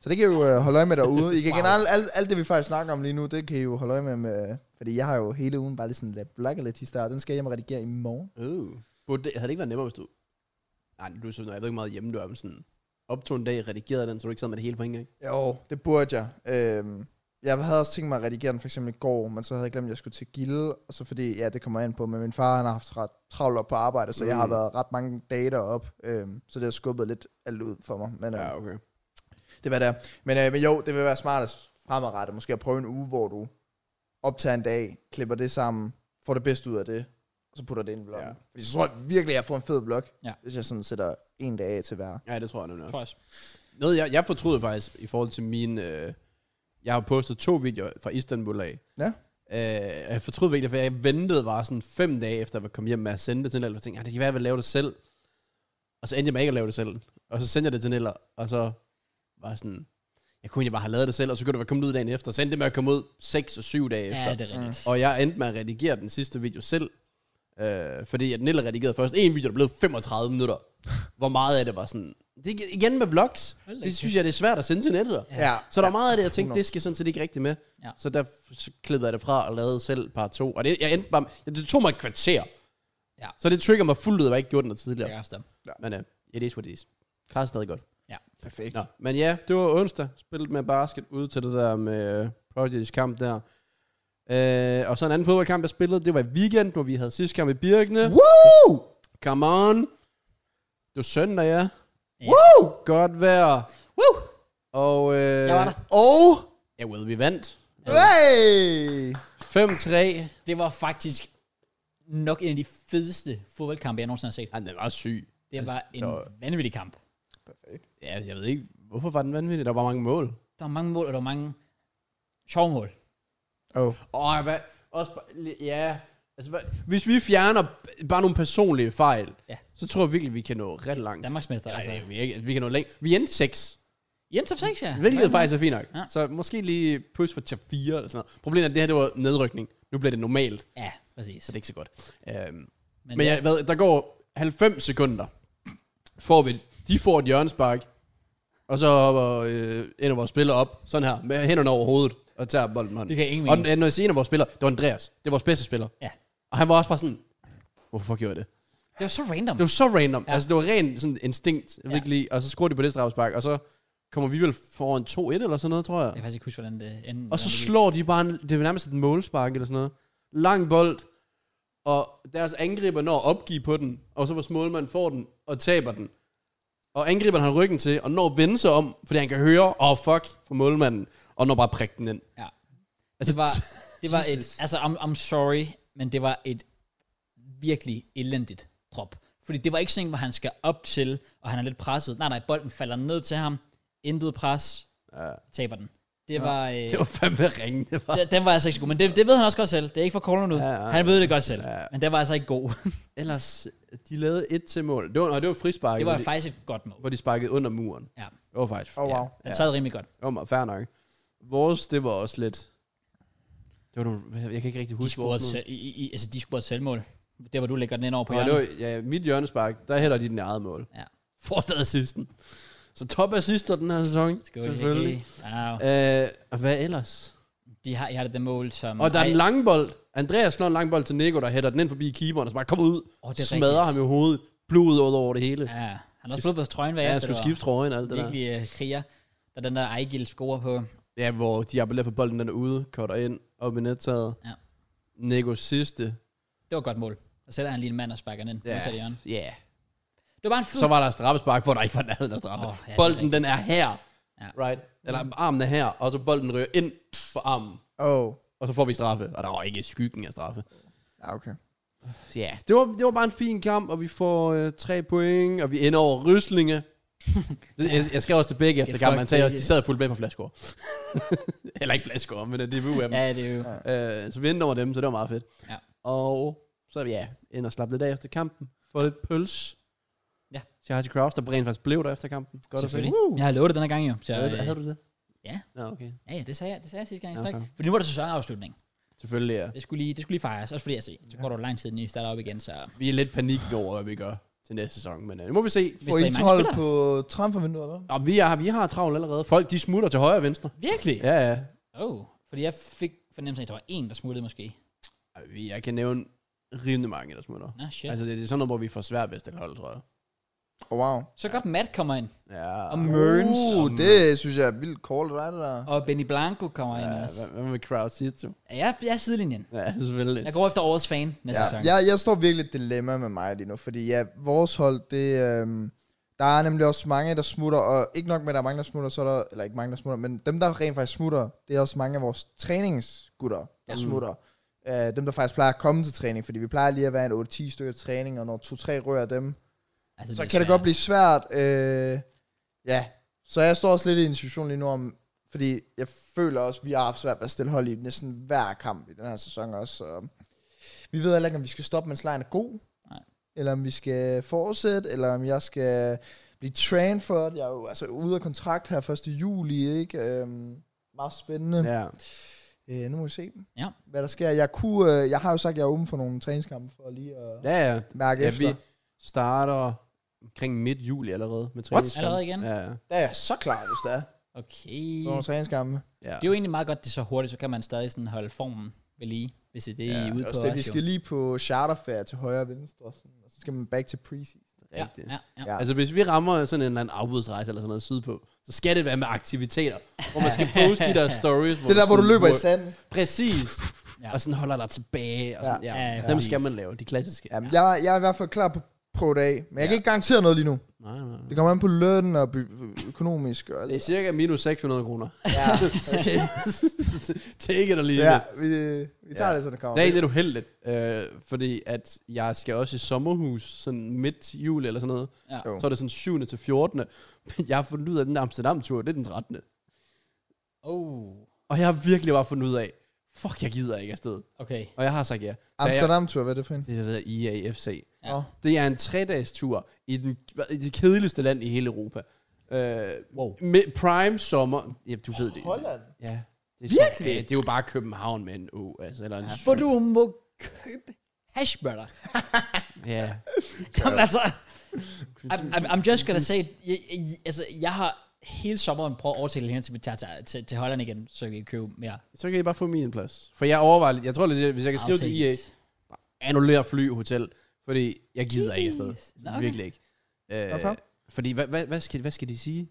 S3: Så det kan I jo øh, holde øje med derude. I kan generelt, alt, alt det vi faktisk snakker om lige nu, det kan I jo holde øje med, med fordi jeg har jo hele ugen bare lige sådan lidt blakket lidt historie, den skal jeg hjem og redigere i morgen.
S2: Uh. Burde det, havde det ikke været nemmere, hvis du... Nej, du er sådan, jeg ved ikke hvor meget hjemme, du er men sådan... Optog en dag, redigerede den, så du ikke sad med det hele på en gang.
S3: Jo, det burde jeg. Øhm, jeg havde også tænkt mig at redigere den for eksempel i går, men så havde jeg glemt, at jeg skulle til gilde, og så fordi, ja, det kommer jeg ind på, men min far, han har haft ret travlt op på arbejde, så mm. jeg har
S2: Mm.
S3: været ret mange dage deroppe, øhm, så det har skubbet lidt alt ud for mig, men øh, ja.
S2: okay.
S3: det var der. Men, øh, men jo, det vil være smartest fremadrettet, måske at prøve en uge, hvor du optager en dag, klipper det sammen, får det bedste ud af det, og så putter det ind i bloggen. Ja.
S2: Ja.
S3: Fordi så tror jeg virkelig, at jeg får en fed blog,
S1: Ja.
S3: hvis jeg sådan sætter en dag af til hver.
S2: Ja, det tror jeg nemlig også.
S1: Tror jeg også.
S2: Noget, jeg, jeg fortryder faktisk i forhold til min... Øh, jeg har postet to videoer fra Istanbul af.
S3: Ja.
S2: Øh, og jeg fortryder virkelig, for jeg ventede bare sådan fem dage efter, at jeg kom hjem med at sende det til Nella. Og tænkte, "Ah, det kan være, at jeg vil lave det selv. Og så endte jeg med ikke at lave det selv. Og så sendte jeg det til Nella, og så var jeg sådan... Jeg kunne egentlig bare have lavet det selv, og så kunne det være kommet ud dagen efter. Så endte det med at komme ud 6 og 7 dage efter. Mm.
S1: Ja, det er rigtigt.
S2: Og jeg endte med at redigere den sidste video selv. Øh, fordi at Nille redigerede først en video, der blev 35 minutter. Hvor meget af det var sådan... Det er igen med vlogs.
S1: Hold da
S2: Det
S1: kæft.
S2: synes jeg, det er svært at sende til en editor.
S1: Ja.
S2: Så der er meget af det, jeg tænkte,
S3: 100.
S2: det skal sådan set ikke rigtigt med.
S1: Ja.
S2: Så der f- så klippede jeg det fra og lavede selv part 2. Og det, jeg endte bare, ja, det tog mig et kvarter.
S1: Ja.
S2: Så det trigger mig fuldt ud, at jeg ikke gjorde den der tidligere.
S1: Jeg kan forstå.
S2: Men uh, it is what it is. Klarer stadig godt.
S3: Perfekt.
S2: Nå, men ja, det var onsdag. Spillet med basket ude til det der med øh, Prodigy's kamp der. Øh, og så en anden fodboldkamp, jeg spillede, det var i weekend, hvor vi havde sidste kamp i Birkene.
S3: Woo!
S2: Come on! Det var søndag, ja.
S3: Woo!
S2: Godt vejr.
S1: Woo!
S2: Og øh,
S1: Jeg var der.
S3: Og...
S2: Ja, well, vi vandt.
S3: Hey!
S2: 5-3. Ej,
S1: Det var faktisk nok en af de fedeste fodboldkampe, jeg nogensinde har set.
S2: den var syg.
S1: Det var en
S2: der Altså, var-
S1: vanvittig kamp.
S2: Ja, jeg ved ikke, hvorfor var den vanvittig? Der var mange mål.
S1: Der var mange mål, og der var mange sjove mål.
S3: Oh.
S2: Åh, hvad? Også, bare- ja, altså, hvad? hvis vi fjerner bare nogle personlige fejl,
S1: Ja.
S2: så tror jeg virkelig, vi kan nå ret langt.
S1: Danmarksmester,
S2: Nej,
S1: altså.
S2: altså. vi, er ikke, vi kan nå længe. Vi endte 6,
S1: Jens top 6, ja.
S2: hvilket faktisk er fint nok.
S1: Ja.
S2: Ja. Så måske lige push for top 4 eller sådan noget. Problemet er, at det her det var nedrykning. Nu bliver det normalt, så
S1: Ja, præcis.
S2: det er ikke så godt. Øhm,
S1: Men,
S2: men
S1: ja,
S2: jeg, ved, der går 90 sekunder. Får vi, de får et hjørnespark, og så hopper øh, en af vores spillere op, sådan her, med hænderne over hovedet, og tager bolden med hånden.
S1: Det kan jeg ingen
S2: Og
S1: mene.
S2: den- når jeg siger en af vores spillere, det var Andreas. Det var vores bedste spiller.
S1: ja.
S2: Og han var også bare sådan, hvorfor gjorde jeg det?
S1: Det var så random.
S2: Det var så random. Ja. Altså, det var rent sådan instinkt, ja. virkelig. Og så scorer de på det strafspark, og så kommer vi vel foran 2-1 eller sådan noget, tror jeg.
S1: Jeg kan faktisk ikke huske, hvordan det endte.
S2: Og så
S1: hvordan det gik.
S2: slår de bare, en, det er nærmest et målspark eller sådan noget. Lang bold, og deres angriber når at opgive på den, og så vores målmand får den og taber den. Og angriberen har ryggen til, og når at vende sig om, fordi han kan høre, åh oh, fuck, fra målmanden, og når bare at prikke den ind.
S1: Ja.
S2: Altså,
S1: Det var, det var et,
S2: Jesus.
S1: altså, I'm, I'm sorry, men det var et virkelig elendigt drop. Fordi det var ikke sådan, en, hvor han skal op til, og han er lidt presset. Nej, nej, bolden falder ned til ham. Intet pres.
S2: Ja.
S1: Taber den. Det var... Øh,
S2: det var fandme ringe, det var.
S1: den- den var altså ikke så god, men det, det ved han også godt selv. Det er ikke for corner ud.
S2: Ja, ja,
S1: han ved det godt selv.
S2: Ja.
S1: Men den var altså ikke god.
S2: Ellers, de lavede et til mål. Det var, nej, det var frispark,
S1: det var
S2: hvor, de,
S1: faktisk et godt mål.
S2: hvor de sparkede under muren.
S1: Ja,
S2: Det var faktisk.
S3: Oh, wow.
S1: den sad rimelig godt.
S2: Jo, men fair nok. Vores, det var også lidt... Det var nogle, hvad- jeg kan ikke rigtig
S1: De
S2: huske
S1: scorede,
S2: vores mål.
S1: selv- i, i, i- altså, de scorede et selvmål. Der hvor du lægger den ind over på
S2: Ja, det
S1: hjørnet.
S2: var, ja, mit hjørnespark, der hælder de den i eget mål.
S1: Ja.
S2: Får stadig assisten. Så top assister den her sæson.
S1: Skal vi- Ja,
S2: Øh, og hvad ellers?
S1: de har, jeg har det der mål, som...
S2: Og der er
S1: Ej,
S2: en langbold. Andreas slår en langbold til Nico, der hætter den ind forbi keeperen, og så bare kommer ud,
S1: Åh,
S2: oh,
S1: det er
S2: smadrer
S1: rigtigt.
S2: ham i hovedet, blodet ud over det hele. Ja,
S1: Ja, han har også fået på trøjen, hvad
S2: ja jeg skulle skifte trøjen og alt det
S1: det
S2: der.
S1: virkelig øh, kriger. Der er den der Ejgil scorer på.
S2: Ja, hvor de appellerer for bolden, den er ude, cutter ind, op i nettaget.
S1: Ja.
S2: Nikos sidste.
S1: Det var et godt mål. Der sætter han lige en mand og sparker den ind. Ja.
S2: Ja, yeah.
S1: Det var bare en fed...
S2: Så var der et straffespark, hvor der ikke var nærheden af straffe.
S1: Åh,
S2: Oh,
S1: ja, det er
S2: ja, bolden,
S1: rigtigt.
S2: den er her.
S1: Ja.
S2: Ja. Right? Eller armen er her, og så bolden ryger ind på armen.
S3: Oh.
S2: Og så får vi straffe, og der var ikke skyggen af straffe.
S3: Ja, okay.
S2: Ja, det var, det var bare en fin kamp, og vi får øh, tre point, og vi ender over Ryslinge. jeg, jeg skrev også til begge efter
S1: fuck
S2: kampen, han sagde også,
S1: begge.
S2: de sad fuldt med på flaskår. Eller ikke flaskår, men det er af dem.
S1: Ja, det er jo...
S2: Øh, så vi endte over dem, så det var meget fedt.
S1: Ja.
S2: Og så ja, ind og slappe lidt af efter kampen. Få lidt pøls.
S1: Ja.
S2: Til Hardy Kraus, der rent faktisk blev der efter kampen. Godt at se.
S1: Selvfølgelig.
S3: Woo!
S1: Jeg har lovet det den her gang jo. Så,
S2: Havde,
S1: øh,
S2: havde du det?
S1: ja.
S2: Nå, okay.
S1: ja, ja, det sagde jeg, det sagde jeg sidste gang,
S2: Ja,
S1: jeg okay.
S2: okay.
S1: For nu var det sæsonafslutning.
S2: Selvfølgelig, ja.
S1: Det skulle lige, det skulle lige fejres. Også fordi, altså, så går der jo lang tid, inden I starter op igen, så...
S2: Vi er lidt panik over, hvad vi gør til næste sæson, men øh, nu må vi se.
S1: Hvis
S3: Får
S1: der
S3: I
S1: er mange
S3: 12
S1: spillere.
S3: på transfervinduet, eller?
S2: Nå, vi, er, vi har travlt allerede. Folk, de smutter til højre og venstre.
S1: Virkelig?
S2: Ja, ja.
S1: Oh, fordi jeg fik fornemmelsen af, at der var en, der smuttede måske.
S2: Ej, vi- Jeg kan nævne rimelig mange, der smutter.
S1: Nå, shit.
S2: Altså, det, det er sådan noget, hvor vi får svært ved at stille hold, tror jeg.
S3: Oh, wow.
S1: Så godt Matt kommer ind,
S2: Ja.
S1: og Mørns,
S3: Uh, det synes jeg er vildt call dig, det der.
S1: og Benny Blanco kommer ind
S2: ja,
S1: også.
S2: hvad, hvad med Kraus Sito?
S1: Ja, jeg, jeg er sidelinjen.
S2: Ja, selvfølgelig.
S1: Jeg går efter årets fan næste sæson.
S3: Ja, jeg, jeg står virkelig i et dilemma med mig lige nu, fordi ja, vores hold, det, øhm, der er nemlig også mange, der smutter, og ikke nok med, at der er mange, der smutter, så er der, eller ikke mange, der smutter, men dem, der rent faktisk smutter, det er også mange af vores træningsgutter, der
S1: Ja.
S3: ja. smutter. Øh, dem, der faktisk plejer at komme til træning, fordi vi plejer lige at være en 8-10 stykker træning, og når 2-3 rører dem,
S1: Altså,
S3: så
S1: er
S3: kan det
S1: svært.
S3: godt blive svært. Øh, ja, så jeg står også lidt i en situation lige nu om, fordi jeg føler også, at vi har haft svært ved at stille hold i næsten hver kamp i den her sæson også. Så øhm, vi ved heller ikke, om vi skal stoppe, mens lejen er god.
S1: Nej.
S3: Eller om vi skal fortsætte, eller om jeg skal blive transferred. Jeg er jo altså ude af kontrakt her 1. juli, ikke? Øhm, meget spændende. Ja.
S2: Ja.
S3: Øh, nu må vi se,
S1: Ja.
S3: hvad der sker. Jeg, kunne, øh, jeg har jo sagt, at jeg er åben for nogle træningskampe, for lige at
S2: Ja, ja.
S3: mærke
S2: ja
S3: efter.
S2: vi starter omkring midt juli allerede med træningskamp.
S1: Allerede igen?
S2: Ja, ja.
S3: Der er jeg så klar, hvis det er.
S1: Okay.
S3: Nogle træningskampe.
S2: ja.
S1: Det er jo egentlig meget godt, det er så hurtigt, så kan man stadig sådan holde formen ved lige, hvis det er det, I er ude på.
S3: også det, vi
S1: også, jo.
S3: skal lige på charterferie til højre og venstre, sådan, og så skal man back til preseason.
S1: ja,
S2: rigtigt.
S1: ja, ja.
S3: Ja.
S2: Altså, hvis vi rammer sådan en eller anden afbudsrejse eller sådan noget sydpå, så skal det være med aktiviteter, hvor man skal poste de der stories.
S3: Det er der, hvor du
S2: sådan-
S3: løber i sanden.
S2: Præcis.
S1: Ja.
S2: ja. Og sådan holder dig tilbage. Og sådan, ja.
S1: Ja, ja,
S2: Ja, ja, Dem
S1: præcis.
S2: skal man lave, de klassiske. Ja.
S3: Jamen, jeg, jeg er i hvert fald klar på prøve dag, men jeg ja. kan ikke garantere noget lige nu.
S2: Nej, nej.
S3: Det kommer an på løn og by- økonomisk og alt.
S2: Det er cirka minus 600 kroner.
S3: Ja, okay.
S2: Take it lige.
S3: ja,
S2: Ja.
S3: vi, vi tager
S2: Ja.
S3: det, så det kommer.
S2: Det er lidt uheldigt, øh, fordi at jeg skal også i sommerhus sådan midt juli eller sådan noget.
S1: Ja.
S3: Jo.
S2: Så er det sådan 7. til 14. Men jeg har fundet ud af, at den der Amsterdam-tur, det er den 13.
S1: Oh,
S2: Og jeg har virkelig bare fundet ud af, fuck, jeg gider ikke afsted.
S1: okay.
S2: Og jeg har sagt ja. Så jeg,
S3: Amsterdam-tur, hvad er det for en?
S2: det hedder IAFC.
S1: Ja.
S3: Nå.
S2: Det er en tre-dages tur i, den, i det kedeligste land i hele Europa. Øh,
S1: Wow.
S2: med prime sommer. Ja, du ved det.
S3: Holland?
S2: Ja. Det er
S1: Virkelig?
S2: Ja, det er jo bare København med en O. Altså, eller en ja,
S1: Hvor du må købe hashbutter.
S2: ja.
S1: Som altså, I'm, I'm, I'm just gonna say, jeg, jeg, altså, jeg har hele sommeren prøvet at overtale hende, til vi tager til, til, til Holland igen, så vi kan købe mere.
S2: Så kan I bare få min plads. For jeg overvejer lidt. Jeg tror lidt, hvis jeg kan skrive til IA,
S3: E
S2: annullér fly, hotel. Fordi jeg gider ikke afsted.
S1: Jeez. Nå, okay.
S2: Virkelig ikke. Øh,
S3: Hvorfor?
S2: Fordi, hvad, hvad, hvad, skal, hvad skal de sige?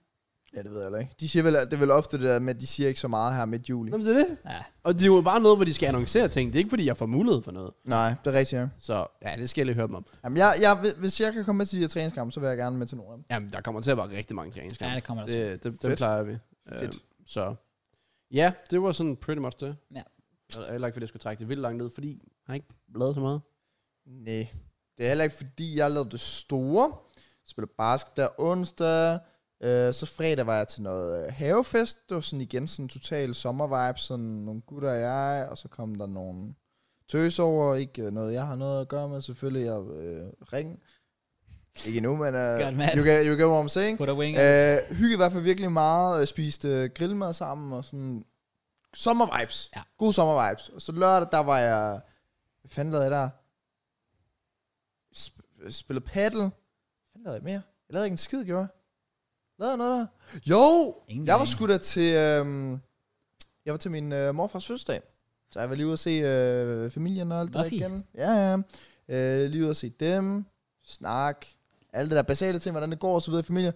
S3: Ja, det ved jeg heller ikke. De siger vel, det er vel ofte det der med, at de siger ikke så meget her midt juli.
S2: Nå, men det er det.
S1: Ja.
S2: Og det er jo bare noget, hvor de skal annoncere ting. Det er ikke, fordi jeg får mulighed for noget.
S3: Nej, det er rigtigt, ja.
S2: Så ja, det skal jeg lige høre dem om.
S3: Jamen, jeg, jeg, hvis jeg kan komme med til de her træningskampe, så vil jeg gerne med til nogle af dem.
S2: Jamen, der kommer til at være rigtig mange træningskampe.
S1: Ja, det kommer der til.
S2: Det, det, det
S3: Fedt.
S2: plejer vi. Øhm,
S3: Fedt.
S2: så ja, det var sådan pretty much det.
S1: Ja.
S2: Jeg er heller ikke, fordi jeg skulle trække det vildt langt ned, fordi jeg har ikke lavet så meget.
S3: Nej. Det er heller ikke, fordi jeg lavede det store. Jeg spillede basket der onsdag. Øh, så fredag var jeg til noget øh, havefest. Det var sådan igen sådan total sommervibe. Sådan nogle gutter og jeg. Og så kom der nogle tøs over. Ikke øh, noget, jeg har noget at gøre med. Selvfølgelig jeg øh, ring. Ikke endnu, men øh,
S1: Godt, mand.
S3: you, get, you get what I'm saying.
S1: Put a wing.
S3: Øh, hygge i hvert fald virkelig meget. Øh, spiste øh, grillmad sammen og sådan... Sommervibes.
S1: Ja.
S3: Gode sommervibes. Og så lørdag, der var jeg... Hvad fanden lavede jeg der? Sp- spillede paddle. Hvad fanden lavede jeg mere? Jeg lavede ikke en skid, gjorde jeg? Lavede jeg noget der? Jo!
S1: Ingen
S3: Jeg var
S1: aning.
S3: sgu da til... Øh, jeg var til min øh, morfars fødselsdag. Så jeg var lige ude at se øh, familien og alt det der
S1: Nå, fint.
S3: igen. Ja, ja. Øh, lige ude at se dem. Snak. Alle det der basale ting, hvordan det går og så videre i familien.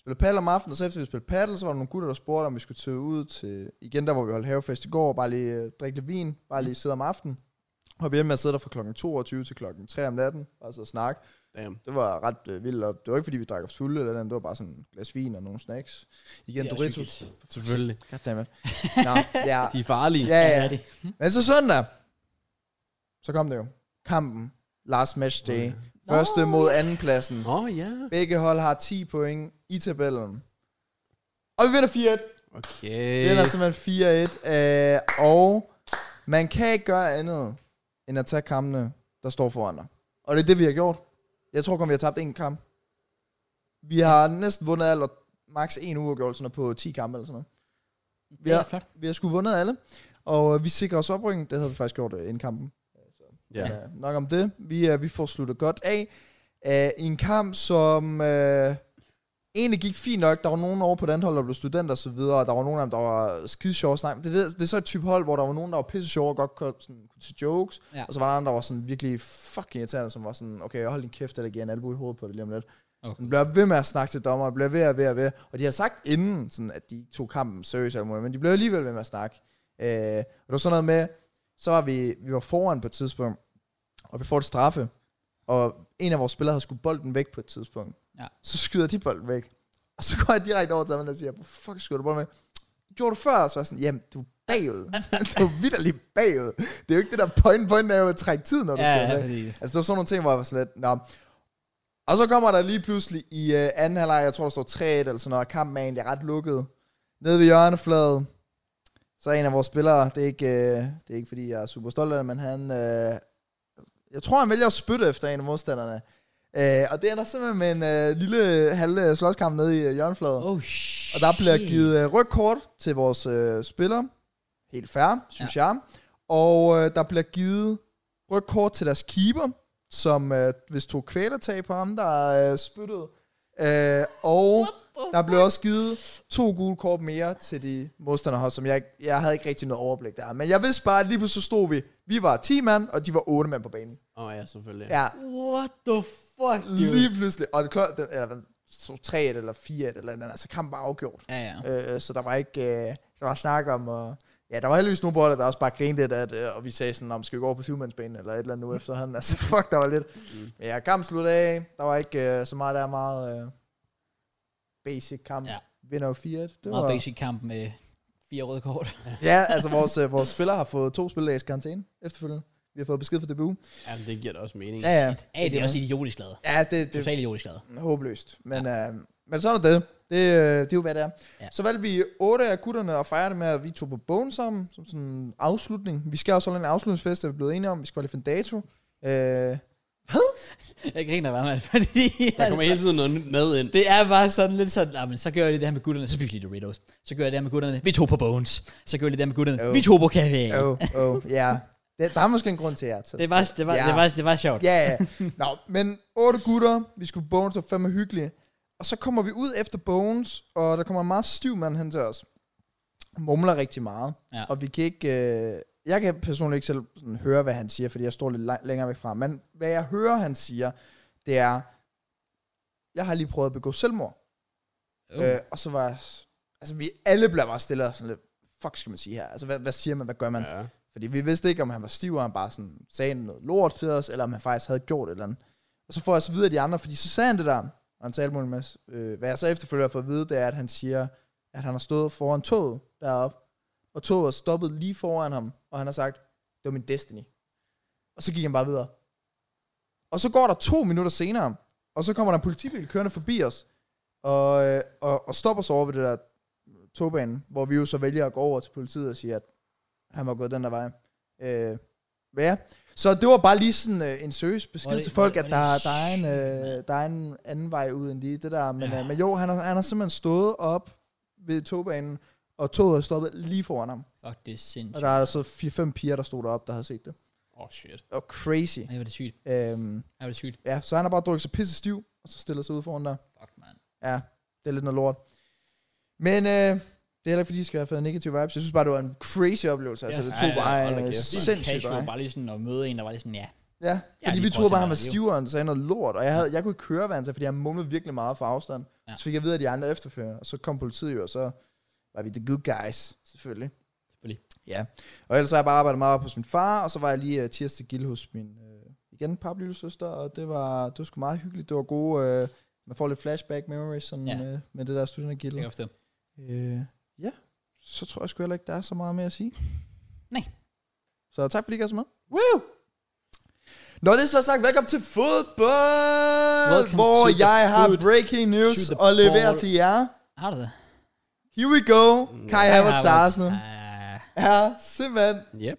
S3: Spillede paddle om aftenen, og så efter vi spillede paddle, så var der nogle gutter, der spurgte, om vi skulle tage ud til, igen der, hvor vi holdt havefest i går, og bare lige øh, drikke lidt vin, bare lige sidde om aftenen. Og vi endte med at sidde der fra klokken 22 til klokken 3 om natten, bare sidde og snakke.
S2: Damn.
S3: Det var ret øh, vildt, og det var ikke fordi, vi drak os fulde eller andet, det var bare sådan et glas vin og nogle snacks. Igen,
S1: Det er
S3: Doritos.
S2: Selvfølgelig.
S3: Goddammit. Nå, ja.
S2: De er farlige.
S3: Ja,
S1: Ja,
S3: ja,
S1: det
S3: ja.
S1: er det.
S3: Men så søndag, så kom det jo. Kampen last match day. Første mod andenpladsen.
S2: Nå, ja.
S3: Begge hold har 10 point i tabellen. Og vi vinder 4-1.
S2: Okay.
S3: Vi vinder simpelthen 4-1. Øh, og man kan ikke gøre andet, end at tage kampene, der står foran dig. Og det er det, vi har gjort. Jeg tror kun, vi har tabt én kamp. Vi har næsten vundet alt, og max. en uafgjort sådan noget, på 10 kampe eller sådan noget.
S1: Det er flot.
S3: Vi har sgu vundet alle, og øh, vi sikrer os oprykning. Det havde vi faktisk gjort øh, inden kampen.
S2: Ja.
S3: Ja. Øh, nok om det. Vi, øh, vi får sluttet godt af. Øh, I en kamp, som øh, egentlig gik fint nok. Der var nogen over på den hold, der blev studenter og så videre, og der var nogen af dem, der var skide sjove at snakke. med. Det, er det, det er så et type hold, hvor der var nogen, der var pisse sjove og godt kunne, sådan, kunne til jokes,
S1: Ja.
S3: ja. og så var der andre, der var sådan virkelig fucking irriterende, som var sådan, okay, hold din kæft, eller giver en albu i hovedet på det lige om lidt.
S1: Okay.
S3: Den bliver ved med at snakke til dommeren, bliver ved og ved og ved. Og de har sagt inden, sådan, at de ikke tog kampen seriøst, eller noget, men de blev alligevel ved med at snakke. Øh, og det var sådan noget med, så var vi, vi var foran på et tidspunkt, og vi får et straffe, og en af vores spillere havde skudt bolden væk på et tidspunkt.
S1: Ja.
S3: Så skyder de bolden væk. Og så går jeg direkte over til ham og siger, hvor fuck skyder du bolden væk? Gjorde du før? Så var jeg sådan, jamen, du er bagud. du er vidderligt bagud. Det er jo ikke det der point, point er jo at trække tid, når du
S1: Ja,
S3: skyder
S1: ja,
S3: væk.
S1: præcis.
S3: Altså, det var sådan nogle ting, hvor jeg var sådan lidt, nå. Og så kommer der lige pludselig i øh, anden halvleg, jeg tror, der står 3-1 eller sådan noget, og kampen er egentlig ret lukket. Nede ved hjørnefladet, så er en af vores spillere, det er ikke, øh, det er ikke fordi, jeg er super stolt af det, men han, øh, jeg tror, han vælger at spytte efter en af modstanderne. Øh, og det ender simpelthen med en øh, lille halve slåskamp nede i øh, hjørnefladet.
S1: Oh,
S3: Og der bliver
S1: shit.
S3: givet øh, rødkort til vores øh, spillere. Helt fair, synes ja. jeg. Og øh, der bliver givet rødkort til deres keeper, som øh, hvis tog kvælertag på ham, der øh, spyttede. Øh, og der blev også givet to gule kort mere til de modstanderhold, som jeg, ikke- jeg havde ikke rigtig noget overblik der. Men jeg vidste bare, at lige pludselig så stod vi. Vi var 10 mand, og de var 8 mand på banen.
S2: Åh, ja, selvfølgelig.
S3: Ja,
S1: What the fuck, dude?
S3: lige pludselig. Og det klart, den, eller, den stod 3 eller 4 eller andet, altså kampen var afgjort.
S1: Ja, ja.
S3: Øh, så der var ikke øh, der var snak om, og ja, der var heldigvis nogle bolde, der også bare grinede lidt, at, øh, og vi sagde sådan, om skal vi gå over på syvmandsbanen, eller et eller andet nu efterhånden. Altså, fuck, der var lidt.
S1: Mm.
S3: Men ja, kampen sluttede af, der var ikke øh, så meget, der er meget øh, basic kamp.
S1: Ja.
S3: Ja. Vinder jo 4 det
S1: Meget
S3: var,
S1: basic kamp med fire røde kort.
S3: Ja, altså vores, øh, vores spillere har fået to spilledages karantæne efterfølgende. Vi har fået besked fra DBU.
S2: Jamen, det giver da også mening.
S3: Ja, ja.
S1: Ja, det er også idiotisk lavet.
S3: Ja, det, det,
S1: Totalt idiotisk lavet.
S3: Håbløst. Men, ja. øh, men sådan er det. Det, øh, det er jo, hvad det er.
S1: Ja.
S3: Ja. Så valgte vi otte af gutterne og fejrede det med, at vi tog på bogen sammen, som sådan en afslutning. Vi skal også holde en afslutningsfest, der vi er blevet enige om. Vi skal bare lige finde dato. Øh,
S1: Jeg griner bare, mand, fordi... altså,
S2: Der kommer hele tiden noget nyt med ind.
S1: Det er bare sådan lidt sådan, nah, men så gør jeg lige det her med gutterne, så spiser vi lige Doritos. Så gør jeg det her med gutterne, vi tog på Bones. Så gør jeg lige det her med gutterne,
S3: Jo.
S1: vi tog på café.
S3: Åh, åh, oh, ja. Det, der er måske en grund til jer. Til.
S1: Det var, det var,
S3: Ja.
S1: det var, det var sjovt.
S3: Ja, ja. Nå, men otte gutter, vi skulle på Bones, det var fandme hyggeligt. Og så kommer vi ud efter Bones, og der kommer en meget stiv mand hen til os. Mumler rigtig meget.
S1: Ja.
S3: Og vi kan ikke... Øh, jeg kan personligt ikke selv sådan, høre, hvad han siger, fordi jeg står lidt lang, længere væk fra ham. Men hvad jeg hører, han siger, det er... Jeg har lige prøvet at begå selvmord.
S1: Oh.
S3: Øh, og så var jeg... s- Altså, vi alle blev bare stille og sådan lidt... Fuck, skal man sige her? Altså, hvad, hvad siger man? Hvad gør man?
S2: Ja.
S3: Fordi vi vidste ikke, om han var stiv, og han bare sådan sagde noget lort til os, eller om han faktisk havde gjort et eller andet. Og så får jeg så videre de andre, fordi så sagde han det der, og han talte med en masse. Øh, hvad jeg så efterfølgende får at vide, det er, at han siger, at han har stået foran toget deroppe, og toget er stoppet lige foran ham, og han har sagt, det var min destiny. Og så gik han bare videre. Og så går der to minutter senere, og så kommer der en politibil kørende forbi os, og, øh, og, og stopper så over ved det der togbane, hvor vi jo så vælger at gå over til politiet og sige, at han var gået den der vej. Øh, ja. Så det var bare lige sådan øh, en seriøs besked
S1: Hvor er det-
S3: til folk,
S1: hvor er
S3: at
S1: det
S3: der, der, er en,
S1: sygt, mand.
S3: øh, der er en anden vej ud end lige det der. Men,
S1: Ja.
S3: ja. øh, men jo, han har, han har simpelthen stået op ved togbanen, og toget er stoppet lige foran ham.
S1: Fuck, det er
S3: Og
S1: sindssygt.
S3: der er altså 4-5 piger, der stod deroppe, der havde set det.
S2: Åh, oh, shit.
S3: Og crazy.
S1: Ej, hvor er det sygt.
S3: Øhm,
S1: Ej, hvor er det sygt.
S3: ja, så han har bare drukket sig pisse stiv, og så stillet sig ud foran der.
S1: Fuck, man.
S3: Ja, det er lidt noget lort. Men øh, det er heller ikke, fordi I skal have fået negative vibes. Jeg synes bare, det var en crazy oplevelse. Altså,
S1: Ja.
S3: det tog
S1: Ja, ja,
S3: bare
S2: hold da
S3: øh,
S2: kæft, mand.
S3: sindssygt.
S1: Casual,
S3: meget.
S1: bare lige sådan at møde en, der var lige sådan, ja.
S3: Ja, fordi
S1: de prøver
S3: vi troede bare,
S1: at
S3: han var
S1: se, hvad der er i
S3: stivere, han sagde noget lort, og jeg, havde, jeg kunne ikke høre, hvad han sagde, fordi han mumlede virkelig meget fra afstand.
S1: Ja.
S3: Ja. Så fik jeg videre de andre efterfølgende, og så kom politiet jo, og så var vi the good guys, selvfølgelig.
S1: Selvfølgelig.
S3: Ja, og ellers har jeg bare arbejdet meget på hos min far, og så var jeg lige uh, tirsdag gild hos min, uh, igen, paplillesøster, og det var, det var sgu meget hyggeligt, det var gode, uh, man får lidt flashback memories sådan,
S1: Ja.
S3: ja. med, med det der studentergild.
S1: Det kan jeg forstå.
S3: Øh, ja, så tror jeg sgu heller ikke, der er så meget mere at sige.
S1: Nej.
S3: Så tak fordi I gav så med.
S2: Woo!
S3: Når det er så sagt, velkommen til fodbold,
S1: Welcome
S3: hvor
S1: to the
S3: jeg har
S1: food.
S3: breaking news
S2: To the
S3: og leverer
S2: ball.
S3: til jer.
S1: Har du det?
S3: Here we go. Kai Havertz til Arsenal
S1: Ah.
S3: er simpelthen
S2: Yep.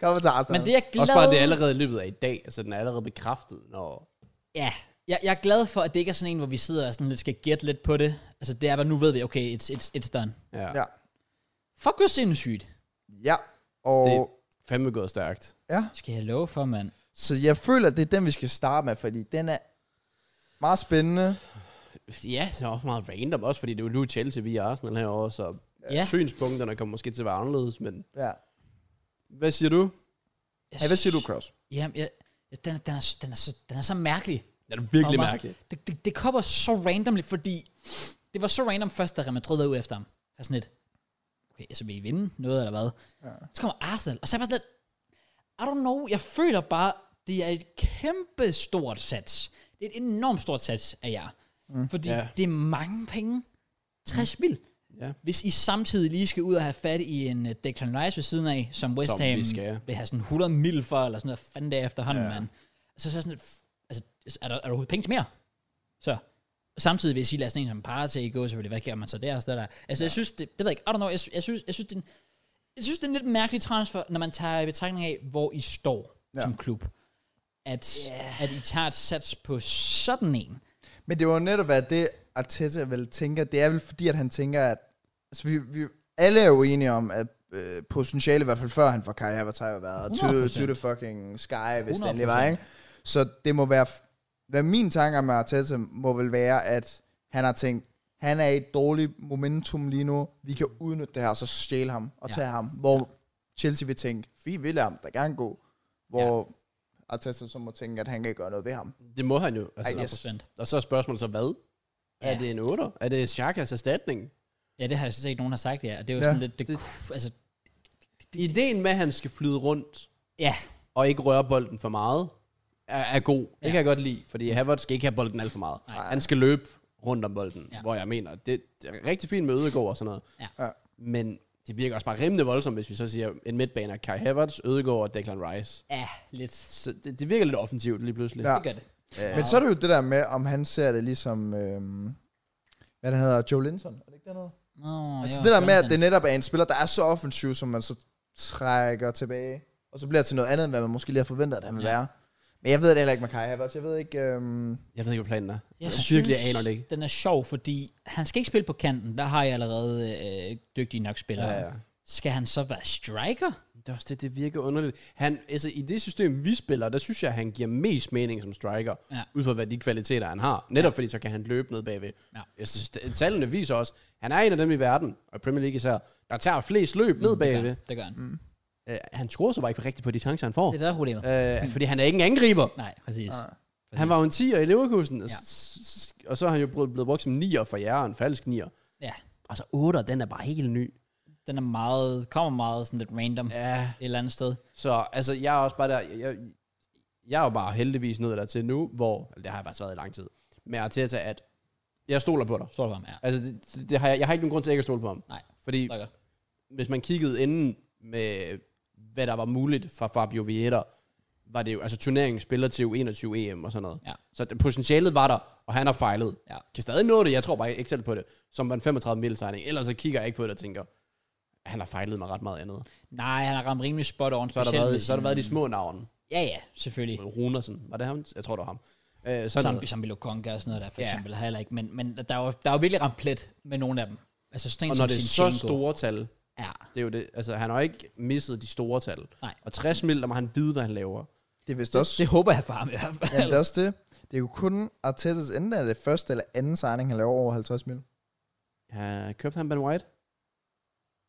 S3: kommet til Arsenal.
S1: Men det er jeg glad...
S2: Også bare det er allerede i løbet af i dag, altså den er allerede bekræftet, når...
S1: Ja, jeg, jeg er glad for, at det ikke er sådan en, hvor vi sidder og sådan lidt skal gætte lidt på det. Altså det er bare, nu ved vi, okay, it's, it's, it's done.
S2: Ja.
S3: Ja.
S2: ja.
S1: Fuck, hvor sindssygt.
S3: Ja, og...
S2: Det er fandme gået stærkt.
S3: Ja.
S1: Skal jeg love for, mand.
S3: Så jeg føler, at det er den, vi skal starte med, fordi den er meget spændende.
S2: Ja, det er også meget random også, fordi det er jo nu Chelsea, vi er Arsenal herovre, så
S1: Ja.
S2: ja. synspunkterne kommer måske til at være anderledes, men
S3: Ja.
S2: hvad siger du?
S1: Jeg
S3: Hey, hvad siger du, Kraus?
S1: Jamen, jeg, jeg- den, er- den, er, s- den, er, så, den er så mærkelig.
S2: Det er virkelig
S1: Og bare-
S2: mærkeligt.
S1: Det, det, det kommer så randomly, fordi det var så random først, da Real Madrid er ude efter ham. Jeg er sådan lidt, okay, så vil I vinde noget eller hvad? Ja. Så kommer Arsenal, og så er jeg bare sådan lidt, I don't know, jeg føler bare, det er et kæmpe stort sats. Det er et enormt stort sats af jer. Mm. Fordi
S2: Ja.
S1: ja. det er mange penge. 60 mil.
S2: Ja.
S1: Hvis I samtidig lige skal ud og have fat i en øh, Declan Rice ved siden af, som West
S2: Som vi
S1: Ham
S2: skal, ja.
S1: vil have sådan 100 mil for, eller sådan noget fanden der efterhånden, ja.
S2: Ja.
S1: mand. Så, så er sådan et, f- altså, er der, er der overhovedet penge til mere? Så samtidig vil jeg sige, lad sådan en som Partey i gå, selvfølgelig, hvad gør man så der og sådan der. Altså, ja. jeg synes, det, det ved jeg ikke, I don't know, jeg, sy- jeg synes, jeg synes, det er en, jeg synes, det er en lidt mærkelig transfer, når man tager i betragtning af, hvor I står
S3: Ja.
S1: ja. som klub. At, yeah. at I tager et sats på sådan en.
S3: Men det var jo netop, hvad det Arteta vel tænker. Det er vel fordi, at han tænker, at... Altså, vi, vi alle er jo enige om, at øh, potentiale, i hvert fald før han får Kai Havertz, har jo været to,
S1: 100%.
S3: to the fucking sky, hvis det endelig
S1: 100%.
S3: var, ikke? Så det må være... Hvad min tanke med Arteta må vel være, at han har tænkt, han er i et dårligt momentum lige nu. Vi kan udnytte det her, og så stjæle ham og
S1: Ja.
S3: ja. tage ham. Hvor ja. Chelsea vil tænke, fint, vi lader ham da gerne gå. Hvor ja. Arteta så må tænke, at han kan gøre noget ved ham.
S2: Det må han jo.
S3: Ej,
S2: Altså,
S3: yes.
S1: 100%.
S2: Og så er spørgsmålet så, hvad? Ja.
S1: Ja.
S2: Er det en 8'er? Er det Xhakas erstatning?
S1: Ja, det har jeg set, nogen har sagt, ja. Og det er jo
S3: Ja.
S1: ja. sådan lidt, det,
S2: Det-
S1: det, altså,
S2: Ideen med, at han skal flyde rundt
S1: ja,
S2: og ikke røre bolden for meget, er, er god. Det
S1: Ja.
S2: kan jeg godt lide, fordi Havertz skal ikke have bolden alt for meget.
S1: Nej.
S2: Han skal løbe rundt om bolden,
S1: Ja.
S2: ja. hvor jeg mener, det, det er rigtig fint med Ødegård og sådan noget.
S1: Ja.
S3: Ja.
S2: Men det virker også bare rimelig voldsomt, hvis vi så siger, en midtbaner, Kai Havertz, Ødegård og Declan Rice.
S1: ja, lidt.
S2: Så det, det virker lidt offensivt lige pludselig.
S3: Ja.
S1: Det gør det.
S2: Ja.
S3: Men så er det jo det der med, om han ser det ligesom, øhm, hvad den hedder, Joe Linton, er det ikke dernede?
S1: Nå,
S3: Altså
S1: jo,
S3: det der med, at
S1: sådan.
S3: det netop er en spiller, der er så offensiv, som man så trækker tilbage, og så bliver det til noget andet, end hvad man måske lige har forventet, at han vil
S1: Ja.
S3: være. Men jeg ved det heller ikke med Kai Havertz, jeg ved ikke, øhm,
S2: Jeg ved ikke, hvad planen er.
S1: Jeg,
S2: Jeg
S1: synes,
S2: virkelig aner det ikke.
S1: den er sjov, fordi han skal ikke spille på kanten. Der har jeg allerede øh, dygtige nok spillere.
S2: Ja, ja.
S1: Skal han så være striker?
S2: Det er også det, det virker underligt. Han, altså, I det system, vi spiller, der synes jeg, han giver mest mening som striker,
S1: Ja.
S2: ud fra hvad de kvaliteter, han har. Netop ja. fordi, så kan han løbe ned bagved.
S1: Ja.
S2: Jeg synes, det- tallene viser også, han er en af dem i verden, og i Premier League især, der tager flest løb ned bagved.
S1: Det gør han. Mm.
S2: Ja. han scorer så bare ikke rigtigt på de chancer, han får.
S1: Det er der problemet. Øh.
S2: Øh, fordi han er ikke en angriber.
S1: Nej, præcis.
S2: Ah.
S3: Nej.
S2: Han var jo en 10'er i Leverkusen, og,
S1: Ja.
S2: s- og så er han jo blevet blevet brugt som 9'er for jer, og en falsk 9'er.
S1: Ja,
S2: Og så 8'er, den er bare helt ny.
S1: den er meget, kommer meget sådan lidt random ja.
S2: Ja,
S1: et eller andet sted.
S2: Så altså, jeg er også bare der, jeg, jeg, jeg er jo bare heldigvis nået dertil nu, hvor, eller det har jeg faktisk været i lang tid, med Arteta, at jeg stoler på dig.
S1: Står der bare med, ja.
S2: Altså, det, det- det har jeg, jeg har ikke nogen grund til ikke at stole på ham.
S1: Nej,
S2: Fordi
S1: det er godt.
S2: hvis man kiggede inden med, hvad der var muligt fra Fabio Vieira, var det jo, altså turneringen spiller til U21 EM og sådan noget.
S1: Ja.
S2: Så det, potentialet var der, og han har fejlet.
S1: Ja.
S2: Kan stadig nå det, jeg tror bare ikke selv på det, som var en 35 mil tegning. Ellers så kigger jeg ikke på det og tænker, han har fejlet mig ret meget andet.
S1: Nej, han har ramt rimelig spot on.
S2: Så har der
S1: specielt
S2: været,
S1: med
S2: så har der været de
S1: sådan-
S2: små navne.
S1: Ja, ja, selvfølgelig.
S2: Runersen, var det ham? Jeg tror, det var ham. Øh, sådan
S1: Sambi,
S2: noget.
S1: Sambi Lokonga og sådan noget der, for
S2: Ja.
S1: eksempel, har heller ikke. Men, men der, er jo, der er jo virkelig ramt plet med nogle af dem. Altså sådan en
S2: Og når
S1: som
S2: det er så
S1: Zinchenko.
S2: store tal, det
S1: Ja,
S2: er jo det, altså han har jo ikke misset de store tal.
S1: Nej.
S2: Og 60 mil, der må han vide, hvad han laver.
S3: det er vist også,
S1: det håber jeg for ham i hvert fald.
S3: ja, det er også det. Det er jo kun Artetas enten er det første eller anden signing, han laver over 50 mil.
S2: Ja, købte han Ben White?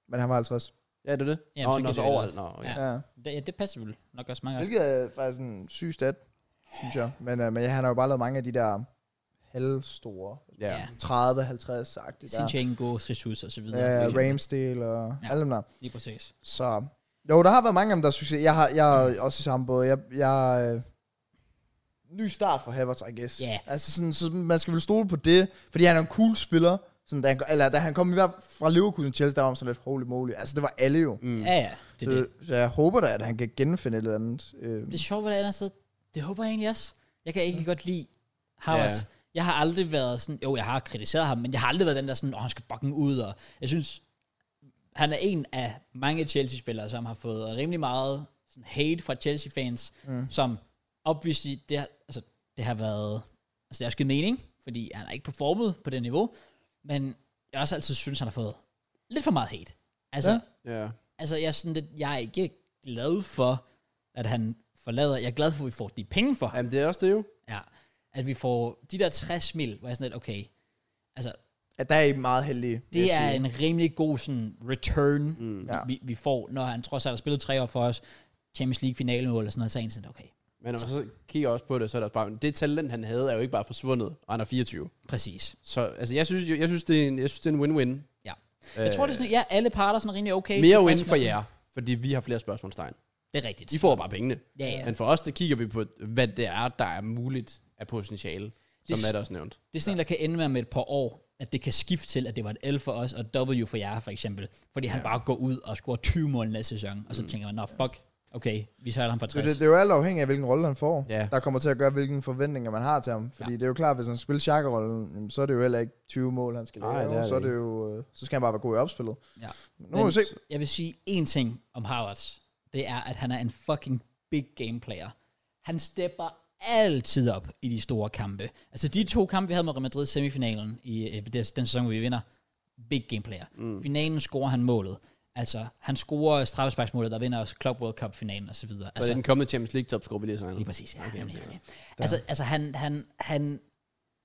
S3: Men han var 50.
S2: Ja, det er det.
S1: Jamen,
S2: Nå,
S1: så
S2: nå,
S1: kan
S2: så
S1: det
S2: overalt. Nå, okay.
S1: Ja.
S2: ja.
S3: Ja.
S1: Det, ja, det passer vel nok også meget godt.
S3: Hvilket er faktisk en syg stat, synes jeg. Men, øh, men ja, han har jo bare lavet mange af de der halvstore,
S2: ja.
S1: Ja.
S3: 30-50-agtige der.
S1: Sinchenko, Jesus og så videre.
S3: Ja,
S1: for eksempel.
S3: Ramsdale og
S1: Ja.
S3: ja. alle dem der.
S1: Lige præcis.
S3: Så jo, der har været mange af dem, der er succes. Jeg, har, jeg er også i samme båd. Jeg, jeg, øh, ny start for Havertz, I guess.
S1: Ja.
S3: Altså sådan, så man skal vel stole på det, fordi han er en cool spiller. Sådan, da han, eller da han kom i hvert fald fra Leverkusen til Chelsea, der var han sådan lidt holy moly. Altså det var alle jo.
S1: Mm. Ja, ja, det er det.
S3: så, så jeg håber da, at han kan genfinde et eller andet. Øh,
S1: Det er sjovt, hvordan altså, Det håber jeg egentlig også. Jeg kan ikke godt lide Havertz.
S2: Ja.
S1: Jeg har aldrig været sådan, jo, jeg har kritiseret ham, men jeg har aldrig været den der sådan, åh, han skal fucking ud, og jeg synes, han er en af mange Chelsea-spillere, som har fået rimelig meget sådan, hate fra Chelsea-fans, mm. som obviously, det har, altså, det har været, altså det har skidt mening, fordi han er ikke performet på det niveau, men jeg har også altid synes, han har fået lidt for meget hate. Altså,
S3: Ja.
S1: ja.
S2: Ja.
S1: altså jeg, er sådan lidt, jeg er ikke glad for, at han forlader, jeg er glad for, at vi får de penge for ham.
S2: Jamen, det er også det jo.
S1: Ja. At vi får de der 60 mil, hvor jeg er sådan lidt, okay, altså,
S3: At der er I meget heldige. vil
S1: det
S3: jeg
S1: er
S3: sige.
S1: en rimelig god sådan, return, mm.
S3: Ja.
S1: vi, vi, får, når han trods alt har spillet tre år for os, Champions League finalemål og sådan noget, så er jeg sådan, okay,
S2: Men når man så kigger også på det, så er der også bare, det talent, han havde, er jo ikke bare forsvundet, og han er 24.
S1: præcis.
S2: Så altså, jeg synes, jo- jeg synes, det er en, jeg synes, det er en win-win.
S1: Ja. Jeg tror, det er sådan, ja, alle parter er sådan rimelig okay.
S2: Mere
S1: tilfredse
S2: win for
S1: med-
S2: jer, fordi vi har flere spørgsmålstegn.
S1: Det er rigtigt.
S2: De får bare pengene.
S1: Ja, ja.
S2: Men for os, der kigger vi på, hvad det er, der er muligt af potentiale, som
S1: Det-
S2: det, Matt også nævnt.
S1: Det er sådan en, der kan ende med om et par år, at det kan skifte til, at det var et L for os, og et W for jer, for eksempel. Fordi han bare går ud og scorer 20 mål næste sæson, og så tænker man, nå, fuck, okay, vi sejler ham for 60.
S3: Mm. Det, det, det er jo alt afhængigt af, hvilken rolle han får,
S2: Ja.
S3: der kommer til at gøre, hvilke forventninger man har til ham. Fordi
S1: Ja.
S3: ja. det er jo klart, hvis han spiller Chaka-rollen, jamen, så er det jo heller ikke 20 mål, han skal
S2: Nej,
S3: lave.
S2: det er
S3: så, er
S2: det
S3: det jo, øh, så skal han bare være god i opspillet.
S1: Ja.
S3: Men Nu må vi se.
S1: Jeg vil sige én ting om Havertz. Det er, at han er en fucking big game player. Han stepper altid op i de store kampe. Altså de to kampe, vi havde med Real Madrid i semifinalen i øh, den den sæson, hvor vi vinder, big game player. Mm. Finalen scorer han målet. Altså, han scorer straffesparksmålet, der vinder også Club World Cup-finalen osv.
S2: Så altså,
S1: Altså,
S2: den kommende Champions League topscore, vi lige
S1: Lige
S2: signer.
S1: præcis, ja. Okay, okay, okay. Altså, altså han, han, han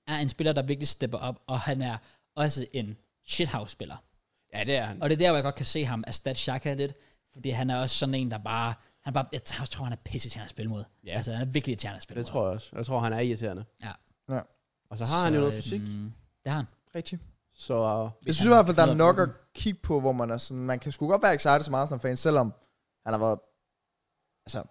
S1: er en spiller, der virkelig stepper op, og han er også en shithouse-spiller.
S2: Ja, det er han.
S1: Og det er der, hvor jeg godt kan se ham erstatte Xhaka lidt, fordi han er også sådan en, der bare... Han bare jeg tror, jeg tror, han er pisse til at spille mod.
S2: Ja.
S1: Altså, han er virkelig til at spille
S2: Det
S1: mod.
S2: tror jeg også. Jeg tror, han er irriterende.
S1: Ja.
S3: Ja.
S2: Og så har så, han jo noget
S1: øhm,
S2: fysik,
S1: Det har han.
S3: Rigtig.
S2: så øh,
S3: Jeg synes i hvert fald, der er nok at kigge på, hvor man er sådan, man kan sgu godt være excited som Arsenal-fan, selvom han har været altså,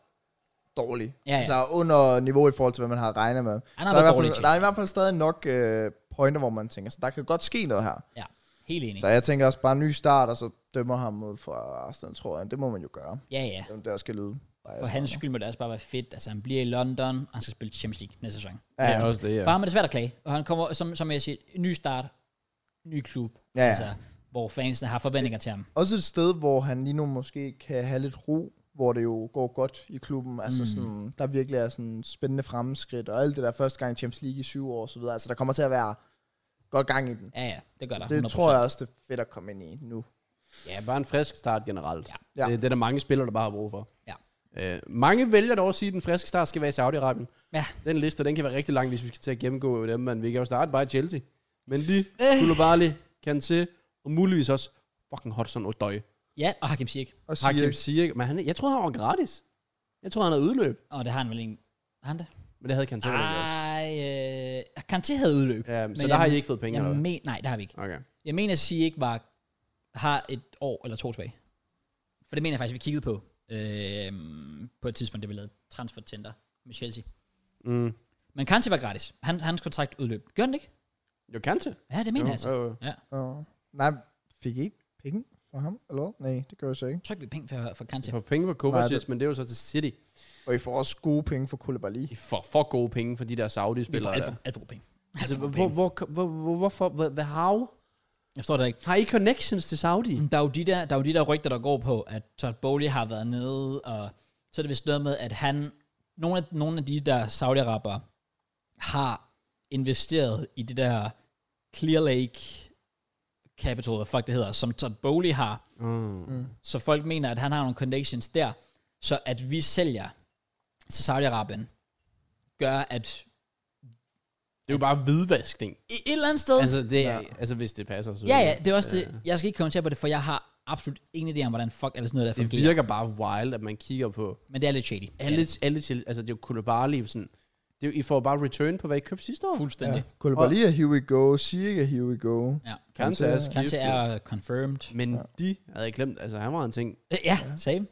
S3: dårlig.
S1: Ja, ja.
S3: Altså under niveau i forhold til, hvad man har regnet med.
S1: Han
S3: Så
S1: har
S3: der, er i
S1: været
S3: hvert
S1: dårlig
S3: fald,
S1: til.
S3: der er i hvert fald stadig nok øh, pointer, hvor man tænker, så der kan godt ske noget her.
S1: Ja, helt enig.
S3: Så jeg tænker også bare en ny start, og så dømmer ham ud fra Arsenal, tror jeg. Det må man jo gøre.
S1: Ja, ja.
S3: Det er jo, der skal lyde. Altså,
S2: Altså,
S1: For hans skyld må det også bare være fedt. Altså, han bliver i London, og han skal spille Champions League næste sæson.
S2: Ja, ja, også det,
S1: Ja. For
S2: ja.
S1: ham er det svært at klage. Og han kommer, som, som jeg siger, en ny start, ny klub.
S3: Ja, ja.
S1: Altså, hvor fansene har forventninger til ham.
S3: Også et sted, hvor han lige nu måske kan have lidt ro, hvor det jo går godt i klubben. Altså
S1: Mm.
S3: sådan, der virkelig er sådan spændende fremskridt, og alt det der første gang i Champions League i syv år og så videre. Altså der kommer til at være godt gang i den.
S1: Ja, ja. Det gør der.
S3: Det
S1: 100%.
S3: tror jeg også, det er fedt at komme ind i nu.
S2: Ja, bare en frisk start generelt.
S3: Ja.
S2: Ja. Det, det er der mange spillere, der bare har brug for.
S1: Ja.
S2: Øh, mange vælger dog at sige, at den friske start skal være i Saudi-Arabien.
S1: Ja.
S2: Den liste, den kan være rigtig lang, hvis vi skal til at gennemgå dem, men vi kan jo starte bare i Chelsea. Men lige
S1: Øh.
S2: Koulibaly, Kanté, og muligvis også fucking Hudson Odoi.
S1: Ja, og Hakim Ziyech.
S3: Og
S2: Hakim
S3: sige,
S2: Ziyech, men han, jeg tror han var gratis. Jeg tror han havde udløb,
S1: Og det har han vel en... Har han det?
S2: men det havde Kanté vel egentlig også.
S1: Nej, øh, Kanté havde udløb.
S2: Ja, men så
S1: Men
S2: der
S1: jeg-
S2: har I ikke fået penge,
S1: Jeg
S2: eller hvad?
S1: men, nej, det har vi ikke.
S2: Okay.
S1: Jeg mener, at sige ikke var, har et år eller to tilbage. For det mener jeg faktisk, vi kiggede på. Øh, på et tidspunkt, det vi lavede transfer tender med Chelsea.
S2: Mm.
S1: Men Kanté var gratis. Han, hans kontrakt udløb. Gjorde den ikke?
S2: Jo, Kanté.
S1: Ja, det mener
S2: Jo,
S1: jeg altså.
S2: jo, jo.
S3: og, nej, fik I ikke penge for ham? Eller? hvad? Nej, det gør jeg så ikke.
S1: Tryk vi penge for, for Kanté.
S2: Jeg får penge for
S3: Nej,
S2: Kovacic, men det er jo så til City.
S3: Og I får også gode penge for Koulibaly.
S2: De får for gode penge for de der
S1: Vi får
S2: Saudi-spillere.
S1: alt for,
S2: der.
S1: alt altså, for gode penge.
S2: Altså, hvor, hvor, hvor, hvor, hvorfor? Hvad, hvad how?
S1: Jeg forstår det ikke.
S2: Har I connections til Saudi?
S1: Der er, jo de der, der er jo de der rygter, der går på, at Todd Bowley har været nede, og så er det vist noget med, at han, nogle af, nogle af de der saudi har investeret i det der Clear Lake Capital, hvad fuck det hedder, som Todd Bowley har.
S2: Mm.
S1: Så folk mener, at han har nogle connections der, så at vi sælger til Saudi-Arabien, gør at
S2: Det er jo bare hvidvaskning.
S1: i et eller andet sted...
S2: Altså, det er, altså hvis det passer. Så
S1: ja, ja, det er også det. Jeg skal ikke kommentere på det, for jeg har absolut ingen idé om, hvordan fuck eller sådan noget der
S2: Det
S1: fungerer.
S2: virker bare wild, at man kigger på
S1: Men det er lidt shady.
S2: alle, alle til, altså det er jo Koulibaly, sådan, det er, jo- I får bare return på, hvad I købte sidste år.
S1: Fuldstændig.
S3: Koulibaly er here we go, Ziyech er here we go.
S1: Ja.
S2: Kanté er
S1: Kanté
S2: skiftet.
S1: er uh, confirmed.
S2: Men de havde jeg glemt, altså han var en ting.
S1: Øh, Ja, same.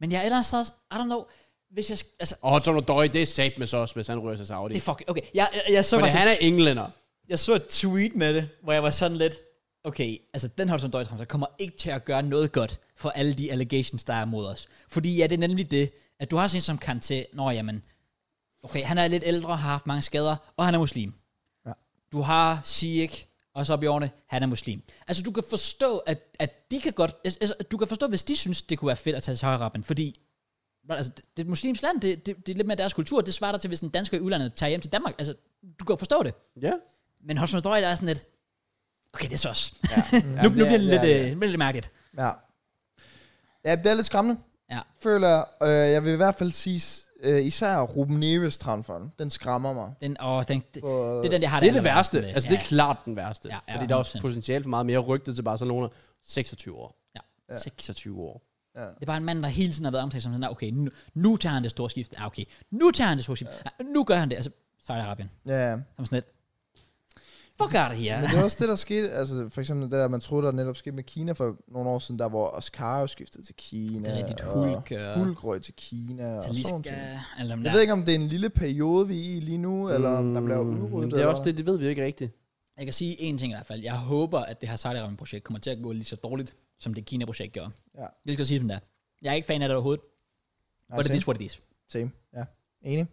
S1: Men jeg er ellers så også, I don't know, hvis jeg, sk- altså,
S2: Og Hudson Odoi, det er sat med så hvis han rører til Saudi.
S1: det er fucking, okay, jeg, jeg, jeg, så
S2: Fordi
S1: faktisk,
S2: han er englænder.
S1: jeg så et tweet med det, hvor jeg var sådan lidt, okay, altså den Hudson Doyle transfer kommer ikke til at gøre noget godt for alle de allegations, der er mod os. Fordi ja, det er nemlig det, at du har sådan en som Kanté, nå jamen, okay, han er lidt ældre, har haft mange skader, og han er muslim.
S3: Ja.
S1: Du har Sieg, og så Bjørne, han er muslim. Altså, du kan forstå, at, at de kan godt... Altså, du kan forstå, hvis de synes, det kunne være fedt at tage til Saudi-Arabien, fordi altså, det det er et muslimsk land, det, det, det er lidt mere deres kultur, det svarer der til, hvis en dansker i udlandet tager hjem til Danmark. Altså, du kan jo forstå det.
S2: Ja.
S1: Men Hobson Odoi, der er sådan lidt, okay, det er så også. nu, nu bliver det lidt, øh, nu bliver det lidt mærkeligt.
S3: Ja. Ja, det er lidt skræmmende.
S1: Ja.
S3: Føler jeg, øh, jeg vil i hvert fald sige, øh, især Ruben Neves transferen, den skræmmer mig.
S1: Den, åh, den, det,
S3: For,
S1: det er den, jeg har
S2: Det er det
S1: allerværst
S2: værste.
S1: med.
S2: Altså, det er klart den værste.
S1: Ja,
S2: Ja,
S1: ja,
S2: ja, fordi der er også
S1: 100%.
S2: potentiale for meget mere rygtet til Barcelona. 26 år.
S1: Ja.
S2: 26 år.
S1: Det er bare en mand, der hele tiden har været omtalt som sådan, "Nå, okay, nu, nu tager han det store skift. Ah, okay, nu tager han det store skift. Ah, nu gør han det. Altså, Saudi-Arabien.
S3: ja.
S1: Som sådan lidt. Fuck out of here.
S3: Men det var også det, der skete, altså for eksempel det der, man troede, der netop skete med Kina for nogle år siden, der hvor Oscar jo skiftede til Kina.
S1: Det er rigtigt
S3: og
S1: hulk. øh,
S3: Hulk røg til Kina og sådan
S1: Taliska.
S3: noget.
S1: Eller dem
S3: Jeg
S1: der.
S3: ved ikke, om det er en lille periode, vi er i lige nu, eller om der bliver udryddet.
S2: Mm, Det er også
S3: eller-
S2: det, det ved vi jo ikke rigtigt.
S1: Jeg kan sige én ting i hvert fald. Jeg håber, at det her Saudi-Arabien-projekt kommer til at gå lige så dårligt, som det Kina-projekt gjorde.
S3: Ja.
S1: Hvilket at sige dem der. Jeg er ikke fan af det overhovedet.
S3: Nej,
S1: But it
S3: same,
S1: is what it is.
S3: same. Ja, enig.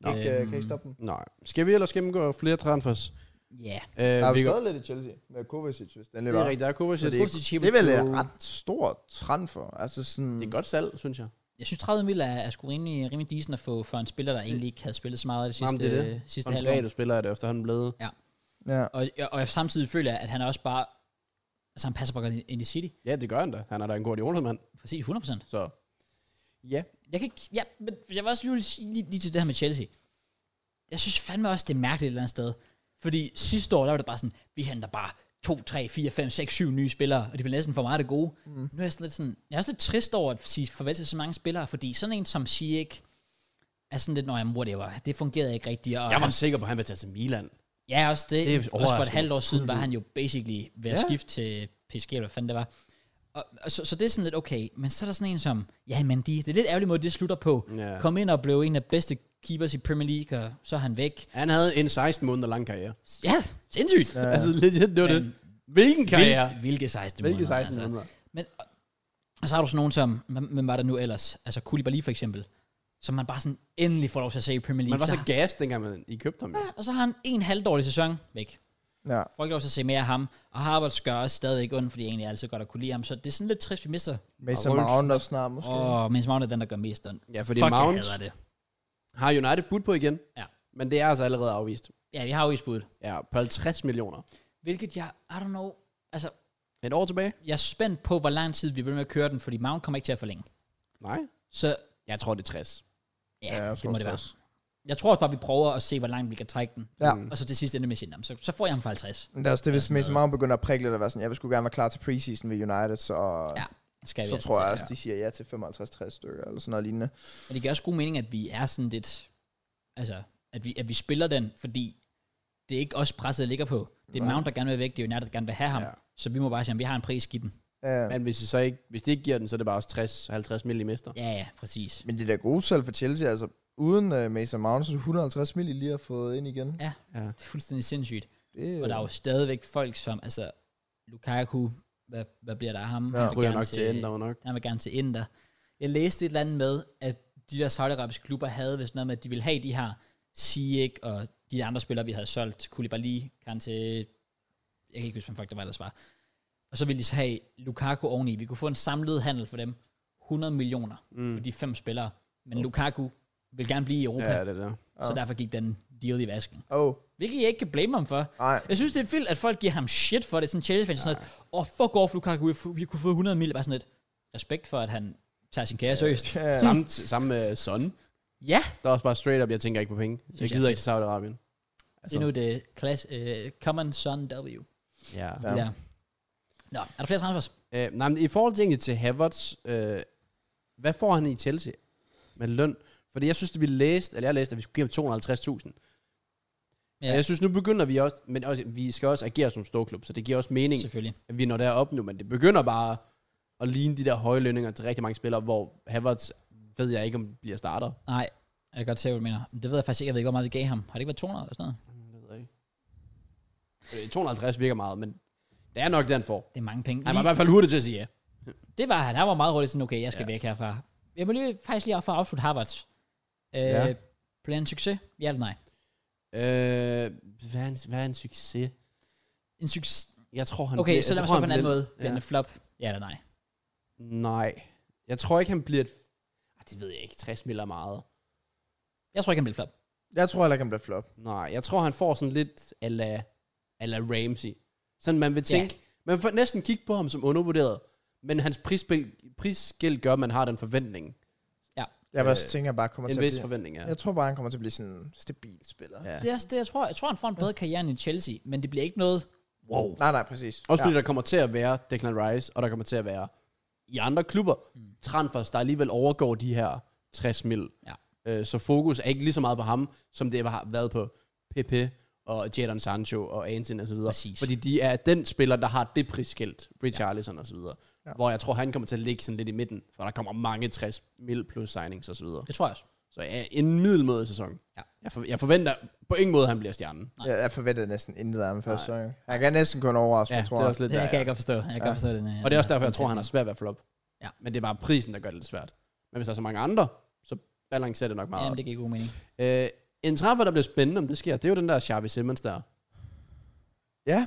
S2: Nå. Øhm,
S3: Kan, ikke, øh, kan I stoppe den?
S2: Nej. Skal vi ellers gennemgå flere transfers?
S1: Ja.
S2: Øh,
S3: Der er
S2: vi
S3: jo
S2: går-
S3: stadig lidt i Chelsea med Kovacic, hvis den
S2: det
S3: løber.
S2: er rigtigt, der er Kovacic.
S3: Fordi-
S2: Det,
S1: Yeah.
S3: Det er vel et ret stort transfer. Altså sådan...
S2: det er et godt salg, synes jeg.
S1: Jeg synes 30 mil er, er sgu rimelig, rimelig decent at få for en spiller, der egentlig ikke havde spillet så meget det
S2: Jamen,
S1: sidste,
S2: det er
S1: det. sidste
S2: Og en
S1: halvår.
S2: privat spiller er det efterhånden blevet.
S3: Ja.
S1: Og, og, og jeg samtidig føler jeg, at han er også bare... Altså, han passer bare godt ind- ind i City.
S2: Ja, det gør han da. Han er da en god jordmand,
S1: Præcis, 100%.
S2: så... Ja.
S1: Jeg kan ikke... Ja, men jeg var også lige, sige- lige, lige til det her med Chelsea. Jeg synes fandme også, det er mærkeligt et eller andet sted. Fordi sidste år, der var det bare sådan, vi henter bare 2, 3, 4, 5, 6, 7 nye spillere, og det bliver næsten for meget af det gode. Mm. Nu er jeg sådan lidt sådan... Jeg er også lidt trist over at sige farvel til så mange spillere, fordi sådan en som Sieg er sådan lidt, når jeg whatever, det fungerede ikke rigtigt. Og
S2: Jeg var
S1: han-
S2: sikker på, at han ville tage til Milan.
S1: Ja, også det.
S2: Det
S1: det
S2: er
S1: også for et
S2: overraskende
S1: halvt år siden
S2: fuldt
S1: var
S2: ud.
S1: han jo basically ved at
S2: Ja.
S1: skifte til PSG, eller hvad fanden det var. Og, og så, så det er sådan lidt okay, men så er der sådan en som, ja, men de, det er lidt ærgerlig måde, det slutter på.
S2: Ja.
S1: Kom ind og blev en af bedste keepers i Premier League, og så er han væk.
S2: Han havde en 16 måneder lang karriere.
S1: Ja, sindssygt. Ja.
S2: Ja. Altså, legit, det var det. Hvilken karriere? Altså,
S1: Hvil, hvilke 16
S2: Hvilke
S1: måneder,
S2: 16 måneder?
S1: Men, og, og så har du sådan nogen som, hvem hvem var der nu ellers? Altså Koulibaly for eksempel, som man bare sådan endelig får lov til at se i Premier League.
S2: Man var så
S1: har-
S2: gas, dengang man, I købte ham. Ja.
S1: ja, og så har han en halvdårlig sæson væk.
S3: ja.
S1: får ikke lov til at se mere af ham. Og Harvards gør også stadigvæk ondt, fordi jeg egentlig altid godt at kunne lide ham. Så det er sådan lidt trist, vi mister.
S3: Mason
S2: Wolves-
S3: Mount også snart måske.
S1: Åh, oh, mens Mount er den, der gør mest ondt.
S2: Ja, fordi
S1: Fuck,
S2: Mount-
S1: jeg hader det.
S2: Har United budt på igen?
S1: Ja.
S2: Men det er altså allerede afvist.
S1: Ja, vi har jo isbuddet.
S2: Ja, på 50 millioner.
S1: Hvilket jeg, I don't know, altså,
S2: Et år tilbage?
S1: jeg er spændt på, hvor lang tid vi bliver med at køre den, fordi Mount kommer ikke til at forlænge.
S2: Nej.
S1: Så
S2: Jeg tror, det er 60.
S1: ja,
S3: Ja,
S1: ja
S3: jeg
S1: det
S3: tror
S1: må det være.
S3: også.
S1: Jeg tror også bare, vi prøver at se, hvor langt vi kan trække den.
S3: Ja.
S2: Mm.
S1: Og så til sidst ender med at sige, "Nå, men så, så får jeg ham for 50.
S3: Men det er også det, hvis
S1: sådan
S3: Mason
S1: noget.
S3: Mount begynder at prikke lidt og være sådan, jeg vil sgu gerne være klar til preseason ved United, så,
S1: Ja, Skal vi
S3: så
S1: altså
S3: tror jeg
S1: til.
S3: også, de siger ja til 55-60 stykker, eller sådan noget lignende.
S1: Men det giver også god mening, at vi er sådan lidt... Altså, at vi, at vi spiller den, fordi det er ikke os presset, der ligger på. Det er
S3: Nej.
S1: Mount, der gerne vil væk. Det er United, der gerne vil have ham. Ja.
S2: Ja.
S1: Så vi må bare sige, at vi har en pris i den.
S3: Ja.
S2: Men hvis, I så ikke, hvis det ikke giver den, så er det bare også 60-50 millimeter.
S1: Ja, ja, præcis.
S3: Men det der gode salg for Chelsea, altså uden uh, Mason Mount, så er det 150 mil, I lige har fået ind igen.
S1: Ja,
S2: Ja.
S1: det er fuldstændig sindssygt.
S3: Det,
S1: Og der er jo stadigvæk folk som, altså, Lukaku, hvad, hvad bliver der af ham?
S3: Ja,
S1: han
S2: Jeg
S1: vil
S2: ryger
S1: gerne
S2: nok til Ender og nok.
S1: Han vil gerne til Inter. Jeg læste et eller andet med, at de der saudiarabiske klubber havde vist noget med, at de ville have de her Sieg og de andre spillere, vi havde solgt. Koulibaly, Kante, jeg kan ikke huske, hvem fuck der var ellers var. Og så ville de så have Lukaku oveni. Vi kunne få en samlet handel for dem. 100 millioner for
S2: Mm. Oh.
S1: de fem spillere. Men Lukaku vil gerne blive i Europa,
S2: Ja, det er der.
S1: så derfor gik den deal i vasken.
S3: Åh, oh,
S1: Hvilket jeg ikke kan blame ham for.
S3: nej.
S1: Jeg synes, det er vildt, at folk giver ham shit for det. Sådan Chelsea-fans sådan noget. Åh, oh, fuck off, Lukaku. Vi har- Vi kunne få 100 mil. Bare sådan lidt respekt for, at han tager sin kære seriøst.
S3: Ja.
S2: Samme, samme med Son.
S1: Ja,
S2: Der er også bare straight up, jeg tænker ikke på penge. Jeg
S1: jeg
S2: gider
S1: er
S2: ikke til Saudi-Arabien. altså-
S1: det er nu det klasse, uh, Common Son W.
S2: Ja.
S3: Ja.
S1: Ja. Der. Nå, er der flere transfers?
S2: Øh, nej, men i forhold til, egentlig til Havertz, øh, hvad får han i Chelsea med løn? Fordi jeg synes, at vi læste, eller jeg læste, at vi skulle give ham 250.000.
S1: Ja.
S2: Ja. Jeg synes, nu begynder vi også, men også, vi skal også agere som storklub, så det giver også mening,
S1: Selvfølgelig.
S2: at vi når derop nu, men det begynder bare at ligne de der høje lønninger til rigtig mange spillere, hvor Havertz, ved jeg ikke, om bliver starter.
S1: Nej, jeg kan godt se, hvad du mener. Men Det ved jeg faktisk ikke. Jeg ved ikke, hvor meget vi gav ham. Har det ikke været 200 eller sådan noget?
S2: Mm, Det ved jeg ikke. Øh, 250 virker meget, men det er nok det, han får.
S1: Det er mange penge.
S2: Han var
S1: Lige,
S2: i hvert fald hurtig til at sige ja.
S1: det var han. Han var meget hurtigt sådan, okay, jeg skal ja.
S2: Ja.
S1: væk herfra. Jeg må lige faktisk lige for at afslutte Harvards. Øh,
S2: Ja.
S1: ja. Blev det en succes? Ja eller nej?
S2: Øh, hvad, er en, hvad er en succes?
S1: En succes.
S2: Jeg tror, han
S1: Okay,
S2: bliver,
S1: så lad
S2: jeg
S1: mig
S2: tror,
S1: spørge på
S2: han
S1: en anden
S2: bliver-
S1: måde. Bliver den en flop? Ja eller nej?
S2: Nej. Jeg tror ikke, han bliver et... Ah, det ved jeg ikke. 60 mil er meget.
S1: Jeg tror ikke, han bliver en flop.
S3: Jeg tror heller ikke, han bliver flop.
S2: Nej, jeg tror, han får sådan lidt ala, ala Ramsey. Sådan man vil tænke... Yeah. Man får næsten kigge på ham som undervurderet. Men hans prisspil, prisgæld gør, at man har den forventning.
S3: Jeg vil
S2: Øh,
S3: også tænke, at han bare kommer til
S2: En
S3: at
S2: vis
S3: blive...
S2: forventning, ja.
S3: Jeg tror bare, han kommer til at blive sådan en stabil spiller.
S2: ja.
S1: Det er også det, jeg tror. Jeg tror, han får en bedre karriere end i Chelsea, men det bliver ikke noget... Wow.
S3: Nej, nej, præcis.
S2: Også fordi der kommer til at være Declan Rice, og der kommer til at være i andre klubber, mm. transfers, der alligevel overgår de her 60 mil.
S1: Ja.
S2: Øh, så fokus er ikke lige så meget på ham, som det har været på Pepe og Jadon Sancho og Antin og så videre.
S1: Præcis.
S2: Fordi de er den spiller, der har det prisskilt, Richarlison ja. og så videre. Ja. Hvor jeg tror, han kommer til at ligge sådan lidt i midten, for der kommer mange 60 mil plus signings og så videre.
S1: Det tror jeg også.
S2: Så ja, en middelmådig sæson.
S1: Ja.
S2: Jeg, for, jeg forventer på ingen måde, at han bliver stjernen.
S3: Ja, jeg forventede næsten intet af ham første sæson. Han kan næsten kun overraske,
S2: Ja,
S3: jeg tror
S2: det er
S3: jeg.
S2: også lidt
S1: Det her
S2: der,
S1: kan
S2: ja.
S1: jeg godt forstå. Jeg kan
S3: Ja.
S1: godt forstå den. her-
S2: Og det er også
S1: den her
S2: derfor, jeg tror, han har
S1: kontekst.
S2: svært ved at flop.
S1: Ja.
S2: Men det er bare prisen, der gør det lidt svært. Men hvis der er så mange andre, så balancerer det nok meget
S1: Jamen,
S2: Jamen,
S1: det giver god mening.
S2: det... Øh, en transfer, der bliver spændende, om det sker, det er jo den der Xavi Simmons der.
S1: Ja,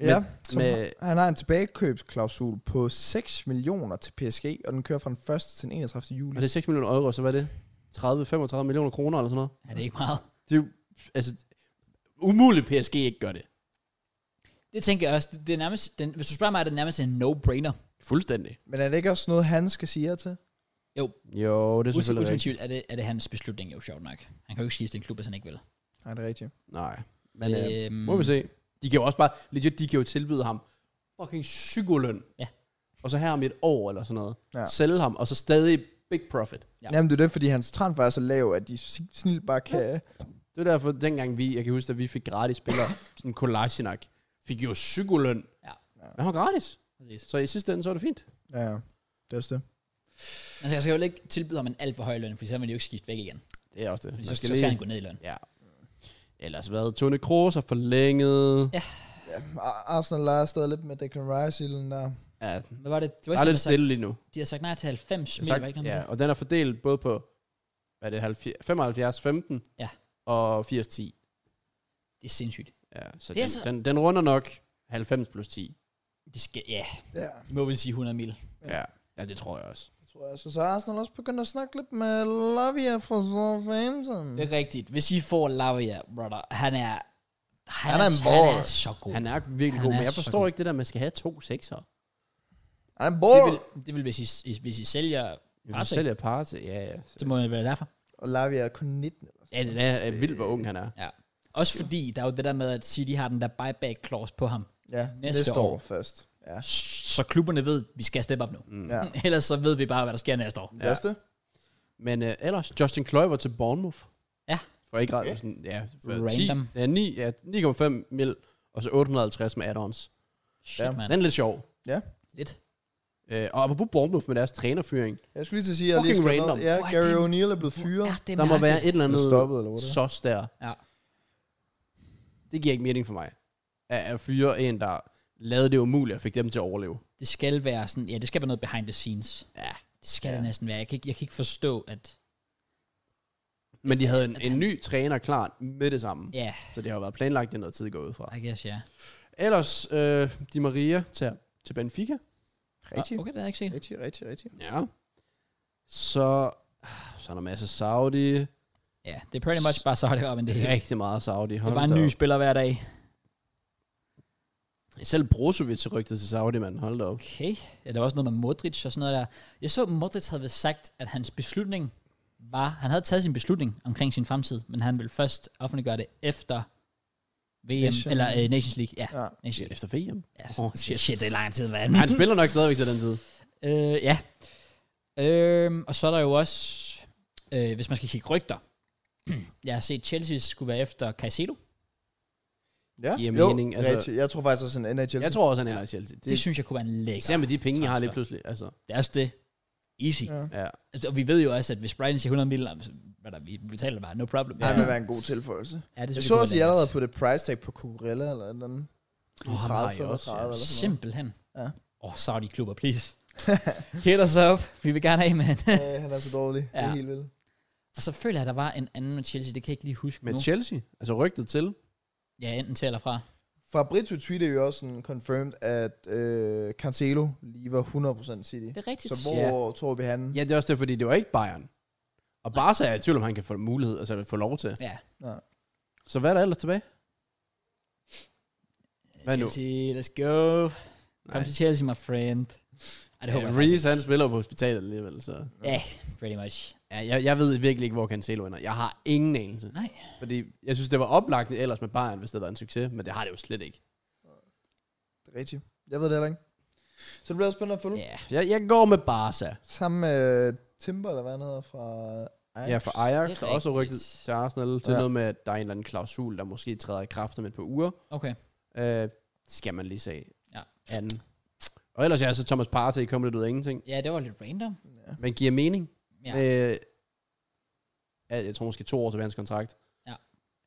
S3: Ja, som
S2: med-
S3: han har en tilbagekøbsklausul på 6 millioner til PSG, og den kører fra den 1. til den 31. juli.
S2: Og det er 6 millioner euro, så hvad er det? 30-35 millioner kroner eller sådan noget.
S1: er det ikke meget?
S2: Det er jo, altså, umuligt PSG ikke gør det.
S1: Det tænker jeg også. Det, det er nærmest, den, hvis du spørger mig, er det nærmest en no-brainer.
S2: Fuldstændig.
S3: Men er det ikke også noget, han skal sige ja til?
S2: Jo, det er
S1: Ulti-
S2: selvfølgelig rigtigt.
S1: Ultimativt er det, er det hans beslutning, jo sjovt nok. Han kan jo ikke skifte en klub, hvis han ikke vil.
S3: Nej, det er rigtigt.
S2: Nej. Men øh,
S1: øhm,
S2: må vi se. De kan jo også bare, legit, de kan jo tilbyde ham fucking psykoløn.
S1: Ja.
S2: Og så her om et år eller sådan noget.
S3: Ja.
S2: Ja. Sælge ham, og så stadig big profit.
S1: Ja.
S3: Ja. Jamen, det er det, fordi hans transfer er så lav, at de si- snilt bare kan... Ja.
S2: Det var derfor, dengang vi, jeg kan huske, at vi fik gratis spillere, sådan Kolasinac, fik jo psykoløn.
S1: Ja.
S2: Men han var gratis.
S1: Præcis.
S2: Så i sidste ende, så var det fint.
S3: ja, det er også det.
S1: Altså, jeg skal jo ikke tilbyde ham en alt for høj løn, for så vil de jo ikke skifte væk igen.
S2: Det er også det.
S1: Fordi
S2: Man
S1: så, så skal han gå ned i løn.
S2: Ja. Ellers hvad? Tony Kroos har forlænget.
S1: Ja.
S2: Ja.
S3: Ar- Arsenal leger stadig lidt med Declan Rice i den der.
S2: ja
S1: Hvad var det? Det var
S2: der
S1: ikke sådan,
S2: er lidt
S1: der sagt,
S2: stille lige nu.
S1: de har sagt nej til 90 mil,
S2: Sagt-
S1: var ikke noget
S2: ja,
S1: ja.
S2: og den er fordelt både på, hvad er det, 75-15
S1: Ja.
S2: og 80-10.
S1: Det er sindssygt.
S2: Ja, så,
S1: Det er
S2: den,
S1: så-
S2: Den, den runder nok 90 plus 10.
S1: De skal, ja,
S3: Ja,
S1: de må vel sige 100 mil.
S3: Ja.
S2: Ja, ja det tror jeg også.
S3: det tror jeg. Så, så er Arsenal også begyndt at snakke lidt med Lavia fra Southampton.
S1: Det er rigtigt. Hvis I får Lavia, brother, han er... Han,
S3: Han er
S1: er,
S3: en
S1: han
S3: baller.
S1: er så god.
S2: Han er virkelig
S1: Han
S2: god,
S1: er
S2: men jeg
S1: så
S2: forstår
S1: god.
S2: ikke det der, man skal have to sekser.
S3: Han er en
S1: det,
S3: ball!
S1: vil, det vil, hvis I, hvis I sælger...
S2: Vi
S1: Partey.
S2: sælger Partey, ja, ja.
S1: Det må jo være derfor.
S3: Og Lavia er kun 19. Eller sådan.
S2: Ja, det er, er vildt, hvor ung han er.
S1: Også fordi, der er jo det der med, at City har den der buyback-clause på ham.
S3: Ja,
S1: Næste
S3: næste, næste år.
S1: år.
S3: år først. Ja.
S1: Så klubberne ved, at vi skal steppe op nu.
S2: Mm.
S3: Ja.
S1: Ellers så ved vi bare, hvad der sker næste år.
S3: Ja. Næste?
S2: Men øh, ellers, Justin Kluivert til Bournemouth.
S1: Ja.
S2: For ikke ret, sådan, ja, for
S1: Random.
S2: 10, ja, 9, ja, 9,5 mil, og så 850 med add-ons.
S1: Shit,
S3: Ja.
S1: ja. mand.
S2: Den er lidt sjov.
S1: Lidt.
S2: Øh, og apropos Bournemouth med deres trænerfyring,
S3: Jeg skulle lige til at sige, at jeg lige
S2: Fucking
S3: skrev
S2: random.
S3: noget. Ja,
S1: Hvor er
S3: Gary
S1: det-
S3: O'Neill er blevet fyret.
S1: Ja, det er
S2: der må være
S1: mærkeligt.
S2: et eller
S3: Han er
S2: andet
S3: stoppet, eller hvad det er.
S2: sos der.
S1: Ja.
S2: Det giver ikke mening for mig. At, at fyre en, der lavede det umuligt og fik dem til at overleve.
S1: Det skal være sådan... Ja, det skal være noget behind the scenes.
S2: Ja.
S1: Det skal ja.
S3: Ja.
S1: det næsten være. Jeg kan, ikke, jeg kan ikke forstå, at...
S2: Men de havde en, en ny træner klar med det samme.
S1: Ja,
S2: Så det har jo været planlagt i noget tid går jeg ud fra.
S1: I guess, ja.
S2: Ellers, øh, Di Maria tager til Benfica.
S3: Rigtig,
S1: Okay, det har jeg ikke set.
S3: rigtig, rigtig, rigtig.
S2: Ja. Så, så er der masser af Saudi.
S1: Ja, det er pretty much bare så det op, men det er,
S2: Rigtig meget Saudi.
S1: det
S2: Hold
S1: er bare en
S2: da
S1: ny
S2: op.
S1: spiller hver dag.
S2: Selv Brozovic er rygtet til Saudi, mand. Hold da op.
S1: Okay. Ja, der var også noget med Modric og sådan noget der. Jeg så, Modric havde vist sagt, at hans beslutning var... Han havde taget sin beslutning omkring sin fremtid, men han ville først offentliggøre det efter VM, Nation.
S3: Nation-
S1: eller uh, Nations League. Ja,
S3: Ja.
S1: Nations League.
S2: Efter VM.
S1: Ja.
S2: Åh,
S1: shit.
S2: shit.
S1: shit, det er lang tid, hvad
S2: Han spiller nok stadigvæk til den tid.
S1: Øh, ja. Øh, og så er der jo også, øh, hvis man skal kigge rygter. jeg har set, Chelsea skulle være efter Caicedo. Det,
S3: Ja,
S2: Giver
S3: jo,
S2: mening, altså.
S3: rigtig. Jeg tror faktisk også, en NHL.
S2: Jeg tror også, han ender i Chelsea. Det,
S1: det synes jeg kunne være en lækker.
S2: især med de penge, jeg har lige
S1: transfer.
S2: pludselig. Altså,
S1: Det er også det. Easy. Ja.
S3: Ja.
S2: ja.
S1: Altså, og vi ved jo også, at hvis Brighton siger 100 millioner, så- hvad der, vi betaler bare, no problem.
S3: Ja. Han vil være en god tilføjelse.
S1: ja det
S3: Jeg
S1: synes
S3: så
S1: kunne
S3: også, at I
S1: være
S3: allerede
S1: lækkert.
S3: på det price tag på Cucurella eller et eller andet.
S2: Åh, ham har I
S3: 30,
S2: også,
S3: 35
S2: ja.
S3: eller sådan noget.
S1: Simpelthen.
S3: Ja.
S1: Åh, oh, Saudi-klubber, please. Hit os up. Vi vil gerne have, man.
S3: Øh, han er så dårlig. Ja. Det
S1: Ja.
S3: er helt vildt.
S1: Og så føler jeg, at der var en anden med Chelsea, det kan jeg ikke lige huske
S2: Med
S1: nu.
S2: Chelsea? Altså rygtet til?
S1: Mm. Ja, enten til eller fra.
S3: Fabrizio tweetede jo også sådan confirmed, at øh, Cancelo lige var 100% City.
S1: Det er rigtigt.
S3: Så hvor tror vi han?
S2: Ja, det er også det, fordi det var ikke Bayern. Og Barca er i tvivl om, han kan få mulighed, altså få lov til.
S1: Ja.
S2: Så hvad er der ellers tilbage? Hvad nu?
S1: Chelsea, let's go. Kom
S2: Nice.
S1: til Chelsea, my friend. Ej, det håber jeg faktisk
S2: Reese, han spiller jo på hospitalet alligevel, så...
S1: ikke. Ja, pretty much.
S2: Ja, jeg, jeg ved virkelig ikke, hvor Cancelo ender. Jeg har ingen anelse.
S1: Nej.
S2: Fordi jeg synes, det var oplagt ellers med Bayern, hvis det var en succes, men det har det jo slet ikke.
S3: Det er rigtigt. Jeg ved det heller ikke. Så det bliver også spændende at følge. Yeah.
S1: Ja.
S2: Jeg, jeg går med Barca.
S3: Sammen med øh, Timber, eller hvad han hedder, fra Ajax.
S2: Ja, for Ajax,
S1: Det
S2: der
S1: er
S2: også er
S1: rigtigt.
S2: rykket til Arsenal. Det er
S3: Ja.
S2: noget med, at der er en eller anden klausul, der måske træder i kraft om et par uger.
S1: Okay.
S2: Øh, skal man lige se.
S1: Ja.
S2: Anden. Og ellers er så Thomas Partey kommet lidt ud af ingenting.
S1: Ja, det var lidt random.
S3: Ja.
S2: Men giver mening.
S1: Ja.
S2: Øh, ja, jeg tror måske to år til hans kontrakt.
S1: Ja.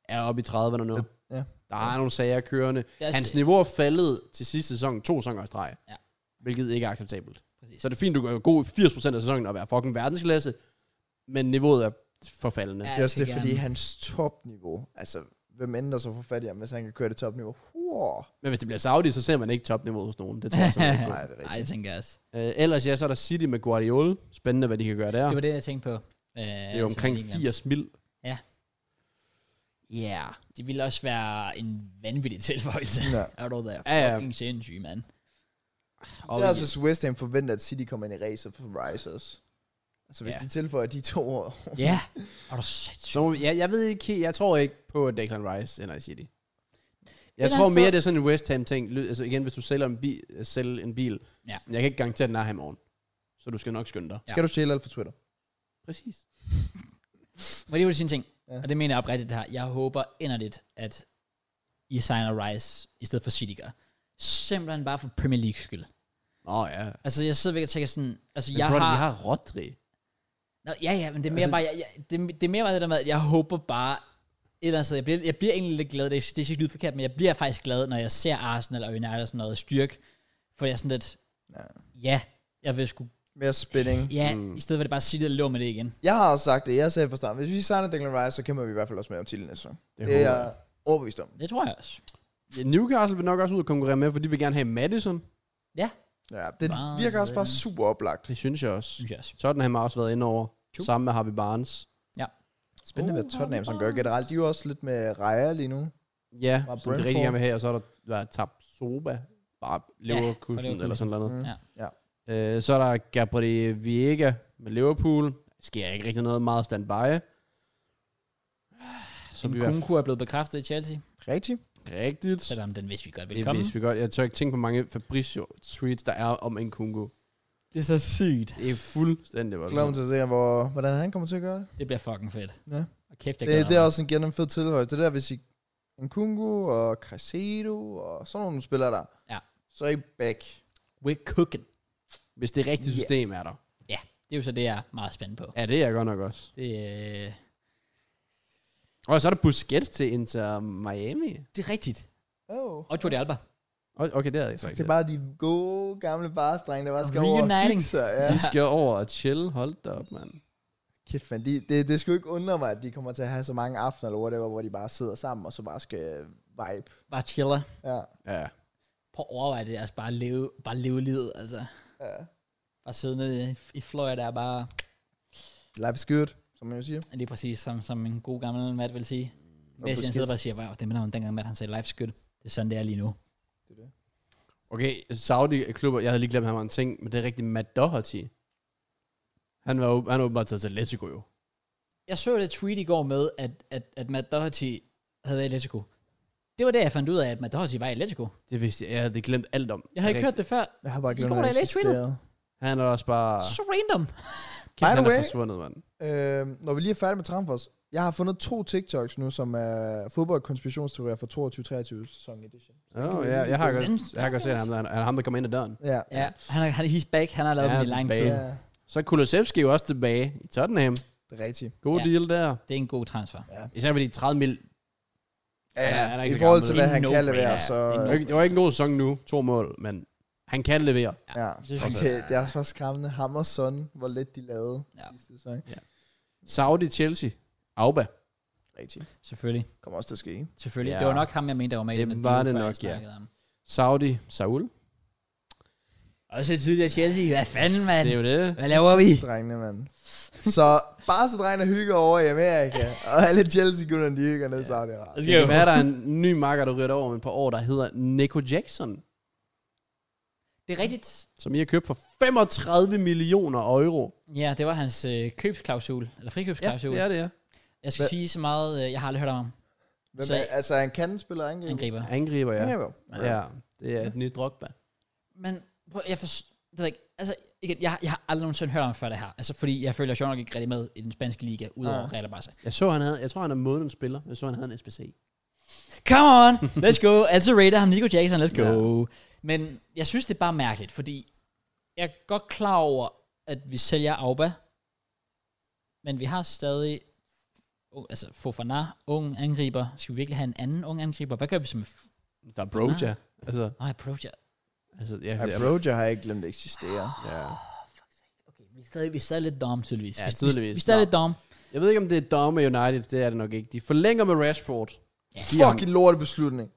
S2: Er oppe i 30'erne nu.
S3: Ja.
S2: Der er nogle sager kørende.
S1: Altså Det er også-
S2: Hans niveau er faldet til sidste sæson to sæsoner i streg.
S1: Ja.
S2: Hvilket ikke er acceptabelt.
S1: Præcis.
S2: Så er det fint, du går god i 80% af sæsonen og være fucking verdensklasse. Men niveauet er forfaldende.
S1: Ja.
S3: Det er også
S1: jeg
S3: det,
S1: skal
S3: fordi
S1: gerne-
S3: hans topniveau, altså hvem end der så får fat i ham, hvis han kan køre det topniveau? Wow.
S2: Men hvis det bliver Saudi, så ser man ikke topniveauet hos nogen. Det tror jeg simpelthen ikke.
S3: Nej, det er
S1: Ej,
S3: rigtigt.
S1: det tænker jeg også.
S2: på. Øh, ellers ja, så er der City med Guardiola. Spændende, hvad de kan gøre der.
S1: Det
S2: Det,
S1: var det, jeg tænkte på. Øh,
S2: det er jo omkring 80 mil.
S1: Ja, yeah. det ville også være en vanvittig tilføjelse.
S3: Ja.
S1: Er du der?
S2: Ja, ja.
S1: Fucking sindssyg, mand.
S2: Og
S3: det er også,
S1: altså-
S3: hvis West Ham forventer, at City kommer ind i racet for Risers. Altså, hvis
S1: Ja.
S3: de tilføjer de to år.
S1: Ja. Er du sindssyg?
S2: Så, må vi- ja, jeg ved ikke helt- jeg tror ikke på, at Declan Rice ender i City. Jeg
S1: Men
S2: tror
S1: altså-
S2: mere, det er sådan en West Ham-ting. Ly- Altså igen, hvis du sælger en, bi- øh, sælger en bil,
S1: Ja.
S2: sådan, jeg kan ikke garantere, at den er her i morgen. Så du skal nok skynde dig.
S1: Ja.
S3: Skal du stjæle alt fra Twitter?
S2: Præcis.
S1: Må jeg lige vil sige en ting?
S3: Ja.
S1: Ja. Og det mener jeg oprigtigt det her. Jeg håber inderligt, at I signer Rice i stedet for City gør. Simpelthen bare for Premier League skyld.
S2: Nå ja. Men
S1: Altså, jeg sidder væk og tænker sådan... Altså,
S2: jeg
S1: jeg
S2: brother, har...
S1: har...
S2: de har Rodri.
S1: Nå, ja, ja, men det er mere
S2: Altså-
S1: altså, bare... Jeg, jeg, det, det er mere bare det der med, at jeg håber bare... Et eller andet sted. Jeg bliver, jeg bliver egentlig lidt glad. Det, er- det er sikkert lyde forkert, men jeg bliver faktisk glad, når jeg ser Arsenal og United og sådan noget styrke. For jeg er sådan lidt...
S3: Ja.
S1: Ja, jeg vil sgu...
S3: Mere spænding.
S1: Ja,
S2: Mm.
S1: mm. i stedet for det bare City, der lå med det igen.
S3: Jeg har også sagt det. Jeg sagde fra starten, hvis vi signer Declan Rice, så kæmper vi i hvert fald også med om titlen næste sæson.
S2: Det
S3: Det er
S2: håber jeg.
S3: jeg overbevist om.
S1: Det tror jeg også.
S2: Ja, Newcastle vil nok også ud og konkurrere med, for de vil gerne have Madison.
S3: Ja, det
S1: Bare
S3: virker også bare
S1: sådan.
S3: super oplagt.
S2: Det synes jeg også.
S1: Synes jeg også.
S2: Tottenham har også været inde over.
S1: True.
S2: Sammen med Harvey Barnes.
S3: Spændende, hvad
S1: Oh,
S3: Tottenham som gør
S1: Barnes.
S3: generelt. De er jo også lidt med Raja lige nu.
S2: Ja,
S3: Var
S2: som de rigtig
S3: Brentford.
S2: gerne vil have. Og så er der været tabt Soba. Bare Leverkusen
S1: Leverkusen.
S2: ja, eller sådan noget.
S3: Mm.
S1: Ja.
S2: Øh, så er der Gabriel Viega med Liverpool. Der sker ikke rigtig noget meget standby. Så vi er
S1: Nkunku er blevet bekræftet i Chelsea,
S3: Rigtig.
S2: rigtigt.
S1: selvom den vidste vi godt ville
S2: Det
S1: komme.
S2: vidste vi godt. Jeg tør ikke tænke på hvor mange Fabrizio-tweets, der er om en Kungo.
S1: Det er så sygt.
S2: Det er fuldstændig
S3: Glæder mig
S2: voldsomt.
S3: til at se, hvor, hvordan han kommer til at gøre det.
S1: Det bliver fucking fedt.
S3: Ja.
S1: Og kæft, jeg
S3: Det, det er også en gennem fed tilføjelse. Det der, hvis I Nkunku og Caicedo og sådan nogle spillere der.
S1: Ja.
S3: Så er I back.
S1: We're cooking.
S2: Hvis det rigtige
S3: Ja.
S2: system er der.
S1: Det er jo så det, jeg er meget spændt på.
S2: Ja, det er jeg godt nok også.
S1: Det, øh,
S2: Og så er der Busquets til Inter Miami.
S1: det er rigtigt.
S3: Oh.
S1: Og Jordi Alba.
S2: Og- Okay, det er jeg så
S3: Det er
S2: ikke.
S3: bare de gode, gamle barstrenge, der bare skal over og
S1: Reuniting.
S3: hygge sig. Ja.
S2: De skal over og chill. Hold da op, mand.
S3: Kæft, man, de, det, det skulle ikke undre mig, at de kommer til at have så mange aftener eller whatever, hvor de bare sidder sammen og så bare skal vibe.
S1: Bare chiller.
S3: Ja,
S2: Ja.
S1: Prøv at overveje det, altså bare leve, bare leve livet, altså.
S3: ja.
S1: Bare sidde nede i, i Florida og bare,
S3: Life is good, som man jo siger.
S1: lige præcis som, som en god gammel Matt vil sige. Messi han
S3: Busquets.
S1: sidder bare og siger, wow, det minder om dengang Matt han sagde, life's good. Det er sådan, det er lige nu.
S3: Det er det.
S2: Okay, Saudi-klubber, jeg havde lige glemt, at han var en ting, men det er rigtigt Matt Doherty. Han var, åb- han var åbenbart taget til Atletico jo.
S1: jeg så et tweet i går med, at, at, at Matt Doherty havde været i Atletico. Det var der, jeg fandt ud af, at Matt Doherty var i Atletico.
S2: Det vidste jeg, jeg havde glemt alt om.
S1: Jeg havde ikke hørt det før.
S3: Jeg har bare
S1: I
S3: glemt,
S1: går,
S3: at
S1: der
S3: det
S1: er lidt tweetet.
S3: eksisterede.
S2: Han er også bare...
S1: Så random.
S2: Kæft, han
S3: the
S2: er
S3: way-
S2: forsvundet, mand.
S3: Øhm, når vi lige er færdige med Tramfors, jeg har fundet to TikToks nu, som er fodboldkonspirationsteorier fra 22-23 sæson edition.
S2: Åh, oh, ja, jeg har
S1: Den-
S2: godt, jeg har godt set ham, der, han er ham, der kommer ind ad døren.
S3: Ja.
S1: Ja, han er, han, he's back. Han har lavet
S2: Ja,
S1: ja, den
S2: han
S1: i lang
S2: er
S1: tid.
S2: tilbage.
S3: ja.
S2: Så er Kulusevski jo også tilbage i Tottenham.
S3: Det er rigtigt.
S2: God
S1: Ja.
S2: ja. deal der.
S1: Det er en god transfer.
S2: Især fordi 30 mil... Ja, han er ikke
S3: I
S2: så
S3: forhold
S2: gammel.
S3: til, hvad
S1: Det er
S3: han
S1: en
S3: kan
S1: no-brainer.
S3: levere, så...
S1: Det er en
S2: Det var ikke- Det var ikke en god sæson nu, to mål, men han kan levere.
S3: Ja,
S1: Det synes
S3: det, det er så skræmmende. Ham og Son, hvor lidt de lavede
S1: Ja.
S3: ja. sidste sæson.
S2: Ja. Saudi, Chelsea, Auba.
S3: Rigtig.
S1: Selvfølgelig.
S3: Kommer også til at ske, ikke?
S1: Selvfølgelig.
S2: Ja.
S1: Ja. Det var nok ham, jeg mente, der var med i
S2: Det
S1: den her
S2: var
S1: deal,
S2: det
S1: før jeg
S2: nok, ja.
S1: snakkede om.
S2: Saudi, Saul.
S1: Og så tidligere Chelsea. Hvad fanden, mand?
S2: Det er jo det.
S1: Hvad laver vi?
S3: Drengene, mand. Så bare så drengene hygger over i Amerika. Og alle Chelsea-gutterne, de hygger ned i Saudi-Arabien.
S2: Det kan være, der er en ny marker, der ryger over om et par år, der hedder Nico Jackson,
S1: Det er rigtigt.
S2: som I har købt for 35 millioner euro.
S1: Ja, det var hans øh, købsklausul. Eller
S2: Ja,
S1: frikøbsklausul.
S2: det er det, ja.
S1: Jeg skal
S3: Hvad-
S1: sige så meget, øh, jeg har aldrig hørt om ham.
S3: Hvem
S1: Så-
S3: er, altså, han kan spille angriber.
S1: Angriber.
S2: Angriber, ja.
S3: Angriber.
S2: Ja, det er et nyt drogba.
S1: Men prøv, jeg forstår det ved jeg ikke. Altså, igen, jeg, jeg har aldrig nogensinde hørt om ham før det her. Altså, fordi jeg føler, jeg sjovt nok ikke rigtig med i den spanske liga, udover
S3: Nej.
S1: ja. Real Barca.
S2: Jeg så, han havde, jeg tror, han er månedens spiller. Jeg så, han havde en SBC.
S1: Come on, let's go. Altså rater ham Nico Jackson, let's go.
S2: Ja.
S1: Men jeg synes, det er bare mærkeligt, fordi jeg er godt klar over, at vi sælger Auba, men vi har stadig oh, altså Fofana, ung angriber. Skal vi virkelig have en anden ung angriber? Hvad gør vi som...
S2: Der er Broja. Altså,
S1: Nej, Broja.
S2: altså, ja,
S3: Ja, Broja har ikke glemt at eksistere.
S2: ja.
S1: Okay, vi er stadig, vi er stadig lidt dom, tydeligvis.
S2: Ja,
S1: Vi- vi-
S2: tydeligvis.
S1: Vi er stadig
S2: Nå.
S1: lidt dom.
S2: Jeg ved ikke, om det er domme United. Det er det nok ikke. De forlænger med Rashford. Giver ham-
S3: Fucking lorte beslutning.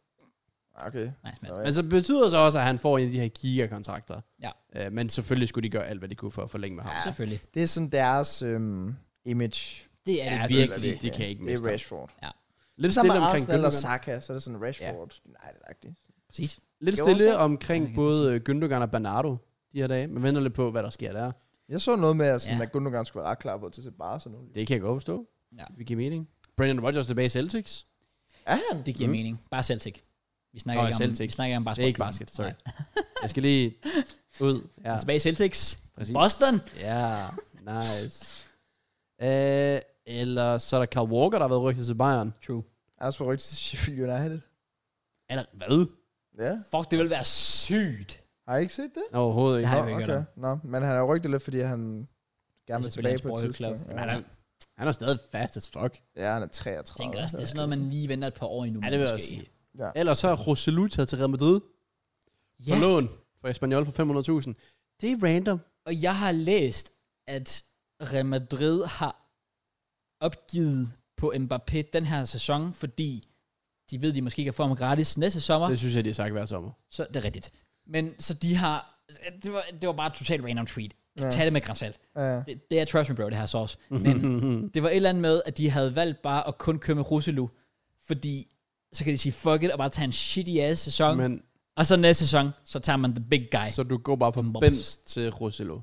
S3: Okay.
S1: Nej, men
S3: Så, ja.
S2: Men så betyder det så også, at han får en af de her gigakontrakter.
S1: Ja.
S2: Øh, men selvfølgelig skulle de gøre alt, hvad de kunne for at forlænge med ham.
S1: ja. selvfølgelig.
S3: Det er sådan deres øhm, image.
S1: Det er
S2: Ja,
S1: det
S2: det-
S1: virkelig.
S2: virkelig. De kan ikke
S3: Det
S2: miste ham.
S3: er Rashford.
S2: Lidt
S3: Sammen
S2: stille
S3: med
S2: omkring
S3: Arsenal og
S2: Gündogan.
S3: Saka, så er det sådan Rashford. Ja. Nej, det er rigtigt.
S1: Præcis.
S2: Lidt
S3: Jo,
S2: stille
S3: så-
S2: omkring
S1: Ja, jeg kan
S2: både øh, Gündogan og Bernardo de her dage. Man venter lidt på, hvad der sker der.
S3: Jeg så noget med, at, sådan,
S1: Ja.
S3: ja. at Gundogan skulle være ret klar på til at se Barca nu.
S2: Det kan jeg godt forstå.
S1: Ja.
S2: Det giver mening. Brendan Rodgers tilbage i Celtics.
S3: Er han?
S1: Det giver
S2: Mm.
S1: mening. Bare Celtic. Vi snakker,
S2: Nå,
S1: ikke, om,
S2: Celtic.
S1: vi snakker ikke om
S2: Det
S1: basket.
S2: er ikke basket, sorry. Jeg skal lige ud. Ja,
S1: Tilbage altså i Celtics.
S2: præcis.
S1: Boston.
S2: Ja, nice. Øh, eller så er der Carl Walker, der har været rygtet til Bayern.
S1: True.
S3: Anders får rygtet til Sheffield United.
S2: Er der, hvad?
S3: Ja.
S1: Fuck, det ville være sygt.
S3: Har I ikke set det?
S2: Overhovedet ikke.
S1: Nej,
S3: Nå,
S1: jeg har ikke Altså, hørt
S3: okay. Nå, men han har jo rygtet lidt, fordi han gerne vil tilbage på et tidspunkt.
S1: Ja.
S2: Han er, han er stadig fast as fuck.
S3: Ja, han er
S1: Jeg
S3: 33.
S1: tænker også, det er sådan noget, man lige venter et par år endnu.
S2: Ja, det vil jeg også
S1: måske.
S2: sige.
S3: Ja.
S2: Ellers så er Roselu taget til Real Madrid
S1: Ja,
S2: på lån for Espanyol for 500.000. Det er random.
S1: og jeg har læst, at Real Madrid har opgivet på Mbappé den her sæson, fordi de ved, de måske kan få ham gratis næste sommer.
S2: Det synes jeg, de har sagt hver sommer.
S1: Så det er rigtigt. Men så de har... Det var, det var bare et totalt random tweet. Ja.
S3: Ja.
S1: Tag det med grænsalt.
S3: Ja.
S1: Det, det er trust me bro, det her sauce.
S2: Mhm.
S1: Men det var et eller andet med, at de havde valgt bare at kun køre med Ruselu, fordi så kan de sige fuck it, og bare tage en shitty ass sæson. Men.
S2: Men
S1: Og så næste sæson, så tager man the big guy. Så.
S2: så du går bare fra
S1: Mops.
S2: Benz til Roselu.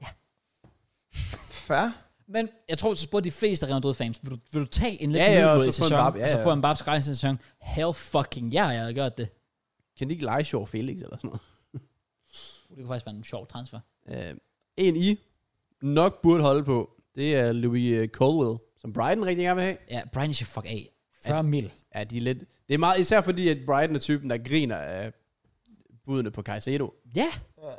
S3: Fair.
S1: Men jeg tror, så spurgte de fleste af Real Madrid fans, vil du, vil du tage en lidt
S2: Ja, ja, og
S1: middelmodig
S2: så få en
S1: sæson,
S2: Mbappé, ja,
S1: og så
S2: ja.
S1: få en babs gratis næste sæson? Hell fucking ja, yeah, jeg havde gjort det.
S2: Kan de ikke lege sjov Felix eller sådan
S1: Det kunne faktisk være en sjov transfer.
S2: noget? Øh, en I nok burde holde på, det er Louis øh, Colwell, som Brighton rigtig gerne vil have.
S1: Ja, Brian, you should fuck af. 40 mil.
S2: Ja, de er lidt... Det er meget, især fordi, at Brighton er typen, der griner af budene på Caicedo.
S1: Ja.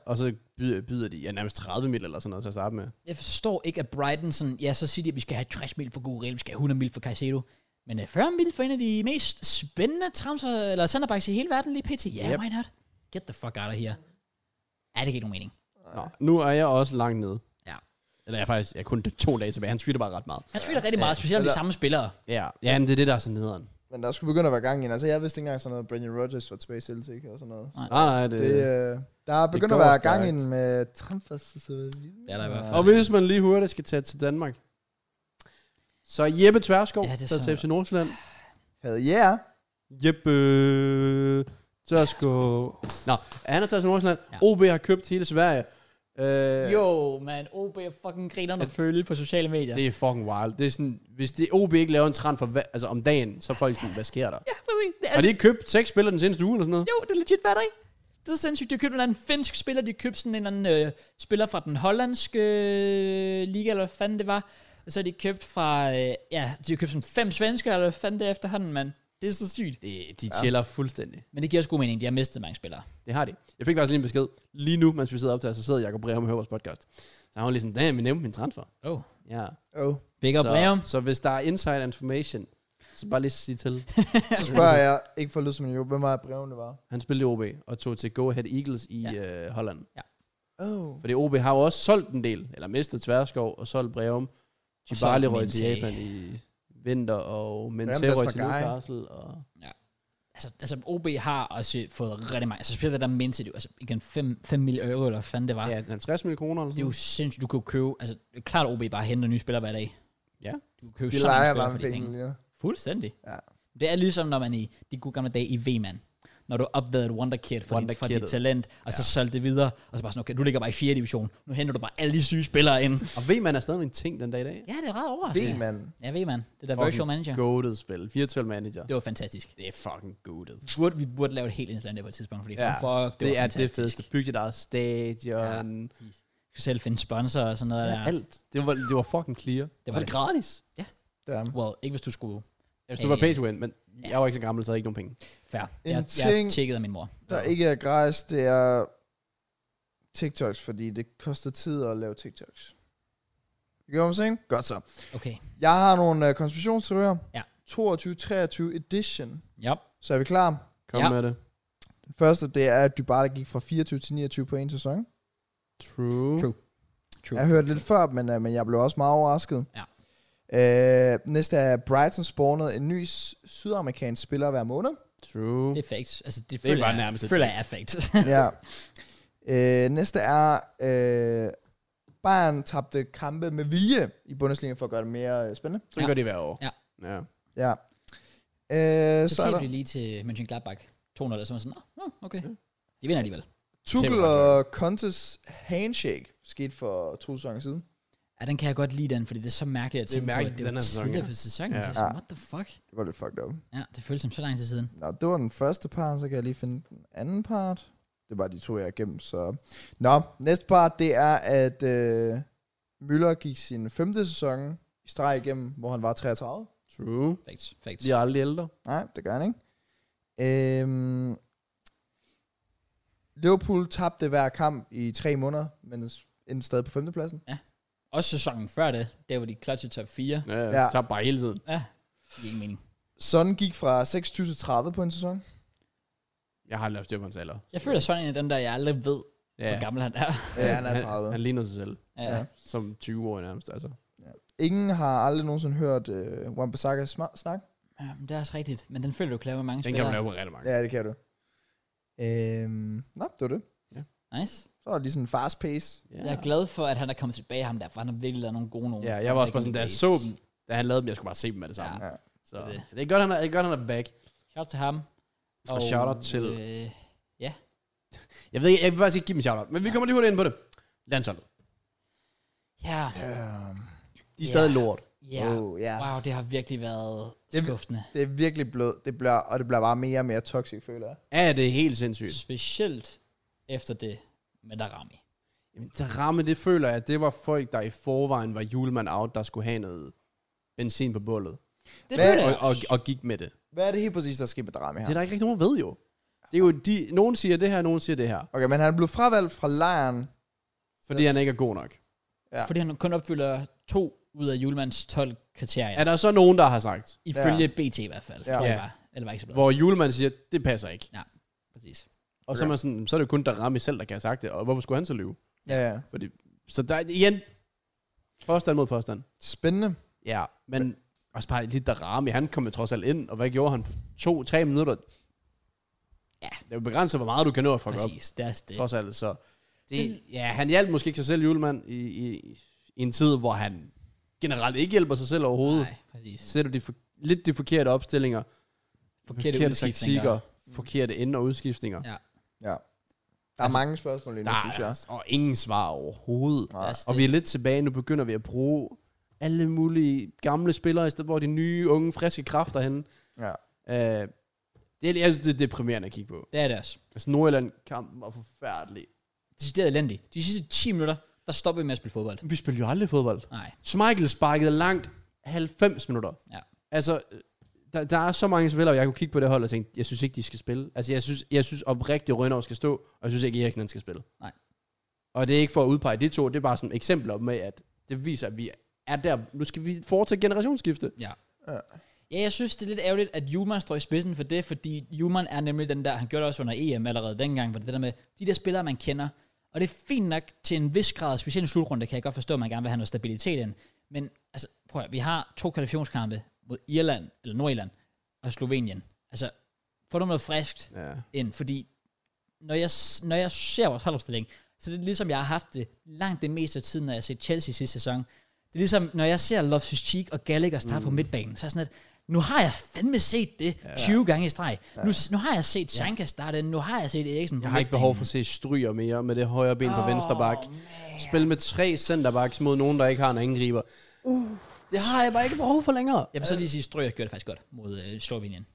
S2: Og så byder, byder de ja, nærmest 30 mil eller sådan noget til at starte med.
S1: Jeg forstår ikke, at Brighton sådan, ja, så siger de, at vi skal have 60 mil for Gurel, vi skal have 100 mil for Caicedo. Men øh, 40 mil for en af de mest spændende transfer, eller centerbacks i hele verden lige pt. Ja,
S2: Yep.
S1: yep. why not? Get the fuck out of here. Ja, det giver ikke nogen mening.
S2: Nå, nu er jeg også langt nede.
S1: Ja.
S2: Eller jeg er faktisk jeg er kun to dage tilbage. Han tweeter bare ret meget.
S1: Han spiller rigtig meget, specielt om de
S2: Altså-
S3: Eller-
S1: samme spillere.
S2: Ja, ja men det er det, der er sådan nederen.
S3: Men der skulle begynde at være gang igen. Altså, jeg vidste ikke engang sådan noget, Brendan Rodgers var tilbage i Celtic og sådan noget.
S2: Nej, nej, det...
S3: Det, øh, der er begyndt
S2: går
S3: at være gang øh,
S2: stærkt.
S3: ind med transfers og så videre.
S1: Ja, der er i hvert fald.
S2: Og hvis man lige hurtigt skal tage til Danmark, så er Jeppe Tverskov,
S1: Ja,
S2: ja,
S1: det er
S2: det så... til
S1: så-
S2: FC Nordsjælland.
S3: Hell yeah.
S2: Jeppe Tverskov. Nå, han er taget til Nordsjælland.
S1: Ja.
S2: Ja. OB har købt hele Sverige. Øh,
S1: Jo, man, OB er fucking griner at følge på sociale medier.
S2: Det er fucking wild. Det er sådan, hvis det, OB ikke laver en trend for, hva- altså om dagen, så er folk sådan, hvad sker der?
S1: ja, præcis. Det er,
S2: Har de ikke købt seks spillere den seneste uge eller sådan noget?
S1: jo, det er legit hver dag. Det er så sindssygt. De har købt en eller anden finsk spiller, de har købt sådan en eller anden øh, spiller fra den hollandske øh, liga, eller hvad fanden det var. Og så har de købt fra, øh, ja, de har købt sådan fem svensker, eller hvad fanden det er efterhånden, mand. Det er så sygt.
S2: Det, de chiller fuldstændig.
S1: Men det giver også god mening, de har mistet mange spillere.
S2: Det har de. Jeg fik faktisk lige en besked. Lige nu, mens vi sidder op til, så sidder Jacob Breum og hører vores podcast. Så han var lige sådan, damn, vi nævnte min transfer.
S1: Oh.
S2: Ja.
S3: Oh.
S1: Big up, Liam.
S2: så, så hvis der er inside information, så bare lige sige til.
S3: Så spørger jeg, ikke for at lyde som en jo, hvem var breven, det var?
S2: Han spillede i OB og tog til Go Ahead Eagles i ja. øh, Holland.
S3: Oh.
S2: Fordi OB har jo også solgt en del, eller mistet Tverskov og solgt Breum.
S1: Og så
S2: Chibali røg
S1: Mente.
S2: til Japan i vinter, og Mente
S3: Jamen,
S2: røg til
S3: Aspagai.
S2: Newcastle. Og
S1: Altså, altså OB har også fået rigtig mange. Altså, specielt det der mindste, det er jo, altså igen 5, 5 mil euro, eller hvad fanden det var.
S2: ja, 50 millioner kroner eller
S1: Det
S2: sådan
S1: er jo sindssygt, du kan jo købe, altså det er klart OB bare henter nye spillere hver dag.
S2: Ja.
S1: Du kan købe
S3: De
S1: så mange
S3: leger
S1: spillere
S3: bare
S1: for
S3: med
S1: de penge.
S3: penge lige nu.
S1: Fuldstændig.
S3: Ja.
S1: Det er ligesom, når man i de gode gamle dage i V-man, når du opdagede et wonderkid for, dit, for dit
S2: Wonderkidet.
S1: talent, og så solgte det videre, og så bare sådan, okay, du ligger bare i 4. division, nu henter du bare alle de syge spillere ind.
S2: Og ved man er stadig en ting den dag i dag.
S1: Ja, det er ret
S3: Det,
S1: overraskende.
S3: mand.
S1: Ja, V-man. Det der virtual manager.
S2: Goated spil. Virtual manager.
S1: Det var fantastisk.
S2: Det er fucking goated.
S1: Burde, vi burde lave et helt indslag om det på et tidspunkt, fordi ja, fuck, det, var
S2: det, det er det
S1: fantastisk.
S2: fedeste. Byg dit eget stadion. Ja.
S1: Du kan selv finde sponsorer og sådan noget der.
S2: Ja. Alt. Det var, det var fucking clear. Det
S1: var
S2: var så er det
S1: det.
S2: gratis.
S3: Der.
S1: Well, ikke hvis du skulle.
S2: Ja, hvis du var
S1: Øh,
S2: pay to win, men jeg var ikke så gammel, så havde jeg ikke nogen penge.
S1: Fair.
S3: En
S1: Jeg, jeg
S3: ting-
S1: tjekkede af min mor.
S3: der ikke er græs, det er TikToks, fordi det koster tid at lave TikToks. You know what I'm saying? Godt så.
S1: Okay.
S3: Jeg har nogle uh, konspirationsteorier.
S1: Ja.
S3: 22-23 edition.
S1: Ja.
S3: Så er vi klar.
S2: Kom
S1: Ja.
S2: med det.
S3: Den første, det er, at Dybala gik fra 24 til 29 på en sæson.
S2: True.
S1: True.
S2: True.
S1: True.
S3: Jeg hørte lidt før, men, øh, men jeg blev også meget overrasket.
S1: Ja.
S3: Øh, næste er, at Brighton spawnede en ny s- sydamerikansk spiller hver måned.
S2: True.
S1: Det er facts. Altså, det, det føler,
S2: var
S1: jeg,
S2: nærmest et
S1: føler jeg er facts.
S3: ja. Øh, næste er, øh, Bayern tabte kampe med vilje i Bundesliga for at gøre det mere øh, spændende.
S2: Så ja.
S1: Ja.
S2: gør det hver år.
S1: Ja.
S2: ja.
S3: Ja. Øh,
S1: så
S3: så er
S1: tabte
S3: der
S1: de lige til Mönchengladbach 200, og så var sådan, "Nå, nå, okay. De vinder alligevel.
S3: Tuchel
S2: Tæmmer.
S3: og Contes handshake skete for to sæsoner siden.
S1: Ja, den kan jeg godt lide den, fordi det er så mærkeligt at
S2: Det er
S1: tænke på,
S2: mærkeligt,
S1: at det
S2: den
S1: var
S2: her sæson,
S1: tidligere
S2: ja.
S1: på sæsonen.
S2: Ja.
S1: Ja. Ja. What the fuck?
S3: Det var lidt fucked up.
S1: Ja, det føles som så lang tid siden.
S3: Nå, det var den første part, så kan jeg lige finde den anden part. Det var de to, jeg er igennem, så... Nå, næste part, det er, at øh, Müller gik sin femte sæson i streg igennem, hvor han var 33.
S2: True.
S1: Facts, facts.
S2: Vi er aldrig ældre.
S3: Nej, det gør han ikke. Øhm, Liverpool tabte hver kamp i tre måneder, men endte stadig på femtepladsen.
S1: Også sæsonen før det, der var de clutch i top 4.
S2: Ja, ja.
S3: Ja.
S2: Vi tager bare hele tiden.
S1: Ja, det er ingen mening.
S3: Sådan gik fra 26 til 30 på en sæson.
S2: Jeg har lavet styr på hans alder.
S1: Jeg føler sådan en af dem der, jeg aldrig ved,
S2: ja.
S1: hvor gammel han er.
S3: Ja, Øh, han er
S2: Han,
S3: 30.
S2: han ligner sig selv.
S1: Ja.
S3: Ja.
S2: Som 20 år nærmest, altså.
S3: Ingen har aldrig nogensinde hørt øh, Wan-Bissaka sma- snakke.
S1: ja. men det er også rigtigt. Men den føler du kan lave med mange
S2: Den kan
S1: spillere.
S2: man lave på rigtig mange.
S3: Ja, det kan du. Øhm, nå, det var det.
S1: Nice.
S3: Så var det lige sådan en fast pace.
S1: Jeg er glad for, at han er kommet tilbage ham der, for han har virkelig lavet nogle gode nogen.
S2: Ja, jeg var også bare sådan, da jeg så dem, da han lavede dem, jeg skulle bare se dem med det samme.
S1: Ja.
S2: Ja.
S3: Ja.
S2: Så
S1: Det er det.
S2: det er godt, han er, det er godt, han er back.
S1: Shout til ham.
S2: Og shout-out til-
S1: Øh,
S2: Jeg ved ikke, jeg vil faktisk ikke give dem shout men vi kommer lige hurtigt ind på det. Landsholdet.
S1: ja,
S2: De er stadig
S1: Ja.
S2: lort.
S1: ja.
S3: Oh, ja.
S1: Wow, det har virkelig været
S3: Det-
S1: skuffende.
S3: Det er virkelig blødt, det bliver, og det bliver bare mere og mere toxic, føler jeg.
S2: Ja, det er helt sindssygt.
S1: Specielt efter det med Darami.
S2: Jamen, det ramme, det føler jeg, det var folk, der i forvejen var julemand out, der skulle have noget benzin på bålet.
S1: Det
S3: Hvad-
S1: føler
S2: Og,
S1: jeg.
S2: og, og gik med det.
S3: Hvad er det helt præcis, der sker med Drami
S2: Det er
S3: her?
S2: der ikke rigtig nogen, der ved jo. Det er jo de, nogen siger det her, nogen siger det her.
S3: Okay, men han er blevet fravalgt fra lejren.
S2: Fordi han ikke er god nok.
S3: Ja.
S1: Fordi han kun opfylder to ud af julemandens 12 kriterier.
S2: Er der så nogen, der har sagt,
S1: Ifølge BT i hvert fald,
S3: Ja.
S1: tror jeg
S2: Ja.
S1: var. Eller var ikke så blot.
S2: hvor julemand siger, det passer ikke.
S1: Præcis.
S2: Og så er, man sådan, så er det jo kun der ramme selv, der kan have sagt det. Og hvorfor skulle han så lyve?
S3: Ja, ja.
S2: Så der er igen, påstand mod påstand.
S3: Spændende.
S2: Ja, men også bare lidt der ramme. Han kom jo trods alt ind, og hvad gjorde han? To-tre minutter.
S1: Ja.
S2: Det er jo begrænset, hvor meget du kan nå at fuck op.
S1: Præcis, det er også det.
S2: trods alt. Så det, ja, han hjalp måske ikke sig selv, julemand, i, i, i en tid, hvor han generelt ikke hjælper sig selv overhovedet.
S1: Nej, præcis.
S2: Så sætter de for, lidt de forkerte opstillinger,
S1: Forkerte, udskiftninger.
S2: taktikker, forkerte ind- og udskiftninger.
S1: Ja,
S3: Ja. Der er mange spørgsmål lige nu, synes
S2: Altså, Der
S3: jeg.
S2: er, og ingen svar overhovedet.
S1: det er også
S2: Og
S1: altså det.
S2: vi er lidt tilbage, nu begynder vi at bruge alle mulige gamle spillere, i stedet for de nye, unge, friske kræfter henne.
S3: Ja.
S2: Øh, det, er, jeg synes, det er deprimerende at kigge på.
S1: det er det også.
S2: Altså, Nordjylland-kampen var forfærdelig.
S1: Decideret elendigt. De sidste 10 minutter, der stopper vi med at spille fodbold.
S2: Vi spiller jo aldrig fodbold.
S1: Nej.
S2: Schmeichel sparkede langt 90 minutter.
S1: Ja.
S2: Altså, øh, der, der er så mange spillere, jeg kunne kigge på det hold og tænke, jeg synes ikke, de skal spille. Altså, jeg synes, jeg synes oprigtigt, Rønner skal stå, og jeg synes ikke, Eriksen han skal spille.
S1: Nej.
S2: Og det er ikke for at udpege de to, det er bare sådan eksempler med, at det viser, at vi er der. Nu skal vi foretage generationsskifte.
S1: Ja.
S3: Ja.
S1: Ja, jeg synes, det er lidt ærgerligt, at Juman står i spidsen for det, fordi Juman er nemlig den der, han gjorde det også under EM allerede dengang, hvor det der med de der spillere, man kender. Og det er fint nok til en vis grad, specielt i slutrunden, kan jeg godt forstå, at man gerne vil have noget stabilitet ind. Men altså, prøv at, høre, vi har to kvalifikationskampe mod Irland, eller Nordirland, og Slovenien. Altså, få dem noget friskt
S2: Ja.
S1: ind, fordi når jeg, s- når jeg ser vores holdopstilling, så det er ligesom, jeg har haft det langt det meste af tiden, når jeg har set Chelsea sidste sæson. Det er ligesom, når jeg ser Loftus Cheek og Gallagher starte mm. på midtbanen, så er jeg sådan lidt, nu har jeg fandme set det 20 gange i streg. Nu, s- nu har jeg set Sanka starte den, nu har jeg set Eriksen på
S2: Jeg har ikke behov for at se stryger mere med det højre ben på oh, venstre bak. Spil med tre centerbacks mod nogen, der ikke har en angriber. Uh, det har jeg bare ikke behov for længere.
S1: Jeg vil så lige sige, at Strøger gjorde det faktisk godt mod øh, Slovenien.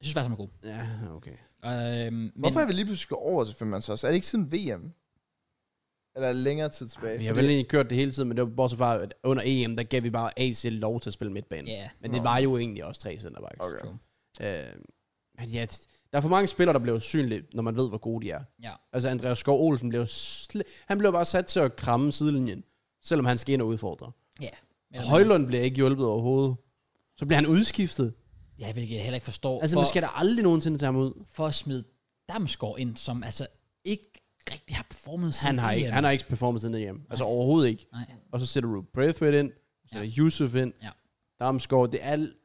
S1: Jeg synes faktisk, han var god.
S2: Ja, okay.
S1: Øhm, men,
S3: Hvorfor er vi lige pludselig gået over til femmandsholds? Er det ikke siden VM? Eller er det længere tid tilbage?
S2: Vi har vel egentlig kørt det hele tiden, men det var bortset fra, at under EM, der gav vi bare AC lov til at spille midtbane.
S1: Ja.
S2: Men det var jo egentlig også tre centerbacks.
S3: Okay.
S2: Øh, men ja, der er for mange spillere, der bliver usynlige, når man ved, hvor gode de er.
S1: Ja.
S2: Altså Andreas Skov Olsen blev sl- han blev bare sat til at kramme sidelinjen, selvom han skal ind og udfordre.
S1: Ja. Men,
S2: Og Højlund bliver ikke hjulpet overhovedet. Så bliver han udskiftet.
S1: Ja, jeg vil ikke- heller ikke forstå.
S2: Altså,
S1: for,
S2: man skal der aldrig nogensinde tage ham ud.
S1: for at smide Damsgaard ind, som altså ikke rigtig har performet øh,
S2: Han har, ikke, han har ikke performet siden hjem. Altså overhovedet ikke.
S1: E Nej.
S2: Og så sætter Ruth Braithwaite ind, så sætter ja. Yusuf ind,
S1: Ja.
S2: Damsgaard. Det er alt.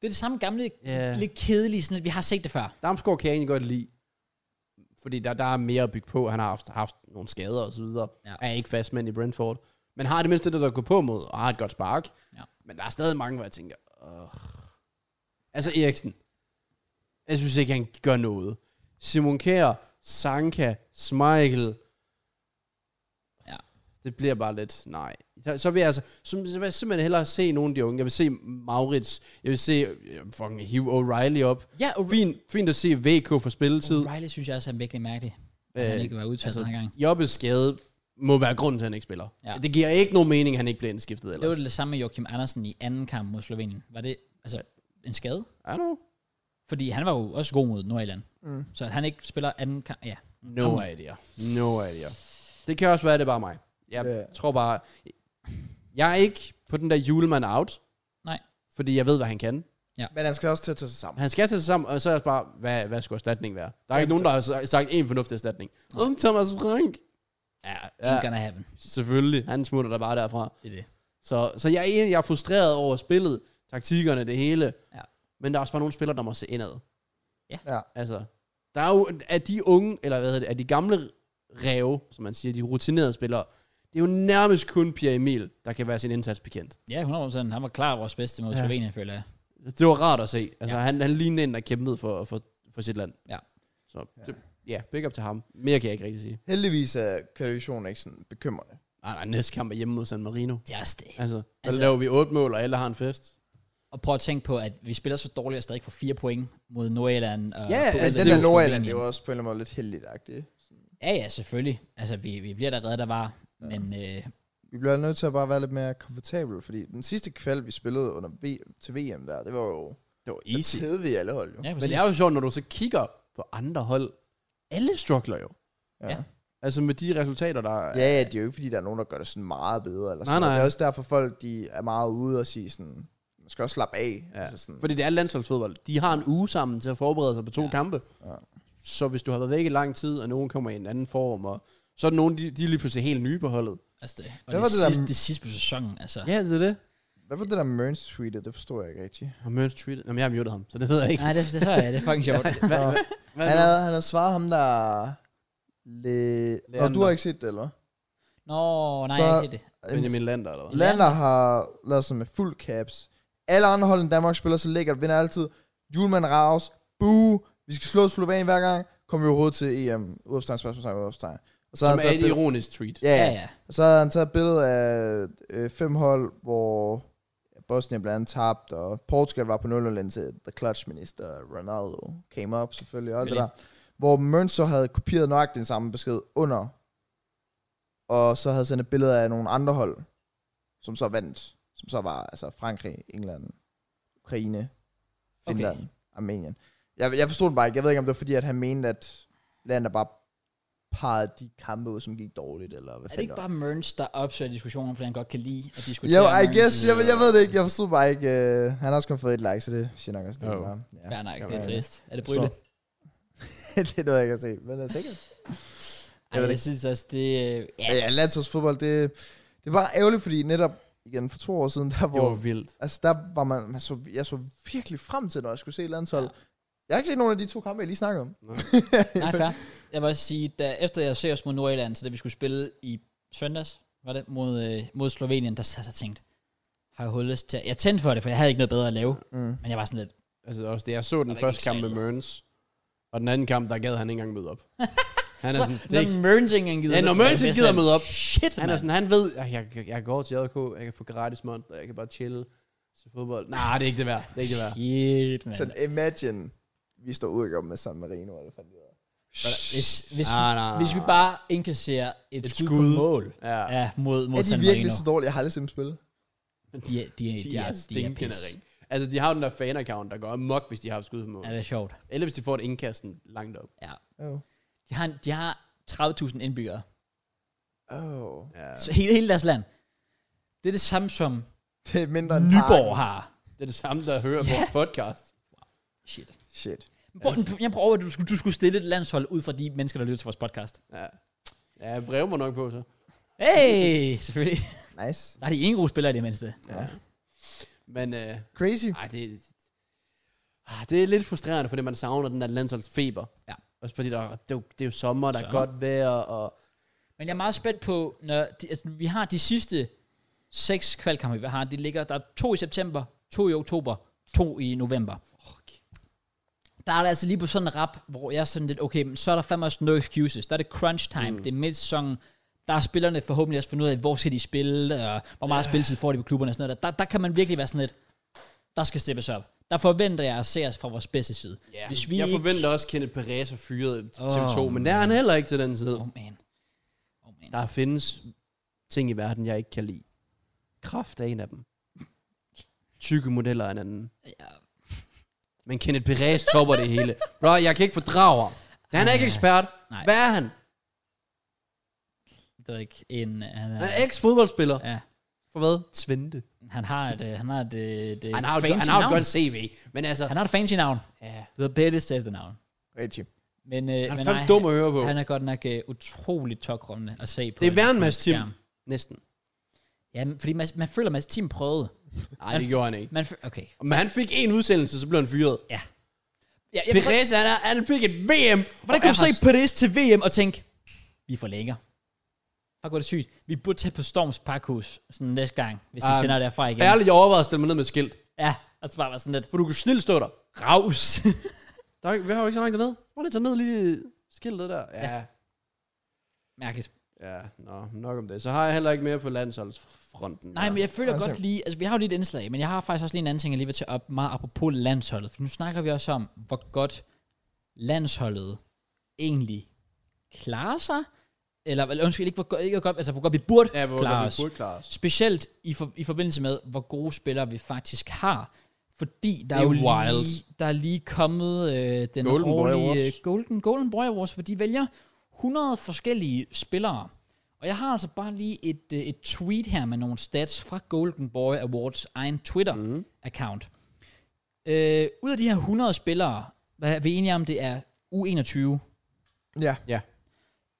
S1: Det er det samme gamle,
S2: Ja.
S1: yeah. lidt kedelige, sådan lidt, vi har set det før.
S2: Damsgaard kan jeg egentlig godt lide. Fordi der, der er mere at bygge på. Han har haft, haft nogle skader og så videre.
S1: Ja.
S2: Ja. Er ikke fast mand i Brentford. Men har det mindste det, der går på mod, og har et godt spark.
S1: Ja.
S2: Men der er stadig mange, hvor jeg tænker, Åh. Altså Eriksen. Jeg synes ikke, han gør noget. Simon Kjær, Sanka, Smeichel.
S1: Ja.
S2: Det bliver bare lidt, nej. Så, så vil jeg altså, så, så vil jeg simpelthen hellere se nogle af de unge. Jeg vil se Maurits. Jeg vil se, jeg vil fucking hive O'Reilly op.
S1: Ja, og
S2: Fint, fint at se VK få spilletid.
S1: Riley synes jeg også er virkelig mærkelig. Øh, han
S2: Øh,
S1: ikke var udtaget altså,
S2: altså,
S1: den her gang.
S2: Jobbes skade må være grunden til, at han ikke spiller.
S1: Ja.
S2: Ja. Det giver ikke nogen mening, at han ikke bliver indskiftet
S1: Det var
S2: ellers.
S1: det samme med Joachim Andersen i anden kamp mod Slovenien. Var det altså en skade?
S2: I don't know.
S1: Fordi han var jo også god mod Nordjylland.
S3: Mm.
S1: Så at han ikke spiller anden kamp, ja.
S2: No idea. No idea. Det kan også være, at det er bare mig. Jeg
S3: Ja.
S2: tror bare... Jeg er ikke på den der julemand out.
S1: Nej.
S2: Fordi jeg ved, hvad han kan.
S3: Men han skal også til at tage sig sammen.
S2: Han skal til sig sammen, og så er jeg bare, hvad, hvad skulle erstatningen være? Der er ikke
S3: Jamen,
S2: nogen, der har sagt en fornuftig erstatning. Um, Thomas Frank. Ja,
S1: ja.
S2: ja
S1: gonna happen.
S2: selvfølgelig. Han smutter der bare derfra.
S1: Det er det.
S2: Så, så jeg er enig, jeg er frustreret over spillet, taktikkerne, det hele.
S1: Ja.
S2: Men der er også bare nogle spillere, der må se indad.
S3: Ja.
S2: Altså, der er jo, at de unge, eller hvad hedder det, at de gamle ræve, som man siger, de rutinerede spillere, det er jo nærmest kun Pierre Emil, der kan være sin indsats bekendt.
S1: Ja, 100%. Han var klar vores bedste mod
S2: Ja.
S1: Slovenien, føler jeg.
S2: Det var rart at se. Altså,
S1: Ja.
S2: ja. han, han lignede en, der kæmpede for, for, for sit land.
S1: Ja.
S2: Så, det, ja, big up til ham. Mere kan jeg ikke rigtig sige.
S3: Heldigvis er kvalifikationen ikke sådan bekymrende.
S2: Nej, nej, næste kamp er hjemme mod San Marino.
S1: Det er også det.
S2: Altså, der
S1: Altså-
S2: altså, laver vi otte mål, og alle har en fest.
S1: Og prøv at tænke på, at vi spiller så dårligt og stadig får fire point mod Nordjylland. Og
S2: Ja,
S1: Polen.
S3: Altså,
S2: Altså,
S3: den
S2: det er
S3: der
S2: jo
S3: Nordjylland, det er jo også på en eller anden måde lidt heldigt
S1: Ja, ja, selvfølgelig. Altså, vi, vi bliver der reddet, der var. Ja. Men øh,
S3: Vi bliver nødt til at bare være lidt mere komfortable, fordi den sidste kval, vi spillede under v- til VM der, det var jo...
S2: Det var
S3: Easy.
S2: easy.
S3: Der tævede vi alle hold jo.
S1: ja,
S2: Men
S1: præcis.
S2: det er jo sjovt, når du så kigger på andre hold. Alle struggler jo.
S1: Ja.
S2: Altså med de resultater, der er.
S3: Ja, ja, det er jo ikke, fordi der er nogen, der gør det sådan meget bedre. Eller
S2: Nej,
S3: sådan. noget.
S2: nej.
S3: Det er også derfor, folk de er meget ude og siger sådan, man skal også slappe af.
S2: Ja.
S3: Altså sådan,
S2: Fordi det er landsholdsfodbold. De har en uge sammen til at forberede sig på to
S1: Ja.
S2: ja. kampe.
S3: Ja.
S2: Ja. Så hvis du har været væk i lang tid, og nogen kommer i en anden form, og så er der nogen, de, de er lige pludselig helt nye på holdet.
S1: altså, det, og det,
S3: Hvad var
S1: var
S3: det
S1: det,
S3: der-
S1: sidste, det sidste på sæsonen, altså.
S2: Ja, det er det.
S3: hvad var det der Merns tweetet? Det forstår jeg ikke rigtigt.
S2: Og Mørns tweetet. Jamen, jeg har muted ham, så det ved jeg ikke.
S1: Nej, det, det så jeg, det er fucking sjovt.
S2: Hvad,
S3: Nå.
S2: hvad, hvad,
S3: Han havde, han havde svaret ham der... Le... Og du
S2: Leander.
S3: har ikke set det, eller?
S1: Nå, nej,
S3: Så-
S1: jeg har ikke set det.
S2: Benjamin Lander, eller hvad?
S3: Lander har lavet sig med fuld caps. Alle andre hold end Danmark spiller så lækkert, vinder altid. Julemand Raus, boo, vi skal slå Slovenien hver gang. Kommer vi overhovedet til EM? Udopstegn, spørgsmålstegn, udopstegn. Og så har
S2: Som
S3: han
S2: er
S3: taget et
S2: et
S3: billede,
S2: ironisk tweet.
S3: ja,
S1: Ja,
S3: ja.
S1: ja.
S3: Og så har han taget et billede af øh, fem hold, hvor Bosnien blandt andet tabte, og Portugal var på 0 indtil The Clutch Minister Ronaldo came up selvfølgelig, og alt det der. Hvor Møns så havde kopieret nøjagtigt den samme besked under, og så havde sendt et billede af nogle andre hold, som så vandt, som så var altså Frankrig, England, Ukraine,
S1: Okay.
S3: Finland, okay. Armenien. Jeg, jeg forstod det bare ikke. Jeg ved ikke, om det var fordi, at han mente, at landet bare pegede de kampe ud, som gik dårligt, eller hvad
S1: Er det
S3: var.
S1: ikke bare Merns, der opsøger diskussionen, fordi han godt kan lide at diskutere
S3: Jo, I
S1: Merns?
S3: guess, jeg, ved- jeg ved det ikke, jeg forstod bare ikke, øh, han har også kun fået et like, så det siger nok også, det
S2: Jo.
S3: oh. bare, ja.
S1: Fair nok, det er
S3: Jamen,
S1: trist. Er det Brylle?
S3: det er noget, jeg kan se, men det er sikkert.
S1: Ej,
S3: ved det
S1: jeg synes også, det... øh, Ja,
S3: Ja, ja landsholdsfodbold, det, det er bare ærgerligt, fordi netop igen for to år siden, der
S2: Det
S3: hvor...
S2: var vildt.
S3: Altså, der var man... man så, jeg så virkelig frem til, når jeg skulle se landshold. Ja. Jeg har ikke set nogen af de to kampe, jeg lige snakker om.
S1: Nej, fair. Jeg vil også sige, da efter jeg ser os mod Nordjylland, så da vi skulle spille i søndags, var det, mod, øh, mod Slovenien, der sad jeg og tænkte, har jeg hovedet lyst til at... Jeg tændte for det, for jeg havde ikke noget bedre at lave,
S3: Mm.
S1: men jeg var sådan lidt,
S2: Altså også det, jeg så den
S1: ikke
S2: første kamp med
S1: excited.
S2: Mørens, og den anden kamp, der gad han ikke engang møde op. Han er
S1: så,
S2: sådan, det er
S1: når
S2: ikke,
S1: Mørnsingen gider
S2: Ja, når
S1: møde op,
S2: Mørnsen
S1: så er jeg
S2: gider
S1: sådan,
S2: møde op.
S1: Shit,
S2: han er
S1: mand.
S2: sådan, han ved, at jeg, jeg, jeg går til JK, jeg kan få gratis mund, og jeg kan bare chille til fodbold. Nej, det er ikke det værd. Det er ikke det værd.
S1: Shit, mand.
S3: Så Mm. imagine, vi står ud og gør med San Marino, eller hvad fanden det hedder.
S1: Hvis, hvis,
S2: Nej, nej, nej,
S1: hvis vi
S2: nej.
S1: bare indkasserer et, et
S2: Ah. Et
S1: skud,
S2: skud.
S1: på mål
S2: Ja.
S1: ja, mod, mod
S3: Er
S1: San
S3: de virkelig
S1: Marino,
S3: så dårlige? Jeg har aldrig set dem spille.
S1: de, er- de, er- de,
S2: De er
S1: de, de er
S2: stinkende
S1: pis.
S2: ring. Altså, de har jo den der fan-account, der går amok, hvis de har et skud på mål.
S1: Ja, det er sjovt.
S2: Eller hvis de får et indkasten langt op.
S1: Ja.
S3: Oh.
S1: De har, de har 30.000 indbyggere.
S3: Oh.
S2: Ja.
S1: Så hele, hele deres land. Det er det samme som
S3: Det er mindre end
S1: Nyborg
S3: Parken.
S1: har.
S2: Det er det samme, der hører yeah. vores podcast.
S1: Shit.
S3: Shit.
S1: Prøv, jeg prøver, at du skulle, du skulle stille et landshold ud fra de mennesker, der lytter til vores podcast.
S2: Ja. Ja, brev mig nok på, så.
S1: Hey, selvfølgelig.
S3: Nice.
S1: Der er de ingen gode spillere i det mindste.
S2: Ja. Men, øh,
S3: Crazy.
S2: ej, det, ah, det er lidt frustrerende, fordi man savner den der landsholdsfeber.
S1: Ja.
S2: Også fordi, der, det, er jo, det er jo sommer, der er
S1: Sommer.
S2: godt vejr, og
S1: Men jeg er meget spændt på, når de, altså, vi har de sidste seks kvalkampe, vi har. De ligger, der er to i september, to i oktober, to i november. Der er det altså lige på sådan en rap, hvor jeg er sådan lidt, okay, men så er der fandme også no excuses. Der er det crunch time, mm. det er midsæsonen. Der er spillerne forhåbentlig også fundet ud af, hvor skal de spille, og hvor meget spilletid får de på klubberne og sådan noget. Der, der kan man virkelig være sådan lidt, der skal steppes op. Der forventer jeg at se os fra vores bedste side.
S2: ja,
S1: Hvis vi
S2: jeg
S1: ikke...
S2: forventer også, at Kenneth Perez har fyret
S1: Åh,
S2: TV2, men der er han heller ikke til den tid.
S1: Oh man. Oh man.
S2: Der findes ting i verden, jeg ikke kan lide. Kraft er en af dem. Tykke modeller er en anden.
S1: Ja.
S2: Men Kenneth Perez topper det hele. Bro, jeg kan ikke fordrage ham. Han er ikke
S1: Ej,
S2: ekspert.
S1: nej.
S2: Hvad er han?
S1: Det er ikke en... øh, Han
S2: Han
S1: er,
S2: er eks-fodboldspiller.
S1: ja.
S2: For hvad? Svente.
S1: Han har et, øh, han har et, øh, et øh,
S2: Han har, jo,
S1: fancy
S2: han har jo
S1: navn.
S2: et godt CV, men altså...
S1: han har et fancy navn.
S2: ja.
S1: Det hedder Pettis til efternavn.
S3: Rigtig.
S1: Men, øh,
S2: Han er
S1: men
S2: fandme dum at høre på.
S1: han, han er godt nok øh, utrolig tokrummende at se på.
S2: Det er
S1: en-
S2: værre end
S1: på en
S2: Mads Thiem.
S1: skærm.
S2: Næsten.
S1: Ja, men- fordi Mads, man føler, at Mads Tim prøvede.
S2: Nej, det gjorde han ikke.
S1: Man føl- okay.
S2: Men han fik en udsendelse, så blev han fyret.
S1: Ja. ja jeg forstår,
S2: Perez, han, er, han fik et VM.
S1: hvordan kan du se Pettis til VM og tænke, vi forlænger? Fuck, hvor er det sygt. Vi burde tage på Storms Parkhus sådan næste gang, hvis de
S2: Ej,
S1: sender derfra igen.
S2: Ah, Ærligt, jeg overvejede at stille mig ned med et skilt.
S1: Ja, og så bare være sådan lidt,
S2: For du kunne snilt stå der.
S1: raus.
S2: der er, ikke- vi har jo ikke så langt dernede. Prøv lige at tage ned lige skiltet der. Ja. ja.
S1: Mærkeligt.
S2: Ja, nå, nok om det. Så har jeg heller ikke mere på landsholdsfronten.
S1: Nej, men jeg føler
S3: Altså-
S1: godt lige, altså vi har jo lige et indslag, men jeg har faktisk også lige en anden ting, jeg lige vil tage op, meget apropos landsholdet, for nu snakker vi også om, hvor godt landsholdet egentlig klarer sig, eller eller undskyld, ikke hvor godt, ikke hvor godt altså hvor godt vi burde
S2: ja, hvor
S1: klare
S2: klare
S1: os.
S2: vi burde klare os.
S1: Specielt i, for, i forbindelse med, hvor gode spillere vi faktisk har, fordi der er,
S2: Det er
S1: jo
S2: wild.
S1: lige, der er lige kommet øh, den
S2: Golden Boy
S1: årlige øh,
S2: Awards.
S1: Golden, Golden Boy Awards, hvor de vælger 100 forskellige spillere. Og jeg har altså bare lige et, øh, et tweet her med nogle stats fra Golden Boy Awards egen Twitter-account. Mm. Øh, ud af de her 100 spillere, hvad er vi enige om, det er U21,
S3: Ja.
S2: Ja.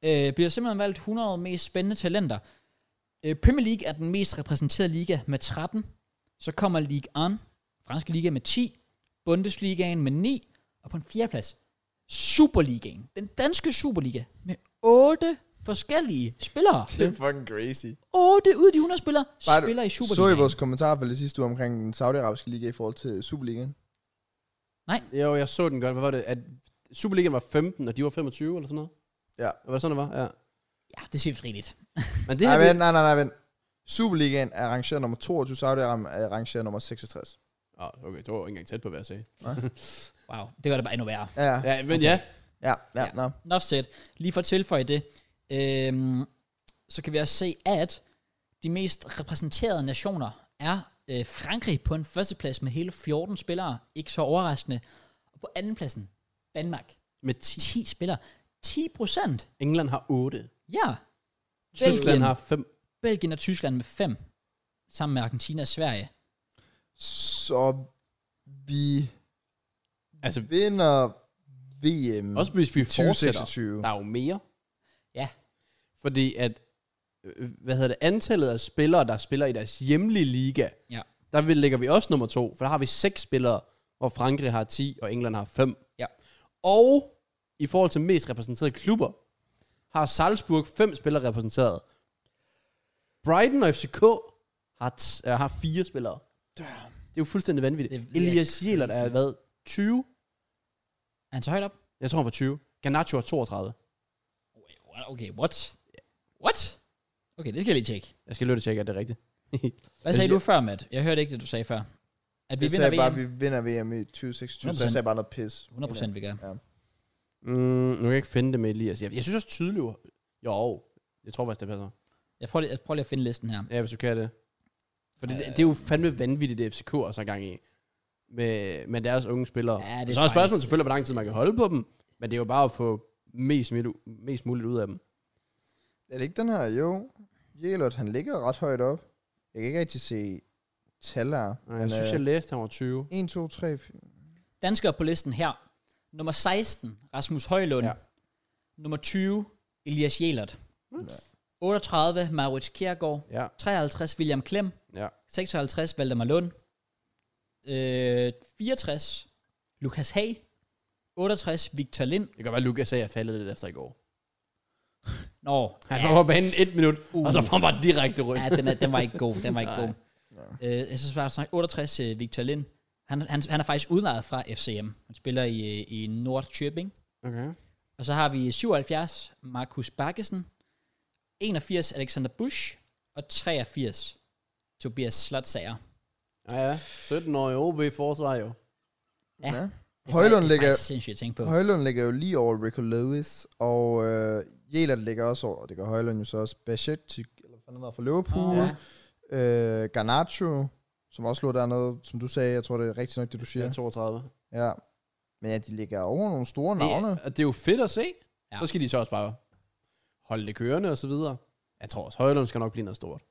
S1: øh, bliver simpelthen valgt 100 mest spændende talenter. Øh, Premier League er den mest repræsenterede liga med 13. Så kommer Ligue 1, franske liga med 10, Bundesligaen med 9, og på en fjerdeplads Superligaen, den danske Superliga, med 8 forskellige spillere.
S3: Det er fucking crazy.
S1: 8 ud af de 100 spillere
S3: Bare du-
S1: spiller i
S3: Så I
S1: Superligaen.
S3: vores kommentarfelt sidste uge omkring den saudiarabiske liga i forhold til Superligaen?
S2: Jo, jeg så den godt. Hvad var det? At Superligaen var 15, og de var 25 eller sådan noget?
S3: Ja.
S2: Var det sådan, det var? Ja.
S1: Ja, det siger friligt.
S2: Men det
S3: Nej,
S2: her,
S3: vent,
S2: det,
S3: nej, nej, nej, vent. Superligaen er rangeret nummer 22, Saudi-Arabien er rangeret nummer 66.
S2: oh, okay, det var jo ikke engang tæt på, hvad jeg sagde.
S1: Wow, det gør det bare endnu værre.
S3: Ja, ja,
S2: Ja, men okay. ja.
S3: ja, ja,
S1: Ja.
S3: ja. Nå.
S1: Enough said. Lige for at tilføje det, øhm, så kan vi også se, at de mest repræsenterede nationer er øh, Frankrig på en førsteplads med hele 14 spillere. Ikke så overraskende. Og på andenpladsen, Danmark.
S2: Med 10.
S1: 10 spillere. 10 procent.
S2: England har 8.
S1: Ja.
S2: Tyskland har 5.
S1: Belgien og Tyskland med 5. Sammen med Argentina og Sverige.
S3: Så vi
S2: Altså,
S3: vinder VM Mm.
S2: også hvis vi fortsætter,
S3: 2026.
S2: der er jo mere.
S1: Ja.
S2: Fordi at øh, hvad hedder det, antallet af spillere, der spiller i deres hjemlige liga,
S1: Ja.
S2: der vil- ligger vi også nummer to, for der har vi seks spillere, hvor Frankrig har 10, og England har 5.
S1: Ja.
S2: Og i forhold til mest repræsenterede klubber, har Salzburg fem spillere repræsenteret. Brighton og FCK har, t- øh, har fire spillere. Det er jo fuldstændig vanvittigt.
S1: Det er-
S2: Det,
S1: det er
S2: Elias Jæler, der er
S1: crazy.
S2: været 20.
S1: Er han så højt op?
S2: Jeg tror, han var 20. Garnacho er 32.
S1: Okay, what? What? Okay, det skal jeg lige tjekke.
S2: Jeg skal løbe og tjekke, at det er rigtigt.
S1: Hvad sagde du før, Matt? Jeg hørte ikke det, du sagde før. At vi
S3: Altså, Jeg
S1: vinder
S3: sagde bare, at
S1: VM.
S3: vi vinder VM i 2026,
S1: 100%.
S3: så jeg sagde bare noget pis.
S1: 100% vi gør.
S2: Mm, nu kan jeg ikke finde det med Elias. Jeg, jeg synes også tydeligt. Jo, jeg tror faktisk, det passer.
S1: Jeg prøver, lige, jeg prøver lige at finde listen her.
S2: Ja, hvis du kan det. For det, det, det er jo fandme vanvittigt, det FCK er så gang i. Med, med deres unge spillere.
S1: Ja, det er
S2: Og så er spørgsmålet
S1: faktisk-
S2: selvfølgelig, hvor lang tid man kan holde på dem. Men det er jo bare at få mest, muligt- mest muligt ud af dem.
S3: Er det ikke den her? Jo. Jelot, han ligger ret højt op. Jeg kan ikke rigtig se taller.
S2: Og jeg synes, jeg læste, han var 20.
S3: 1, 2, 3, 4.
S1: Danskere på listen her. Nummer 16, Rasmus Højlund. Ja.
S3: Ja.
S1: Nummer 20, Elias Jelert.
S2: Mm.
S1: 38, Maurits Kjærgaard.
S2: Ja,
S1: 53, William Klem.
S2: ja.
S1: 56, Valdemar Lund. Øh, 64, Lukas Hag. 68, Victor Lind.
S2: Det kan godt være, Lukas sagde, at jeg faldet lidt efter i går.
S1: Nå,
S2: Han var på banen et minut, uh. og så får han bare direkte rødt.
S1: ja, den, er, den var ikke god. Den var ikke god.
S3: Nej.
S1: Øh, jeg synes bare, snakke 68, øh, Victor Lind. Han, han, han er faktisk udlejet fra FCM. Han spiller i, øh, i Nordkjøbing.
S2: Okay.
S1: Og så har vi 77, Markus Bakkesen, 81, Alexander Busch, og 83, Tobias Slotsager.
S2: Ja, ja. 17 år i OB-forsvar jo.
S1: Ja.
S3: Ja.
S1: Det er
S3: Højlund
S1: faktisk- Det er
S3: ligger,
S1: faktisk sindssygt at tænke på.
S3: Højlund ligger jo lige over Rico Lewis, og øh, Jelert ligger også over, og det gør Højlund jo så også, Bachet, eller hvad fanden var fra Liverpool,
S1: Åh, ja.
S3: øh, Garnacho, som også lå dernede, som du sagde, jeg tror det er rigtigt nok det,
S2: Ja.
S3: du siger.
S2: er 32.
S3: Ja. Men ja, de ligger over nogle store navne.
S2: Det, og det er jo fedt at se.
S1: Ja.
S2: Ja. Så skal de så også bare holde det kørende og så videre. Jeg tror også, Højlund skal nok blive noget stort.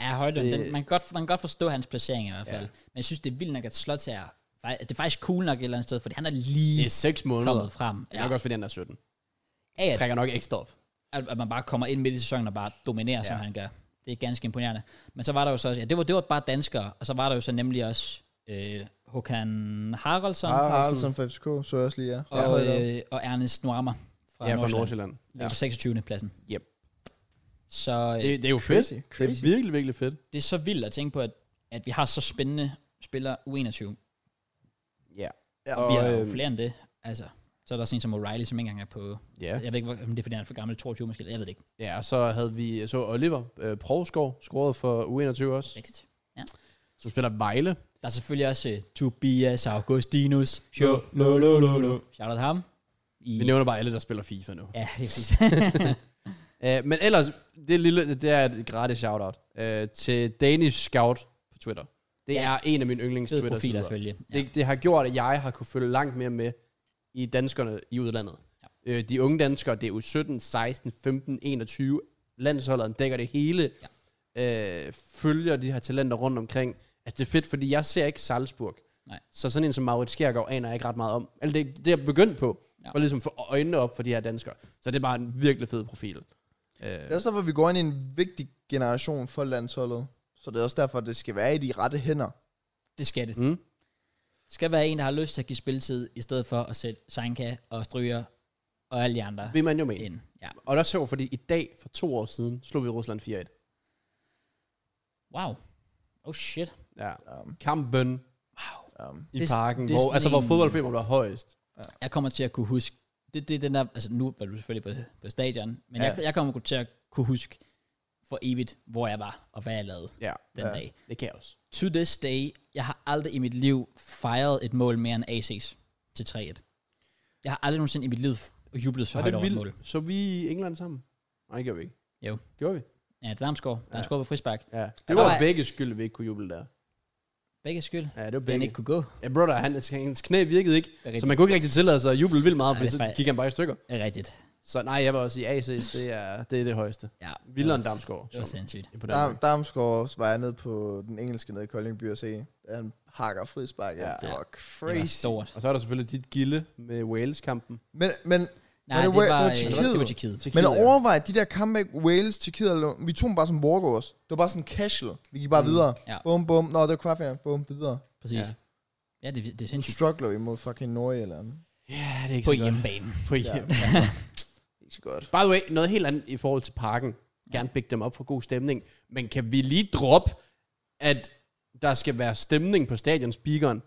S1: Ja, Højlund,
S2: Det-
S1: den, man, kan godt, man kan godt forstå hans placering i hvert fald.
S2: Ja.
S1: Men jeg synes, det er vildt nok, at Slotsager, fej- det er faktisk cool nok et eller andet sted, fordi han er lige
S2: Det er 6 måneder.
S1: kommet frem.
S2: Det er
S1: Ja.
S2: nok også, fordi han er 17.
S1: Ja, ja,
S2: Jeg trækker nok ekstra op.
S1: at, at man bare kommer ind midt i sæsonen og bare dominerer, ja. som
S2: Ja.
S1: han gør. Det er ganske imponerende. Men så var der jo så også, ja, det var, det var bare danskere, og så var der jo så nemlig også øh, Håkan Haraldsson
S3: Har
S1: og,
S3: Haraldsson fra FCK, så jeg også lige, ja. ja.
S1: øh, og Ernest Nuama fra
S2: Ja, fra
S1: Nordsjælland.
S2: Nordsjælland.
S1: Ja.
S2: Ja.
S1: på 26. pladsen.
S2: Yep.
S1: Så øh,
S2: Det,
S1: det,
S2: det, er jo fedt.
S3: Crazy,
S2: Det
S3: crazy.
S2: er virkelig, virkelig fedt.
S1: det er så vildt at tænke på, at, at vi har så spændende spillere U21.
S2: Ja.
S3: Ja,
S1: Vi har jo
S2: øhm,
S1: flere end det. Altså, så er der sådan en som O'Reilly, som ikke engang er på...
S2: Ja.
S1: Ja. Jeg ved ikke, hvor- om det er, fordi han er for gammel, 22 måske. Jeg ved det ikke.
S2: ja, og så havde vi så Oliver øh, Provskov, scoret for U21 også,
S1: Rigtigt.
S2: som spiller Vejle.
S1: Der er selvfølgelig også uh, Tobias Augustinus. Show. Lo, lo, lo, lo. Shout out til ham. I,
S2: Vi nævner bare alle, der spiller FIFA nu.
S1: ja, det er præcis.
S2: Uh, men ellers, det, lille, det er et gratis shout-out uh, til Danish Scout på Twitter. Det
S1: Ja.
S2: er en af mine yndlings
S1: Fed profil altså.
S2: Twitter-sider.
S1: at følge. Ja.
S2: Det, det har gjort, at jeg har kunne følge langt mere med i danskerne i udlandet. Ja. Øh, de unge danskere, det er jo 17, 16, 15, 21. Landsholdet dækker det hele. Ja. Øh, følger de her talenter rundt omkring. Altså, det er fedt, fordi jeg ser ikke Salzburg.
S1: Nej.
S2: Så sådan en som Maurits Kjærgaard aner jeg ikke ret meget om. Eller det, det er jeg begyndt på.
S1: Ja.
S2: Ja. Og ligesom få øjnene op for de her danskere. Så det er bare en virkelig fed profil. Øh,
S3: Det er også derfor, vi går ind i en vigtig generation for landsholdet. Så det er også derfor, det skal være i de rette hænder.
S1: det skal det.
S2: mm.
S1: Det skal være en, der har lyst til at give spilletid, i stedet for at sætte Sanka og Stryger og alle de andre
S2: Vil man jo mene.
S1: ind. Ja.
S2: Og der er sjovt, fordi i dag, for to år siden, slog vi Rusland 4-1.
S1: Wow. Oh shit.
S2: Ja.
S3: Um,
S2: Kampen
S3: um,
S2: i
S1: Det-
S2: det, parken,
S1: det er
S2: det, hvor,
S1: sådan
S2: altså hvor
S1: en-
S2: fodboldfeberen var højest.
S1: Jeg kommer til at kunne huske, det, det er den der, altså nu var du selvfølgelig på, på stadion, men ja.
S2: Ja.
S1: jeg, jeg kommer til at kunne huske for evigt, hvor jeg var og hvad jeg lavede
S2: Ja,
S1: den ja.
S3: Ja.
S1: dag.
S2: det kan jeg også.
S1: To this day, jeg har aldrig i mit liv fejret et mål mere end AC's til 3-1. Jeg har aldrig nogensinde i mit liv f- jublet så
S2: Var
S1: højt
S2: det
S1: over et
S2: vildt?
S1: mål.
S2: Så vi i England sammen? Nej, det gjorde vi ikke.
S1: Jo.
S2: Gjorde vi?
S1: Ja, det er Damsgaard. Der er
S2: Ja.
S1: skåret på frispark.
S2: Ja.
S1: Ja,
S2: Det var
S1: der var-
S2: begge skyld, vi ikke kunne juble der.
S1: Begge skyld.
S2: Ja, det var
S1: Den
S2: begge.
S1: ikke kunne gå.
S2: Ja, brother, han, hans knæ virkede ikke,
S1: er rigtigt.
S2: så man kunne ikke rigtig tillade sig at juble vildt meget,
S1: Nej,
S2: for
S1: det er
S2: så
S1: faktisk-
S2: gik han bare i stykker.
S1: Det er rigtigt.
S2: Så nej, jeg var også i AC's, det er det, er det højeste.
S1: Ja,
S2: Vildere end
S1: det var-
S2: Damsgaard.
S1: Det var sindssygt.
S3: Dam, Damsgaard var jeg nede på den engelske nede i Kolding by og se, at han hakker frispark. Ja,
S2: Ja.
S3: det var
S1: Det var
S3: crazy.
S1: stort.
S2: Og så er der selvfølgelig dit gilde med Wales-kampen.
S3: Men, men
S1: Nej, det,
S3: det
S1: var,
S3: var-
S1: det var,
S3: det var
S1: øh,
S3: Tjekkiet.
S1: det var Tjekkiet.
S3: Men overvej, de der comeback Wales til Kidder, vi tog dem bare som walkovers. Det var bare sådan casual. Vi gik bare mm. videre.
S1: Ja.
S3: Bum, bum. Nå, det var kvartfinalen. Bum, videre.
S1: Præcis. Ja,
S2: Ja.
S1: ja det, det er
S3: Nu
S1: sindssygt.
S3: struggler vi mod fucking Norge eller andet.
S2: Ja, det er ikke
S1: På
S2: så godt.
S1: hjemmebane.
S2: På hjem.
S3: Ikke så godt.
S2: By the way, noget helt andet i forhold til parken. Gerne bygge dem op for god stemning. Men kan vi lige droppe, at der skal være stemning på stadion speakeren?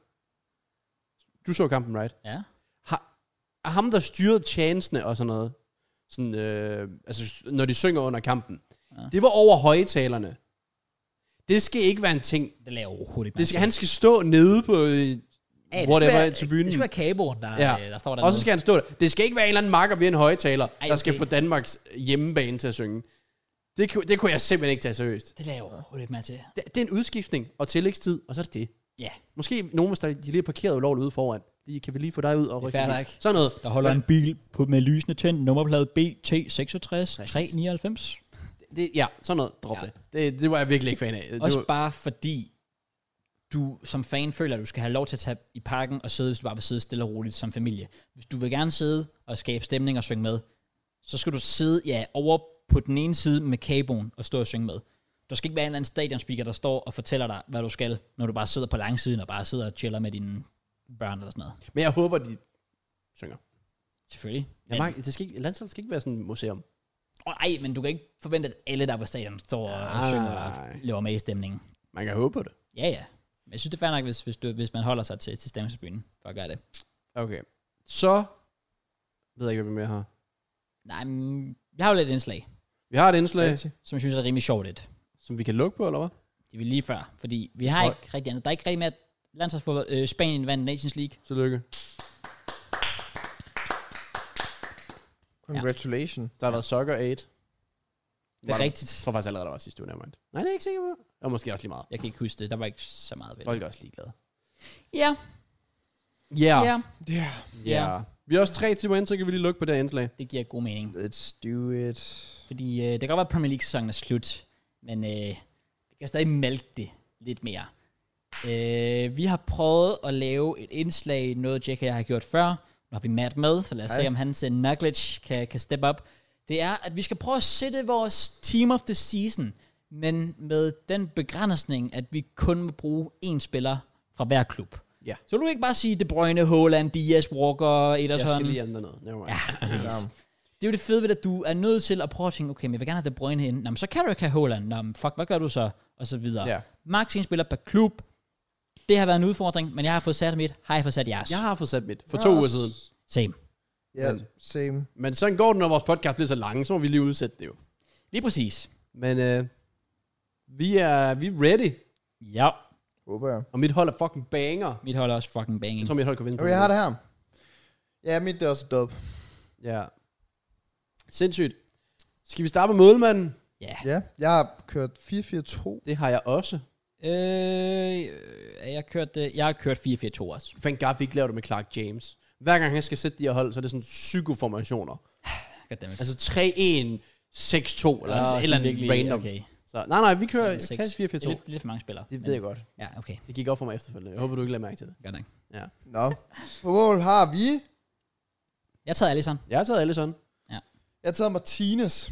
S2: Du så kampen, right?
S1: Ja.
S2: Har, er ham, der styrede chancene og sådan noget, sådan, øh, altså, når de synger under kampen, ja. det var over højtalerne. Det skal ikke være en ting.
S1: Det laver overhovedet ikke.
S2: Det skal, han skal stå nede på øh,
S1: Ja, det skulle
S2: whatever
S1: være-
S2: tribunen.
S1: Det skal være kaboen, der,
S2: Ja.
S1: øh, der står der.
S2: Og så skal han stå der. Det skal ikke være en eller anden marker ved en højtaler,
S1: Ej,
S2: der skal
S1: okay.
S2: få Danmarks hjemmebane til at synge. Det, kunne- det kunne jeg simpelthen ikke tage seriøst.
S1: Det laver jeg overhovedet ikke mere til.
S2: Det, det er en udskiftning og tillægstid, og så er det det.
S1: Ja.
S2: Måske nogen, hvis der, de lige er parkeret ulovligt ude foran. Lige, kan vi lige få dig ud og rykke
S1: fair
S2: dig ud?
S1: nok.
S2: Sådan noget.
S1: Der holder en bil på, med lysende tænd, nummerplade BT66 399.
S2: Det, ja, sådan noget. Drop
S1: Ja.
S2: ja. det. det. Det var jeg virkelig ikke fan af. Det
S1: Også
S2: var,
S1: bare fordi, du som fan føler, at du skal have lov til at tage i parken og sidde, hvis du bare vil sidde stille og roligt som familie. Hvis du vil gerne sidde og skabe stemning og synge med, så skal du sidde ja, over på den ene side med kaboen og stå og synge med. Der skal ikke være en eller anden stadionspeaker, der står og fortæller dig, hvad du skal, når du bare sidder på langsiden og bare sidder og chiller med dine børn eller sådan noget.
S2: men jeg håber, de synger.
S1: Selvfølgelig.
S2: Jeg mag, det skal ikke, landsholdet skal ikke være sådan et museum.
S1: Og ej, men du kan ikke forvente, at alle, der er på stadion, står og
S2: Nej.
S1: synger og laver med i stemningen.
S2: Man kan håbe på det.
S1: Ja, ja. Men jeg synes, det er fair nok, hvis, hvis, du, hvis man holder sig til, til stemningsbyen for at gøre det.
S2: Okay. Så ved jeg ikke, hvad vi mere har.
S1: Nej, men jeg har jo lidt indslag,
S2: Vi har et indslag,
S1: som jeg synes er rimelig sjovt lidt.
S2: som vi kan lukke på, eller hvad?
S1: Det var lige før, fordi vi har
S2: tror-
S1: ikke rigtig andet. Der er ikke rigtig mere landsholdsfodbold. Øh, Spanien vandt Nations League.
S2: Tillykke.
S3: Congratulations.
S2: Der har været Soccer 8.
S1: Det er
S2: Var der-
S1: rigtigt.
S2: Jeg tror faktisk allerede, der var sidste uge, nærmere. Nej, det er jeg ikke sikker på. Og måske også lige meget.
S1: Jeg kan ikke huske det. Der var ikke så meget ved det.
S2: Folk er også ligeglade.
S1: Ja,
S2: Ja.
S1: ja.
S3: Ja.
S2: Ja. Vi er også tre timer ind, så kan vi lige lukke på det her indslag.
S1: Det giver god mening.
S3: Let's do it.
S1: Fordi øh, det kan godt være, at Premier League-sæsonen er slut, men øh, vi kan stadig mælke det lidt mere. Øh, vi har prøvet at lave et indslag, noget Jack og jeg har gjort før. Nu har vi Matt med, så lad os Hej.
S3: Hej.
S1: se, om hans uh, knowledge kan, kan step up. Det er, at vi skal prøve at sætte vores Team of the Season, men med den begrænsning, at vi kun må bruge én spiller fra hver klub.
S2: Ja.
S1: Så vil du ikke bare sige De Bruyne, Haaland, Diaz, Walker,
S2: Jeg
S1: Ederson.
S2: skal lige ændre noget. Never
S1: Ja,
S2: mind.
S1: præcis. Altså, Det er jo det fede ved, at du er nødt til at prøve at tænke, okay, men jeg vil gerne have De Bruyne ind. Nå, men så kan du ikke have Haaland. Nå, men fuck, hvad gør du så? Og så videre.
S2: Ja.
S1: Max en spiller per klub. Det har været en udfordring, men jeg har fået sat mit. Har I fået sat jeres?
S2: Jeg har fået sat mit for to
S3: Yes.
S2: uger siden.
S1: Same.
S3: Ja, same.
S2: Men sådan går det, når vores podcast bliver så lang, så må vi lige udsætte det jo.
S1: Lige præcis.
S2: Men øh, vi er vi er ready,
S1: Ja.
S3: Håber jeg.
S2: og mit hold er fucking banger.
S1: Mit hold er også fucking
S2: Jeg
S1: banging.
S2: tror, mit hold kan vinde. på
S3: Okay, jeg har det her. Ja, mit det er også dub.
S2: Ja. Sindssygt. Skal vi starte med målmanden?
S1: Ja.
S3: Ja, jeg har kørt 4-4-2.
S2: Det har jeg også.
S1: Øh, jeg har kørt, øh, jeg har kørt 4-4-2 også.
S2: Thank God, vi ikke laver det med Clark James. Hver gang han skal sætte de her hold, så er det sådan psykoformationer.
S1: Goddammit.
S2: Altså 3-1, 6-2, eller
S1: Åh,
S2: sådan et eller andet
S1: virkelig,
S2: random.
S1: Okay.
S2: Så, nej, nej, vi kører
S1: Seks.
S2: klasse
S1: Det er
S2: 4-4-2.
S1: lidt, lidt for mange spillere.
S2: Det ved jeg godt.
S1: Ja, okay.
S2: Det gik op for mig efterfølgende. Jeg håber, du ikke lader mærke til det.
S1: Godt nok.
S3: Nå. På mål har vi...
S1: Jeg tager Alisson.
S2: Jeg har taget Alisson.
S3: Jeg har taget Martinez.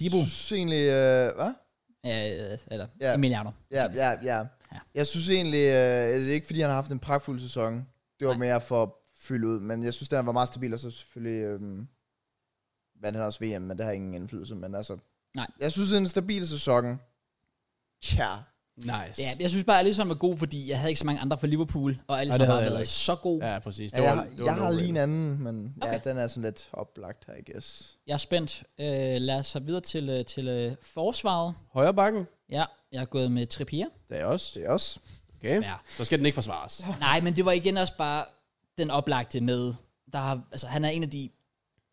S1: Dibu.
S3: synes egentlig... Øh, hvad?
S1: Øh, eller
S3: Ja.
S1: Emiliano.
S3: Ja, ja, ja.
S1: Ja.
S3: Jeg synes egentlig... Øh, det er ikke fordi han har haft en pragtfuld sæson. Det var
S1: Nej.
S3: mere for at fylde ud. Men jeg synes, den var meget stabil. Og så selvfølgelig... Øh, vandt han også VM, men det har ingen indflydelse. Men altså...
S1: Nej.
S3: Jeg synes, det er en stabil sæson. Tja.
S2: Nice.
S1: Ja, jeg synes bare, at Alisson var god, fordi jeg havde ikke så mange andre fra Liverpool, og Alisson
S2: det
S1: har
S2: havde jeg
S1: været
S2: heller
S1: så god. Ja.
S2: Ja, præcis.
S3: Ja, jeg, har- jeg har lige
S2: en
S3: en anden, men okay. ja,
S1: Okay.
S3: den er sådan lidt oplagt her, I guess.
S1: Jeg er spændt. Øh, lad os så videre til, øh, til øh, forsvaret.
S2: Højre bakken.
S1: Ja, jeg er gået med Trippier.
S2: Det er jeg også.
S3: Det er også.
S2: Okay.
S1: Ja.
S2: Så skal den ikke forsvares.
S1: Nej, men det var igen også bare den oplagte med, der har, altså han er en af de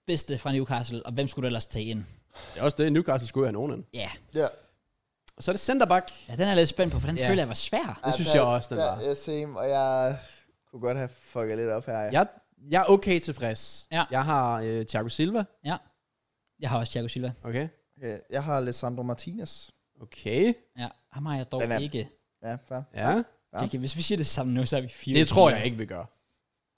S1: bedste fra Newcastle, og hvem skulle du ellers tage ind?
S2: Det er også det. Newcastle skulle jo have nogen anden.
S1: Ja,
S3: Ja.
S2: Og så er det centerback.
S1: ja den er jeg lidt spændt på, for den
S2: Ja.
S1: føler jeg var svær.
S2: Det synes jeg også, den var.
S3: Ja, same, og jeg kunne godt have fucket lidt op her. Ja.
S2: Jeg, jeg er okay tilfreds.
S1: Ja.
S2: Jeg har øh, Thiago Silva.
S1: Ja. Jeg har også Thiago Silva.
S2: Okay.
S3: Okay, Øh, jeg har Alessandro Martinez.
S2: Okay.
S1: Ja, ham har jeg dog
S3: Den er-
S1: ikke.
S3: Ja, fair.
S2: Ja.
S3: Ja.
S1: Okay, hvis vi siger det sammen nu, så er vi fire.
S2: Det tror jeg ikke, vi gør.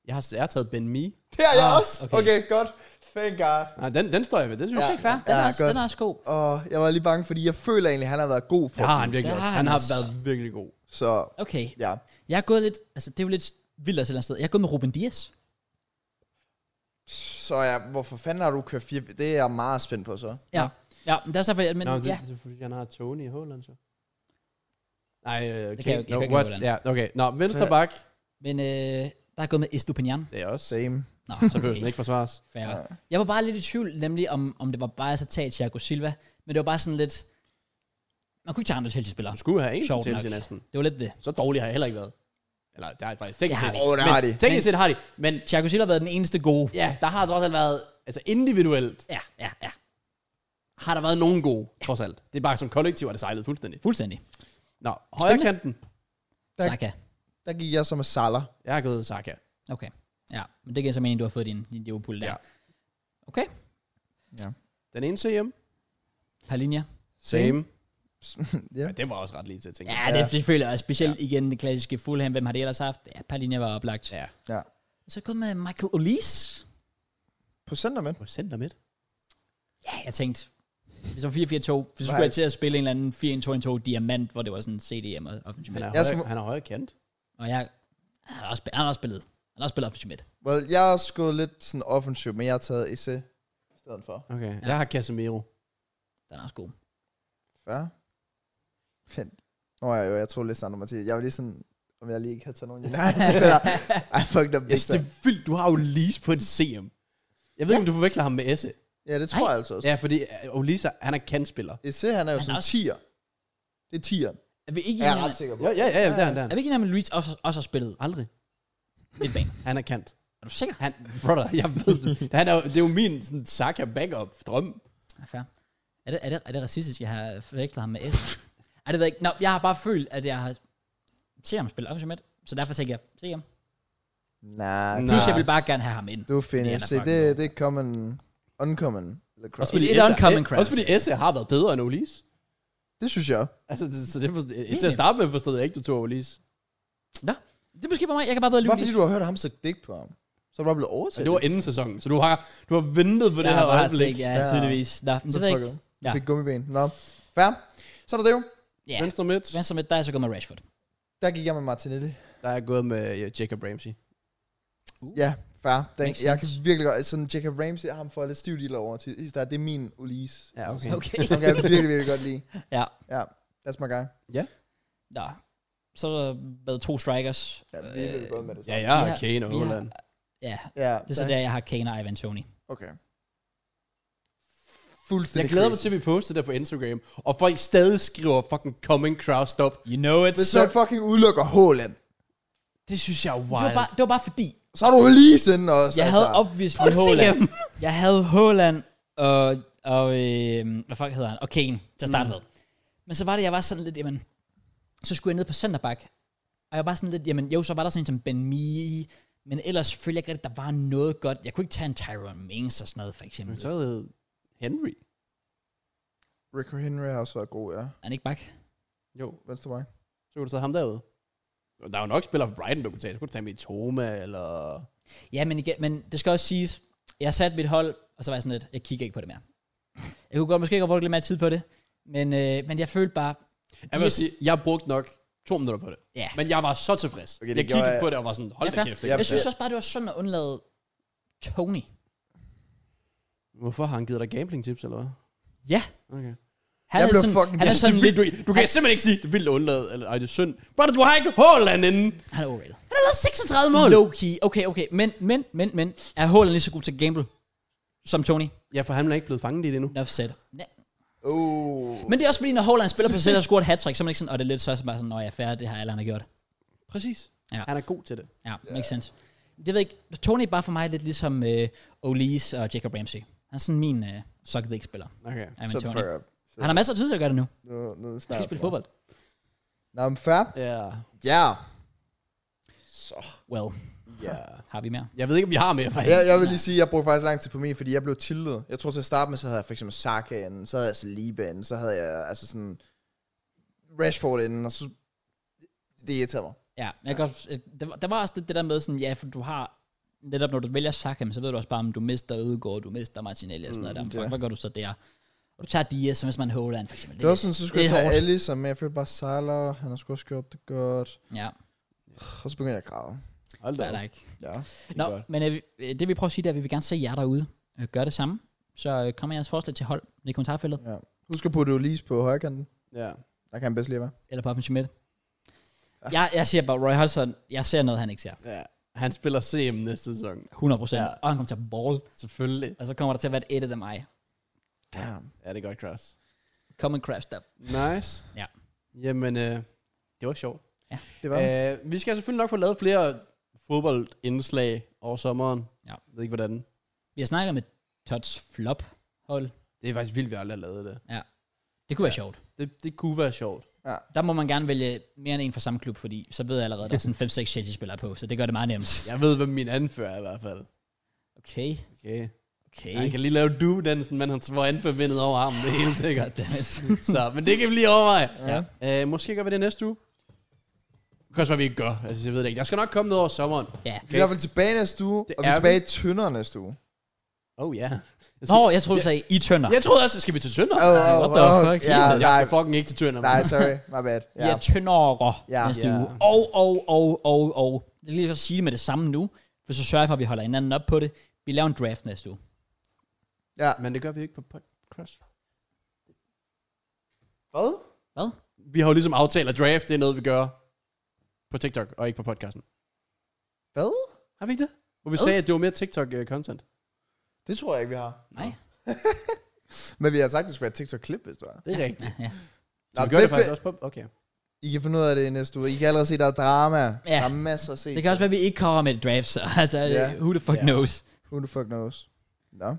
S2: Jeg har, jeg har taget Ben Me.
S3: Det har jeg
S1: Ah,
S3: også.
S1: okay.
S3: Okay. okay, godt. Thank God.
S2: Nej, den, den står jeg ved. Det synes
S1: Det
S2: jeg.
S1: er fair. Den,
S3: Ja,
S1: er, også,
S3: godt.
S1: den er også god.
S3: Og jeg var lige bange, fordi jeg føler egentlig, at han har været god for
S2: Ja,
S3: ja.
S2: har han virkelig
S1: Det
S2: også.
S1: har
S2: Han
S1: han
S2: har
S1: også.
S2: været virkelig god.
S3: Så
S1: Okay.
S3: ja.
S1: Jeg er gået lidt... Altså, det er jo lidt vildt at et eller andet sted. Jeg er gået med Ruben Dias.
S3: Så ja, hvorfor fanden har du kørt fire? Det er jeg meget spændt på så.
S1: Ja. Ja, men det er så... Men,
S2: Nå, men det,
S1: ja.
S2: det er fordi, han har Tony i Holland, så. Nej, øh, okay.
S1: kan jeg- jeg
S2: no,
S1: kan ikke
S2: what?
S1: Haaland.
S2: Ja, okay. Nå, venstre bak.
S1: men øh, der er gået med Estupinian.
S2: Det er også.
S3: Same.
S1: Nå,
S2: Så behøver den ikke forsvares.
S1: Fair.
S3: Ja.
S1: Jeg var bare lidt i tvivl, nemlig om, om det var bare at tage Thiago Silva, men det var bare sådan lidt... Man kunne ikke tage andre Chelsea-spillere.
S2: Du skulle have en
S1: Sjovt
S2: til
S1: nok.
S2: til næsten.
S1: Det var lidt det.
S2: Så dårlig har jeg heller ikke været. Eller, det har jeg faktisk teknisk
S1: Det har
S2: set.
S1: vi
S3: Åh, oh, det
S2: Men
S3: har de.
S2: Teknisk set har de. Men
S1: Thiago Silva har været den eneste gode.
S2: ja, der har trods alt været, altså individuelt,
S1: Ja, ja, ja.
S2: har der været nogen gode, trods alt. Det er bare som kollektiv, at det sejlede fuldstændig.
S1: Fuldstændig.
S2: Nå, højre kanten.
S3: Tak.
S1: Saka.
S3: Der gik jeg som med Salah.
S2: Jeg har gået Saka.
S1: Okay. Ja, men det kan jeg så mene, du har fået din, din Liverpool der.
S2: Ja.
S1: Ja. Okay.
S2: Den ene CM.
S1: Palinja.
S2: Same.
S3: ja.
S2: Ja, det var også ret lige til, tænker jeg.
S1: Ja, det ja. føler jeg specielt ja. igen det klassiske Fulham. Hvem har det ellers haft? Ja, Palinja var oplagt. Ja.
S2: Ja.
S3: ja.
S1: Så kom med Michael Olise.
S3: På centermænd.
S2: På center midt.
S1: Ja, jeg tænkte, hvis det var 4-4-2, så skulle jeg til at spille en eller anden 4-1-2-1-2 diamant, hvor det var sådan CDM og offensiv
S2: Han er,
S1: midt.
S3: Jeg
S2: højre,
S3: skal-
S2: han er højre kant.
S1: Og jeg, han har også, spillet- han har også spillet. Han har også spillet offensiv midt.
S3: Well, jeg har skudt lidt sådan offensiv, men jeg har taget EC i stedet for.
S2: Okay. Ja. Jeg har Casemiro.
S1: Den er også god.
S3: Ja. Fint. Nå ja, jo, jeg tror lidt Sandro Mathias. Jeg var lige sådan, om jeg lige ikke havde taget nogen United-spillere. I fucked up
S2: Jeg
S3: big
S2: synes, det
S3: time.
S2: er vildt. Du har Olise på en CM. Jeg ved ikke, om du forveksler ham med Esse.
S3: Ja, det tror
S1: Ej.
S3: jeg altså også.
S2: Ja, fordi øh, Olise, han er kantspiller.
S3: EC, han er jo
S1: Han er
S3: sådan
S1: også-
S3: 10'er. Det er 10'er.
S1: Er vi ikke
S3: Er jeg
S1: enige om,
S3: ret sikker på.
S2: Ja, ja, ja, ja. der er han, der er
S1: er
S2: han.
S1: vi ikke enige om, at Luis også, også har spillet
S2: Aldrig.
S1: midtbane?
S2: Han er kant.
S1: Er du sikker?
S2: Han, brother, jeg ved det. Han er, jo- det er jo min sådan, Saka backup drøm.
S1: Ja, fair. Er det, er det, er det racistisk, jeg har forvekslet ham med S? Ej, det ved jeg ikke. Nå, jeg har bare følt, at jeg har set ham spille offensiv midt, så derfor tænker jeg, se ham.
S3: Nej,
S1: Plus,
S2: Nej.
S1: jeg vil bare gerne have ham ind.
S3: du
S1: Det er
S3: finder.
S1: da
S3: Se,
S1: fucking
S3: det,
S1: lort.
S3: det er common, uncommon. lacrosse.
S1: Også fordi
S2: Fordi
S1: Et
S2: Esse er-
S1: uncommon crowd.
S2: Også fordi Esse har været bedre end Olise.
S3: Det synes jeg.
S2: Altså, det, så det, forstod,
S1: Egentlig.
S2: til at starte med forstod jeg ikke, du tog Olise.
S1: Nå, det er måske bare mig. Jeg kan bare bedre
S3: Bare
S1: lytte.
S3: fordi du har hørt ham så digt på ham. Så er du bare blevet overtaget.
S2: Og det var inden sæsonen, så du har, du har ventet på det her øjeblik.
S1: Ja,
S3: Ja.
S1: tydeligvis. Nå, men
S3: så
S1: det ved jeg
S3: fuck
S1: ikke.
S3: it.
S1: Ja.
S3: Du fik gummiben. Nå, fair. Så er der det jo.
S1: Ja.
S2: Venstre midt.
S1: Venstre midt, der er jeg så gået med Rashford.
S3: Der gik jeg med Martinelli.
S2: Der er jeg gået med ja, Jacob Ramsey.
S3: Ja, fair. Den,
S1: Makes
S3: jeg kan
S1: sense.
S3: virkelig godt, sådan Jacob Ramsey, ham får jeg lidt stivt i over til. sidst. Det er min Ulise.
S2: Ja, okay.
S1: Okay.
S3: Han kan jeg virkelig, virkelig godt lide.
S1: Ja.
S3: Ja, that's my guy.
S1: Nå. Så er der været to strikers.
S3: Ja, vi er virkelig
S1: Øh,
S3: godt med det. Så.
S2: Ja, jeg har
S1: Vi har-
S2: Kane og
S1: vi har-
S2: Holland.
S1: Ja,
S3: ja
S1: det er så der, jeg har Kane og Ivan Tony.
S3: Okay.
S2: Jeg
S3: Fuldstændig
S2: glæder mig
S3: crazy.
S2: til, at vi poster det på Instagram, og folk stadig skriver fucking coming crowd stop.
S1: You know it.
S3: Hvis man fucking udelukker Haaland,
S2: Det synes jeg er
S1: Det
S2: wild.
S1: var, bare, det var bare fordi,
S3: så er du lige altså. sinde også.
S1: jeg havde obviously Haaland.
S2: Mm.
S1: Jeg havde Haaland og, og øh, hvad fuck hedder han? Og Kane til at starte med. Men så var det, jeg var sådan lidt, jamen, så skulle jeg ned på Sønderbak, og jeg var sådan lidt, jamen, jo, så var der sådan en som Ben Mee, men ellers følte jeg ikke rigtigt, der var noget godt. Jeg kunne ikke tage en Tyrone Mings og sådan noget, for eksempel.
S2: Så havde Henry.
S3: Rick Henry har også været god, ja.
S1: Er han ikke bak?
S2: Jo,
S3: Venstre bak.
S2: så kunne du tage ham derude. Og Der er jo nok spillere fra Brighton, du kunne tage. Så kunne du tage med Toma, eller...
S1: Ja, men, igen, men det skal også siges, jeg satte mit hold, og så var jeg sådan lidt, jeg kigger ikke på det mere. Jeg kunne godt måske godt bruge lidt mere tid på det, men, øh, men jeg følte bare,
S2: Jeg vil sige, jeg brugte nok to minutter på det.
S1: ja.
S2: Men jeg var så tilfreds.
S3: Okay, det
S2: jeg
S3: gjorde
S2: kiggede
S3: jeg-
S2: på det og var sådan, hold
S1: Ja,
S2: da
S1: fair.
S2: kæft.
S3: Ja,
S2: ikke?
S1: Jeg synes også bare, det var synd at undlade Tony.
S2: Hvorfor har han givet dig gambling tips, eller hvad?
S1: Ja.
S2: Okay.
S1: Han
S3: Jeg
S1: er
S3: blev
S1: sådan,
S3: fucking-
S1: han er
S2: Altså,
S1: sådan
S2: det vil,
S1: lidt,
S2: du, du kan simpelthen ikke sige, det vil undlade, eller ej, det er synd. Brother, du har ikke Haaland inden.
S1: han er overrated.
S2: Han har lavet 36 mål.
S1: Low key. Okay, okay. Men, men, men, men. Er Haaland lige så god til at gamble som Tony?
S2: Ja, for han er ikke blevet fanget i det endnu.
S1: Enough said. Ja.
S3: Oh.
S1: Men det er også fordi, når Haaland spiller på sæt og scorer et hat så er man ikke sådan, og det er lidt så er man bare sådan, nå, jeg er færdig, det har alle andre gjort.
S2: Præcis.
S1: Ja.
S2: Han er god til det.
S1: Ja, yeah. makes sense. Det ved jeg ikke. Tony er bare for mig lidt ligesom øh, Olise og Jacob Ramsey. Han er sådan min øh, suck the spiller
S2: Okay.
S1: Ej, men
S3: Shut the
S1: Tony.
S3: fuck up.
S1: Han har masser af tid til at gøre det nu. Han
S3: Nu, nu er det
S1: skal
S3: snart.
S1: spille fodbold.
S3: Nå, men fair.
S2: Ja.
S3: Ja. Så.
S1: Well,
S3: Ja.
S1: har vi mere?
S2: Jeg ved ikke, om vi har mere, faktisk.
S3: Jeg, jeg vil lige sige, at jeg brugte faktisk lang tid på min, fordi jeg blev tillet. Jeg tror til at starte med, så havde jeg for eksempel Saka inden, så havde jeg Saliba inden, så havde jeg altså sådan Rashford inden, og så... Det irriterede mig.
S1: Ja, men jeg ja. Godt, øh, der, var- der var også det, det der med sådan, ja, for du har netop når du vælger Sakham, så ved du også bare, om du mister Ødegaard, du mister Martinelli og sådan mm, noget. Der.
S3: ja.
S1: Fuck, hvad gør du så der? Og du tager Dias, som hvis man holder for eksempel.
S3: Det var sådan, så skulle jeg
S1: det er
S3: tage
S1: hårdt.
S3: Alice, men jeg følte bare Salah, han har sgu også gjort det godt.
S1: Ja,
S3: Og så begyndte jeg at græde.
S2: Hold
S1: fair
S2: da. op.
S1: nok.
S3: Ja.
S2: Det er
S1: Nå,
S2: godt.
S1: men øh, vi- øh, det vi prøver at sige, det er, at vi vil gerne se jer derude. Øh, gør det samme. Så øh, kom med jeres forslag til hold i kommentarfeltet,
S3: ja. Husk at putte Ulise på højkanten.
S2: Ja.
S3: Der kan han bedst lide, hvad?
S1: eller på offensiv midt. Jeg, jeg siger bare, Roy Hodgson, jeg ser noget, han ikke ser.
S2: ja. Han spiller CM næste sæson.
S1: 100 procent. Ja.
S2: Ja.
S1: Og han kommer til at ball.
S2: Selvfølgelig.
S1: Og så kommer der til at være et edit af mig.
S3: Damn.
S2: Ja, det er godt, Cross.
S1: Come and crash up.
S2: Nice.
S1: Ja.
S2: Jamen, øh, det var sjovt.
S3: Det var
S2: Øh, vi skal selvfølgelig nok få lavet flere fodboldindslag over sommeren.
S1: Ja.
S2: Jeg ved ikke, hvordan.
S1: Vi har snakket med Tots flop hold.
S2: Det er faktisk vildt, vi aldrig har lavet det.
S1: Det kunne ja. være sjovt.
S2: det. Det kunne være sjovt.
S1: Der må man gerne vælge mere end en fra samme klub, fordi så ved jeg allerede, der er sådan 5-6 Chelsea-spillere på, så det gør det meget nemt.
S2: Jeg ved, hvem min anfører er i hvert fald.
S1: Okay,
S2: Okay.
S1: okay.
S2: Han kan lige lave du dansen men han får anforbindet over armen, det er helt sikkert.
S1: Goddammit.
S2: Så, men det kan vi lige overveje.
S1: ja.
S2: Øh, måske gør vi det næste uge. Det kan også være, vi ikke gør. Altså, jeg ved det ikke. Der skal nok komme noget over sommeren.
S1: ja.
S3: Vi er i hvert fald tilbage næste uge,
S2: Det
S3: og vi er
S2: er
S3: tilbage tyndere næste uge.
S2: Oh ja. Yeah.
S1: Nå, jeg troede, du sagde, I tønder.
S2: Jeg troede også, skal vi til Tønder?
S3: Oh, oh,
S1: what the
S3: oh,
S1: fuck?
S3: Ja,
S2: Men jeg
S3: nej,
S2: skal fucking ikke til Tønder.
S3: nej,
S2: mand.
S3: sorry, my bad.
S1: Vi
S3: Ja,
S1: er tyndere
S3: Ja.
S1: næste
S2: Ja.
S1: uge. Og, og, og, og, og. Jeg kan lige så sige med det samme nu, for så sørger jeg for, at vi holder hinanden op på det. Vi laver en draft næste uge.
S3: ja.
S2: Men det gør vi ikke på podcast.
S3: Hvad?
S1: Hvad?
S2: Vi har jo ligesom aftalt, at draft, det er noget, vi gør på TikTok, og ikke på podcasten.
S3: Hvad?
S2: Har vi ikke det? Oh. Hvor vi
S1: Hvad?
S2: sagde, at det var mere øh, TikTok-content.
S3: Det tror jeg ikke, vi har.
S1: Nej.
S3: Men vi har sagt, at det skulle være et TikTok-klip, hvis du er.
S2: Det er rigtigt.
S1: Ja, ja.
S2: Så vi gør
S3: Nå, det
S2: det
S3: er
S2: faktisk
S3: fedt.
S2: også på... Okay.
S3: I kan finde ud af det i næste uge. I kan allerede se, der er drama.
S1: Ja.
S3: Der er masser at se.
S1: Det kan også være, at vi ikke kommer med et draft, så altså,
S3: Ja.
S1: yeah. who the fuck
S2: Ja.
S1: yeah. knows.
S3: Who the fuck knows? Nå.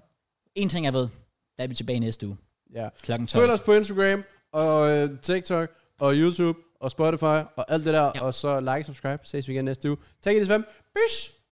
S1: En ting jeg ved, der er vi tilbage næste uge.
S2: Ja.
S1: Klokken 12.
S2: Følg os på Instagram, og øh, TikTok, og YouTube, og Spotify, og alt det der.
S1: Ja.
S2: Og så like, subscribe. Ses vi igen næste uge. Tak i det, Svend. Peace!